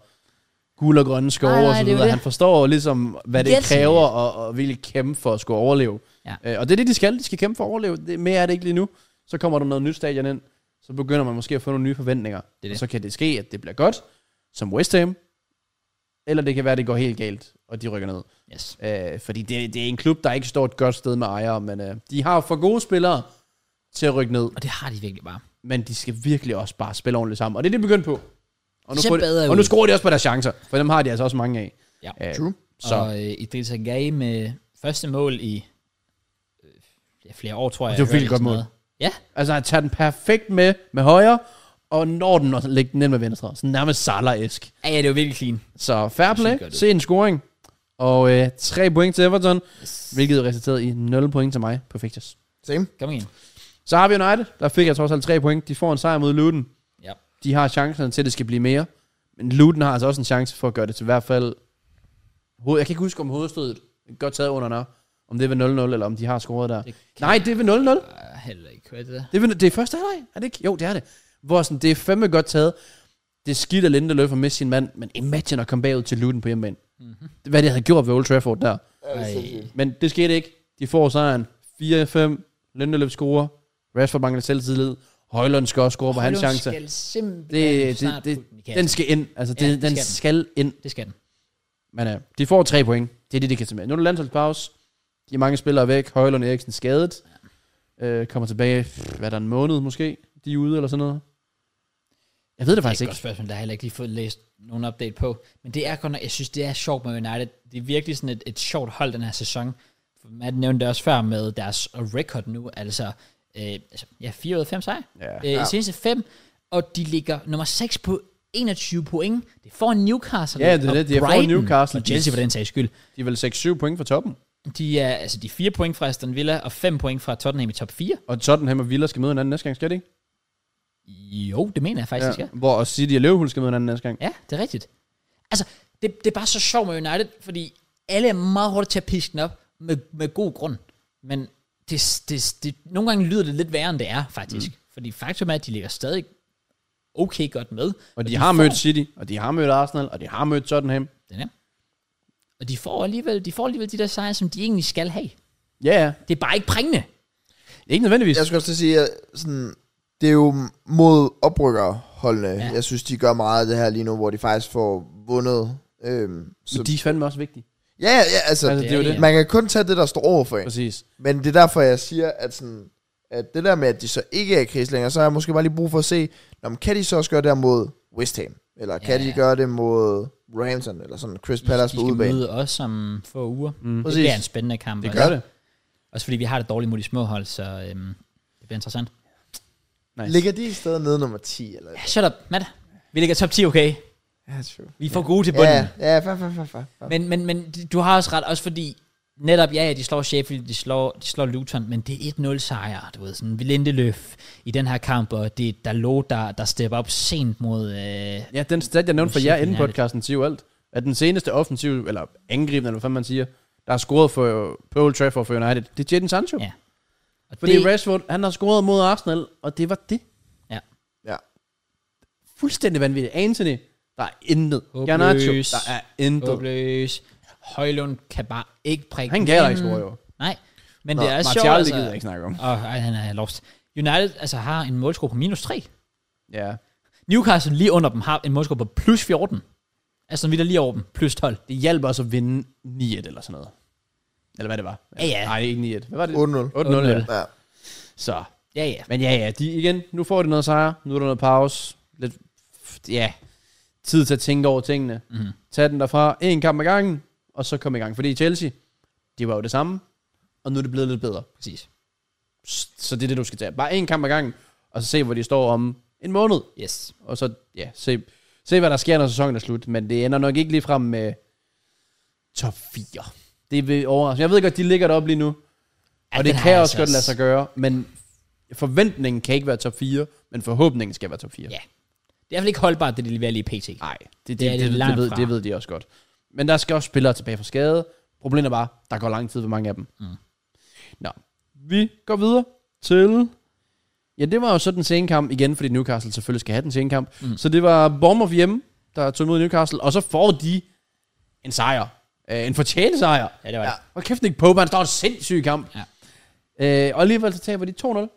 Speaker 3: guld og grønne skove
Speaker 1: Nej, nej,
Speaker 3: nej, og så
Speaker 1: det er jo
Speaker 3: videre.
Speaker 1: det.
Speaker 3: Han forstår ligesom, hvad det
Speaker 1: Yes.
Speaker 3: kræver og, og virkelig kæmpe for at skulle overleve.
Speaker 1: Ja.
Speaker 3: Øh, og det er det, de skal. De skal kæmpe for at overleve. Det, mere er det ikke lige nu. Så kommer der noget nyt stadion ind. Så begynder man måske at få nogle nye forventninger. Det
Speaker 1: det.
Speaker 3: Og så kan det ske, at det bliver godt, som West Ham. Eller det kan være, at det går helt galt, og de rykker ned.
Speaker 1: Yes.
Speaker 3: Øh, fordi det, det er en klub, der ikke står et godt sted med ejere, men øh, de har for gode spillere til at rykke ned,
Speaker 1: Og det har de virkelig bare.
Speaker 3: men de skal virkelig også bare spille ordentligt sammen. Og det er det, de begyndt på. Og nu,
Speaker 1: Ser
Speaker 3: får de,
Speaker 1: bedre
Speaker 3: og nu
Speaker 1: ud.
Speaker 3: scorer de også på deres chancer, for dem har de altså også mange af.
Speaker 1: Ja.
Speaker 3: Øh,
Speaker 2: True.
Speaker 1: Så.
Speaker 3: Så
Speaker 1: Og øh, Idris Agaye med første mål i øh, ja, flere år, tror jeg.
Speaker 3: det var
Speaker 1: jeg hørte
Speaker 3: virkelig godt
Speaker 1: sådan
Speaker 3: mål.
Speaker 1: noget. Ja,
Speaker 3: altså, han tager den perfekt med med højre, og når den og lægger den ind med venstre. Så nærmest Salah-esk.
Speaker 1: ja, ja, det var virkelig clean.
Speaker 3: Så fair
Speaker 1: Sygt
Speaker 3: play,
Speaker 1: godt ud.
Speaker 3: se en scoring. Og øh, tre point til Everton,
Speaker 1: Yes.
Speaker 3: hvilket resulterede i 0 point til mig på Fictus.
Speaker 2: Same.
Speaker 1: Kom igen.
Speaker 3: Så har vi United, der fik jeg trods alt tre point. De får en sejr mod Luton.
Speaker 1: Ja.
Speaker 3: De har chancerne til, at det skal blive mere. Men Luton har altså også en chance for at gøre det til i hvert fald... Hoved, jeg kan ikke huske, om hovedstødet er godt taget under nær. Om det er ved 0-0, eller om de har scoret der.
Speaker 1: Det kan
Speaker 3: Nej, det er ved 0-0.
Speaker 1: jeg heller ikke høre det der.
Speaker 3: Det er, ved, det er første halvleg, er det ikke? Jo, det er det. Hvor sådan, det er fandme godt taget. Det er skidt at Lindeløf og miste sin mand, men imagine at komme bagud til Luton på hjemmebane.
Speaker 1: Mhm.
Speaker 3: Mm-hmm. Hvad de havde gjort ved Old Trafford der.
Speaker 2: Ja, det er
Speaker 1: Ej.
Speaker 2: sindssygt.
Speaker 3: Men det skete ikke. De får sejren. 4-5. Lindeløf scorer. Rashford mangler selvtillid. Højlund skal også score på hans
Speaker 1: Højlund
Speaker 3: chance.
Speaker 1: skal simpelthen
Speaker 3: Det,
Speaker 1: det,
Speaker 3: det,
Speaker 1: snart
Speaker 3: det,
Speaker 1: putte den i kassen.
Speaker 3: den skal ind. Altså, det,
Speaker 1: Ja,
Speaker 3: ja,
Speaker 1: det
Speaker 3: den
Speaker 1: skal den.
Speaker 3: skal, skal ind.
Speaker 1: Det skal den.
Speaker 3: Men øh, de får tre point. Det er det, de kan tage med. Nu er der landsholdspause. De er mange spillere væk. Højlund Eriksen skadet. Øh, kommer tilbage, pff, hvad er der, en måned måske? De er ude eller sådan noget. Jeg ved
Speaker 1: Det
Speaker 3: det
Speaker 1: er
Speaker 3: faktisk
Speaker 1: et
Speaker 3: ikke.
Speaker 1: godt spørgsmål, der har heller ikke lige fået læst nogen update på. Men det er godt nok, jeg synes, det er sjovt med United. Det er virkelig sådan et, et sjovt hold den her sæson. For Matt nævnte det også før med deres record nu, altså, øh, altså ja, 4 ud af 5 sejre.
Speaker 3: Ja.
Speaker 1: Øh, ja. seneste 5, og de ligger nummer 6 på 21 point. Det får Newcastle
Speaker 3: Ja, det er
Speaker 1: og
Speaker 3: det. De er foran
Speaker 1: Brighton,
Speaker 3: Newcastle.
Speaker 1: og Chelsea for den sags skyld.
Speaker 3: De er vel 6-7 point fra toppen.
Speaker 1: De er, altså, de er 4 point fra Aston Villa, og 5 point fra Tottenham i top 4.
Speaker 3: Og Tottenham og Villa skal møde hinanden næste gang, skal de ikke?
Speaker 1: Jo, det mener jeg faktisk, ja.
Speaker 3: Ja.
Speaker 1: skal.
Speaker 3: Hvor også City og Liverpool skal møde hinanden næste gang.
Speaker 1: Ja, det er rigtigt. Altså, det, det er bare så sjovt med United, fordi alle er meget hurtigt til at piske den op, med, med god grund. Men det, det, det, nogle gange lyder det lidt værre, end det er, faktisk. Mm. Fordi faktum er, at de ligger stadig okay godt med.
Speaker 3: Og de, har mødt
Speaker 1: får-
Speaker 3: City, og de har mødt Arsenal, og de har mødt Tottenham.
Speaker 1: Den er. Og de får, alligevel, de får alligevel de der sejre, som de egentlig skal have.
Speaker 3: Ja, ja.
Speaker 1: Det er bare ikke prængende.
Speaker 3: Ikke nødvendigvis.
Speaker 2: Jeg skulle også til at sige, at sådan, det er jo mod oprykkerholdene.
Speaker 1: Ja.
Speaker 2: Ja. Jeg synes, de gør meget af det her lige nu, hvor de faktisk får vundet. Øhm, så,
Speaker 3: Men de er fandme også vigtige.
Speaker 2: ja, ja, ja, altså,
Speaker 3: Altså,
Speaker 2: altså
Speaker 3: det er jo
Speaker 1: Ja,
Speaker 3: det.
Speaker 1: ja.
Speaker 2: man kan kun tage det, der står over for en.
Speaker 3: Præcis.
Speaker 2: Men det er derfor, jeg siger, at, sådan, at det der med, at de så ikke er i kris længere, så har jeg måske bare lige brug for at se, om kan de så også gøre det her mod West Ham? Eller kan
Speaker 1: Ja,
Speaker 2: ja,
Speaker 1: ja.
Speaker 2: de gøre det mod Ramsden, eller sådan Chris Palace
Speaker 1: de
Speaker 2: på
Speaker 1: skal
Speaker 2: udebane?
Speaker 1: møde os om få uger.
Speaker 3: Mm.
Speaker 1: Det bliver en spændende kamp.
Speaker 3: Det
Speaker 1: også.
Speaker 3: gør det.
Speaker 1: Også fordi vi har det dårligt mod de små hold, så øhm, det bliver interessant.
Speaker 3: Nice.
Speaker 2: Ligger de i stedet nede nummer 10? Eller?
Speaker 1: Ja, shut up, Matt. Vi ligger top 10, okay?
Speaker 2: Ja, true.
Speaker 1: Vi får gode til bunden.
Speaker 2: Ja, ja, fa, fa, fa, fa, fa.
Speaker 1: Men, men, men du har også ret, også fordi netop, ja, ja, de slår Sheffield, de slår, de slår Luton, men det er 1-0 sejr, du ved, sådan Lindeløf i den her kamp, og det er Dalot, der, der stepper op sent mod... Øh,
Speaker 3: Ja, den stat, jeg nævnte for jer
Speaker 1: Sheffield
Speaker 3: inden
Speaker 1: United.
Speaker 3: podcasten, siger jo alt. At den seneste offensiv, eller angribende, eller hvad man siger, der har scoret for, på Old Trafford for United, det er Jadon Sancho.
Speaker 1: Ja. og
Speaker 3: Fordi
Speaker 1: det,
Speaker 3: det... Rashford, han har scoret mod Arsenal, og det var det.
Speaker 2: Ja.
Speaker 3: Fuldstændig vanvittigt. Anthony, der er intet.
Speaker 1: Håbløs.
Speaker 3: Garnacho, der er intet.
Speaker 1: håbløs. Højlund kan bare ikke prikke
Speaker 3: Han kan
Speaker 1: den
Speaker 3: heller ikke
Speaker 1: ind.
Speaker 3: score, jo.
Speaker 1: Nej, men
Speaker 2: Nå,
Speaker 1: det er sjovt. altså.
Speaker 3: Martial, det gider jeg ikke snakke om.
Speaker 1: Åh, ej, han er lost. United altså, har en målscore på minus 3.
Speaker 3: Ja.
Speaker 1: Newcastle lige under dem har en målscore på plus 14. Altså, vi er lige over dem. Plus 12.
Speaker 3: Det hjalp også at vinde 9-1 eller sådan noget. Eller hvad det var.
Speaker 1: Ja, ja.
Speaker 3: Nej, ikke 9-1. Hvad var det?
Speaker 2: 8-0.
Speaker 3: 8-0, ja.
Speaker 2: Ja.
Speaker 3: Så.
Speaker 1: Ja, ja.
Speaker 3: Men ja, ja, de, igen, nu får de noget sejr, nu er der noget pause, lidt, ja, tid til at tænke over tingene. Mm.
Speaker 1: Mhm.
Speaker 3: Tag den derfra, en kamp ad gangen, og så kom i gang. Fordi Chelsea, det var jo det samme, og nu er det blevet lidt bedre.
Speaker 1: Præcis.
Speaker 3: Så det er det, du skal tage. Bare en kamp ad gangen, og så se, hvor de står om en måned.
Speaker 1: Yes.
Speaker 3: Og så, ja, se, se hvad der sker, når sæsonen er slut. Men det ender nok ikke lige frem med top 4. Det vil overraske. Jeg ved godt, de ligger deroppe lige nu.
Speaker 1: Ja,
Speaker 3: Og det
Speaker 1: den har
Speaker 3: kan
Speaker 1: jeg
Speaker 3: også
Speaker 1: altså
Speaker 3: godt lade sig gøre, men forventningen kan ikke være top 4, men forhåbningen skal være top 4.
Speaker 1: Ja. Det er i hvert fald ikke holdbart, det de leverer lige pt.
Speaker 3: Nej, det, det,
Speaker 1: Det er
Speaker 3: det,
Speaker 1: det
Speaker 3: det, det,
Speaker 1: langt
Speaker 3: ved,
Speaker 1: fra.
Speaker 3: det ved de også godt. Men der skal også spillere tilbage fra skade. Problemet er bare, der går lang tid for mange af dem. Mm. Nå, vi går videre til... Ja, det var jo så den sene kamp igen, fordi Newcastle selvfølgelig skal have den sene kamp. Mm. Så det var Bournemouth hjemme, der tog imod Newcastle, og så får de en sejr. Øh, en fortjent sejr.
Speaker 1: Ja, det var
Speaker 2: Ja.
Speaker 1: det.
Speaker 3: Og kæft, Nick Pope, han står en sindssyg kamp.
Speaker 1: Ja.
Speaker 3: Øh, og alligevel så taber de 2-0.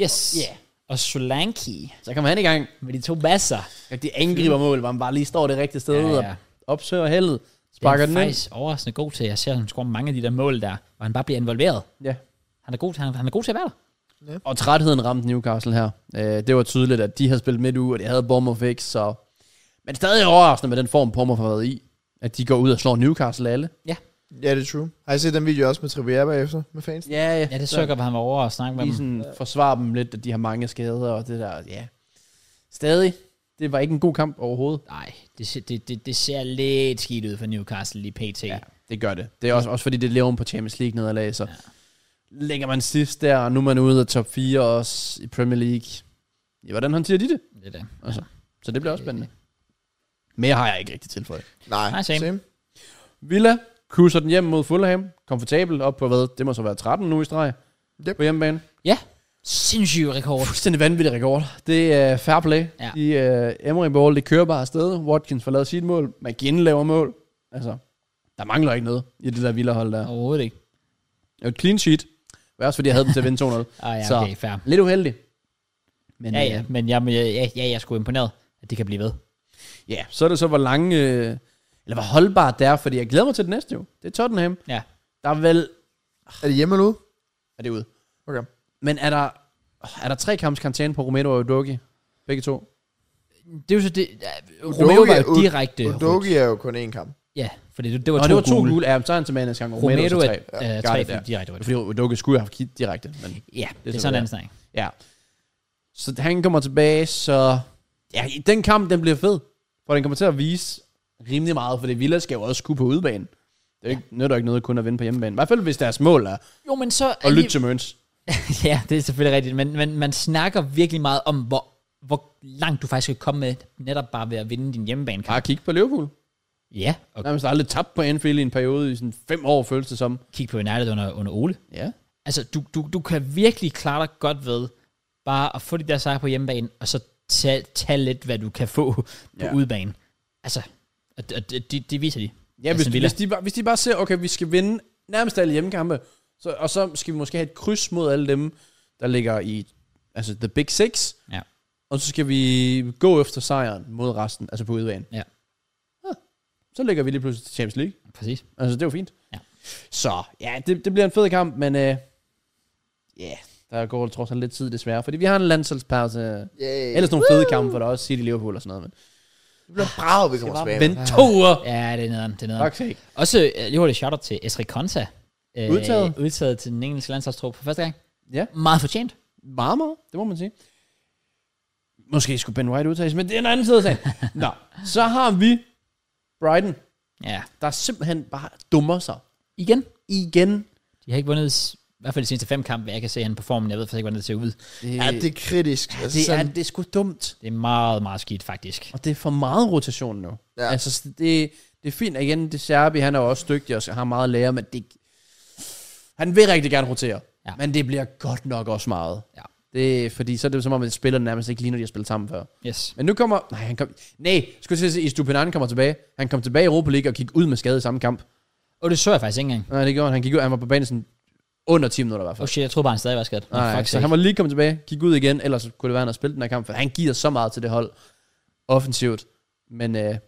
Speaker 1: Yes. Yeah. Og Solanke
Speaker 3: Så kommer han i gang.
Speaker 1: med de to basser.
Speaker 3: Og de angriber mål, hvor han bare lige står det rigtige sted
Speaker 1: Ja,
Speaker 3: ja,
Speaker 1: ja.
Speaker 3: ja. og opsøger heldet.
Speaker 1: Det
Speaker 3: Sparker
Speaker 1: er
Speaker 3: den
Speaker 1: han
Speaker 3: ind.
Speaker 1: faktisk overraskende god til. Jeg ser, at han scorer mange af de der mål der, og han bare bliver involveret.
Speaker 3: Ja.
Speaker 1: Han er god til, han, han er god til at være der.
Speaker 3: Og trætheden ramte Newcastle her. Øh, det var tydeligt, at de havde spillet midt uge, og de havde Bournemouth ikke, så... Men stadig overraskende med den form, Bournemouth har været i. At de går ud og slår Newcastle alle.
Speaker 2: ja, det er true. Har I set den video også med Trippier bagefter? Med fans?
Speaker 3: Ja,
Speaker 1: Ja, det sukker, at han var over og snakke med
Speaker 3: De
Speaker 1: dem.
Speaker 3: sådan forsvarer dem lidt, at de har mange skader og det der, ja. Stadig. Det var ikke en god kamp overhovedet.
Speaker 1: Nej, det, ser- det, det, det, ser lidt skidt ud for Newcastle lige pt.
Speaker 3: Ja, det gør det. Det er også, også fordi, det lever oven på Champions League nederlag, så ja. ligger man sidst der, og nu er man ude af top 4 også i Premier League. Ja, hvordan håndterer de det?
Speaker 1: Det er det.
Speaker 3: Altså, så det bliver også spændende. Mere har jeg ikke rigtig tilføjet.
Speaker 2: Nej,
Speaker 1: Nej, same.
Speaker 3: Villa kusser den hjem mod Fulham. Komfortabelt op på hvad? Det må så være 13 nu i streg.
Speaker 2: Yep.
Speaker 3: På hjemmebane.
Speaker 1: Ja, sindssyg rekord.
Speaker 3: Fuldstændig vanvittig rekord. Det er fair play.
Speaker 1: Ja.
Speaker 3: De øh, Emery Ball, det kører bare afsted. Watkins får lavet sit mål. McGinn laver mål. Altså, der mangler ikke noget i det der Villa-hold der.
Speaker 1: Overhovedet ikke.
Speaker 3: Det er et clean sheet. Det er også fordi, jeg havde dem til at vinde
Speaker 1: [LAUGHS]
Speaker 3: 2-0.
Speaker 1: Ah, ja,
Speaker 3: Så-
Speaker 1: okay, fair.
Speaker 3: Lidt uheldig. Men,
Speaker 1: Ja,
Speaker 3: øh,
Speaker 1: ja, men jeg, jeg, jeg, jeg, jeg er sgu imponeret, at det kan blive ved.
Speaker 3: ja, så er det så, hvor lang... Øh, eller hvor holdbart det er, fordi jeg glæder mig til det næste jo. Det er Tottenham.
Speaker 1: Ja,
Speaker 3: Der er vel...
Speaker 2: Er det hjemme eller ude?
Speaker 3: Er det ude?
Speaker 2: Okay.
Speaker 3: Men er der, er der tre kamps karantæne på Romero og Udogi? Begge to?
Speaker 1: det er jo så det... ja, Romeo var jo
Speaker 2: Ud-
Speaker 1: direkte...
Speaker 2: Udogi er jo kun én kamp.
Speaker 1: Ja, fordi det, det var
Speaker 3: Nå,
Speaker 1: to
Speaker 3: det var to
Speaker 1: gule.
Speaker 3: gule. Ja, så er han tilbage næste gang. Romero,
Speaker 1: Romero
Speaker 3: Romero
Speaker 1: er
Speaker 3: så tre.
Speaker 1: øh,
Speaker 3: Gør
Speaker 1: tre
Speaker 3: det
Speaker 1: fordi
Speaker 3: der.
Speaker 1: direkte var det.
Speaker 3: Fordi Udogi skulle have kigget direkte. Men
Speaker 1: Ja, det, er
Speaker 3: sådan,
Speaker 1: sådan
Speaker 3: det
Speaker 1: en anden snak.
Speaker 3: ja. Så han kommer tilbage, så... Ja, i den kamp, den bliver fed. For den kommer til at vise rimelig meget, for det Villa skal jo også kunne på udebane. Det er jo ikke, nytter jo ikke noget kun at vinde på hjemmebane. I hvert fald, hvis deres mål er
Speaker 1: Jo, men så...
Speaker 3: at lytte til Møns.
Speaker 1: ja, det er selvfølgelig rigtigt, men, men man snakker virkelig meget om, hvor, hvor langt du faktisk kan komme med, netop bare ved at vinde din hjemmebanekamp.
Speaker 3: Bare kigge på Liverpool.
Speaker 1: Ja, og
Speaker 3: Nærmest aldrig tabt på Anfield i en periode i sådan fem år, føles det som.
Speaker 1: kigge på United under, under Ole.
Speaker 3: Ja.
Speaker 1: Altså, du, du, du kan virkelig klare dig godt ved bare at få de der sejre på hjemmebane, og så tage, tage lidt, hvad du kan få på
Speaker 3: Ja.
Speaker 1: udebane. Altså, Og, og det, det, det viser de.
Speaker 3: Ja,
Speaker 1: Aston
Speaker 3: hvis,
Speaker 1: Altså, Villa.
Speaker 3: hvis, de, bare- hvis de bare ser, okay, vi skal vinde nærmest alle hjemmekampe, så, og så skal vi måske have et kryds mod alle dem, der ligger i altså the big six,
Speaker 1: Ja.
Speaker 3: og så skal vi gå efter sejren mod resten, altså på udvejen.
Speaker 1: Ja.
Speaker 3: Så ligger vi lige pludselig til Champions League.
Speaker 1: Præcis.
Speaker 3: Altså, det er jo fint.
Speaker 1: Ja.
Speaker 3: Så, ja, det, det bliver en fed kamp, men øh, ja, yeah, der går trods alt lidt tid desværre, fordi vi har en landsholdspause.
Speaker 2: Yeah.
Speaker 3: Ellers nogle fede kampe, for der er også City Liverpool og sådan noget, men
Speaker 2: det bliver bra, at vi kommer tilbage.
Speaker 3: bare vent to uger.
Speaker 1: Ja, det er nederen. Det er nederen.
Speaker 3: Fuck sake.
Speaker 1: Også øh, lige hurtigt shout-out til Esri Konta. Øh,
Speaker 3: Udtaget.
Speaker 1: Udtaget til den engelske landsholdstrup for første gang.
Speaker 3: Ja.
Speaker 1: Meget fortjent.
Speaker 3: Meget, meget. Det må man sige. Måske skulle Ben White udtages, men det er en anden side
Speaker 1: [LAUGHS]
Speaker 3: af sagen. Nå, så har vi Brighton,
Speaker 1: Ja.
Speaker 3: der simpelthen bare dummer sig
Speaker 1: Igen.
Speaker 3: igen.
Speaker 1: De har ikke vundet, s- i hvert fald de seneste fem kampe, hvad jeg kan se han på formen. Jeg ved faktisk ikke, hvordan det ser ud.
Speaker 2: Ja, det er kritisk. Altså, Ja,
Speaker 3: det, er, det er sgu dumt.
Speaker 1: Det er meget, meget skidt, faktisk.
Speaker 3: Og det er for meget rotation nu. Ja.
Speaker 2: Ja.
Speaker 3: Altså, det, det er fint. Og Igen, det Serbi, han er jo også dygtig og har meget at lære, men det, han vil rigtig gerne rotere. Ja.
Speaker 1: Ja.
Speaker 3: Men det bliver godt nok også meget.
Speaker 1: Ja.
Speaker 3: Det, er- fordi så er det jo som om, at spillerne nærmest ikke ligner, de har spillet sammen før.
Speaker 1: Yes.
Speaker 3: Men nu kommer... Nej, han kom... Nej, skulle jeg til at sige, Istupinan kommer tilbage. Han kom tilbage i Europa League og gik ud med skade i samme kamp.
Speaker 1: Og det så jeg faktisk ikke engang.
Speaker 3: Nej, det gjorde han. Han, gik ud, han var på banen sådan under 10 minutter i hvert
Speaker 1: Oh
Speaker 3: fald.
Speaker 1: shit, jeg troede bare, han stadig var skadet. Men
Speaker 3: Nej,
Speaker 1: fuck
Speaker 3: så
Speaker 1: sake.
Speaker 3: han var lige kommet tilbage, gik ud igen, ellers kunne det være, han havde spillet den her kamp, for han giver så meget til det hold offensivt. Men øh,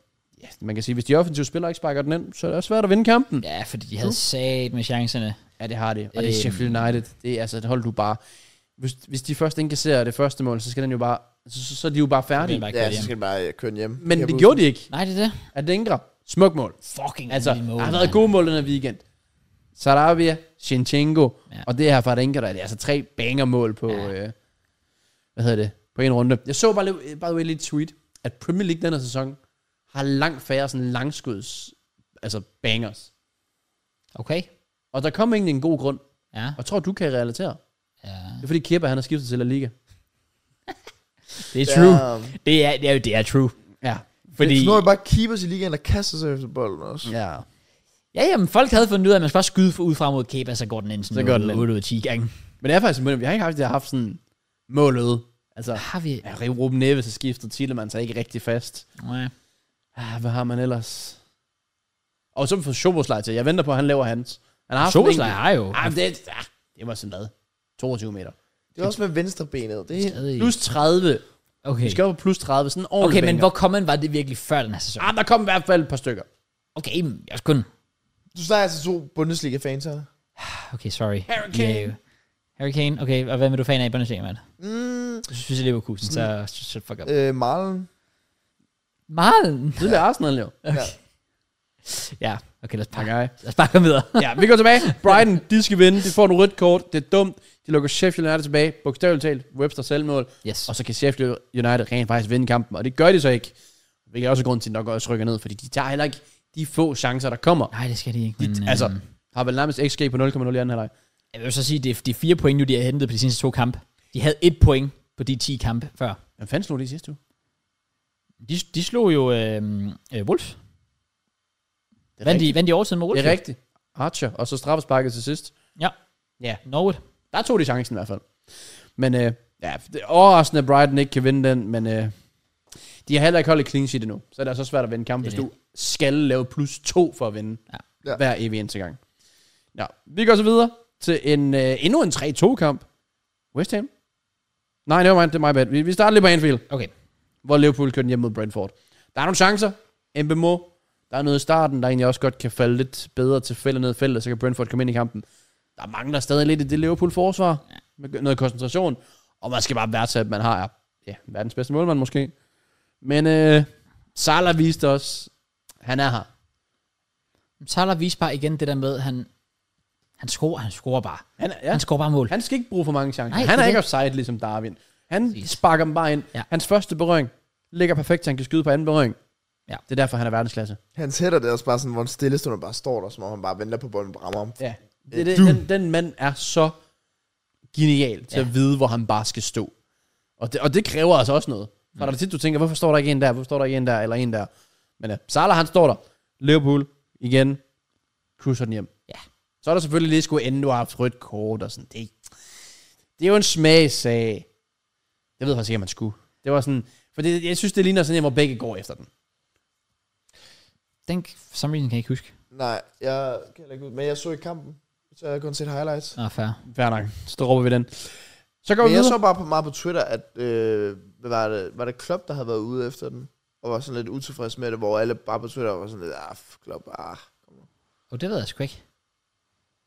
Speaker 3: ja, man kan sige, hvis de offensive spillere ikke sparker den ind, så er det også svært at vinde kampen. Ja,
Speaker 1: Ja, fordi de havde sat med chancerne.
Speaker 3: ja det har de. Og det er
Speaker 1: Øhm.
Speaker 3: Sheffield United. Det er altså et hold, du bare... Hvis, hvis de først indkasserer det første mål, så skal den jo bare... Så, så, så er de jo bare færdige.
Speaker 1: Det bare
Speaker 2: ja, så
Speaker 1: hjem.
Speaker 2: skal den bare øh, køre den hjem.
Speaker 3: Men det gjorde de ikke.
Speaker 1: Nej, det er det.
Speaker 3: At det ikke Smuk mål.
Speaker 1: Fucking
Speaker 3: Altså,
Speaker 1: vildt mål,
Speaker 3: der har været
Speaker 1: mand.
Speaker 3: gode mål den her weekend. Sarabia, Shinchenko, ja.
Speaker 1: Ja.
Speaker 3: og det her fra Denker, der er det altså tre bangermål på, ja.
Speaker 1: Ja.
Speaker 3: øh, hvad hedder det, på en runde. Jeg så bare lige, by the way, lige et tweet, at Premier League den her sæson har langt færre sådan langskuds, altså bangers.
Speaker 1: Okay.
Speaker 3: Og der kom egentlig en god grund,
Speaker 1: Ja.
Speaker 3: og jeg tror, du kan relatere.
Speaker 1: ja.
Speaker 3: Det er fordi Kepa, han har skiftet til La Liga.
Speaker 1: Det er true.
Speaker 2: Ja,
Speaker 1: Det er, det er, det er true.
Speaker 3: Ja.
Speaker 1: Fordi...
Speaker 2: Så nu er det bare keepers i ligaen, der kaster sig efter bolden også. Ja.
Speaker 3: Ja.
Speaker 1: Ja, jamen, folk havde fundet ud af, at man skal bare skyde for, ud fra mod Kepa, så går den ind sådan
Speaker 3: Så går den
Speaker 1: noget
Speaker 3: ind.
Speaker 1: 8 ud af 10 gange.
Speaker 3: Men det er faktisk imponerende, vi har ikke haft, det har haft sådan målet. Altså,
Speaker 1: Har vi...
Speaker 3: ja, Ruben Neves har skiftet, Thielemann er ikke rigtig fast.
Speaker 1: Ja.
Speaker 3: Ah, hvad har man ellers? Og så for Sjoboslej til. Jeg venter på, at han laver hans. Han har haft en
Speaker 1: Solskjaer
Speaker 3: enkelt-
Speaker 1: har jo
Speaker 3: Ah, men det, ah, det var sådan noget. 22 meter.
Speaker 2: Det er også med venstrebenet. Det er,
Speaker 1: stadig...
Speaker 3: Plus 30.
Speaker 1: Okay.
Speaker 3: Vi skal op på plus 30. Sådan en ordentlig
Speaker 1: Okay, men
Speaker 3: banger.
Speaker 1: hvor common var det virkelig før den her sæson?
Speaker 3: Ah, der kom i hvert fald et par stykker.
Speaker 1: Okay, men jeg skulle kun...
Speaker 2: du snakker altså to Bundesliga-fans her.
Speaker 1: Okay, sorry.
Speaker 3: Hurricane.
Speaker 1: Yeah. Hurricane. Okay, og hvem er du fan af i Bundesliga, mand?
Speaker 2: Mm,
Speaker 1: Du synes, jeg lever kusen, så så shut fuck up.
Speaker 2: øh, Marlen.
Speaker 1: Malen.
Speaker 3: Tidligere Arsenal, jo.
Speaker 2: Ja.
Speaker 1: Ja, okay, lad os bare,
Speaker 3: Okay.
Speaker 1: lad os bare komme videre.
Speaker 3: Ja, vi går tilbage. Brighton, de skal vinde. De får en rødt kort. Det er dumt. De lukker Sheffield United tilbage. Bogstaveligt talt. Webster selvmål.
Speaker 1: Yes.
Speaker 3: Og så kan Sheffield United rent faktisk vinde kampen. Og det gør de så ikke. Hvilket er også grund til, at de nok også rykker ned. Fordi de tager heller ikke de få chancer, der kommer.
Speaker 1: Nej, det skal de ikke, men...
Speaker 3: De,
Speaker 1: øhm,
Speaker 3: altså, har vel nærmest XG på 0,0 i anden halvleg.
Speaker 1: Jeg vil så sige, det er de fire point nu, de har hentet på de seneste to kampe. De havde et point på de 10 kampe før.
Speaker 3: Hvem fanden slog de i sidste uge?
Speaker 1: De, de slog jo øh, øh, Wolves.
Speaker 3: Det
Speaker 1: Vandt de, vandt de overtiden med Wolves?
Speaker 3: Det er rigtigt. Archer, og så straffesparket til sidst.
Speaker 1: Ja.
Speaker 3: Ja.
Speaker 1: Norwood.
Speaker 3: Der tog de chancen i hvert fald. Men øh, ja, det er overraskende, at Brighton ikke kan vinde den, men øh, de har heller ikke holdt et clean sheet endnu. Så er det altså svært at vinde kampen,
Speaker 1: Det
Speaker 3: hvis
Speaker 1: er
Speaker 3: du skal lave plus to for at vinde
Speaker 1: Ja.
Speaker 2: Ja.
Speaker 3: hver evig eneste gang. Ja, vi går så videre til en, øh, endnu en 3-2-kamp. West Ham? Nej, never mind, det er my bad. Vi, vi starter lige på Anfield.
Speaker 1: Okay.
Speaker 3: hvor Liverpool kørte hjem mod Brentford. Der er nogle chancer. Mbemo, der er noget i starten, der egentlig også godt kan falde lidt bedre til fælde ned i feltet, så kan Brentford komme ind i kampen. Der mangler stadig lidt i det Liverpool-forsvar, med noget koncentration, og man skal bare værdsætte, at man har ja, verdens bedste målmand måske. Men øh, Salah viste os, han er her.
Speaker 1: Salah viste bare igen det der med, han, han scorer, han scorer bare.
Speaker 3: Han, er-
Speaker 1: Ja.
Speaker 3: ja,
Speaker 1: Han scorer bare mål.
Speaker 3: han skal ikke bruge for mange chancer.
Speaker 1: Nej,
Speaker 3: Nej, han
Speaker 1: det
Speaker 3: er
Speaker 1: er
Speaker 3: ikke
Speaker 1: det.
Speaker 3: offside ligesom Darwin. Han
Speaker 1: Præcis.
Speaker 3: sparker dem bare ind. Ja.
Speaker 1: Ja.
Speaker 3: Hans første berøring ligger perfekt, så han kan skyde på anden berøring.
Speaker 1: Ja.
Speaker 3: Det er derfor, han er verdensklasse.
Speaker 2: Hans hætter det er også bare sådan, hvor en stillestående bare står der, som om han bare venter på bolden og rammer ham.
Speaker 3: Ja.
Speaker 1: Øh,
Speaker 3: Det, det, den, den mand er så genial til ja.
Speaker 1: Ja.
Speaker 3: at vide, hvor han bare skal stå. Og det, og det kræver altså også noget. For
Speaker 1: Mm.
Speaker 3: der er tit, du tænker, hvorfor står der ikke en der, hvorfor står der ikke en der, eller en der. Men uh, Salah, han står der. Liverpool, igen, cruiser den hjem.
Speaker 1: Ja.
Speaker 3: Så er der selvfølgelig lige skulle ende, du har haft rødt kort og sådan. Det, det er jo en smagsag. Jeg ved faktisk ikke, om man skulle. Det var sådan, for det, jeg synes, det ligner sådan en, hvor begge går efter den.
Speaker 1: den, for some reason kan jeg ikke huske.
Speaker 2: Nej, jeg kan heller ikke ud. Men jeg så ikke kampen, så jeg har kun set highlights.
Speaker 1: Nå, fair.
Speaker 3: Fair nok. Så dropper vi den. Så går vi
Speaker 2: Men jeg
Speaker 3: videre.
Speaker 2: så bare på, meget på Twitter, at øh, hvad var, det, var det Klopp, der havde været ude efter den? Og var sådan lidt utilfreds med det, hvor alle bare på Twitter var sådan lidt, ah, f- Klopp, ah.
Speaker 1: Og det ved jeg sgu ikke.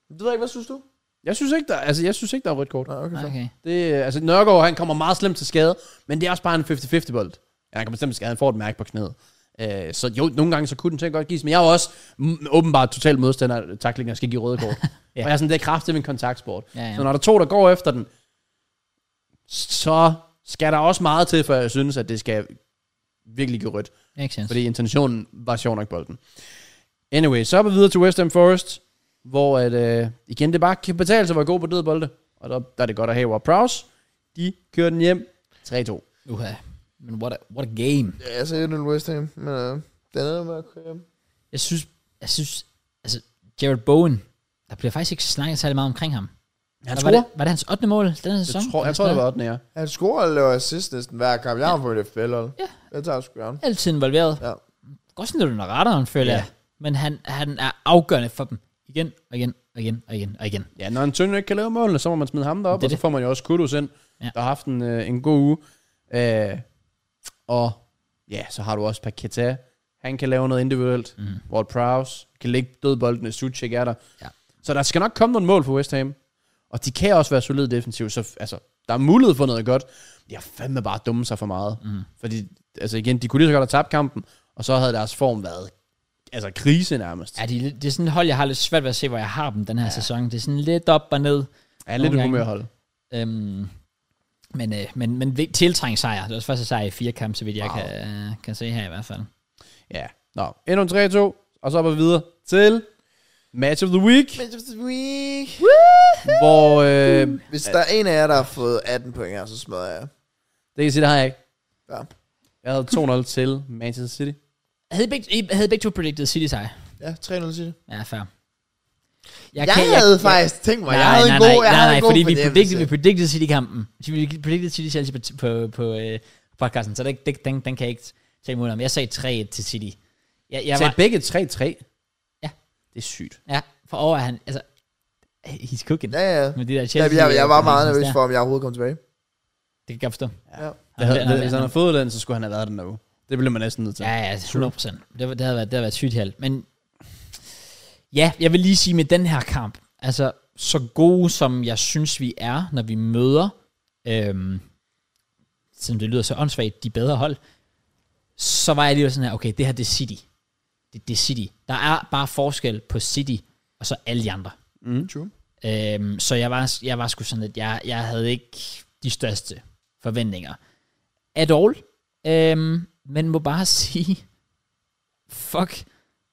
Speaker 2: Det ved jeg ikke, hvad synes du?
Speaker 3: Jeg synes ikke, der, altså, jeg synes ikke, der er rødt kort.
Speaker 2: Nej, okay.
Speaker 1: Nej,
Speaker 2: fair.
Speaker 1: okay.
Speaker 3: Det, altså, Nørgaard, han kommer meget slemt til skade, men det er også bare en 50-50 bold. Ja, han kommer slemt til skade, han får et mærke på knæet. Øh, så jo, nogle gange så kunne den til at godt gives, men jeg er jo også mm, åbenbart total modstander af tackling, jeg skal give røde kort. ja. Og jeg er sådan, det er kraftigt min kontaktsport.
Speaker 1: Ja, ja.
Speaker 3: Så når der er to, der går efter den, så skal der også meget til, for jeg synes, at det skal virkelig give rødt.
Speaker 1: Makes sense.
Speaker 3: Fordi intentionen var sjov nok bolden. Anyway, så er vi videre til West Ham Forest, hvor at, øh, igen det bare kan betale sig at være god på døde bolde. Og der, der er det godt at have Prowse. De kører den hjem 3-2.
Speaker 1: Uha. Men what a, what a game.
Speaker 2: Ja, jeg sagde 1-0 West Ham, men øh, den er med at køre hjem.
Speaker 1: Jeg synes, jeg synes, altså, Jared Bowen, der bliver faktisk ikke snakket særlig meget omkring ham.
Speaker 3: Han
Speaker 1: var,
Speaker 3: scorer.
Speaker 1: det, var det hans 8. mål den her sæson?
Speaker 3: Jeg tror, jeg tror det var 8. Ja.
Speaker 2: Han scorer og laver assist næsten hver kamp. Jeg har ja. på et FBL, hold.
Speaker 1: Ja.
Speaker 2: Det tager jeg sgu gerne.
Speaker 1: Altid involveret.
Speaker 2: Ja.
Speaker 1: Godt sådan lidt under radaren, føler
Speaker 3: Ja.
Speaker 1: jeg. Men han, han er afgørende for dem. Igen, og igen, og igen, og igen, og igen.
Speaker 3: ja, når en tønde ikke kan lave målene, så må man smide ham derop,
Speaker 1: Det er
Speaker 3: og så
Speaker 1: det.
Speaker 3: får man jo også Kudos ind,
Speaker 1: Ja.
Speaker 3: ja. der har haft en, øh, en god uge. Øh, og ja, så har du også Paqueta. Han kan lave noget individuelt. Mm. Ward Prowse kan lægge døde bolden, Suchek er der.
Speaker 1: Mhm. Ja.
Speaker 3: Så der skal nok komme nogle mål for West Ham. Og de kan også være solid defensivt, så f- altså, der er mulighed for noget godt. De har fandme bare dumme sig for meget.
Speaker 1: Mhm.
Speaker 3: Mm. Fordi, altså igen, de kunne lige så godt have tabt kampen, og så havde deres form været altså krise nærmest.
Speaker 1: Ja, de, det er sådan et hold, jeg har lidt svært ved at se, hvor jeg har dem den her ja. sæson. Det er sådan lidt op og ned.
Speaker 3: Ja, lidt
Speaker 1: nogle
Speaker 3: et
Speaker 1: gange.
Speaker 3: humørhold.
Speaker 1: Øhm, men, øh, men, men vig- tiltrængt sejr. Det var også første sejr i fire kampe, så vidt jeg wow.
Speaker 3: Wow.
Speaker 1: kan, øh, kan se her i hvert fald.
Speaker 3: Ja. Nå, endnu en 3-2, og så er vi videre til Match of the Week,
Speaker 2: Match of the week.
Speaker 3: hvor, øh,
Speaker 2: Hvis der er en af jer, der har fået 18 point her, så smadrer jeg. jer.
Speaker 3: det kan jeg sige, det har jeg ikke.
Speaker 2: Ja.
Speaker 3: Jeg havde 2-0 til Manchester City.
Speaker 1: Havde I begge, I havde begge to predicted City sejr?
Speaker 2: Ja, 3-0 til det.
Speaker 1: Ja, fair.
Speaker 2: Jeg, jeg havde faktisk tænkt mig, jeg havde en god, jeg
Speaker 1: nej,
Speaker 2: havde
Speaker 1: nej,
Speaker 2: en god
Speaker 1: fordi vi
Speaker 2: fornemmelse.
Speaker 1: predicted, vi predicted City-kampen. Vi predicted City Chelsea på, på, på øh, podcasten, så det, det, den, den kan jeg ikke tage imod om. Jeg sagde 3 til City. Jeg, jeg
Speaker 3: Så
Speaker 1: var,
Speaker 3: begge 3-3?
Speaker 1: Ja.
Speaker 3: Det er sygt.
Speaker 1: ja, for over er han, altså, he's cooking.
Speaker 2: Ja, ja.
Speaker 1: Med de der
Speaker 2: Ja,
Speaker 1: Chelsea,
Speaker 2: jeg, jeg var meget
Speaker 1: der.
Speaker 2: nervøs for, om jeg overhovedet kom tilbage.
Speaker 1: Det kan jeg godt forstå.
Speaker 2: Ja.
Speaker 3: Det havde,
Speaker 1: Han- han-
Speaker 3: hvis han havde fået den, så skulle han have været den derude. Det blev man næsten nødt til.
Speaker 1: Ja, ja, 100 procent. Det, var- det, havde været, det havde været sygt held. Men ja, jeg vil lige sige med den her kamp, altså så gode som jeg synes vi er, når vi møder, øhm, selvom det lyder så åndssvagt, de bedre hold, så var jeg lige sådan her, okay, det her det er City. Det, det er City. Der er bare forskel på City og så alle de andre.
Speaker 3: Mm.
Speaker 2: True.
Speaker 1: Øhm, så jeg var, jeg var sgu sådan lidt, jeg, jeg havde ikke de største forventninger. At all. Øhm, men må bare [LAUGHS] sige, fuck,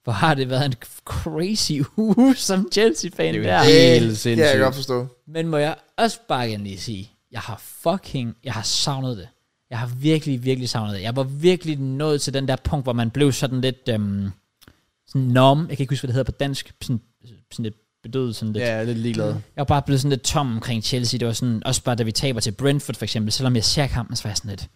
Speaker 1: hvor har det været en crazy [LAUGHS] uge som Chelsea-fan
Speaker 3: Det er jo
Speaker 1: der.
Speaker 3: helt- Helt
Speaker 2: Øh,
Speaker 3: sindssygt.
Speaker 2: Ja, jeg kan godt forstå.
Speaker 1: Men må jeg også bare igen lige sige, jeg har fucking, jeg har savnet det. Jeg har virkelig, virkelig savnet det. Jeg var virkelig nået til den der punkt, hvor man blev sådan lidt, øhm, sådan nom, jeg kan ikke huske, hvad det hedder på dansk, sådan, sådan lidt bedøvet, sådan lidt.
Speaker 3: Ja, jeg er lidt ligeglad.
Speaker 1: Jeg var bare blevet sådan lidt tom omkring Chelsea. Det var sådan, også bare da vi taber til Brentford for eksempel, selvom jeg ser kampen, så var jeg sådan lidt,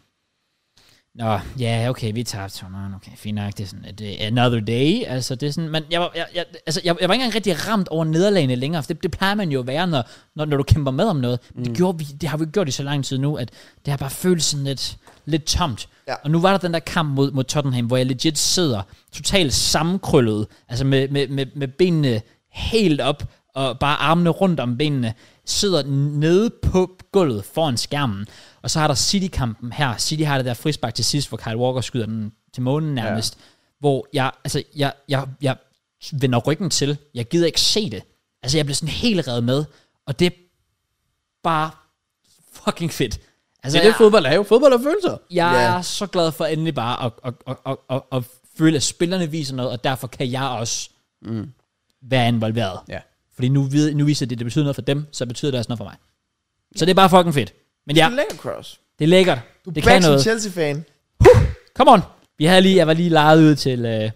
Speaker 1: Nå, ja, yeah, okay, vi tabte 200, okay, fint nok, det er sådan, det er another day, altså det er sådan, men jeg var, jeg, jeg, altså, jeg, jeg var ikke engang rigtig ramt over nederlagene længere, for det, det plejer man jo at være, når, når, når du kæmper med om noget, men mm. det, gjorde vi, det har vi gjort i så lang tid nu, at det har bare følt sådan lidt, lidt tomt,
Speaker 2: Ja.
Speaker 1: og nu var der den der kamp mod, mod Tottenham, hvor jeg legit sidder totalt sammenkrøllet, altså med, med, med, med benene helt op, og bare armene rundt om benene, sidder nede på gulvet foran skærmen. Og så har der City-kampen her. City har det der frispark til sidst, hvor Kyle Walker skyder den til månen nærmest. Ja. Hvor jeg, altså, jeg, jeg, jeg vender ryggen til. Jeg gider ikke se det. Altså, jeg bliver sådan helt reddet med. Og det er bare fucking fedt. Altså,
Speaker 3: Det er det,
Speaker 1: jeg-
Speaker 3: fodbold er jo. Fodbold er følelser.
Speaker 1: jeg
Speaker 2: Ja.
Speaker 1: er så glad for endelig bare at, at, at, at, at, at føle, at spillerne viser noget, og derfor kan jeg også mm. være involveret.
Speaker 3: Ja.
Speaker 1: Fordi nu, vid- nu viser det, at det betyder noget for dem, så betyder det også noget for mig. Så det er bare fucking fedt. Men ja,
Speaker 2: Du lægger cross.
Speaker 1: det er lækkert.
Speaker 2: Du
Speaker 1: det
Speaker 2: er back
Speaker 1: kan
Speaker 2: som
Speaker 1: noget.
Speaker 2: Chelsea-fan.
Speaker 1: Come on. Vi havde lige, jeg var lige lejet ud til... Øh,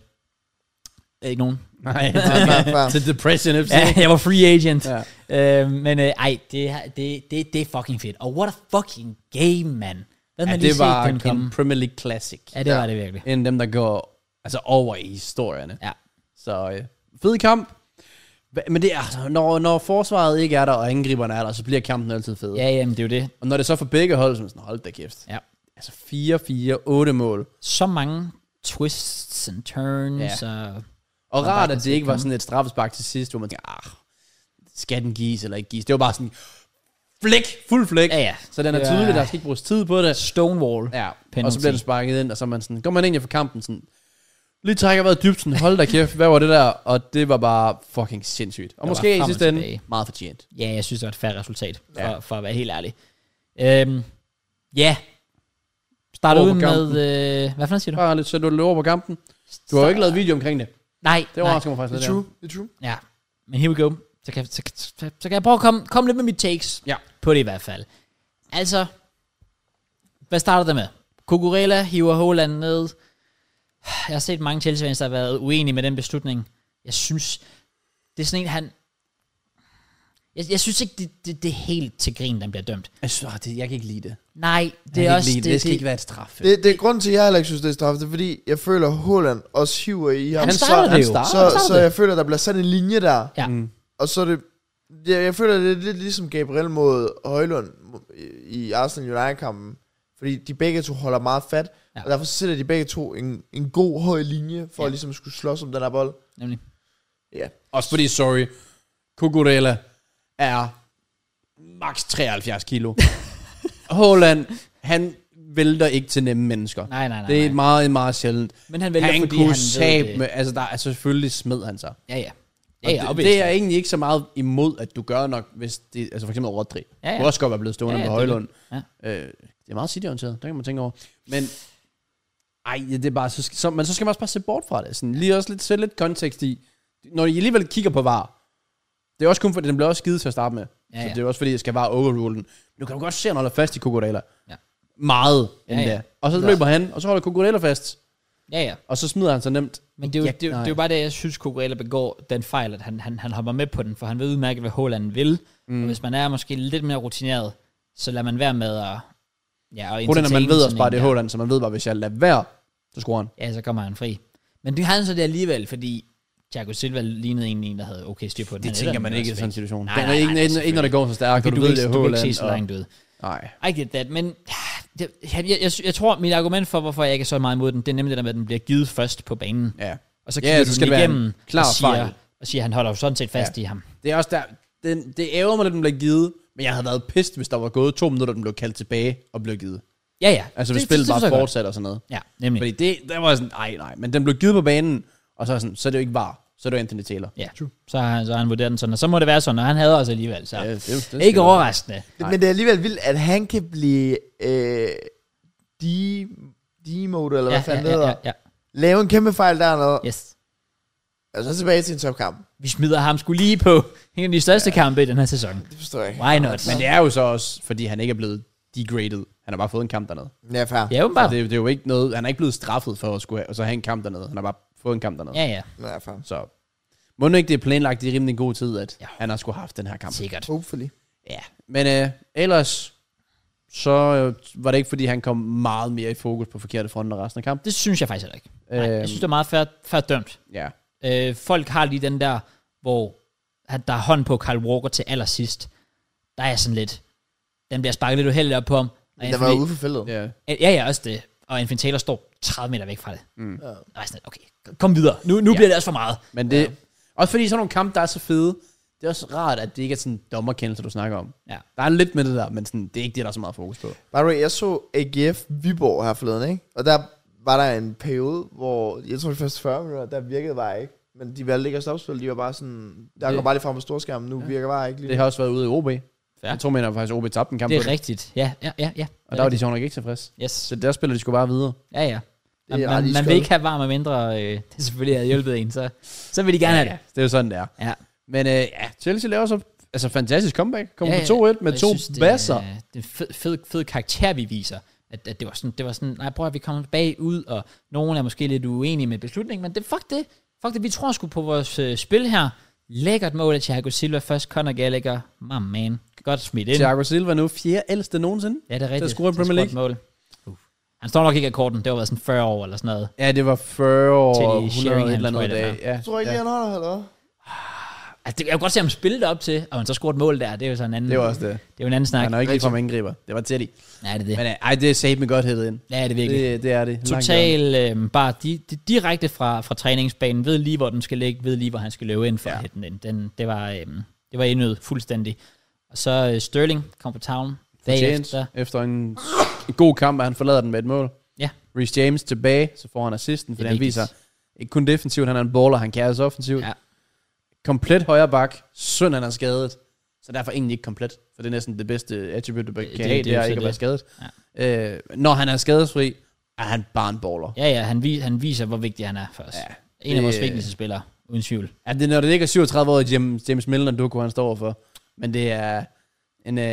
Speaker 1: ikke nogen.
Speaker 3: [LAUGHS] Nej,
Speaker 2: fair, fair.
Speaker 3: til Depression
Speaker 1: [LAUGHS]
Speaker 3: FC.
Speaker 1: Ja, jeg var free agent.
Speaker 3: Ja.
Speaker 1: Ja. Øh, men øh, ej, det, er- det, det, det er fucking fedt. Og what a fucking game, man. Hvad man
Speaker 3: Ja,
Speaker 1: lige
Speaker 3: det
Speaker 1: set
Speaker 3: var
Speaker 1: den
Speaker 3: en
Speaker 1: komme?
Speaker 3: Premier League Classic.
Speaker 1: Ja, det var det virkelig.
Speaker 3: En af dem, der går... Altså over i historierne.
Speaker 1: Ja.
Speaker 3: Så øh, fed kamp. Hva- Men det er, altså, når, når forsvaret ikke er der, og angriberne er der, så bliver kampen altid fed.
Speaker 1: Ja, jamen, det er jo det.
Speaker 3: Og når det så er for begge hold, så er man sådan, hold da kæft.
Speaker 1: Ja.
Speaker 3: Altså 4-4, 8 mål.
Speaker 1: Så mange twists and turns. Ja. Og,
Speaker 3: Og
Speaker 1: bare
Speaker 3: rart,
Speaker 1: kan
Speaker 3: at
Speaker 1: se
Speaker 3: det ikke var
Speaker 1: komme.
Speaker 3: sådan et straffespark til sidst, hvor man tænker, ah, skal den gives eller ikke gives? Det var bare sådan, flæk, fuld flæk.
Speaker 1: ja, ja.
Speaker 3: Så den er
Speaker 1: Ja.
Speaker 3: tydelig, der skal ikke bruges tid på det.
Speaker 1: Stonewall.
Speaker 3: Ja, og
Speaker 1: Penalty.
Speaker 3: så bliver den sparket ind, og så er man sådan, går man egentlig for kampen sådan, lige trækker vejret dybt, sådan, hold da kæft, hvad var det der? Og det var bare fucking sindssygt. Og
Speaker 1: var
Speaker 3: måske i
Speaker 1: frem og
Speaker 3: sidste ende,
Speaker 1: tilbage.
Speaker 3: meget fortjent.
Speaker 1: Ja, jeg synes, det var et færre resultat, for,
Speaker 3: Ja.
Speaker 1: ja. for at være helt ærlig. Øhm, ja. Start
Speaker 3: Over
Speaker 1: ud
Speaker 3: på
Speaker 1: med...
Speaker 3: kampen.
Speaker 1: Øh, hvad for noget siger du?
Speaker 3: Bare lidt, så du løber på kampen. Du har jo ikke lavet video omkring det.
Speaker 1: Nej,
Speaker 3: Det
Speaker 1: nej.
Speaker 3: overrasker mig faktisk
Speaker 2: Det er
Speaker 3: lidt.
Speaker 2: true, det er true.
Speaker 1: Ja, men here we go. Så kan, så, så, så, så kan jeg prøve at komme, komme lidt med mit takes
Speaker 3: Ja.
Speaker 1: på det i hvert fald. Altså, hvad starter det med? Kukurela hiver Håland ned. Jeg har set mange chelsea der har været uenige med den beslutning. Jeg synes, det er sådan en, han... Jeg, jeg synes ikke, det, det, det er helt til grin, den bliver dømt.
Speaker 3: Jeg, synes, ah, det, jeg kan ikke lide det.
Speaker 1: Nej, det
Speaker 3: Jeg
Speaker 1: er
Speaker 3: kan
Speaker 1: også...
Speaker 3: ikke lide det. det skal ikke være et straf.
Speaker 2: Det, det er grunden til, at jeg heller ikke synes, det er straf. Det er fordi, jeg føler, at Holland også hiver i ham.
Speaker 1: Han
Speaker 2: så-
Speaker 1: starter det jo.
Speaker 3: starter.
Speaker 2: Så,
Speaker 1: starter
Speaker 2: så
Speaker 1: Ah, det.
Speaker 2: jeg føler, der bliver sat en linje der.
Speaker 1: Ja.
Speaker 3: Mm.
Speaker 2: Og så er det... Jeg, jeg føler, det er lidt ligesom Gabriel mod Højlund i- i Arsenal United-kampen. Fordi de begge to holder meget fat.
Speaker 1: Ja.
Speaker 2: Ja. Og derfor sætter de begge to en, en god høj linje,
Speaker 1: Ja.
Speaker 2: for ja. at ligesom skulle slås om den her bold.
Speaker 1: Nemlig.
Speaker 2: Ja.
Speaker 3: Også fordi, sorry, Kukurela er maks 73 [LAUGHS] kilo. Holland, han vælter ikke til nemme mennesker.
Speaker 1: Nej, nej, nej.
Speaker 3: det er
Speaker 1: nej.
Speaker 3: meget, meget sjældent.
Speaker 1: Men han vælger,
Speaker 3: Vælter, han
Speaker 1: fordi
Speaker 3: kunne
Speaker 1: han ved
Speaker 3: sabe
Speaker 1: det.
Speaker 3: med, altså der, altså selvfølgelig smed han sig.
Speaker 1: Ja, ja. Ja,
Speaker 3: Og
Speaker 1: ja,
Speaker 3: det,
Speaker 1: obviously.
Speaker 3: det, er jeg egentlig ikke så meget imod, at du gør nok, hvis det, altså for eksempel Rodri.
Speaker 1: Ja, ja.
Speaker 3: Kunne også godt være blevet stående
Speaker 1: Ja,
Speaker 3: ja,
Speaker 1: ja,
Speaker 3: på
Speaker 1: det er
Speaker 3: Højlund.
Speaker 1: det.
Speaker 3: Øh, det er meget cityorienteret, der kan man tænke over. Men, ej, ja, det er bare, så, skal- så, men så skal man også bare se bort fra det. Sådan, lige også lidt, sætte lidt kontekst i, når I alligevel kigger på VAR, det er også kun fordi, den blev også givet til at starte med.
Speaker 1: Ja,
Speaker 3: Ja, så
Speaker 1: ja.
Speaker 3: det er også fordi, jeg skal bare overrule den. Nu kan du godt se, at han holder fast i Kukurela.
Speaker 1: Ja.
Speaker 3: Meget endda.
Speaker 1: ja.
Speaker 3: Og så løber han, og så holder Kukurela fast.
Speaker 1: Ja, ja.
Speaker 3: Og så smider han sig nemt.
Speaker 1: Men det er jo,
Speaker 3: Ja,
Speaker 1: ja, det, er jo-
Speaker 3: nej.
Speaker 1: det er jo bare det, jeg synes, Cucurella begår den fejl, at han, han, han hopper med på den, for han ved udmærket, hvad Håland vil. Mm. Og hvis man er måske lidt mere rutineret, så lader man være med at... Ja, og
Speaker 3: Problemet er, man ved også bare, det er
Speaker 1: Håland.
Speaker 3: Håland, så man ved bare, hvis jeg lader være, så scorer han.
Speaker 1: Ja, så kommer han fri. Men det har han så det alligevel, fordi Thiago Silva lignede egentlig en, der havde okay styr på den.
Speaker 3: Det
Speaker 1: Han
Speaker 3: tænker
Speaker 1: ændrede
Speaker 3: man
Speaker 1: den
Speaker 3: ikke i
Speaker 1: også
Speaker 3: sådan en
Speaker 1: væk.
Speaker 3: situation.
Speaker 1: Nej,
Speaker 3: Den er
Speaker 1: nej,
Speaker 3: ikke,
Speaker 1: nej,
Speaker 3: ikke, ikke, når det går så stærkt, og
Speaker 1: Fordi
Speaker 3: du, ved, det er
Speaker 1: ikke- du kan ikke se
Speaker 3: Håland.
Speaker 1: så langt ud.
Speaker 3: og- Nej.
Speaker 1: I get that, men ah, det, jeg, jeg, jeg, jeg tror, mit argument for, hvorfor jeg ikke er så meget imod den, det er nemlig det der med, at den bliver givet først på banen.
Speaker 3: Ja.
Speaker 1: Og så
Speaker 3: Ja,
Speaker 1: kigger
Speaker 3: så
Speaker 1: du
Speaker 3: skal
Speaker 1: den
Speaker 3: det være en
Speaker 1: igennem
Speaker 3: klar
Speaker 1: og, siger,
Speaker 3: fejl.
Speaker 1: og siger, at han holder jo sådan set fast ja. i
Speaker 3: Ja.
Speaker 1: ham.
Speaker 3: Det er også der, den, det ærger mig, at den blev givet, men jeg havde været pissed, hvis der var gået to minutter, den blev kaldt tilbage og blev givet.
Speaker 1: Ja, ja.
Speaker 3: Altså hvis spillet
Speaker 1: forstår
Speaker 3: bare
Speaker 1: jeg godt.
Speaker 3: fortsatte og sådan noget.
Speaker 1: Ja, nemlig.
Speaker 3: Fordi det, der var sådan, nej, nej, men den blev givet på banen, og så er, sådan, så er det jo ikke var, så er det jo Anthony Taylor.
Speaker 1: Ja, så har han, så har han vurderet den sådan, og så må det være sådan, og han havde også alligevel, så
Speaker 3: Ja,
Speaker 1: ja,
Speaker 3: det- det skal
Speaker 1: ikke
Speaker 3: være.
Speaker 1: overraskende.
Speaker 2: Nej. Men det er alligevel vildt, at han kan blive... Øh, de, D-mode, eller hvad
Speaker 1: ja,
Speaker 2: fanden
Speaker 1: ja,
Speaker 2: det
Speaker 1: ja,
Speaker 2: hedder.
Speaker 1: ja, ja,
Speaker 2: Lave en kæmpe fejl dernede.
Speaker 1: yes.
Speaker 2: Og så tilbage til en topkamp.
Speaker 1: Vi smider ham skulle lige på en af de største ja. kampe i den her sæson.
Speaker 2: Det forstår jeg ikke.
Speaker 1: Why not?
Speaker 3: Men det er jo så også, fordi han ikke er blevet degraded. Han har bare fået en kamp dernede.
Speaker 2: Ja, fair.
Speaker 1: Ja,
Speaker 3: Så
Speaker 1: åbenbart.
Speaker 3: det, er- det, er jo ikke noget, han er ikke blevet straffet for at skulle have, og så have en kamp dernede. Han har bare fået en kamp dernede.
Speaker 1: Ja, ja,
Speaker 2: Ja, fair.
Speaker 3: Så må nu ikke det er planlagt i rimelig god tid, at
Speaker 1: Ja.
Speaker 3: ja. han har skulle have haft den her kamp.
Speaker 1: sikkert.
Speaker 2: Hopefully.
Speaker 3: Ja. Men øh, ellers, så øh, var det ikke, fordi han kom meget mere i fokus på forkerte fronter resten af kampen.
Speaker 1: Det synes jeg faktisk heller ikke. Nej, jeg
Speaker 3: Øhm.
Speaker 1: synes, det er meget fair, fair dømt.
Speaker 3: Ja.
Speaker 1: Øh, folk har lige den der, hvor at der er hånd på Kyle Walker til allersidst. Der er sådan lidt, den bliver sparket lidt uheldigt op på ham. Og
Speaker 2: Den var
Speaker 1: Anthony-
Speaker 2: ude for feltet.
Speaker 3: ja.
Speaker 1: Ja, ja, også det. Og Anfin Taylor står 30 meter væk fra det. Mm. Og jeg er sådan, okay, kom videre. Nu, nu ja. bliver det også for meget.
Speaker 3: Men det, ja. også fordi sådan nogle kampe, der er så fede, det er også rart, at det ikke er sådan dommerkendelser, du snakker om.
Speaker 1: Ja.
Speaker 3: Der er lidt med det der, men sådan, det er ikke det, der er så meget fokus på.
Speaker 2: By the way, jeg så AGF Viborg her forleden, ikke? Og der var der en periode, hvor jeg tror de første 40 minutter, der virkede var ikke. Men de valgte ikke at stoppe spillet. De var bare sådan, der
Speaker 3: Det-
Speaker 2: går bare lige frem på storskærmen, nu virker var ikke lige.
Speaker 3: Det har også været ude i OB.
Speaker 1: Ja.
Speaker 3: Ja. Jeg tror, mener faktisk, OB tabte en kamp
Speaker 1: Det
Speaker 3: på
Speaker 1: er rigtigt. Ja, ja, ja. ja.
Speaker 3: Og der var de sjovt nok ikke tilfredse.
Speaker 1: Yes.
Speaker 3: Så der spiller de skulle bare videre.
Speaker 1: Ja, ja. Man,
Speaker 2: Det er
Speaker 1: man, man
Speaker 2: ret
Speaker 1: vil
Speaker 2: iskoldt.
Speaker 1: ikke have varme mindre. Øh, [LAUGHS] det selvfølgelig havde hjulpet en, så, så vil de gerne have det.
Speaker 3: Det er jo sådan, det er.
Speaker 1: Ja.
Speaker 3: Men øh, ja, Chelsea laver så altså, fantastisk comeback. Kommer
Speaker 1: Ja,
Speaker 3: ja,
Speaker 1: ja.
Speaker 3: på 2-1 med
Speaker 1: Og jeg
Speaker 3: to
Speaker 1: synes, det,
Speaker 3: basser.
Speaker 1: er- Det er en fed, fed, fed karakter, vi viser. At, at det, var sådan, det var sådan, nej, prøv at vi kommer bagud, og nogen er måske lidt uenige med beslutningen, men det, fuck det. Fuck det, vi tror sgu på vores øh, spil her. Lækkert mål af Thiago Silva først, Conor Gallagher. My man. Godt smidt ind.
Speaker 3: Thiago Silva nu fjerde ældste nogensinde.
Speaker 1: Ja, det er rigtigt.
Speaker 3: score i
Speaker 1: Til at
Speaker 3: Premier
Speaker 1: score et Mål. Han står nok ikke i akkorden. Det var været sådan 40 år eller sådan noget.
Speaker 3: Ja, det var 40 og
Speaker 1: Til
Speaker 3: 100
Speaker 1: Sheringham,
Speaker 3: et eller
Speaker 1: tror
Speaker 3: andet
Speaker 1: jeg,
Speaker 3: dag.
Speaker 1: den
Speaker 3: Ja,
Speaker 2: Jeg tror ikke,
Speaker 3: ja.
Speaker 2: ja. han holder, eller hvad?
Speaker 1: Altså, det, jeg kunne godt se ham spille det op til, og han så scoret et mål der. Det er jo sådan en anden,
Speaker 3: Det var også det.
Speaker 1: det er jo en anden snak.
Speaker 3: Han er jo ikke ligefrem angriber. Det var tæt i.
Speaker 1: Nej, det er det.
Speaker 3: Men øh, ej, det er save med godt hættet ind.
Speaker 1: Ja, det er virkelig.
Speaker 3: Det, det er det. Langt
Speaker 1: Total øh, bare di, di, direkte fra, fra træningsbanen, ved lige, hvor den skal ligge, ved lige, hvor han skal løbe ind for
Speaker 3: Ja.
Speaker 1: ja. at hætte den ind. Den, det var, øh, det var indød fuldstændig. Og så øh, Sterling kom på town
Speaker 3: langt.
Speaker 1: dagen
Speaker 3: James,
Speaker 1: efter.
Speaker 3: efter en, en god kamp, og han forlader den med et mål.
Speaker 1: Ja.
Speaker 3: Reece James tilbage, så får han assisten, fordi han
Speaker 1: vigtigt.
Speaker 3: viser ikke kun defensivt, han er en baller, han kan også offensivt.
Speaker 1: Ja.
Speaker 3: Komplet højre bak, synd han er skadet, så derfor egentlig ikke komplet, for det er næsten det bedste attribute, du kan
Speaker 1: Det-
Speaker 3: have,
Speaker 1: det-
Speaker 3: det,
Speaker 1: det er jo
Speaker 3: er
Speaker 1: så
Speaker 3: ikke at være
Speaker 1: det.
Speaker 3: skadet. Ja. Øh, når han er skadesfri, er han bare en baller.
Speaker 1: Ja, ja, han, vi, han viser, hvor vigtig han er for os. Ja,
Speaker 3: Ja,
Speaker 1: en af vores
Speaker 3: det-
Speaker 1: vigtigste spillere, uden tvivl.
Speaker 3: Ja, Altså, det, når det ikke er 37 år James, James Milner, du kunne han står for. Men det er en uh,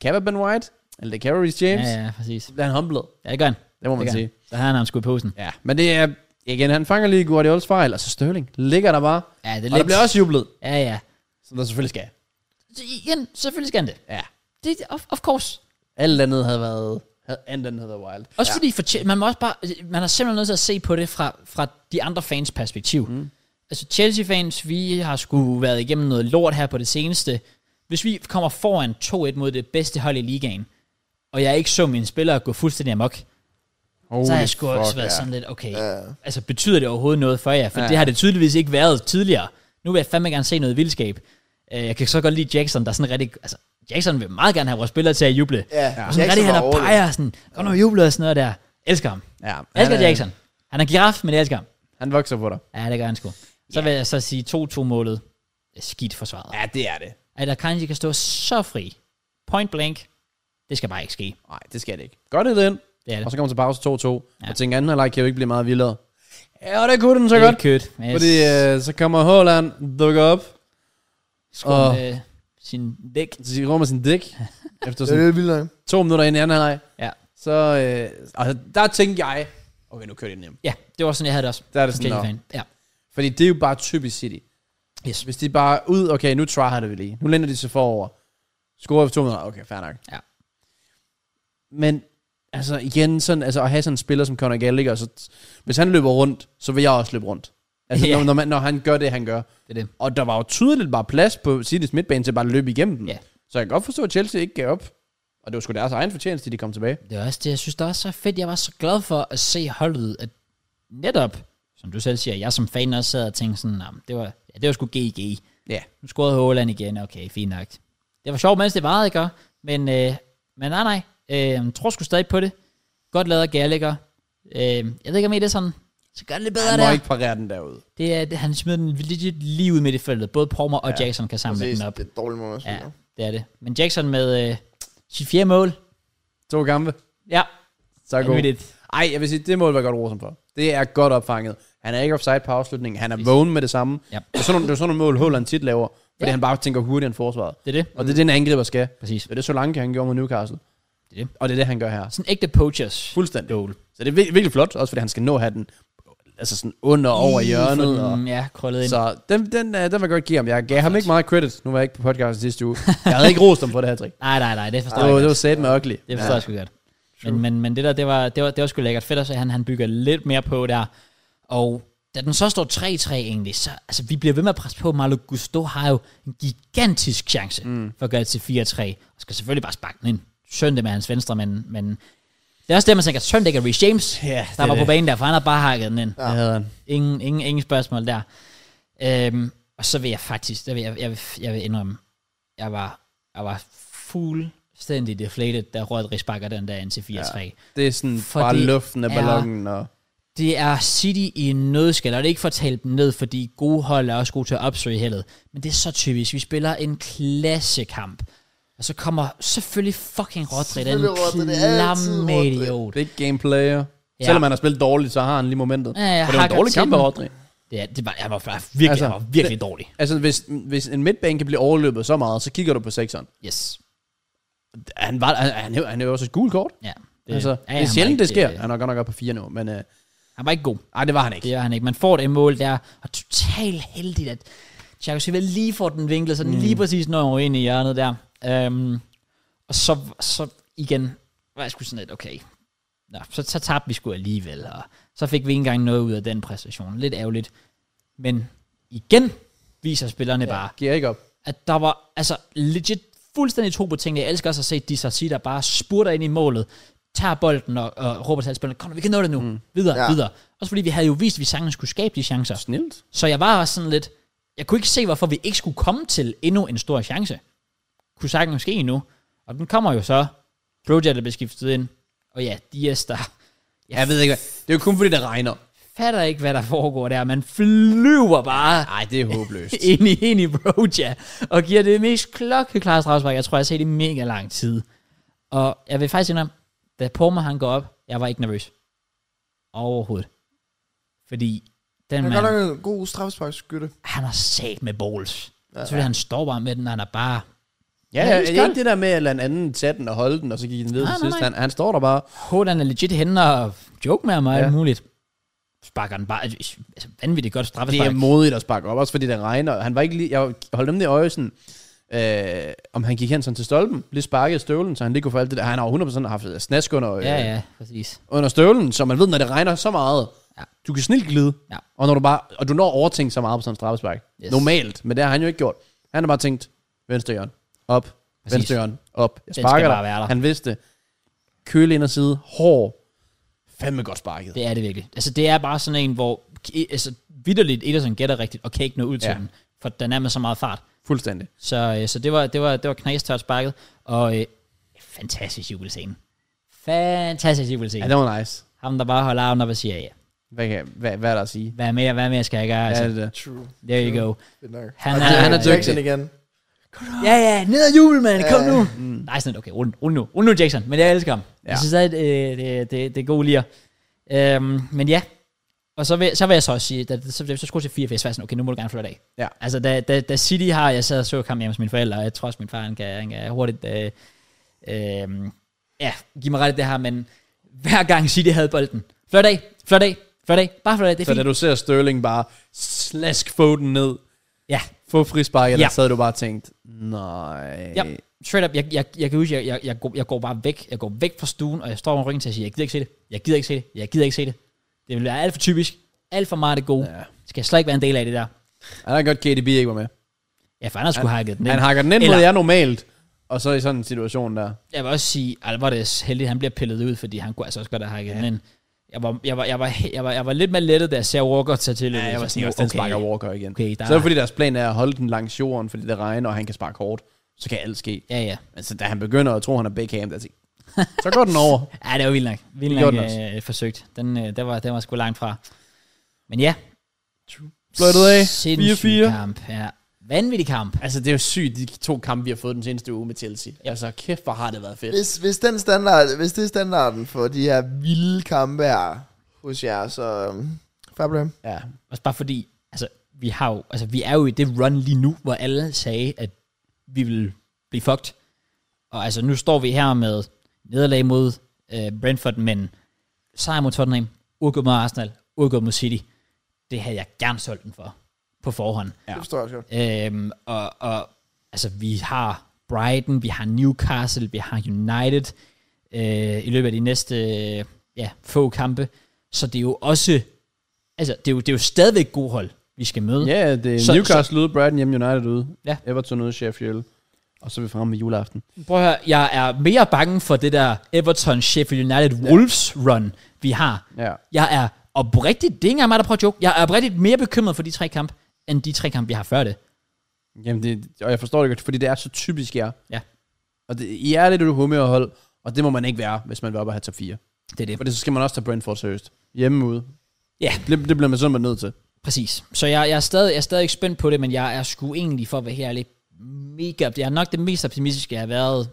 Speaker 3: Kappa Ben White, eller det kan Reece James. Ja,
Speaker 1: Ja, ja, præcis.
Speaker 3: ja. Han humblet,
Speaker 1: Ja, det gør han.
Speaker 3: det må man
Speaker 1: Det
Speaker 3: det
Speaker 1: gør
Speaker 3: sige.
Speaker 1: han. Så havde han ham sgu i posen.
Speaker 3: Ja, men det er, igen, han fanger lige Guardiols fejl, og så Sterling ligger der bare.
Speaker 1: Ja, det er
Speaker 3: Og der bliver også jublet,
Speaker 1: Ja, ja.
Speaker 3: som der selvfølgelig skal.
Speaker 1: Så igen, selvfølgelig skal han det.
Speaker 3: Ja.
Speaker 1: det of, of course.
Speaker 3: Alt andet havde været, havde, alt andet havde været wild.
Speaker 1: Også ja. fordi fortje- man, må også bare, man er simpelthen nødt til at se på det fra, fra de andre fans perspektiv. Mm. Altså Chelsea-fans, vi har sgu været igennem noget lort her på det seneste. Hvis vi kommer foran 2-1 mod det bedste hold i ligaen, og jeg ikke så mine spillere gå fuldstændig amok,
Speaker 3: Holy
Speaker 1: så har jeg sgu også
Speaker 3: fuck,
Speaker 1: været
Speaker 3: ja.
Speaker 1: sådan lidt, okay,
Speaker 2: Ja.
Speaker 1: altså betyder det overhovedet noget for jer? For
Speaker 3: Ja.
Speaker 1: det har det tydeligvis ikke været tidligere. Nu vil jeg fandme gerne se noget vildskab. Øh, Jeg kan så godt lide Jackson, der er sådan rigtig... Altså, Jackson vil meget gerne have vores spillere til at juble.
Speaker 2: Ja,
Speaker 1: Og sådan rigtig,
Speaker 2: Jackson
Speaker 1: han
Speaker 2: var
Speaker 1: er
Speaker 2: overlegen.
Speaker 1: peger sådan, og når jubler og sådan noget der. Elsker ham.
Speaker 3: Ja, han,
Speaker 1: Elsker
Speaker 3: er-
Speaker 1: Jackson. Han er giraf, men jeg elsker ham.
Speaker 3: Han vokser på dig.
Speaker 1: Ja, det gør han sgu. Så vil jeg så sige 2-2-målet. Skidt forsvaret.
Speaker 3: Ja, det er det.
Speaker 1: At Akanji kan stå så fri. Point blank. Det skal bare ikke ske.
Speaker 3: Nej, det skal det ikke. Godt det ind.
Speaker 1: Det er det.
Speaker 3: Og så kommer til pause 2-2.
Speaker 1: Ja.
Speaker 3: Og tænker, anden halvleg kan jo ikke blive meget vildere. Ja, og det kunne den så
Speaker 1: Det er
Speaker 3: godt.
Speaker 1: kødt. Yes.
Speaker 3: Fordi øh, så kommer Haaland, dukker op,
Speaker 1: Skruer
Speaker 3: og-
Speaker 1: med øh, sin dæk.
Speaker 3: så rummer sin [LAUGHS] dæk, efter
Speaker 2: Det er
Speaker 3: sådan
Speaker 2: lidt vildt nok.
Speaker 3: to minutter ind i anden halvleg.
Speaker 1: Ja.
Speaker 3: Så, øh, altså, der tænkte jeg, okay, nu kører de den hjem.
Speaker 1: Ja, det var sådan, jeg havde det også.
Speaker 3: Der er det
Speaker 1: Som
Speaker 3: sådan,
Speaker 1: Chelsea
Speaker 3: nå.
Speaker 1: fan. Ja.
Speaker 3: Fordi det er jo bare typisk City.
Speaker 1: Yes.
Speaker 3: Hvis de bare er ud, okay, nu tryharder det vi lige. Nu lænder de sig forover. Scorer efter to minutter, okay, fair nok.
Speaker 1: Ja.
Speaker 3: Men, altså igen, sådan, altså, at have sådan en spiller som Conor Gallagher, så hvis han løber rundt, så vil jeg også løbe rundt. Altså,
Speaker 1: Ja.
Speaker 3: yeah. når, når, man, når han gør det, han gør.
Speaker 1: Det er det.
Speaker 3: Og der var jo tydeligt bare plads på Citys midtbane til bare at løbe igennem dem.
Speaker 1: Ja.
Speaker 3: Så jeg kan godt forstå, at Chelsea ikke gav op. Og det var sgu deres egen fortjeneste, de kom tilbage.
Speaker 1: Det er også det, jeg synes, det er så fedt. Jeg var så glad for at se holdet, at netop, som du selv siger, jeg som fan også sad og tænkte sådan, "Nå, men det var, ja, det var sgu GG.
Speaker 3: Ja.
Speaker 1: Nu scorede Håland igen, okay, fint nok. Det var sjovt, mens det varede, ikke? Men, øh, men nej, nej, øh, jeg tror sgu stadig på det. Godt lavet af Gallagher. Øh, jeg ved ikke, om I det er sådan, så gør det lidt bedre
Speaker 3: Han
Speaker 1: der.
Speaker 3: må ikke parere den derude.
Speaker 1: Det er, det- han smider den legit lige ud midt i feltet. Både Palmer og ja, Jackson kan samle
Speaker 2: Præcis.
Speaker 1: den op.
Speaker 2: Det er et dårligt måde at
Speaker 1: Ja,
Speaker 2: spille.
Speaker 1: det er det. Men Jackson med øh, sit fjerde mål.
Speaker 3: To kampe.
Speaker 1: Ja,
Speaker 3: Så god.
Speaker 1: vanvittigt.
Speaker 3: Ej, jeg vil sige, det mål var godt rosen for. Det er godt opfanget. Han er ikke offside på afslutningen. Han er vågen med det samme.
Speaker 1: Ja.
Speaker 3: Det er sådan nogle, det er sådan nogle mål, Holland tit laver. Fordi
Speaker 1: Ja. Mm.
Speaker 3: ja. han bare tænker hurtigere end forsvaret.
Speaker 1: Det er det.
Speaker 3: Og det er det, en angriber skal.
Speaker 1: Præcis.
Speaker 3: Det er det Solanke, han gjorde mod Newcastle.
Speaker 1: Det er det.
Speaker 3: Og det er det, han gør her.
Speaker 1: Sådan ægte poachers.
Speaker 3: Fuldstændig.
Speaker 1: Goal.
Speaker 3: Så det er vir- virkelig flot, også fordi han skal nå at have den altså sådan under og over
Speaker 1: Lige
Speaker 3: hjørnet.
Speaker 1: få
Speaker 3: Og,
Speaker 1: den, Ja, krøllet ind. Så.
Speaker 3: så den, den, øh, den vil jeg godt give ham. Jeg gav ham ikke meget credit. Nu var jeg ikke på podcasten sidste uge. Jeg havde ikke rost ham for det her trick.
Speaker 1: Nej, nej, [LAUGHS] nej, det forstår
Speaker 3: Det
Speaker 1: jeg
Speaker 3: var, Ah, det
Speaker 1: godt.
Speaker 3: var sat med ugly.
Speaker 1: Det forstår jeg sgu godt. Men, men, men det der, det var, det var, det var sgu lækkert. Fedt at se, at han, han bygger lidt mere på der. Og da den så står 3-3 egentlig, så altså, vi bliver ved med at presse på. Marlo Gusto har jo en gigantisk chance mm. for at gøre det til 4-3. Og skal selvfølgelig bare sparke den ind. Søndag med hans venstre, men, men det er også det, man tænker, søndag er Reece James,
Speaker 3: Ja, det
Speaker 1: der
Speaker 3: er
Speaker 1: var på
Speaker 3: det.
Speaker 1: banen der, for han har bare hakket den ind.
Speaker 3: Det havde han.
Speaker 1: Ingen, ingen, ingen spørgsmål der. Øhm, og så vil jeg faktisk, der vil jeg, jeg, vil, jeg vil indrømme, jeg var, jeg var fuldstændig deflated, da Rodri sparker den der ind til 4-3. Ja.
Speaker 3: Det er sådan
Speaker 1: For
Speaker 3: bare
Speaker 1: det
Speaker 3: luften af
Speaker 1: er-
Speaker 3: ballonen. Og,
Speaker 1: Det er City i en nødskal, og det er ikke for at tale dem ned, fordi gode hold er også gode til at opsøge heldet. Men det er så typisk. Vi spiller en klassekamp, og så kommer selvfølgelig fucking Rodri, den
Speaker 2: Selvfølgelig Rodri, det er altid
Speaker 1: klamme
Speaker 2: Rodri.
Speaker 1: idiot.
Speaker 3: Big game player.
Speaker 1: Ja.
Speaker 3: Ja. Selvom han har spillet dårligt, så har han lige momentet.
Speaker 1: Ja, ja,
Speaker 3: For det var en
Speaker 1: hakker
Speaker 3: dårlig
Speaker 1: til
Speaker 3: kamp
Speaker 1: den.
Speaker 3: af Rodri.
Speaker 1: Det, er, det var, jeg var virkelig, altså,
Speaker 3: Altså,
Speaker 1: jeg var virkelig
Speaker 3: det-
Speaker 1: dårlig.
Speaker 3: Altså, hvis, hvis en midtbane kan blive overløbet så meget, så kigger du på sekseren.
Speaker 1: Yes.
Speaker 3: Han, var, han, han, han er jo også et gult kort.
Speaker 1: Ja,
Speaker 3: Det, altså,
Speaker 1: ja,
Speaker 3: det er
Speaker 1: han var
Speaker 3: sjældent, det
Speaker 1: ikke- øh,
Speaker 3: sker. Han er godt nok oppe på fire nu, men øh,
Speaker 1: Han var ikke god.
Speaker 3: ej, det var han ikke.
Speaker 1: Det er han ikke. Man får det mål der, og totalt heldigt, at Thiago Silva lige får den vinkel, så
Speaker 3: Mm.
Speaker 1: den lige præcis når ind i Øhm, hjørnet der. Um, og så, så igen, var jeg sgu sådan lidt, okay, Nå, så, så tabte vi sgu alligevel, og så fik vi ikke engang noget ud af den præstation. Lidt ærgerligt. Men igen viser spillerne ja. bare,
Speaker 3: Giver ikke op.
Speaker 1: at der var altså legit fuldstændig tro på tingene. Jeg elsker også at se de Sarsi, der bare spurter ind i målet, tager bolden og, og råber til alle spillerne, kom nu, vi kan nå det nu, mm. videre, ja.
Speaker 2: Ja.
Speaker 1: videre. Også fordi vi havde jo vist, at vi sagtens skulle skabe de chancer.
Speaker 3: Snilt.
Speaker 1: Så jeg var også sådan lidt, jeg kunne ikke se, hvorfor vi ikke skulle komme til endnu en stor chance. Kunne sagtens ske endnu. Og den kommer jo så. Broja, der bliver skiftet ind. Og ja, Dias, der
Speaker 3: Ja, jeg ved ikke hvad. Det er jo kun fordi, det regner.
Speaker 1: fatter ikke, hvad der foregår der. Man flyver bare
Speaker 3: Nej, det er håbløst.
Speaker 1: [LAUGHS] ind i, ind i Broja, og giver det mest klokkeklare strafspark. Jeg tror, jeg har set det i mega lang tid. Og jeg vil faktisk indrømme, da Porma han går op, jeg var ikke nervøs. Overhovedet. Fordi den
Speaker 2: Han er
Speaker 1: mand,
Speaker 2: godt nok en god straffesparkskytte.
Speaker 1: han har sat med balls. Ja, så han står bare med den, og han er bare...
Speaker 3: ja,
Speaker 1: Ja, det
Speaker 3: ja,
Speaker 1: er
Speaker 3: det er ikke det der med, at lade en anden tage den og holde den, og så gik den ned
Speaker 1: Nej,
Speaker 3: til
Speaker 1: nej,
Speaker 3: sidst.
Speaker 1: nej.
Speaker 3: Han, han står der bare.
Speaker 1: Hovedet, han er legit henne og joke med ham og ja.
Speaker 3: Ja.
Speaker 1: alt muligt. Sparker den bare... Altså, vanvittigt godt
Speaker 3: Det er
Speaker 1: straffespark.
Speaker 3: modigt at sparke op, også fordi det regner. Han var ikke lige, jeg holdt dem i øje, sådan, øh, om han gik hen sådan til stolpen, lige sparkede støvlen, så han lige kunne få alt det der. Han har jo 100% haft snask under, øh,
Speaker 1: Ja, ja, præcis.
Speaker 3: under støvlen, så man ved, når det regner så meget,
Speaker 1: Ja.
Speaker 3: ja. du kan snilt glide,
Speaker 1: Ja.
Speaker 3: og, når du bare, og du når at overtænke så meget på sådan en straffespark.
Speaker 1: Yes.
Speaker 3: Yes. Normalt, men det har han jo ikke gjort. Han har bare tænkt, venstre hjørne, op,
Speaker 1: Præcis.
Speaker 3: Præcis. venstre hjørne, op. Jeg
Speaker 1: skal
Speaker 3: sparker
Speaker 1: bare være der.
Speaker 3: dig. Han vidste, det. køle ind og side, hård, fandme godt sparket.
Speaker 1: Det er det virkelig. Altså, det er bare sådan en, hvor i- altså, vidderligt Ederson gætter rigtigt, og kan ikke nå ud til ja.
Speaker 3: Ja.
Speaker 1: den, for den er med så meget fart.
Speaker 3: Fuldstændig.
Speaker 1: Så, øh, så det var, det var, det var knastørt sparket, og øh, fantastisk jubelscene. Fantastisk jubelscene.
Speaker 3: Ja,
Speaker 1: Ja,
Speaker 3: det var nice.
Speaker 1: Ham, der bare holder armen op og siger, ja,
Speaker 3: Hvad, kan, hvad, hvad er der at sige?
Speaker 1: hvad mere, hvad mere skal jeg gøre?
Speaker 3: Ja,
Speaker 1: Altså,
Speaker 3: det er det.
Speaker 2: True.
Speaker 1: there you go.
Speaker 2: Fedt nok.
Speaker 1: Han
Speaker 2: Og
Speaker 1: er-
Speaker 2: Jack-
Speaker 1: han er
Speaker 2: Jackson
Speaker 3: dygtig.
Speaker 2: igen.
Speaker 1: Ja, ja, ned ad jubel, mand, kom
Speaker 2: Ja.
Speaker 1: nu. Mm. Nej, sådan lidt, okay, rul, rul nu. Rul nu, Jackson, men jeg elsker ham. Ja.
Speaker 3: Ja.
Speaker 1: Jeg synes, at øh, det, det, det er gode lier. Øhm, men ja, og så vil, så vil jeg så også sige, da, så, så, så skulle jeg til 4, for jeg var sådan, okay, nu må du gerne flytte af.
Speaker 3: Ja.
Speaker 1: Altså, da, da, da City har, jeg sad og så kamp hjemme hos mine forældre, og jeg tror også, min far, han kan, han kan hurtigt, øh, øh, ja, give mig ret i det her, men hver gang City havde bolden, flot af, flot af, flot af, bare flot af, det er
Speaker 3: Så da
Speaker 1: fint.
Speaker 3: du ser Sterling bare slask Foden ned,
Speaker 1: Ja,
Speaker 3: få frisparket, ja.
Speaker 1: Ja.
Speaker 3: der sad du bare og tænkte, nej.
Speaker 1: ja, straight up, jeg, jeg, jeg kan huske, jeg, jeg, jeg, går, jeg går bare væk, jeg går væk fra stuen, og jeg står med ryggen til at sige, jeg gider ikke se det, jeg gider ikke se det, jeg gider ikke se det. Det vil være alt for typisk, alt for meget af det gode. Ja.
Speaker 3: Ja.
Speaker 1: Skal jeg slet ikke være en del af det der?
Speaker 3: Han har godt, KDB ikke var med.
Speaker 1: Ja, for Anders skulle have hakket den.
Speaker 3: Men,
Speaker 1: ind.
Speaker 3: han hakker den ind mod
Speaker 1: Eller-
Speaker 3: jer normalt, og så i sådan en situation der.
Speaker 1: jeg vil også sige, Alvarez heldig, han bliver pillet ud, fordi han kunne altså også godt have hakket ja. den ind. Jeg var, jeg, var, jeg, var, he- jeg, var, jeg var lidt mere lettet, da jeg ser Walker tage til.
Speaker 3: Ja, jeg var sådan, også, den sparker Walker igen.
Speaker 1: Okay, der
Speaker 3: så er
Speaker 1: er-
Speaker 3: det fordi, deres plan er at holde den langs jorden, fordi det regner, og han kan sparke hårdt. Så kan alt ske.
Speaker 1: Ja, ja.
Speaker 3: Men så da han begynder at tro, han er Beckham, der tænker, [LAUGHS] så går den over.
Speaker 1: Ja, det var vildt nok. Vildt
Speaker 3: Det
Speaker 1: nok
Speaker 3: gjorde den
Speaker 1: øh, forsøgt. Den, øh, der, var, den var sgu langt fra. Men ja.
Speaker 3: Fløjtet af.
Speaker 1: Sindssyg
Speaker 3: 4-4.
Speaker 1: kamp. Ja. Vanvittig kamp.
Speaker 3: Altså, det er jo sygt, de to kampe, vi har fået den seneste uge med Chelsea. Ja. Altså, kæft, hvor har det været fedt.
Speaker 2: Hvis, hvis, den standard, hvis det er standarden for de her vilde kampe her hos jer, så... øhm, Fair play.
Speaker 3: Ja.
Speaker 1: Også bare fordi, altså, vi, har jo, altså, vi er jo i det run lige nu, hvor alle sagde, at vi ville blive fucked. Og altså, nu står vi her med nederlag mod øh, Brentford, men sejr mod Tottenham, udgået mod Arsenal, udgået mod City. Det havde jeg gerne solgt den for på forhånd.
Speaker 3: Ja.
Speaker 2: Det forstår jeg også godt.
Speaker 1: Øhm, og, og altså, vi har Brighton, vi har Newcastle, vi har United øh, i løbet af de næste øh, ja, få kampe. Så det er jo også, altså, det er jo, det er jo stadigvæk gode hold, vi skal
Speaker 3: [LAUGHS]
Speaker 1: møde.
Speaker 3: Ja, det er
Speaker 1: Så-
Speaker 3: så, Newcastle ude, Brighton hjemme, United ude,
Speaker 1: Ja.
Speaker 3: ja. Everton ude, Sheffield, og så er vi fremme med juleaften.
Speaker 1: Prøv at høre, jeg er mere bange for det der Everton, Sheffield United, Wolves run, vi har.
Speaker 3: Ja.
Speaker 1: Jeg er oprigtigt, det er ikke engang mig, der prøver at joke, jeg er oprigtigt mere bekymret for de tre kampe, end de tre kampe, vi har før det.
Speaker 3: Jamen, det, og jeg forstår det godt, fordi det er så typisk jer.
Speaker 1: Ja.
Speaker 3: Og det, I er lidt et humørhold, og det må man ikke være, hvis man vil op og have top 4.
Speaker 1: Det er det.
Speaker 3: For det, så skal man også tage Brentford seriøst. Hjemme ude.
Speaker 1: Ja.
Speaker 3: Det, det bliver man simpelthen nødt til.
Speaker 1: Præcis. Så jeg, jeg, er stadig, jeg er stadig ikke spændt på det, men jeg er sgu egentlig, for at være helt ærlig, mega... Jeg er nok det mest optimistiske, jeg har været,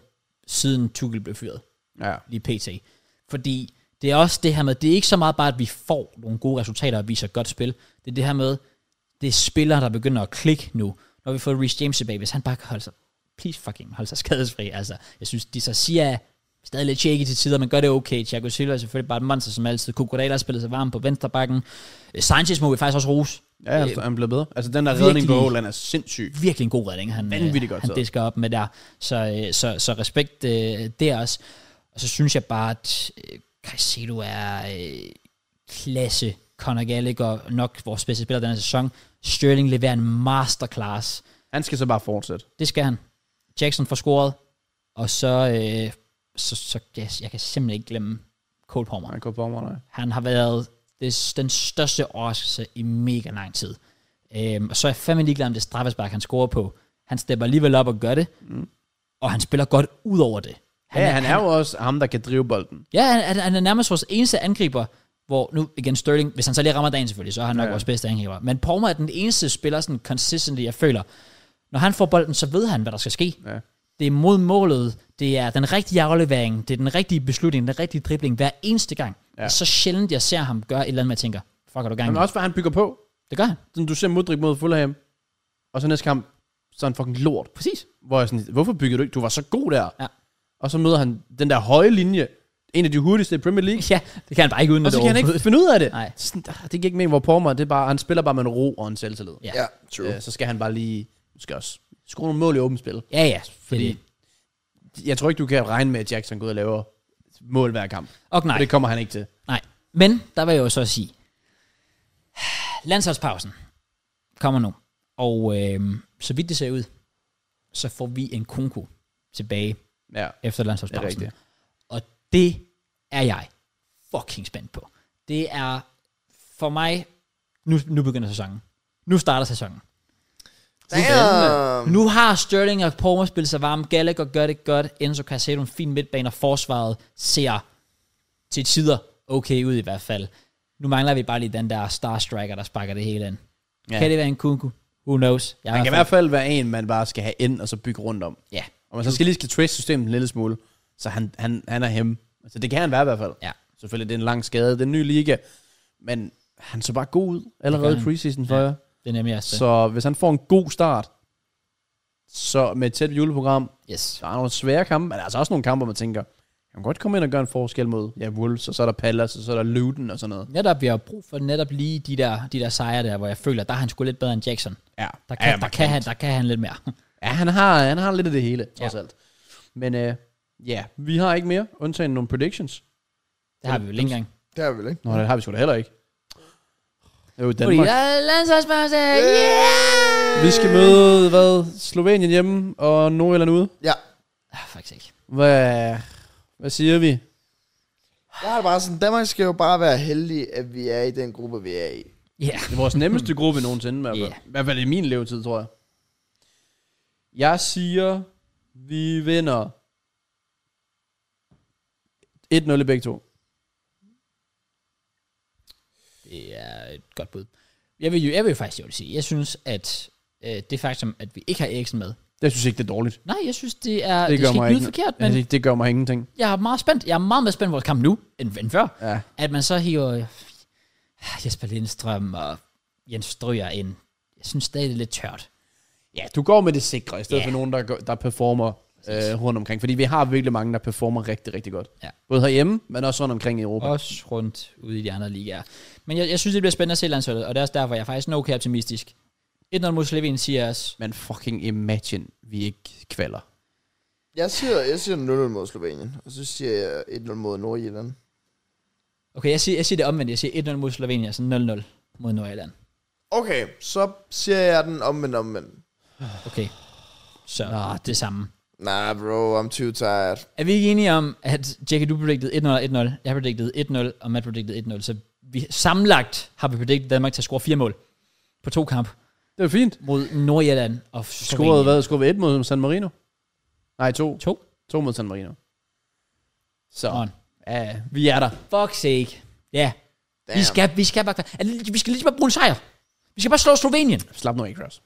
Speaker 1: siden Tuchel blev fyret,
Speaker 3: Ja.
Speaker 1: lige pt. Fordi det er også det her med, det er ikke så meget bare, at vi får nogle gode resultater og viser et godt spil. Det er det her med, det er spillere, der begynder at klikke nu. Når vi får Reece James tilbage, hvis han bare kan holde sig, please fucking holde sig skadesfri. Altså, jeg synes, de så siger, er stadig lidt shaky til tider, men gør det okay. Thiago Silva er selvfølgelig bare et monster som altid. Kukurela har spillet sig varm på venstrebakken. Øh, Sanchez må vi faktisk også rose
Speaker 3: Ja, altså, han bliver bedre. Altså, den der
Speaker 1: Virkelig.
Speaker 3: redning på Håland er sindssyg.
Speaker 1: virkelig en god redning, han, øh,
Speaker 3: Vanvittigt godt
Speaker 1: han
Speaker 3: taget.
Speaker 1: disker op med der. Så, øh, så, så respekt øh, der også. Og så synes jeg bare, at øh, Caicedo er øh, klasse. Conor Gallagher nok vores bedste spiller den her sæson. Sterling leverer en masterclass.
Speaker 3: Han skal så bare fortsætte.
Speaker 1: Det skal han. Jackson får scoret. Og så, øh, så, så jeg, jeg kan simpelthen ikke glemme Cole Palmer.
Speaker 3: Han går på mig, nej.
Speaker 1: Han har været det, den største overraskelse i mega lang tid. Øhm, og så er jeg fandme ligeglad om det straffespark, han scorer på. Han stepper alligevel op og gør det. Mm. Og han spiller godt ud over det.
Speaker 3: Han, ja, han, er jo også ham, der kan drive bolden.
Speaker 1: Ja, han, han- han er nærmest vores eneste angriber, hvor nu igen Sterling, hvis han så lige rammer dagen selvfølgelig, så er han nok
Speaker 3: Ja.
Speaker 1: ja. vores bedste angriber. Men Palmer er den eneste spiller, sådan consistently, jeg føler, når han får bolden, så ved han, hvad der skal ske.
Speaker 3: Ja.
Speaker 1: Det er mod målet, det er den rigtige aflevering, det er den rigtige beslutning, den rigtige dribling hver eneste gang.
Speaker 3: Ja.
Speaker 1: Ja. Så sjældent jeg ser ham gøre et eller andet, jeg tænker, fuck er du gang
Speaker 3: Men
Speaker 1: med?
Speaker 3: også, hvad han bygger på.
Speaker 1: Det gør han. [LAUGHS]
Speaker 3: Sådan, du ser Mudrik mod Fulham, og så næste kamp, så er han fucking lort.
Speaker 1: Præcis.
Speaker 3: Hvor jeg sådan, hvorfor bygger du ikke? Du var så god der.
Speaker 1: Ja.
Speaker 3: Og så møder han den der høje linje, en af de hurtigste i Premier [LAUGHS] League.
Speaker 1: Ja, det kan han bare ikke uden
Speaker 3: Og så kan han ikke finde ud af det.
Speaker 1: Nej.
Speaker 3: Sådan, ah, det gik ikke med, hvor Palmer, det er bare, han spiller bare med en ro og en selvtillid.
Speaker 1: Ja.
Speaker 2: Ja, true.
Speaker 3: Øh, så skal han bare lige, måske også skrue nogle mål i åbent spil.
Speaker 1: Ja, ja. Fordi,
Speaker 3: Fordi jeg tror ikke, du kan regne med, at Jackson går ud og laver mål hver kamp.
Speaker 1: og nej.
Speaker 3: Og det kommer han ikke til.
Speaker 1: Nej. Men der vil jeg jo så sige, landsholdspausen kommer nu. Og øh, så vidt det ser ud, så får vi en kunko tilbage
Speaker 3: Ja,
Speaker 1: efter
Speaker 3: det er
Speaker 1: landsholdspausen.
Speaker 3: rigtigt.
Speaker 1: og det er jeg fucking spændt på. Det er for mig, nu, nu begynder sæsonen. Nu starter sæsonen.
Speaker 2: Damn.
Speaker 1: Nu har Sterling og Palmer spillet sig varme. Gallagher gør det godt. Enzo Casedo en fin midtbane, og forsvaret ser til tider okay ud i hvert fald. Nu mangler vi bare lige den der star striker, der sparker det hele ind.
Speaker 3: Ja.
Speaker 1: Ja. Kan det være en kunku? Who knows? Jeg er
Speaker 3: Han kan i hvert fald være en, man bare skal have ind og så bygge rundt om.
Speaker 1: Ja.
Speaker 3: Og man så skal lige skal trace systemet en lille smule, så han, han, han er hjemme. Altså, det kan han være i hvert fald.
Speaker 1: Ja.
Speaker 3: Selvfølgelig, det er en lang skade, det er en ny liga, men han så bare god ud allerede
Speaker 1: Det
Speaker 3: i
Speaker 1: gør
Speaker 3: preseason for
Speaker 1: Ja.
Speaker 3: jer.
Speaker 1: Det er nemlig også så.
Speaker 3: Så hvis han får en god start, så med et tæt juleprogram,
Speaker 1: Yes.
Speaker 3: der er nogle svære kampe, men der er altså også nogle kampe, hvor man tænker, han kan godt komme ind og gøre en forskel mod ja, Wolves, og så er der Palace, og så er der Luton og sådan noget.
Speaker 1: Netop, vi har brug for netop lige de der, de der sejre der, hvor jeg føler, der er han sgu lidt bedre end Jackson.
Speaker 3: Ja,
Speaker 1: Der kan,
Speaker 3: ja,
Speaker 1: ja, der
Speaker 3: markant.
Speaker 1: kan, han, der kan han lidt mere.
Speaker 3: Ja, han har, han har lidt af det hele, trods
Speaker 1: Ja.
Speaker 3: alt. Men øh, ja, vi har ikke mere, undtagen nogle predictions.
Speaker 1: Det har vi jo ikke engang.
Speaker 2: Det er vel ikke.
Speaker 3: Nå, det har vi sgu da heller ikke. Jo,
Speaker 1: Fordi
Speaker 3: Danmark.
Speaker 1: der er landsholdspause! Yeah!
Speaker 3: Vi skal møde, hvad? Slovenien hjemme, og Nordjylland ude.
Speaker 2: Ja.
Speaker 1: Ah, faktisk ikke.
Speaker 3: Hvad, hvad siger vi?
Speaker 2: Jeg har det bare sådan, Danmark skal jo bare være heldig, at vi er i den gruppe, vi er i.
Speaker 1: Ja. Yeah.
Speaker 3: Det er vores nemmeste gruppe nogensinde, i hvert fald.
Speaker 1: Ja.
Speaker 3: I hvert fald i min levetid, tror jeg. Jeg siger, vi vinder 1-0 i begge to.
Speaker 1: Det er et godt bud. Jeg vil jo, jeg vil jo faktisk jo sige, jeg synes, at øh, det faktum, at vi ikke har Eriksen med,
Speaker 3: Jeg synes ikke, det er dårligt.
Speaker 1: nej, jeg synes, det er,
Speaker 3: Det
Speaker 1: det,
Speaker 3: gør
Speaker 1: det skal
Speaker 3: mig
Speaker 1: ikke lyde
Speaker 3: ikke-
Speaker 1: forkert,
Speaker 3: Men,
Speaker 1: men
Speaker 3: det, det gør mig ingenting.
Speaker 1: jeg er meget spændt. Jeg er meget mere spændt på vores kamp nu, end, end før.
Speaker 3: Ja.
Speaker 1: At man så hiver ah, Jesper Lindstrøm og Jens Stryger ind. Jeg synes stadig, det er lidt tørt.
Speaker 3: Ja, du går med det sikre, i stedet
Speaker 1: Ja.
Speaker 3: for nogen, der, går, der performer øh, rundt omkring. Fordi vi har virkelig mange, der performer rigtig, rigtig godt.
Speaker 1: Ja.
Speaker 3: Både herhjemme, men også rundt omkring i Europa.
Speaker 1: Også rundt ude i de andre ligaer. Men jeg, jeg synes, det bliver spændende at se landsholdet, og det er også derfor, jeg er faktisk okay optimistisk. 1-0 mod Slovenien siger os,
Speaker 3: Men fucking imagine, vi ikke kvaller.
Speaker 2: Jeg siger, jeg siger 0-0 mod Slovenien, og så siger jeg 1-0 mod Nordjylland.
Speaker 1: okay, jeg siger, jeg siger det omvendt, jeg siger 1-0 mod Slovenien, og så 0-0 mod Nordjylland.
Speaker 2: Okay, så siger jeg den omvendt omvendt.
Speaker 1: Okay. Så Nå, det samme.
Speaker 2: Nah, bro, I'm too tired.
Speaker 1: Er vi ikke enige om, at Jackie, du predicted 1-0 og 1-0, jeg predicted 1-0, og Matt predicted 1-0, så vi sammenlagt har vi predicted Danmark til at score fire mål på to kamp
Speaker 3: Det var fint.
Speaker 1: mod Nordjylland og
Speaker 3: Scorede
Speaker 1: Slovenien.
Speaker 3: hvad? Scorede vi et mod San Marino? Nej, to.
Speaker 1: To.
Speaker 3: To mod San Marino. Så.
Speaker 1: On.
Speaker 3: Ja, vi er der.
Speaker 1: Fuck sake. Ja,
Speaker 2: Damn.
Speaker 1: vi skal, vi skal bare, er det- vi skal lige bare bruge en sejr. Vi skal bare slå Slovenien.
Speaker 3: Slap nu ikke, Ross.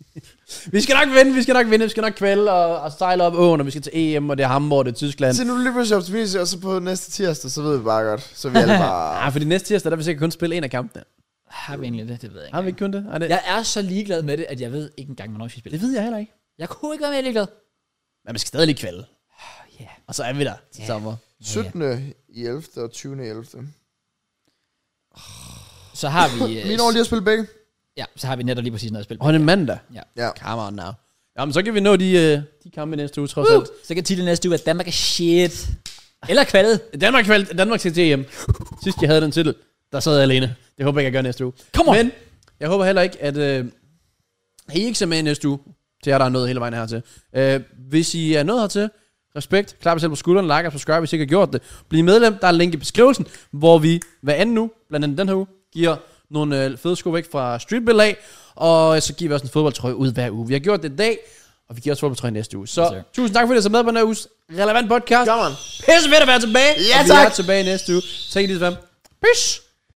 Speaker 3: [LAUGHS] vi skal nok vinde, vi skal nok vinde, vi skal nok kvæle og, og sejle op åen, og vi skal til EM, og det er Hamburg, og det er Tyskland.
Speaker 2: Se nu er du lige pludselig optimistisk, og så på næste tirsdag, så ved vi bare godt. Så er vi alle
Speaker 3: [LAUGHS]
Speaker 2: bare...
Speaker 3: Ah, fordi næste tirsdag, der vil vi sikkert kun spille en af kampene.
Speaker 1: Har vi egentlig det? Det ved jeg
Speaker 3: Har
Speaker 1: ikke.
Speaker 3: vi ikke kun det? Er det?
Speaker 1: Jeg er så ligeglad med det, at jeg ved ikke engang, hvornår vi skal spille.
Speaker 3: Det ved jeg heller ikke.
Speaker 1: Jeg kunne ikke være mere ligeglad.
Speaker 3: Men man skal stadig lige kvalde.
Speaker 1: ja.
Speaker 3: Og så er vi der til
Speaker 1: Ja.
Speaker 3: sommer.
Speaker 2: 17. i 11. og 20. i 11.
Speaker 1: Så har [LAUGHS] vi, øh,
Speaker 2: Min år lige at spille begge.
Speaker 1: ja, så har vi netop lige præcis noget at spille.
Speaker 3: Og det er mandag.
Speaker 2: Ja.
Speaker 3: Come on now. Jamen, så kan vi nå de, øh, de kampe næste uge, trods alt.
Speaker 1: Så kan titlen næste uge være Danmark er shit. Eller kvalget.
Speaker 3: Danmark, valgte- Danmark til DM. Sidst jeg havde den titel, der sad jeg alene. Det håber jeg, jeg gør næste uge.
Speaker 1: Come on.
Speaker 3: Men jeg håber heller ikke, at øh, I ikke ser med i næste uge, til jer, der er nået hele vejen hertil. Øh, hvis I er nået hertil, respekt, klap jer selv på skulderen, like og subscribe, hvis I ikke har gjort det. Bliv medlem, der er en link i beskrivelsen, hvor vi hver anden uge, blandt andet den her uge, giver nogle øh, fede sko væk fra Streetbill af, og så giver vi også en fodboldtrøje ud hver uge. Vi har gjort det i dag, og vi giver også fodboldtrøje næste uge. Så
Speaker 1: Yes, sir.
Speaker 3: tusind tak, fordi I så med på den her uges relevant podcast.
Speaker 2: Come on.
Speaker 3: Pisse fedt at være tilbage.
Speaker 2: Ja,
Speaker 3: og vi
Speaker 2: tak.
Speaker 3: er tilbage næste uge. Tak i lige så Peace.